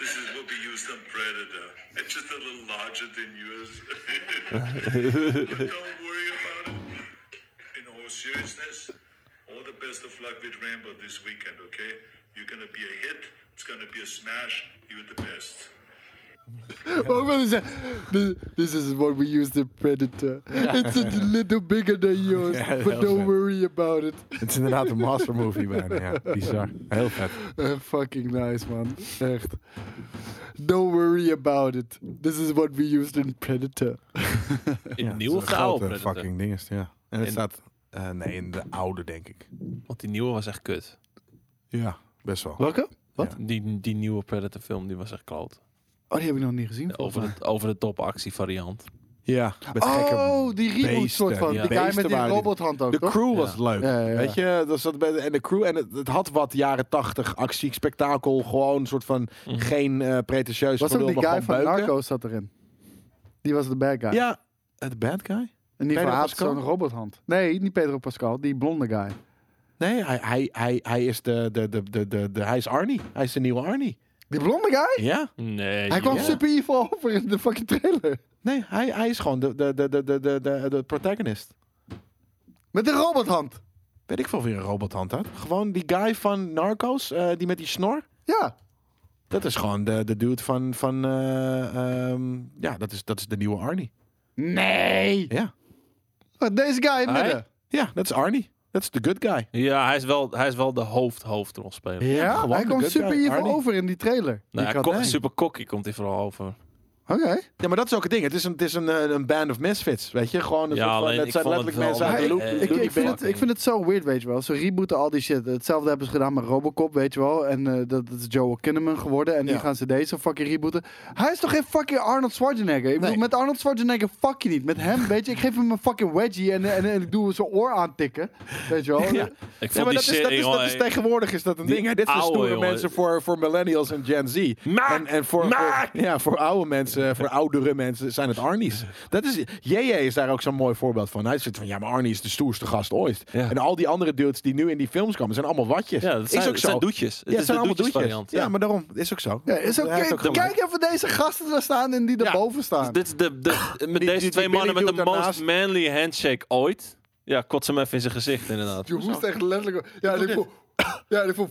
[SPEAKER 5] this is what we used on Predator. A just a little larger than yours. but don't worry about it. In all seriousness, all the best of luck with Rambo this weekend, okay? You're gonna be a hit, it's gonna be a smash, you're the best.
[SPEAKER 1] Ook wel eens zeggen, this, this is what we use the Predator. It's a little bigger than yours,
[SPEAKER 3] Ja, heel
[SPEAKER 1] but don't
[SPEAKER 3] vet.
[SPEAKER 1] worry about it.
[SPEAKER 3] Het is inderdaad een master movie bijna. Ja, bizar. Heel vet.
[SPEAKER 1] Eh, fucking nice, man. Echt. Don't worry about it. This is what we used in Predator.
[SPEAKER 2] In
[SPEAKER 3] Ja,
[SPEAKER 2] de nieuwe of
[SPEAKER 3] het is
[SPEAKER 2] de
[SPEAKER 3] een
[SPEAKER 2] oude
[SPEAKER 3] grote
[SPEAKER 2] Predator?
[SPEAKER 3] fucking dinges, ja. En het
[SPEAKER 2] En-
[SPEAKER 3] staat... eh, nee, in de oude, denk ik.
[SPEAKER 2] Want die nieuwe was echt kut.
[SPEAKER 3] Ja, best wel.
[SPEAKER 1] Welke?
[SPEAKER 2] Die, die nieuwe Predator film die was echt kloot.
[SPEAKER 1] Oh, die heb ik nog niet gezien. volgens
[SPEAKER 2] Over
[SPEAKER 1] mij.
[SPEAKER 2] de, over de top actie variant.
[SPEAKER 3] Ja, met gekke...
[SPEAKER 1] Oh, die reboot
[SPEAKER 3] beesten,
[SPEAKER 1] soort van.
[SPEAKER 2] ja.
[SPEAKER 1] Die guy
[SPEAKER 3] Beesten
[SPEAKER 1] met die
[SPEAKER 3] waren die-
[SPEAKER 1] robothand ook,
[SPEAKER 3] De
[SPEAKER 1] toch?
[SPEAKER 3] crew was leuk.
[SPEAKER 1] Ja, ja, ja.
[SPEAKER 3] Weet je, dat zat bij de, en de crew, en het, het had wat jaren tachtig actie, spektakel, gewoon een soort van geen eh pretentieus
[SPEAKER 1] Was ook
[SPEAKER 3] gelul,
[SPEAKER 1] die
[SPEAKER 3] maar
[SPEAKER 1] guy van
[SPEAKER 3] gewoon beuken.
[SPEAKER 1] Narco zat erin. Die was de bad guy.
[SPEAKER 3] Ja, het bad guy?
[SPEAKER 1] en die
[SPEAKER 3] Pedro
[SPEAKER 1] verhaalt
[SPEAKER 3] Pascal?
[SPEAKER 1] zo'n robothand. Nee, niet Pedro Pascal. Die blonde guy.
[SPEAKER 3] Nee, hij, hij, hij, hij is de, de, de, de, de, de- hij is Arnie. Hij is de nieuwe Arnie.
[SPEAKER 1] Die blonde guy?
[SPEAKER 3] Ja?
[SPEAKER 2] Nee.
[SPEAKER 1] Hij kwam
[SPEAKER 2] joh.
[SPEAKER 1] super evil over in de fucking trailer.
[SPEAKER 3] Nee, hij, hij is gewoon de, de, de, de, de, de, de, de protagonist.
[SPEAKER 1] Met een robothand.
[SPEAKER 3] Weet ik veel weer een robothand had. Gewoon die guy van Narcos, eh, die met die snor.
[SPEAKER 1] Ja.
[SPEAKER 3] Dat is gewoon de, de dude van, van eh, ehm, ja, dat is, dat is de nieuwe Arnie.
[SPEAKER 1] Nee.
[SPEAKER 3] Ja.
[SPEAKER 1] Maar Oh, Deze guy in het
[SPEAKER 2] Hij?
[SPEAKER 1] midden.
[SPEAKER 3] Ja, dat is Arnie. Dat is de good guy.
[SPEAKER 2] Ja, hij is wel, hij is wel de hoofd, hoofdrolspeler.
[SPEAKER 1] Ja,
[SPEAKER 3] gewoon
[SPEAKER 1] hij
[SPEAKER 3] de
[SPEAKER 1] kwam
[SPEAKER 3] good
[SPEAKER 1] super
[SPEAKER 3] guy,
[SPEAKER 1] evil
[SPEAKER 3] Arnie.
[SPEAKER 1] over in die trailer.
[SPEAKER 2] Nou,
[SPEAKER 1] Die
[SPEAKER 2] hij
[SPEAKER 1] kat-
[SPEAKER 2] ko-
[SPEAKER 1] Nee.
[SPEAKER 2] super cocky komt hij vooral over.
[SPEAKER 1] Oké.
[SPEAKER 3] Ja, maar dat is ook het ding. Het is een, het is een, eh, een band of misfits, weet je? Gewoon een
[SPEAKER 2] Ja,
[SPEAKER 3] soort van,
[SPEAKER 2] alleen
[SPEAKER 3] het
[SPEAKER 2] ik
[SPEAKER 3] zijn
[SPEAKER 2] vond het
[SPEAKER 3] letterlijk mensen
[SPEAKER 2] wel
[SPEAKER 3] uit de
[SPEAKER 2] een
[SPEAKER 3] loop.
[SPEAKER 1] Hij-
[SPEAKER 2] beetje- eh,
[SPEAKER 1] ik, ik, vind het,
[SPEAKER 2] Bart.
[SPEAKER 1] ik vind het zo weird, weet je wel. Ze rebooten al die shit. Hetzelfde hebben ze gedaan met Robocop, weet je wel. En eh, dat, dat is Joel Kinnaman geworden. En nu
[SPEAKER 3] Ja.
[SPEAKER 1] gaan ze deze fucking rebooten. Hij is toch geen fucking Arnold Schwarzenegger? Ik bedoel,
[SPEAKER 3] Nee.
[SPEAKER 1] met Arnold Schwarzenegger fuck je niet. Met hem, weet je, ik geef hem een fucking wedgie en, en, en ik doe zijn oor aantikken. Weet je wel.
[SPEAKER 3] Ja.
[SPEAKER 2] Ik vond
[SPEAKER 3] Ja,
[SPEAKER 2] die
[SPEAKER 3] maar dat, is,
[SPEAKER 2] shit,
[SPEAKER 3] dat, is, dat is
[SPEAKER 2] jongen,
[SPEAKER 3] tegenwoordig is dat een
[SPEAKER 2] Die
[SPEAKER 3] ding. Hè? Dit zijn
[SPEAKER 2] oude,
[SPEAKER 3] stoere
[SPEAKER 2] jongen.
[SPEAKER 3] mensen voor, voor millennials en Gen Z.
[SPEAKER 2] Maak!
[SPEAKER 3] en en voor,
[SPEAKER 2] Maak!
[SPEAKER 3] voor- ja, voor oude mensen, eh, voor oudere mensen zijn het Arnie's. Dat is, JJ is daar ook zo'n mooi voorbeeld van. Hij zit van, ja, maar Arnie is de stoerste gast ooit.
[SPEAKER 2] Ja.
[SPEAKER 3] En al die andere dudes die nu in die films komen, zijn allemaal watjes.
[SPEAKER 2] Ja, dat zijn,
[SPEAKER 3] is ook
[SPEAKER 2] het
[SPEAKER 3] zo.
[SPEAKER 2] zijn doetjes. Het
[SPEAKER 3] ja,
[SPEAKER 2] is
[SPEAKER 3] zijn
[SPEAKER 2] de
[SPEAKER 3] allemaal doetjes.
[SPEAKER 2] doetjesvariant,
[SPEAKER 3] Ja.
[SPEAKER 2] ja.
[SPEAKER 3] maar daarom, is ook zo.
[SPEAKER 1] Ja, is ook,
[SPEAKER 3] Hij heeft
[SPEAKER 1] kijk,
[SPEAKER 3] ook gelijk.
[SPEAKER 1] kijk even deze gasten daar staan en die daarboven staan.
[SPEAKER 2] Dus Dit is de, de, met
[SPEAKER 3] die-
[SPEAKER 2] deze
[SPEAKER 3] die
[SPEAKER 2] twee
[SPEAKER 3] Billy
[SPEAKER 2] mannen met de
[SPEAKER 3] doet daarnaast-
[SPEAKER 2] most manly handshake ooit. Ja, kots hem even in zijn gezicht, inderdaad.
[SPEAKER 1] Je hoest echt letterlijk... Ja, en ik voel... Ja, en ik voel...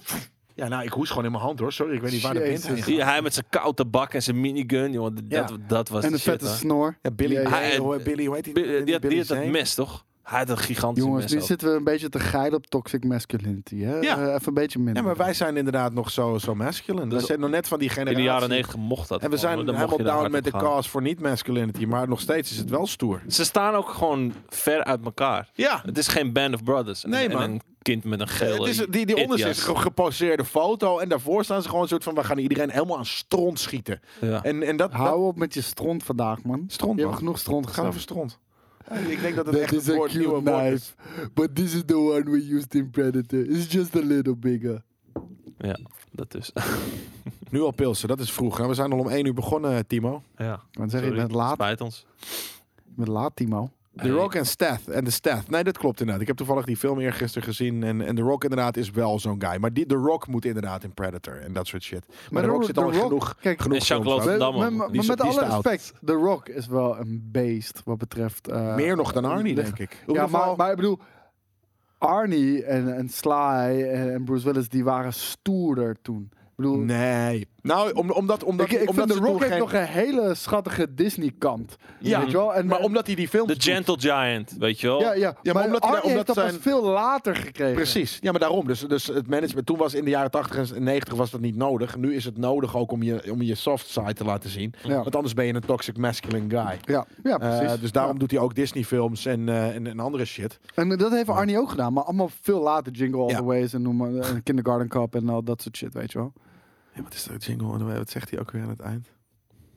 [SPEAKER 3] Ja, nou, ik hoes gewoon in mijn hand hoor. Sorry, ik weet niet waar de wind
[SPEAKER 1] Jezus.
[SPEAKER 3] heen gaat.
[SPEAKER 2] Die, hij met zijn koude bak en zijn minigun, jongen. dat-
[SPEAKER 3] Ja.
[SPEAKER 2] Dat, dat was
[SPEAKER 1] En
[SPEAKER 2] de
[SPEAKER 1] een
[SPEAKER 2] shit,
[SPEAKER 1] vette
[SPEAKER 2] hoor.
[SPEAKER 1] snor.
[SPEAKER 3] Ja, Billy,
[SPEAKER 1] Ja, ja.
[SPEAKER 2] Hij-
[SPEAKER 3] hoe- Billy, hoe heet die?
[SPEAKER 2] Bi- eh, Die had, die
[SPEAKER 3] Billy
[SPEAKER 2] had dat
[SPEAKER 3] Zane?
[SPEAKER 2] mes, toch? Hij had een gigantisch
[SPEAKER 1] Jongens, nu
[SPEAKER 2] mes. ook.
[SPEAKER 1] zitten we een beetje te geilen op toxic masculinity. Hè?
[SPEAKER 3] Ja.
[SPEAKER 1] Eh, even een beetje minder.
[SPEAKER 3] Ja, maar wij zijn inderdaad nog zo, zo masculine. we
[SPEAKER 2] Dus
[SPEAKER 3] zijn nog net van die
[SPEAKER 2] In
[SPEAKER 3] generatie.
[SPEAKER 2] de jaren negentig mocht dat.
[SPEAKER 3] En we
[SPEAKER 2] gewoon,
[SPEAKER 3] zijn
[SPEAKER 2] hoor. Dan mocht
[SPEAKER 3] helemaal
[SPEAKER 2] je daar
[SPEAKER 3] down
[SPEAKER 2] hard
[SPEAKER 3] met de
[SPEAKER 2] op gaan.
[SPEAKER 3] cause voor niet-masculinity. Maar nog steeds is het wel stoer.
[SPEAKER 2] Ze staan ook gewoon ver uit elkaar.
[SPEAKER 3] Ja.
[SPEAKER 2] Het is geen band of brothers. En-
[SPEAKER 3] Nee,
[SPEAKER 2] en
[SPEAKER 3] man.
[SPEAKER 2] een kind met een gele...
[SPEAKER 3] Het is, die die onderste is
[SPEAKER 2] idioot.
[SPEAKER 3] een geposeerde foto. En daarvoor staan ze gewoon een soort van... We gaan iedereen helemaal aan stront schieten.
[SPEAKER 2] Ja.
[SPEAKER 3] En, en dat... dat
[SPEAKER 1] Hou op met je stront vandaag, man.
[SPEAKER 3] stront,
[SPEAKER 1] Je hebt
[SPEAKER 3] man.
[SPEAKER 1] genoeg stront
[SPEAKER 3] Ga
[SPEAKER 1] gedaan.
[SPEAKER 3] over stront. Ik denk dat het
[SPEAKER 1] That
[SPEAKER 3] echt
[SPEAKER 1] is
[SPEAKER 3] een
[SPEAKER 1] a
[SPEAKER 3] woord, nieuwe
[SPEAKER 1] cute
[SPEAKER 3] woord is.
[SPEAKER 1] knife, but this is the one we used in Predator. It's just a little bigger.
[SPEAKER 2] ja, dat dus.
[SPEAKER 3] Nu al pilsen, dat is vroeg. hè. We zijn al om één uur begonnen, Timo.
[SPEAKER 2] ja.
[SPEAKER 1] Want zeg je, je
[SPEAKER 2] Sorry,
[SPEAKER 1] bent laat,
[SPEAKER 2] Spijt ons.
[SPEAKER 1] je bent laat, Timo.
[SPEAKER 3] The Rock en Stath. En de Stath. Nee, dat klopt inderdaad. Ik heb toevallig die film eergisteren gezien. En, en The Rock inderdaad is wel zo'n guy. Maar die, The Rock moet inderdaad in Predator en dat soort shit. Maar,
[SPEAKER 1] Maar
[SPEAKER 3] The
[SPEAKER 1] The
[SPEAKER 3] Rock
[SPEAKER 1] Rock-
[SPEAKER 3] zit al
[SPEAKER 1] The Rock-
[SPEAKER 3] genoeg,
[SPEAKER 1] kijk,
[SPEAKER 3] genoeg
[SPEAKER 2] en
[SPEAKER 3] films
[SPEAKER 2] Jean-Claude
[SPEAKER 3] uit.
[SPEAKER 2] Van
[SPEAKER 1] Maar,
[SPEAKER 2] Damme,
[SPEAKER 1] maar-
[SPEAKER 2] man.
[SPEAKER 1] maar
[SPEAKER 3] Die is-
[SPEAKER 1] met
[SPEAKER 3] die is
[SPEAKER 1] alle
[SPEAKER 3] te oud.
[SPEAKER 1] respect, The Rock is wel een beest wat betreft... eh,
[SPEAKER 3] Meer nog dan Arnie, denk ik. In
[SPEAKER 1] Ja,
[SPEAKER 3] ieder geval-
[SPEAKER 1] maar, maar ik bedoel, Arnie en, en Sly en, en Bruce Willis, die waren stoerder toen. Ik bedoel,
[SPEAKER 3] Nee. Nou, om, omdat, omdat,
[SPEAKER 1] ik, ik
[SPEAKER 3] omdat
[SPEAKER 1] vind The
[SPEAKER 3] ze
[SPEAKER 1] Rock
[SPEAKER 3] toen
[SPEAKER 1] heeft
[SPEAKER 3] geen-
[SPEAKER 1] nog een hele schattige Disney-kant.
[SPEAKER 3] Ja,
[SPEAKER 1] weet je wel? En,
[SPEAKER 3] Maar omdat hij die film...
[SPEAKER 2] De Gentle Giant, weet je wel?
[SPEAKER 1] Ja, ja.
[SPEAKER 3] maar
[SPEAKER 1] maar
[SPEAKER 3] omdat hij-
[SPEAKER 1] Arnie
[SPEAKER 3] omdat
[SPEAKER 1] heeft dat
[SPEAKER 3] zijn-
[SPEAKER 1] pas veel later gekregen.
[SPEAKER 3] Precies. Ja, maar daarom. Dus, dus het management... Toen was in de jaren 80 en 90 was dat niet nodig. Nu is het nodig ook om je, om je soft side te laten zien.
[SPEAKER 1] Ja.
[SPEAKER 3] Want anders ben je een toxic masculine guy.
[SPEAKER 1] Ja, ja
[SPEAKER 3] Eh,
[SPEAKER 1] precies.
[SPEAKER 3] dus daarom doet hij ook Disney-films en, eh, en, en andere shit.
[SPEAKER 1] En dat heeft Arnie ook gedaan, maar allemaal veel later. Jingle All
[SPEAKER 3] Ja.
[SPEAKER 1] The Ways en, noem maar, en Kindergarten Cup en al dat soort shit, weet je wel.
[SPEAKER 3] Ja, wat is dat jingle? Wat zegt hij ook weer aan het eind?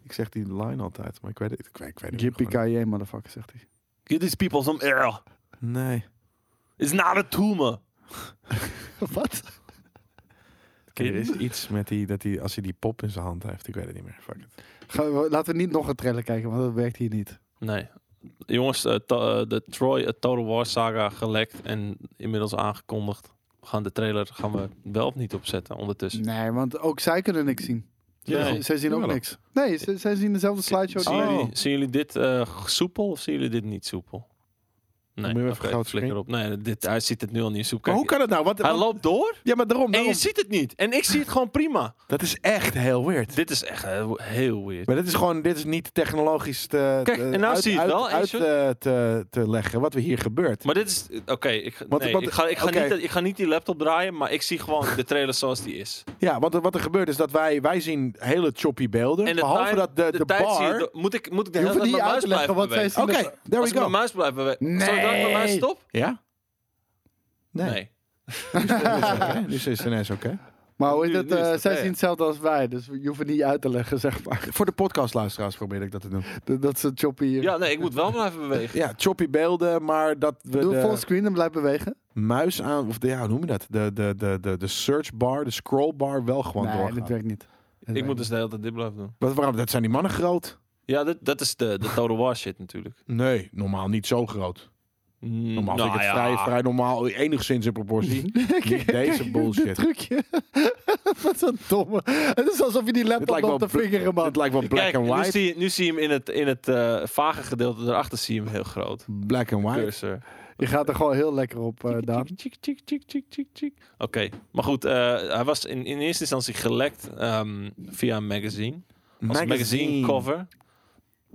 [SPEAKER 3] Ik zeg die line altijd, maar ik weet het, ik weet, ik weet
[SPEAKER 1] Yippie-ki-yay, motherfucker, zegt hij.
[SPEAKER 2] Give these people some air.
[SPEAKER 3] Nee.
[SPEAKER 2] It's not a tumor.
[SPEAKER 1] Wat?
[SPEAKER 2] Er is
[SPEAKER 3] iets met die, dat hij, als hij die pop in zijn hand heeft, ik weet het niet meer. Fuck it.
[SPEAKER 1] Gaan we- Laten we niet nog een trailer kijken, want dat werkt hier niet.
[SPEAKER 2] Nee. Jongens, eh, to- eh, de Troy eh, Total War saga gelekt en inmiddels aangekondigd. We gaan de trailer gaan we wel of niet opzetten ondertussen.
[SPEAKER 1] Nee, want ook zij kunnen niks zien.
[SPEAKER 2] Nee.
[SPEAKER 1] Zij zien ook
[SPEAKER 3] Jawel.
[SPEAKER 1] niks. Nee, zij, zij zien dezelfde slideshow.
[SPEAKER 2] Zien,
[SPEAKER 1] die wij-
[SPEAKER 2] jullie, zien jullie dit eh, soepel of zien jullie dit niet soepel? Nee,
[SPEAKER 3] moet je even
[SPEAKER 2] oké,
[SPEAKER 3] goud
[SPEAKER 2] flikker op. Nee, dit, hij ziet het nu al niet soepel.
[SPEAKER 3] Maar hoe kan het nou? Wat,
[SPEAKER 2] Hij
[SPEAKER 3] wat-
[SPEAKER 2] loopt door
[SPEAKER 3] ja, maar daarom.
[SPEAKER 2] en je
[SPEAKER 3] daarom.
[SPEAKER 2] ziet het niet. En ik zie het gewoon prima.
[SPEAKER 3] Dat is echt heel weird.
[SPEAKER 2] Dit is echt heel, heel weird.
[SPEAKER 3] Maar dit is gewoon, dit is niet technologisch te,
[SPEAKER 2] Kijk,
[SPEAKER 3] te-
[SPEAKER 2] en nou
[SPEAKER 3] uit,
[SPEAKER 2] zie je het
[SPEAKER 3] uit-
[SPEAKER 2] wel, en
[SPEAKER 3] uit,
[SPEAKER 2] je-
[SPEAKER 3] eh, te, te leggen wat we hier gebeurt.
[SPEAKER 2] Maar dit is... Oké, ik, ga-
[SPEAKER 3] Want-
[SPEAKER 2] nee,
[SPEAKER 3] want-
[SPEAKER 2] ik, ga, ik, ga
[SPEAKER 3] oké.
[SPEAKER 2] niet, ik ga niet die laptop draaien, maar ik zie gewoon de trailer zoals die is.
[SPEAKER 3] Ja, want er- wat er gebeurt is dat wij, wij zien hele choppy beelden.
[SPEAKER 2] En de
[SPEAKER 3] behalve
[SPEAKER 2] tijd-
[SPEAKER 3] dat de, de,
[SPEAKER 2] tijd zie je
[SPEAKER 3] bar...
[SPEAKER 2] do- moet, ik, moet ik de
[SPEAKER 1] Je
[SPEAKER 2] hele
[SPEAKER 1] hoeft niet
[SPEAKER 2] tijd mijn
[SPEAKER 1] uit
[SPEAKER 2] muis
[SPEAKER 1] te leggen
[SPEAKER 2] blijven
[SPEAKER 1] wat zij
[SPEAKER 2] bewegen?
[SPEAKER 1] zien.
[SPEAKER 3] Oké,
[SPEAKER 1] dat-
[SPEAKER 3] there
[SPEAKER 2] Als
[SPEAKER 3] we
[SPEAKER 2] ik mijn
[SPEAKER 3] go.
[SPEAKER 2] muis blijven bewegen.
[SPEAKER 3] Nee.
[SPEAKER 2] Zodat ik mijn muis stop?
[SPEAKER 3] Ja?
[SPEAKER 2] Nee.
[SPEAKER 3] Oké, dus is het ineens oké.
[SPEAKER 1] Maar hoe is
[SPEAKER 2] Nu-
[SPEAKER 1] het?
[SPEAKER 2] nu is
[SPEAKER 1] eh,
[SPEAKER 2] dat,
[SPEAKER 1] zij
[SPEAKER 2] ja, ja.
[SPEAKER 1] zien hetzelfde als wij, dus je hoeft het niet uit te leggen, zeg maar.
[SPEAKER 3] Voor de podcastluisteraars probeer ik dat te doen.
[SPEAKER 1] Dat, dat ze choppy eh. hier.
[SPEAKER 2] Ja, nee, ik moet wel blijven bewegen.
[SPEAKER 3] Ja, choppy beelden, maar dat we
[SPEAKER 1] Doe
[SPEAKER 3] de
[SPEAKER 1] full screen en blijf bewegen.
[SPEAKER 3] muis aan... Of de, ja, hoe noem je dat? De, de, de, de, de search bar, de scroll bar wel gewoon
[SPEAKER 1] nee,
[SPEAKER 3] doorgaan.
[SPEAKER 1] dat werkt niet. Dat
[SPEAKER 2] Ik
[SPEAKER 1] werkt
[SPEAKER 2] moet
[SPEAKER 1] niet.
[SPEAKER 2] dus de hele tijd dit blijven doen.
[SPEAKER 3] Wat, waarom? Dat zijn die mannen groot?
[SPEAKER 2] Ja, dat, dat is de, de Total War shit natuurlijk.
[SPEAKER 3] Nee, normaal niet zo groot.
[SPEAKER 2] Mm,
[SPEAKER 3] Normaal vind ik
[SPEAKER 2] nou
[SPEAKER 3] het
[SPEAKER 2] ja.
[SPEAKER 3] vrij, vrij normaal, enigszins in proportie. Niet deze
[SPEAKER 1] Dit
[SPEAKER 3] bullshit.
[SPEAKER 1] trucje. Wat zo'n domme. Het is alsof je die
[SPEAKER 3] Dit
[SPEAKER 1] laptop
[SPEAKER 3] lijkt, wel
[SPEAKER 1] op te
[SPEAKER 3] bl-
[SPEAKER 1] vingeren, man.
[SPEAKER 3] dit lijkt wel black
[SPEAKER 2] Kijk,
[SPEAKER 3] and
[SPEAKER 2] Nu
[SPEAKER 3] white.
[SPEAKER 2] zie, je- nu zie je hem in het, in het eh, vage gedeelte daarachter zie je hem heel groot.
[SPEAKER 3] Black and white.
[SPEAKER 2] Cursor.
[SPEAKER 1] Je gaat er gewoon heel lekker op, eh Daan.
[SPEAKER 2] Tjik, tjik, tjik, tjik, tjik, tjik. Oké, maar goed, eh, hij was in, in eerste instantie gelekt ehm, via een magazine. Als magazine cover.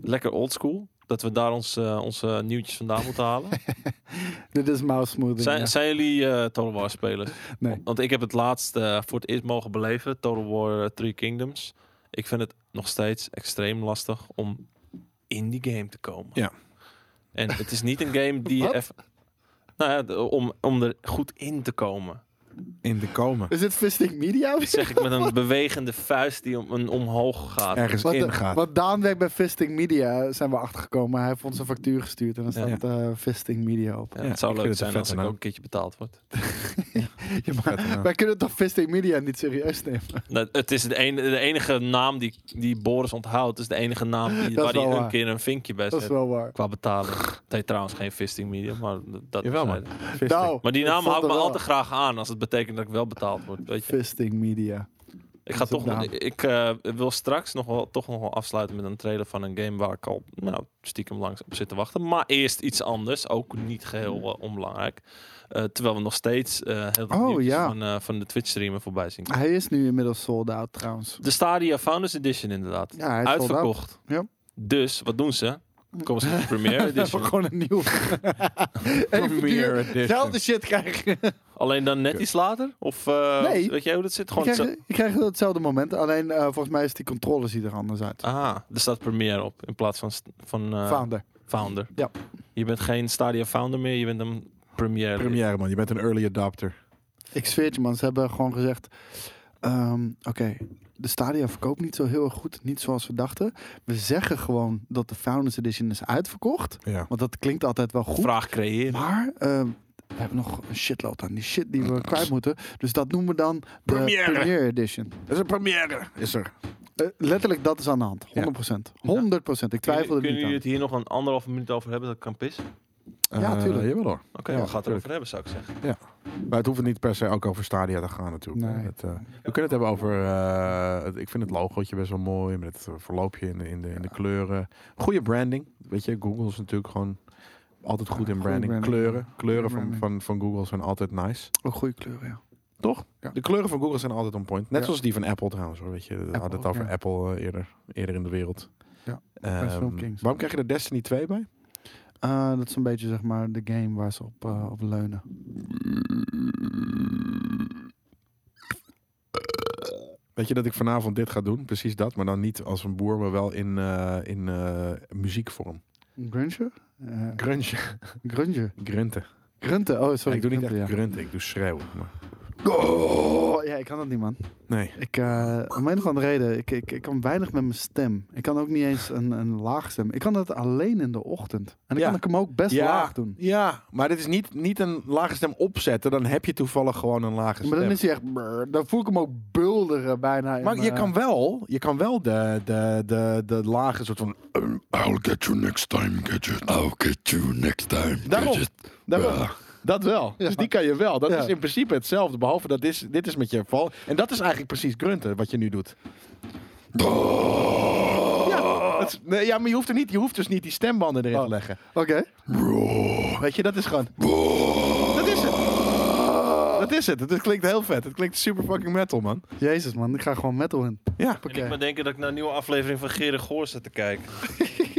[SPEAKER 2] Lekker oldschool. Dat we daar ons, eh, onze nieuwtjes vandaan moeten halen.
[SPEAKER 1] Dit is mouse smoothing.
[SPEAKER 2] Zijn,
[SPEAKER 1] ja.
[SPEAKER 2] zijn jullie eh, Total War spelers?
[SPEAKER 1] Nee.
[SPEAKER 2] Want ik heb het laatst eh, voor het eerst mogen beleven, Total War eh, Three Kingdoms. Ik vind het nog steeds extreem lastig om in die game te komen.
[SPEAKER 3] Ja.
[SPEAKER 2] En het is niet een game die je
[SPEAKER 1] Wat?
[SPEAKER 2] even... Nou ja, de- om, om er goed in te komen.
[SPEAKER 3] In de komen.
[SPEAKER 1] Is dit Fisting Media?
[SPEAKER 2] Dat zeg ik met een bewegende vuist die om, een omhoog gaat.
[SPEAKER 3] Ergens
[SPEAKER 1] Wat,
[SPEAKER 3] in
[SPEAKER 1] de-
[SPEAKER 3] gaat.
[SPEAKER 1] wat eh, Daan werkt bij Fisting Media, eh, zijn we achtergekomen. Hij heeft ons een factuur gestuurd en dan
[SPEAKER 2] Ja.
[SPEAKER 1] staat eh Fisting Media op.
[SPEAKER 2] Ja,
[SPEAKER 3] Ja,
[SPEAKER 2] het zou
[SPEAKER 3] ik
[SPEAKER 2] leuk
[SPEAKER 3] vind het een
[SPEAKER 2] zijn als
[SPEAKER 3] vette
[SPEAKER 2] ik
[SPEAKER 3] naam.
[SPEAKER 2] ook een keertje betaald word.
[SPEAKER 1] Ja, maar
[SPEAKER 3] Vet, ja.
[SPEAKER 1] wij kunnen toch Fisting Media niet serieus nemen?
[SPEAKER 2] Nou, het is de, ene- de enige naam die, die Boris onthoudt. is de enige naam die,
[SPEAKER 1] Dat
[SPEAKER 2] waar
[SPEAKER 1] is wel
[SPEAKER 2] hij een
[SPEAKER 1] waar.
[SPEAKER 2] keer een vinkje bij
[SPEAKER 1] Dat
[SPEAKER 2] zet.
[SPEAKER 1] is wel waar.
[SPEAKER 2] Qua betaling. Het heet trouwens geen Fisting Media, maar d- dat
[SPEAKER 3] Jawel, man.
[SPEAKER 2] terzijde.
[SPEAKER 1] Nou,
[SPEAKER 2] Maar die
[SPEAKER 1] ik
[SPEAKER 2] naam
[SPEAKER 1] vond
[SPEAKER 2] houdt me
[SPEAKER 1] het wel.
[SPEAKER 2] altijd graag aan als het betekent dat ik wel betaald word. Weet je.
[SPEAKER 1] Fisting Media.
[SPEAKER 2] Ik ga
[SPEAKER 1] dat is
[SPEAKER 2] toch
[SPEAKER 1] ook
[SPEAKER 2] nog,
[SPEAKER 1] naam.
[SPEAKER 2] ik eh, wil straks nog wel, toch nog wel afsluiten met een trailer van een game waar ik al nou, stiekem langs op zit te wachten. Maar eerst iets anders, ook niet geheel eh, onbelangrijk. Eh, terwijl we nog steeds eh heel veel
[SPEAKER 1] Oh,
[SPEAKER 2] nieuwtjes
[SPEAKER 1] ja.
[SPEAKER 2] van, eh, van de Twitch streamen voorbij zien. komen.
[SPEAKER 1] Hij is nu inmiddels sold out trouwens.
[SPEAKER 2] De Stadia Founders Edition inderdaad.
[SPEAKER 1] Ja, hij is sold out.
[SPEAKER 2] Uitverkocht.
[SPEAKER 1] Ja.
[SPEAKER 2] Dus, wat doen ze? Komen ze met de premiere
[SPEAKER 1] We hebben
[SPEAKER 2] edition.
[SPEAKER 1] gewoon een nieuw. Even duur.
[SPEAKER 3] edition.
[SPEAKER 1] Zelfde shit krijgen.
[SPEAKER 2] Alleen dan net iets later? Of eh,
[SPEAKER 1] Nee. eh,
[SPEAKER 2] weet jij hoe dat zit?
[SPEAKER 1] Ik
[SPEAKER 2] Gewoon
[SPEAKER 1] krijg,
[SPEAKER 2] zo-
[SPEAKER 1] ik krijg hetzelfde moment, alleen eh, volgens mij is die controle ziet er anders uit.
[SPEAKER 2] Ah, er staat premiere op in plaats van, st- van eh,
[SPEAKER 1] Founder.
[SPEAKER 2] founder.
[SPEAKER 1] Ja.
[SPEAKER 2] Je bent geen Stadia founder meer, je bent een premiere.
[SPEAKER 3] Première man, je bent een early adopter.
[SPEAKER 1] Ik zweer het je man, ze hebben gewoon gezegd... ehm, Oké, de Stadia verkoopt niet zo heel erg goed, niet zoals we dachten. We zeggen gewoon dat de Founders Edition is uitverkocht.
[SPEAKER 3] Ja.
[SPEAKER 1] Want dat klinkt altijd wel goed.
[SPEAKER 2] Vraag creëren.
[SPEAKER 1] Maar ehm, we hebben nog een shitload aan die shit die
[SPEAKER 2] Ah.
[SPEAKER 1] we kwijt moeten. Dus dat noemen we dan de
[SPEAKER 3] Première.
[SPEAKER 1] Premiere Edition.
[SPEAKER 3] Dat is een première. Is er.
[SPEAKER 1] Eh, letterlijk, dat is aan de hand. 100%. 100%. Ik twijfel er
[SPEAKER 2] Kunnen
[SPEAKER 1] niet
[SPEAKER 2] jullie
[SPEAKER 1] aan.
[SPEAKER 2] het hier nog een anderhalf minuut over hebben dat ik kan pissen? Oké,
[SPEAKER 1] Ja,
[SPEAKER 3] Eh,
[SPEAKER 1] tuurlijk.
[SPEAKER 3] Jawel hoor.
[SPEAKER 2] we
[SPEAKER 3] Ja,
[SPEAKER 2] gaan het
[SPEAKER 3] tuurlijk.
[SPEAKER 2] erover hebben, zou ik zeggen.
[SPEAKER 3] Maar het hoeft niet per se ook over Stadia te gaan natuurlijk.
[SPEAKER 1] Nee.
[SPEAKER 3] Het, eh, we kunnen het hebben over... eh, het- ik vind het logootje best wel mooi. Met het eh, verloopje in de, in de, in de kleuren. Goede branding. Weet je, Google is natuurlijk gewoon altijd goed in
[SPEAKER 1] Goeie
[SPEAKER 3] branding.
[SPEAKER 1] branding.
[SPEAKER 3] Kleuren. Kleuren van,
[SPEAKER 1] branding.
[SPEAKER 3] van, van Google zijn altijd nice.
[SPEAKER 1] Ook goede kleuren, ja.
[SPEAKER 3] Toch?
[SPEAKER 1] Ja.
[SPEAKER 3] De kleuren van Google zijn altijd on point. Net
[SPEAKER 1] Ja.
[SPEAKER 3] zoals die van Apple trouwens hoor. Weet je, we hadden het
[SPEAKER 1] Apple,
[SPEAKER 3] over
[SPEAKER 1] ja.
[SPEAKER 3] Apple eh, eerder, eerder in de wereld.
[SPEAKER 1] Ja,
[SPEAKER 3] Ehm,
[SPEAKER 1] Film Kings.
[SPEAKER 3] waarom krijg je er Destiny 2 bij?
[SPEAKER 1] Eh, dat is een beetje zeg maar de game waar ze op, eh, op leunen.
[SPEAKER 3] Weet je dat ik vanavond dit ga doen? Precies dat, maar dan niet als een boer, maar wel in, eh, in eh, muziekvorm.
[SPEAKER 1] Grunge? Eh
[SPEAKER 3] Grunge.
[SPEAKER 1] grunge.
[SPEAKER 3] Grunten.
[SPEAKER 1] Grunten. Oh, sorry.
[SPEAKER 3] ik doe niet echt
[SPEAKER 1] grunten, ja.
[SPEAKER 3] grunten, ik doe schreeuwen. Maar...
[SPEAKER 1] Goh! Ja, ik kan dat niet, man.
[SPEAKER 3] Nee.
[SPEAKER 1] Ik, eh, om een of andere reden, ik, ik, ik kan weinig met mijn stem. Ik kan ook niet eens een, een laag stem. Ik kan dat alleen in de ochtend. En dan
[SPEAKER 3] Ja.
[SPEAKER 1] kan ik hem ook best laag doen.
[SPEAKER 3] ja, maar dit is niet, niet een lage stem opzetten. Dan heb je toevallig gewoon een lage stem.
[SPEAKER 1] Maar dan is hij echt... brrr, dan voel ik hem ook bulderen bijna. in
[SPEAKER 3] Maar je
[SPEAKER 1] mijn- eh,
[SPEAKER 3] kan wel, je kan wel de, de, de, de lage soort van...
[SPEAKER 4] I'll get you next time, gadget. I'll get you next time,
[SPEAKER 3] Daarom.
[SPEAKER 4] gadget.
[SPEAKER 3] Daarom. Dat wel. Dus die kan je wel. Dat
[SPEAKER 1] Ja.
[SPEAKER 3] is in principe hetzelfde. Behalve dat is, dit is met je val. En dat is eigenlijk precies grunten wat je nu doet. Ja, dat is- nee, ja, maar je hoeft, er niet, je hoeft dus niet die stembanden erin te leggen.
[SPEAKER 1] Oké.
[SPEAKER 3] Weet je, dat is gewoon. Dat is het. Dat is het. Het klinkt heel vet. Het klinkt super fucking metal, man.
[SPEAKER 1] Jezus man, ik ga gewoon metal in.
[SPEAKER 3] Ja.
[SPEAKER 2] En ik maar denken dat ik naar een nieuwe aflevering van Gerrit Goor zit te kijken.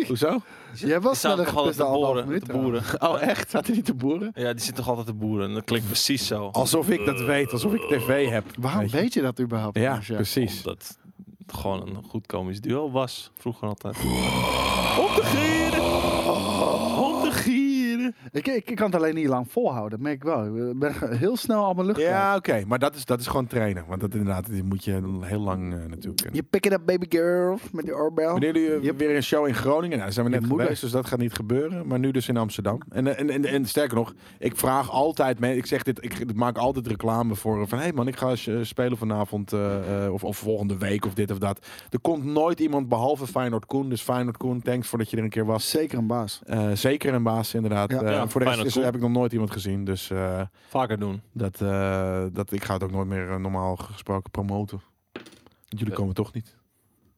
[SPEAKER 3] Hoezo?
[SPEAKER 1] Jij was
[SPEAKER 2] Ze zaten
[SPEAKER 1] sneller
[SPEAKER 2] toch
[SPEAKER 1] Nou,
[SPEAKER 2] altijd
[SPEAKER 1] gepist
[SPEAKER 2] te
[SPEAKER 1] dan anderhalf
[SPEAKER 2] boeren.
[SPEAKER 1] minuut.
[SPEAKER 2] te boeren.
[SPEAKER 3] Oh, echt? Zaten die te boeren?
[SPEAKER 2] Ja, die zit toch altijd te boeren. En dat klinkt precies zo.
[SPEAKER 3] Alsof ik dat weet. Alsof ik tv heb.
[SPEAKER 1] Waarom weet je. dat überhaupt?
[SPEAKER 3] Ja,
[SPEAKER 1] Marcia?
[SPEAKER 3] precies.
[SPEAKER 2] Dat het gewoon een goed komisch duo was. Vroeger altijd. Op de gieren! Op de gieren!
[SPEAKER 1] Ik, ik, ik kan het alleen niet lang volhouden, dat merk ik wel. Ik ben ge- heel snel aan mijn lucht. kwijt.
[SPEAKER 3] Ja, oké. Maar dat is, dat is gewoon trainen. Want dat inderdaad, die moet je heel lang eh, natuurlijk kunnen.
[SPEAKER 1] Je pick it up baby girl met die oorbel.
[SPEAKER 3] Wanneer jullie eh,
[SPEAKER 1] Yep.
[SPEAKER 3] weer een show in Groningen? Nou, daar zijn we net
[SPEAKER 1] Je Oh, moeder.
[SPEAKER 3] geweest, dus dat gaat niet gebeuren. Maar nu dus in Amsterdam. En, eh, en, en, en sterker nog, ik vraag altijd mee. Ik zeg dit, ik, ik maak altijd reclame voor eh, van hé hey man, ik ga eh, spelen vanavond eh, eh, of, of volgende week of dit of dat. Er komt nooit iemand behalve Feyenoord Koen. Dus Feyenoord Koen, thanks voor dat je er een keer was.
[SPEAKER 1] Zeker een baas.
[SPEAKER 3] Eh, zeker een baas inderdaad.
[SPEAKER 1] Ja.
[SPEAKER 3] Eh,
[SPEAKER 2] Ja,
[SPEAKER 3] voor de rest
[SPEAKER 2] Feyenoord
[SPEAKER 3] is-
[SPEAKER 2] Koen.
[SPEAKER 3] heb ik nog nooit iemand gezien. Dus eh,
[SPEAKER 2] Vaker doen.
[SPEAKER 3] dat, eh, dat, ik ga het ook nooit meer eh, normaal gesproken promoten. Want jullie
[SPEAKER 2] Ja.
[SPEAKER 3] komen toch niet.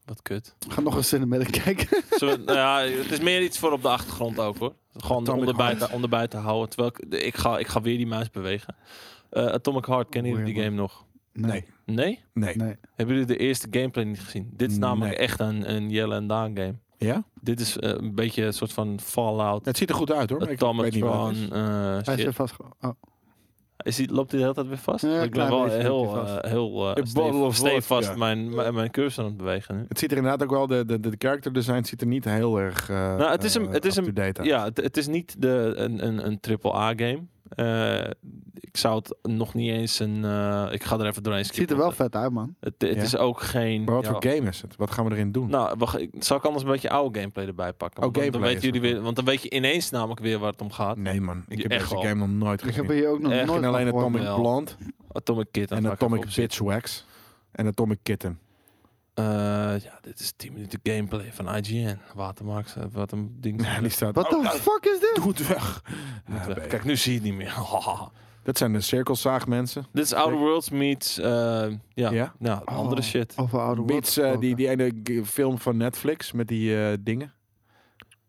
[SPEAKER 2] Wat kut.
[SPEAKER 1] Ga nog eens cinematic kijken.
[SPEAKER 2] Zullen we- nou ja, het is meer iets voor op de achtergrond ook hoor. Gewoon
[SPEAKER 3] Atomic
[SPEAKER 2] om erbij,
[SPEAKER 3] Heart.
[SPEAKER 2] te, om erbij te houden. Terwijl ik, de- ik, ga, ik ga weer die muis bewegen. Eh, Atomic Heart, kennen jullie die
[SPEAKER 1] Weird,
[SPEAKER 2] game nog?
[SPEAKER 3] Nee.
[SPEAKER 2] Nee?
[SPEAKER 3] Nee.
[SPEAKER 1] Nee.
[SPEAKER 2] Hebben jullie de eerste gameplay niet gezien? Dit is namelijk
[SPEAKER 3] Nee.
[SPEAKER 2] echt een, een Jelle en Daan game.
[SPEAKER 3] Ja?
[SPEAKER 2] Dit is eh, een beetje een soort van Fallout.
[SPEAKER 3] Het ziet er goed uit hoor. maar ik weet niet wat
[SPEAKER 2] Automatron.
[SPEAKER 3] het is.
[SPEAKER 2] eh,
[SPEAKER 1] Hij
[SPEAKER 2] shit.
[SPEAKER 1] zit vast. Oh.
[SPEAKER 2] Is die, loopt hij de hele tijd weer vast?
[SPEAKER 1] Ja,
[SPEAKER 2] ik ben
[SPEAKER 1] klein
[SPEAKER 2] wel
[SPEAKER 1] beetje loopt
[SPEAKER 2] heel,
[SPEAKER 1] hij
[SPEAKER 2] eh,
[SPEAKER 1] vast.
[SPEAKER 2] heel eh
[SPEAKER 3] Een bottle
[SPEAKER 2] stevig
[SPEAKER 3] of
[SPEAKER 2] stevig
[SPEAKER 3] vodka.
[SPEAKER 2] vast mijn, mijn, mijn cursor aan het bewegen nu.
[SPEAKER 3] Het ziet er inderdaad ook wel, de, de, de character design ziet er niet heel erg eh
[SPEAKER 2] Nou, het is een-
[SPEAKER 3] eh,
[SPEAKER 2] het is een-
[SPEAKER 3] up-to-date uit.
[SPEAKER 2] Ja, het, het is niet de, een, een, een AAA game. Eh, ik zou het nog niet eens een... eh, ik ga er even doorheen
[SPEAKER 1] Het ziet
[SPEAKER 2] skippen,
[SPEAKER 1] er wel
[SPEAKER 2] want
[SPEAKER 1] vet uit, man.
[SPEAKER 2] Het, het
[SPEAKER 3] Ja.
[SPEAKER 2] is ook geen...
[SPEAKER 3] Maar wat
[SPEAKER 2] ja,
[SPEAKER 3] voor game is het? Wat gaan we erin doen?
[SPEAKER 2] Nou, wacht, ik- zal ik anders een beetje oude gameplay erbij pakken?
[SPEAKER 3] Oh,
[SPEAKER 2] Want dan, dan
[SPEAKER 3] gameplay
[SPEAKER 2] weten
[SPEAKER 3] is Mm.
[SPEAKER 2] jullie
[SPEAKER 3] het.
[SPEAKER 2] weer, want dan weet je ineens namelijk weer waar het om gaat.
[SPEAKER 3] nee man, ik
[SPEAKER 2] Je-
[SPEAKER 3] heb
[SPEAKER 2] echt
[SPEAKER 3] deze
[SPEAKER 2] wel.
[SPEAKER 3] game nog nooit
[SPEAKER 1] Ik heb
[SPEAKER 3] gezien.
[SPEAKER 1] hier ook nog
[SPEAKER 2] Echt,
[SPEAKER 1] nooit
[SPEAKER 3] En
[SPEAKER 1] van
[SPEAKER 3] alleen
[SPEAKER 1] gehoord.
[SPEAKER 3] Atomic
[SPEAKER 2] Wel.
[SPEAKER 3] Blonde
[SPEAKER 2] Atomic Kid. dat
[SPEAKER 3] en
[SPEAKER 2] ga ik
[SPEAKER 3] Atomic
[SPEAKER 2] even opzoeken.
[SPEAKER 3] Bitchwax en Atomic Kitten.
[SPEAKER 2] Eh, ja, dit is 10 minuten gameplay van IGN. Watermarks, eh, wat een ding.
[SPEAKER 3] Ja, die Ah, staat...
[SPEAKER 1] What
[SPEAKER 3] Oh,
[SPEAKER 1] the fuck is dit?
[SPEAKER 3] doe het weg!
[SPEAKER 2] Moet
[SPEAKER 3] Ja,
[SPEAKER 2] weg.
[SPEAKER 3] beter.
[SPEAKER 2] Kijk, nu zie je het niet meer.
[SPEAKER 3] Dat zijn de cirkelzaagmensen.
[SPEAKER 2] Dit is Outer Worlds meets... eh, ja, ja?
[SPEAKER 3] Ja?
[SPEAKER 2] andere
[SPEAKER 1] Oh,
[SPEAKER 2] shit.
[SPEAKER 1] Over oude
[SPEAKER 3] Beats, eh, die, die ene g- film van Netflix met die eh, dingen.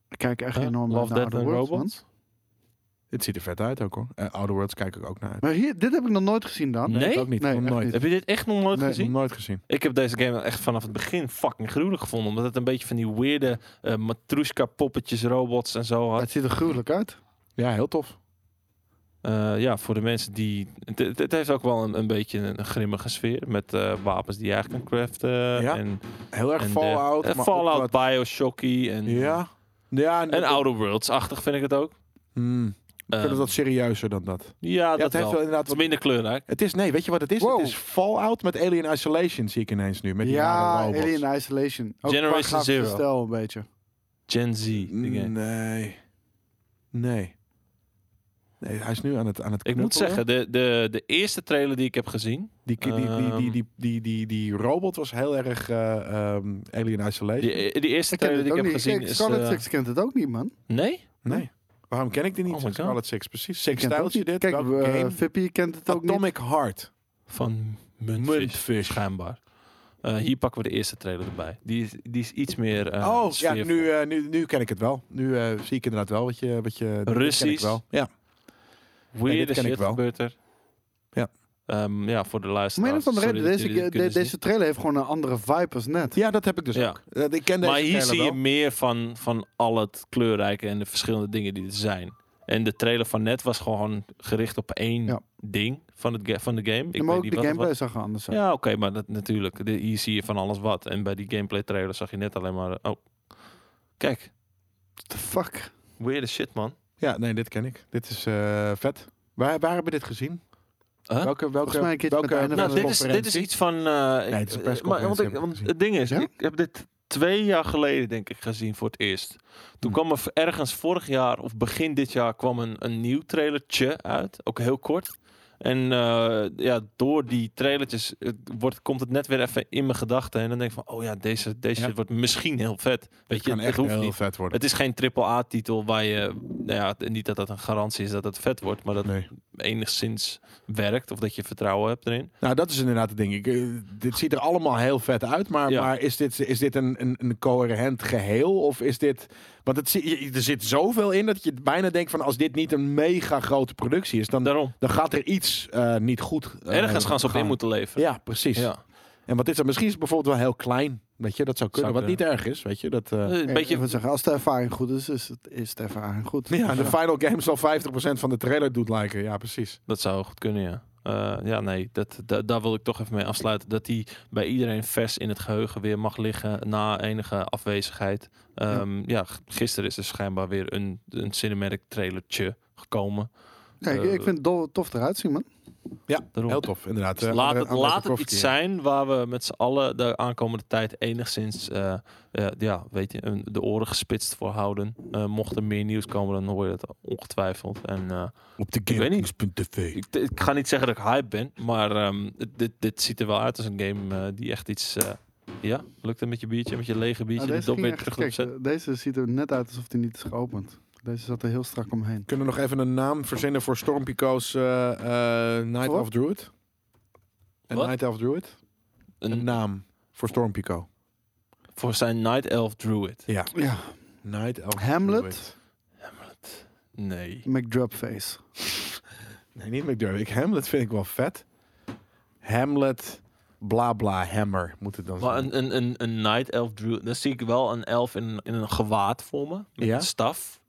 [SPEAKER 1] Ik kijk echt
[SPEAKER 2] Huh?
[SPEAKER 1] enorm
[SPEAKER 2] Love,
[SPEAKER 1] naar
[SPEAKER 2] Death
[SPEAKER 1] oude
[SPEAKER 2] and
[SPEAKER 1] Worlds, man.
[SPEAKER 2] Robots?
[SPEAKER 3] Het ziet er vet uit ook hoor. Eh, Outer Worlds kijk ik ook naar uit.
[SPEAKER 1] Maar hier, dit heb ik nog nooit gezien dan.
[SPEAKER 2] Nee?
[SPEAKER 3] Ik ook niet,
[SPEAKER 1] Nee,
[SPEAKER 3] nog
[SPEAKER 1] echt
[SPEAKER 3] nooit.
[SPEAKER 1] niet.
[SPEAKER 2] Heb je dit echt nog nooit
[SPEAKER 1] Nee.
[SPEAKER 2] gezien?
[SPEAKER 3] Nog nooit gezien.
[SPEAKER 2] Ik heb deze game echt vanaf het begin fucking gruwelijk gevonden. Omdat het een beetje van die weirde eh matroeska poppetjes, robots en zo had.
[SPEAKER 1] Het ziet er gruwelijk uit.
[SPEAKER 3] Ja, heel tof.
[SPEAKER 2] Eh, ja, voor de mensen die... Het, het- het heeft ook wel een, een beetje een, een grimmige sfeer. Met eh, wapens die je eigenlijk kan craften.
[SPEAKER 3] Ja.
[SPEAKER 2] En,
[SPEAKER 3] Heel erg
[SPEAKER 2] en de-
[SPEAKER 3] Fallout.
[SPEAKER 2] eh,
[SPEAKER 3] maar ook
[SPEAKER 2] Fallout,
[SPEAKER 3] wat-
[SPEAKER 2] Bioshocky en...
[SPEAKER 3] Ja. Ja,
[SPEAKER 2] En
[SPEAKER 3] dat-
[SPEAKER 2] Outer Worlds-achtig vind ik het ook.
[SPEAKER 3] Hmm. Ik vind
[SPEAKER 2] Eh,
[SPEAKER 3] het wat serieuzer dan dat.
[SPEAKER 2] ja,
[SPEAKER 3] Ja,
[SPEAKER 2] dat
[SPEAKER 3] het heeft
[SPEAKER 2] wel.
[SPEAKER 3] wel
[SPEAKER 2] Het
[SPEAKER 3] inderdaad
[SPEAKER 2] is
[SPEAKER 3] wat...
[SPEAKER 2] minder kleurrijk.
[SPEAKER 3] Het is, nee, weet je wat het is?
[SPEAKER 1] Wow.
[SPEAKER 3] Het is Fallout met Alien Isolation, zie ik ineens nu. Met die
[SPEAKER 1] Ja,
[SPEAKER 3] rare robots.
[SPEAKER 1] Alien Isolation. Ook
[SPEAKER 2] Generation
[SPEAKER 1] qua grafische
[SPEAKER 2] Zero.
[SPEAKER 1] stijl een beetje.
[SPEAKER 2] Gen Z. die
[SPEAKER 3] Mm,
[SPEAKER 2] game.
[SPEAKER 3] Nee. Nee. Nee, hij is nu aan het aan het
[SPEAKER 2] Ik moet
[SPEAKER 3] knuppelen.
[SPEAKER 2] zeggen, de, de, de eerste trailer die ik heb gezien,
[SPEAKER 3] die, ki- die, die,
[SPEAKER 2] Ehm.
[SPEAKER 3] die, die, die, die, die robot was heel erg eh, ehm, Alien Isolation.
[SPEAKER 2] die, die eerste
[SPEAKER 1] Ik ken
[SPEAKER 2] trailer
[SPEAKER 1] het
[SPEAKER 2] die ik
[SPEAKER 1] ook
[SPEAKER 2] heb
[SPEAKER 1] niet.
[SPEAKER 2] gezien
[SPEAKER 1] Kijk,
[SPEAKER 2] is...
[SPEAKER 1] Scarlet
[SPEAKER 2] eh,
[SPEAKER 1] Six kent het ook niet, man.
[SPEAKER 2] nee?
[SPEAKER 3] Nee. Waarom ken ik die niet?
[SPEAKER 2] Oh my God.
[SPEAKER 3] Scarlet Six, precies. Six
[SPEAKER 1] Kent ook
[SPEAKER 3] Stijltje
[SPEAKER 1] niet.
[SPEAKER 3] dit.
[SPEAKER 1] Kijk,
[SPEAKER 3] welke
[SPEAKER 1] eh,
[SPEAKER 3] game?
[SPEAKER 1] Vippy kent het ook niet.
[SPEAKER 3] Atomic Heart.
[SPEAKER 2] Van Muntfish,
[SPEAKER 3] Muntfish.
[SPEAKER 2] schijnbaar. Eh, hier pakken we de eerste trailer erbij. Die is, die is iets meer eh,
[SPEAKER 3] oh, ja, nu,
[SPEAKER 2] sfeervol.
[SPEAKER 3] eh, nu, nu ken ik het wel. Nu eh, zie ik inderdaad wel wat je... Wat je dit ken ik
[SPEAKER 2] Russisch.
[SPEAKER 3] wel. Ja. dit
[SPEAKER 2] Weird
[SPEAKER 3] ken ik
[SPEAKER 2] shit
[SPEAKER 3] wel.
[SPEAKER 2] gebeurt er.
[SPEAKER 3] Ja.
[SPEAKER 2] Ehm, ja, voor de
[SPEAKER 1] Om
[SPEAKER 2] luisteraars.
[SPEAKER 1] een of andere
[SPEAKER 2] sorry
[SPEAKER 1] reden,
[SPEAKER 2] dat
[SPEAKER 1] deze,
[SPEAKER 2] jullie dit
[SPEAKER 1] de-
[SPEAKER 2] kunnen
[SPEAKER 1] deze trailer heeft gewoon een andere vibe als net.
[SPEAKER 3] Ja, dat heb ik dus
[SPEAKER 2] Ja.
[SPEAKER 3] ook. Eh, Ik ken deze
[SPEAKER 2] Maar hier
[SPEAKER 3] trailer
[SPEAKER 2] zie
[SPEAKER 3] wel.
[SPEAKER 2] je meer van, van al het kleurrijke en de verschillende dingen die er zijn. En de trailer van net was gewoon gericht op één
[SPEAKER 1] Ja.
[SPEAKER 2] ding van, het ga- van de game. Ik
[SPEAKER 1] maar ook
[SPEAKER 2] niet
[SPEAKER 1] de
[SPEAKER 2] wat het
[SPEAKER 1] gameplay
[SPEAKER 2] was.
[SPEAKER 1] zag er anders uit.
[SPEAKER 2] Ja, oké, maar dat, natuurlijk. De- hier zie je van alles wat. En bij die gameplay trailer zag je net alleen maar... eh, oh, kijk.
[SPEAKER 1] The fuck?
[SPEAKER 2] Weird as shit, man.
[SPEAKER 3] Ja, nee, dit ken ik. Dit is eh, vet. Waar, waar hebben we dit gezien?
[SPEAKER 2] Huh?
[SPEAKER 3] Welke, welke,
[SPEAKER 1] Volgens mij een keertje
[SPEAKER 3] welke,
[SPEAKER 1] met het einde
[SPEAKER 2] Nou,
[SPEAKER 1] van de
[SPEAKER 2] dit is, dit is iets van... eh,
[SPEAKER 3] het is
[SPEAKER 2] eh,
[SPEAKER 3] een
[SPEAKER 2] maar,
[SPEAKER 3] persconferentie,
[SPEAKER 2] want,
[SPEAKER 3] heb
[SPEAKER 2] ik,
[SPEAKER 3] ik
[SPEAKER 2] want
[SPEAKER 3] gezien.
[SPEAKER 2] het ding is,
[SPEAKER 1] Ja?
[SPEAKER 2] ik heb dit twee jaar geleden denk ik gezien voor het eerst. Toen
[SPEAKER 3] Hm.
[SPEAKER 2] kwam er ergens vorig jaar of begin dit jaar kwam een, een nieuw trailertje uit. Ook heel kort. En eh, ja, door die trailertjes het wordt, komt het net weer even in mijn gedachten. En dan denk ik van, oh ja, deze, deze
[SPEAKER 3] Ja.
[SPEAKER 2] wordt misschien heel vet. Weet je,
[SPEAKER 3] kan
[SPEAKER 2] het
[SPEAKER 3] echt
[SPEAKER 2] hoeft
[SPEAKER 3] heel
[SPEAKER 2] niet.
[SPEAKER 3] vet worden.
[SPEAKER 2] Het is geen AAA-titel waar je, nou ja, niet dat dat een garantie is dat het vet wordt, maar dat
[SPEAKER 3] Nee.
[SPEAKER 2] enigszins werkt of dat je vertrouwen hebt erin.
[SPEAKER 3] Nou, dat is inderdaad het ding. Ik, eh, dit ziet er allemaal heel vet uit, maar,
[SPEAKER 2] Ja.
[SPEAKER 3] maar is dit, is dit een, een, een coherent geheel? Of is dit... Want het, zie- je- er zit zoveel in dat je bijna denkt van... als dit niet een mega grote productie is, dan,
[SPEAKER 2] Daarom.
[SPEAKER 3] dan gaat er iets eh, niet goed. eh,
[SPEAKER 2] Ergens gaan ze op in moeten leven.
[SPEAKER 3] Ja, precies.
[SPEAKER 2] Ja.
[SPEAKER 3] En wat is dat? Misschien is het bijvoorbeeld wel heel klein. Weet je, dat zou kunnen.
[SPEAKER 2] Zou
[SPEAKER 3] wat niet erg is, weet je. Dat, eh,
[SPEAKER 2] Een beetje
[SPEAKER 1] Even zeggen, als de ervaring goed is, is, het, is de ervaring goed.
[SPEAKER 3] ja, de final game zal 50% van de trailer doet lijken. Ja, precies.
[SPEAKER 2] Dat zou goed kunnen, ja. Eh, ja, nee, dat, da- daar wil ik toch even mee afsluiten. Dat die bij iedereen vers in het geheugen weer mag liggen na enige afwezigheid. Ehm, ja. g- gisteren is er schijnbaar weer een, een cinematic trailertje gekomen.
[SPEAKER 1] Ja, ik, ik vind het do- tof eruit zien, man.
[SPEAKER 3] Ja,
[SPEAKER 2] Daarom.
[SPEAKER 3] heel tof inderdaad.
[SPEAKER 2] Dus
[SPEAKER 3] Eh,
[SPEAKER 2] laat
[SPEAKER 3] André-
[SPEAKER 2] het,
[SPEAKER 3] André
[SPEAKER 2] laat het
[SPEAKER 3] Tarkovsky,
[SPEAKER 2] iets
[SPEAKER 3] ja.
[SPEAKER 2] zijn waar we met z'n allen de aankomende tijd enigszins eh, eh, ja, weet je, een- de oren gespitst voor houden. Eh, mocht er meer nieuws komen, dan hoor je dat ongetwijfeld. En eh,
[SPEAKER 3] Op de
[SPEAKER 2] weet niet.
[SPEAKER 3] gamekings.tv.
[SPEAKER 2] Ik, ik ga niet zeggen dat ik hype ben, maar ehm, dit, dit ziet er wel uit als een game eh, die echt iets. eh, ja, lukt het met je biertje, met je lege biertje,
[SPEAKER 1] Nou, deze,
[SPEAKER 2] de dop
[SPEAKER 1] ging
[SPEAKER 2] weer
[SPEAKER 1] echt
[SPEAKER 2] terug
[SPEAKER 1] gek.
[SPEAKER 2] opzet.
[SPEAKER 1] deze ziet er net uit alsof die niet is geopend. Deze zat er heel strak omheen.
[SPEAKER 3] Kunnen we nog even een naam verzinnen voor Stormpico's eh, eh, Night
[SPEAKER 1] Wat?
[SPEAKER 3] of Druid? Een
[SPEAKER 2] Wat?
[SPEAKER 3] Night of Druid?
[SPEAKER 1] eh,
[SPEAKER 3] Een
[SPEAKER 2] Een,
[SPEAKER 3] naam voor Stormpico.
[SPEAKER 2] voor zijn Night Elf Druid.
[SPEAKER 3] Ja.
[SPEAKER 1] Ja,
[SPEAKER 3] Night Elf
[SPEAKER 1] Hamlet?
[SPEAKER 3] Druid.
[SPEAKER 2] Nee.
[SPEAKER 1] McDrubface.
[SPEAKER 3] Nee, niet McDermott. Hamlet vind ik wel vet. Hamlet bla bla hammer moet het dan
[SPEAKER 2] Maar
[SPEAKER 3] zijn.
[SPEAKER 2] een, een, een, een Night Elf Druid, dan zie ik wel een elf in, in een gewaad voor me. Met
[SPEAKER 3] Ja?
[SPEAKER 2] een staf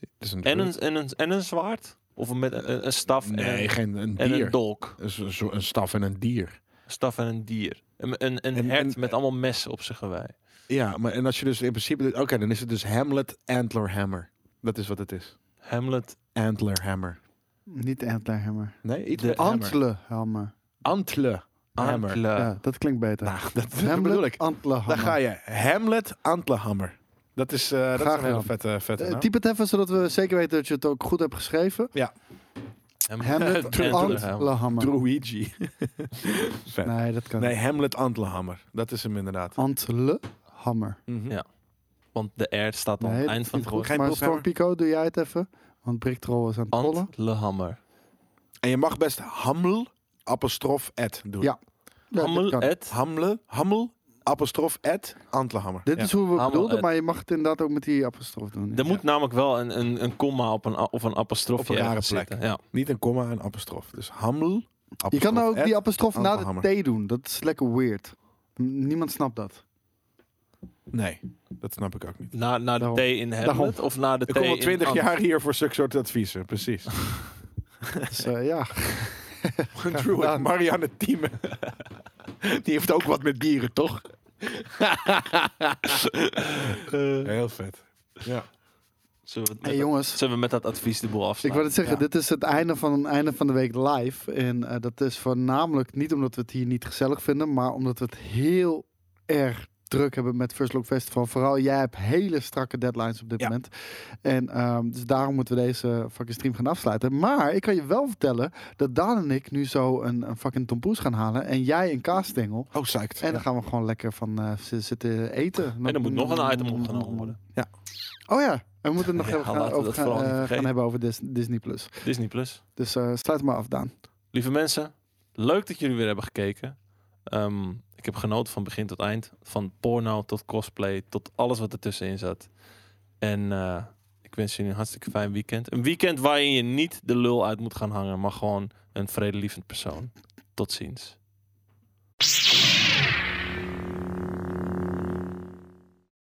[SPEAKER 3] Het is een
[SPEAKER 2] en
[SPEAKER 3] druid.
[SPEAKER 2] een, en een, en een zwaard. Of met een, een staf en,
[SPEAKER 3] Nee,
[SPEAKER 2] een-
[SPEAKER 3] geen een
[SPEAKER 2] en
[SPEAKER 3] dier.
[SPEAKER 2] een dolk.
[SPEAKER 3] Een zo- zo- een staf en een dier.
[SPEAKER 2] Een staf en een dier. Een, een, een
[SPEAKER 3] En-
[SPEAKER 2] hert
[SPEAKER 3] en-
[SPEAKER 2] met allemaal messen op zijn gewei.
[SPEAKER 3] Ja, maar en als je dus in principe... Oké, dan is het dus Hamlet Antler Hammer. Dat is wat het is.
[SPEAKER 2] Hamlet,
[SPEAKER 3] Antler Hammer.
[SPEAKER 1] Niet Antlerhammer.
[SPEAKER 3] Nee, iets
[SPEAKER 2] De
[SPEAKER 3] met hammer.
[SPEAKER 1] Antlehammer.
[SPEAKER 3] Antler Hammer.
[SPEAKER 2] Antler.
[SPEAKER 1] Ja, dat klinkt beter.
[SPEAKER 3] Nou, dat, dat
[SPEAKER 1] Hamlet,
[SPEAKER 3] bedoel ik.
[SPEAKER 1] Antlehammer.
[SPEAKER 3] Daar ga je. Hamlet Antlehammer. Dat is, eh dat is
[SPEAKER 1] Graag
[SPEAKER 3] een hele
[SPEAKER 1] gedaan.
[SPEAKER 3] vette, vette
[SPEAKER 1] Eh,
[SPEAKER 3] naam.
[SPEAKER 1] typ het even, zodat we zeker weten dat je het ook goed hebt geschreven. Hamlet Antlehammer.
[SPEAKER 3] Druigi. Vet. Nee.
[SPEAKER 1] Nee, dat kan niet.
[SPEAKER 3] Hamlet Antlehammer. Dat is hem inderdaad.
[SPEAKER 1] Antlehammer.
[SPEAKER 3] Mhm.
[SPEAKER 2] Ja. Want de R staat aan
[SPEAKER 1] Nee,
[SPEAKER 2] het
[SPEAKER 1] dat
[SPEAKER 2] eind
[SPEAKER 1] is
[SPEAKER 2] van
[SPEAKER 1] niet
[SPEAKER 2] het
[SPEAKER 1] goed.
[SPEAKER 2] woord.
[SPEAKER 3] Geen
[SPEAKER 1] Maar
[SPEAKER 3] Boshammer.
[SPEAKER 1] Storm Pico, doe jij het even. Want Brick Troll is aan het rollen.
[SPEAKER 2] Antlehammer.
[SPEAKER 3] En je mag best Hamel, apostrof, et doen.
[SPEAKER 1] Ja. Ja, dit
[SPEAKER 2] Hammel,
[SPEAKER 1] kan.
[SPEAKER 2] et.
[SPEAKER 3] Hamle, Hamel, apostrof, et Antlehammer.
[SPEAKER 1] Dit
[SPEAKER 3] Ja.
[SPEAKER 1] is hoe we
[SPEAKER 2] Hammel,
[SPEAKER 1] het bedoelden,
[SPEAKER 2] eh,
[SPEAKER 1] maar je mag het inderdaad ook met die apostrof doen.
[SPEAKER 2] Er moet namelijk wel een, een, een komma op een, a- of een apostrofje
[SPEAKER 3] Op een rare
[SPEAKER 2] ergens
[SPEAKER 3] plek.
[SPEAKER 2] zitten. Ja.
[SPEAKER 3] Niet een komma, een apostrof. Dus Hamel,
[SPEAKER 1] je kan nou
[SPEAKER 3] apostrof,
[SPEAKER 1] ook die
[SPEAKER 3] et.
[SPEAKER 1] apostrof na
[SPEAKER 3] Antlehammer.
[SPEAKER 1] de T doen. Dat is lekker weird. N- Niemand snapt dat.
[SPEAKER 3] Nee, dat snap ik ook niet.
[SPEAKER 2] Naar, naar de
[SPEAKER 1] Daarom.
[SPEAKER 2] T in Hamlet of naar de T
[SPEAKER 3] Ik kom al
[SPEAKER 2] in
[SPEAKER 3] twintig
[SPEAKER 2] Ant.
[SPEAKER 3] jaar hier voor zulke soort adviezen. Precies.
[SPEAKER 1] Dus eh, ja,
[SPEAKER 3] Druid Marianne Thieme. Die heeft ook wat met dieren, toch? Heel vet. Ja.
[SPEAKER 2] Zullen we, het
[SPEAKER 1] hey,
[SPEAKER 2] met dat-
[SPEAKER 1] jongens.
[SPEAKER 2] zullen we met dat advies de boel
[SPEAKER 1] Ik wil
[SPEAKER 2] afsluiten?
[SPEAKER 1] het zeggen,
[SPEAKER 3] Ja.
[SPEAKER 1] dit is het einde van een einde van de week live. En eh, dat is voornamelijk niet omdat we het hier niet gezellig vinden, maar omdat we het heel erg druk hebben met First Look Festival. Vooral jij hebt hele strakke deadlines op dit
[SPEAKER 3] Ja.
[SPEAKER 1] moment. En ehm, dus daarom moeten we deze fucking stream gaan afsluiten. Maar ik kan je wel vertellen dat Daan en ik nu zo een, een fucking tompoes gaan halen. En jij een kaasstengel.
[SPEAKER 3] Oh, psyched.
[SPEAKER 1] En dan gaan we gewoon lekker van eh, z- zitten eten.
[SPEAKER 2] En er moet nog een item opgenomen worden.
[SPEAKER 1] Oh ja, we moeten het nog
[SPEAKER 2] Ja,
[SPEAKER 1] even gaan,
[SPEAKER 2] laten we
[SPEAKER 1] over
[SPEAKER 2] dat
[SPEAKER 1] gaan,
[SPEAKER 2] vooral niet
[SPEAKER 1] eh, gaan
[SPEAKER 2] vergeten.
[SPEAKER 1] hebben over Dis- Disney+. Plus.
[SPEAKER 2] Disney Plus.
[SPEAKER 1] Dus eh, sluit maar af, Daan.
[SPEAKER 2] Lieve mensen, leuk dat jullie weer hebben gekeken. Ehm, ik heb genoten van begin tot eind. Van porno tot cosplay tot alles wat ertussenin zat. En eh, ik wens jullie een hartstikke fijn weekend. Een weekend waarin je niet de lul uit moet gaan hangen, maar gewoon een vredelievend persoon. Tot ziens.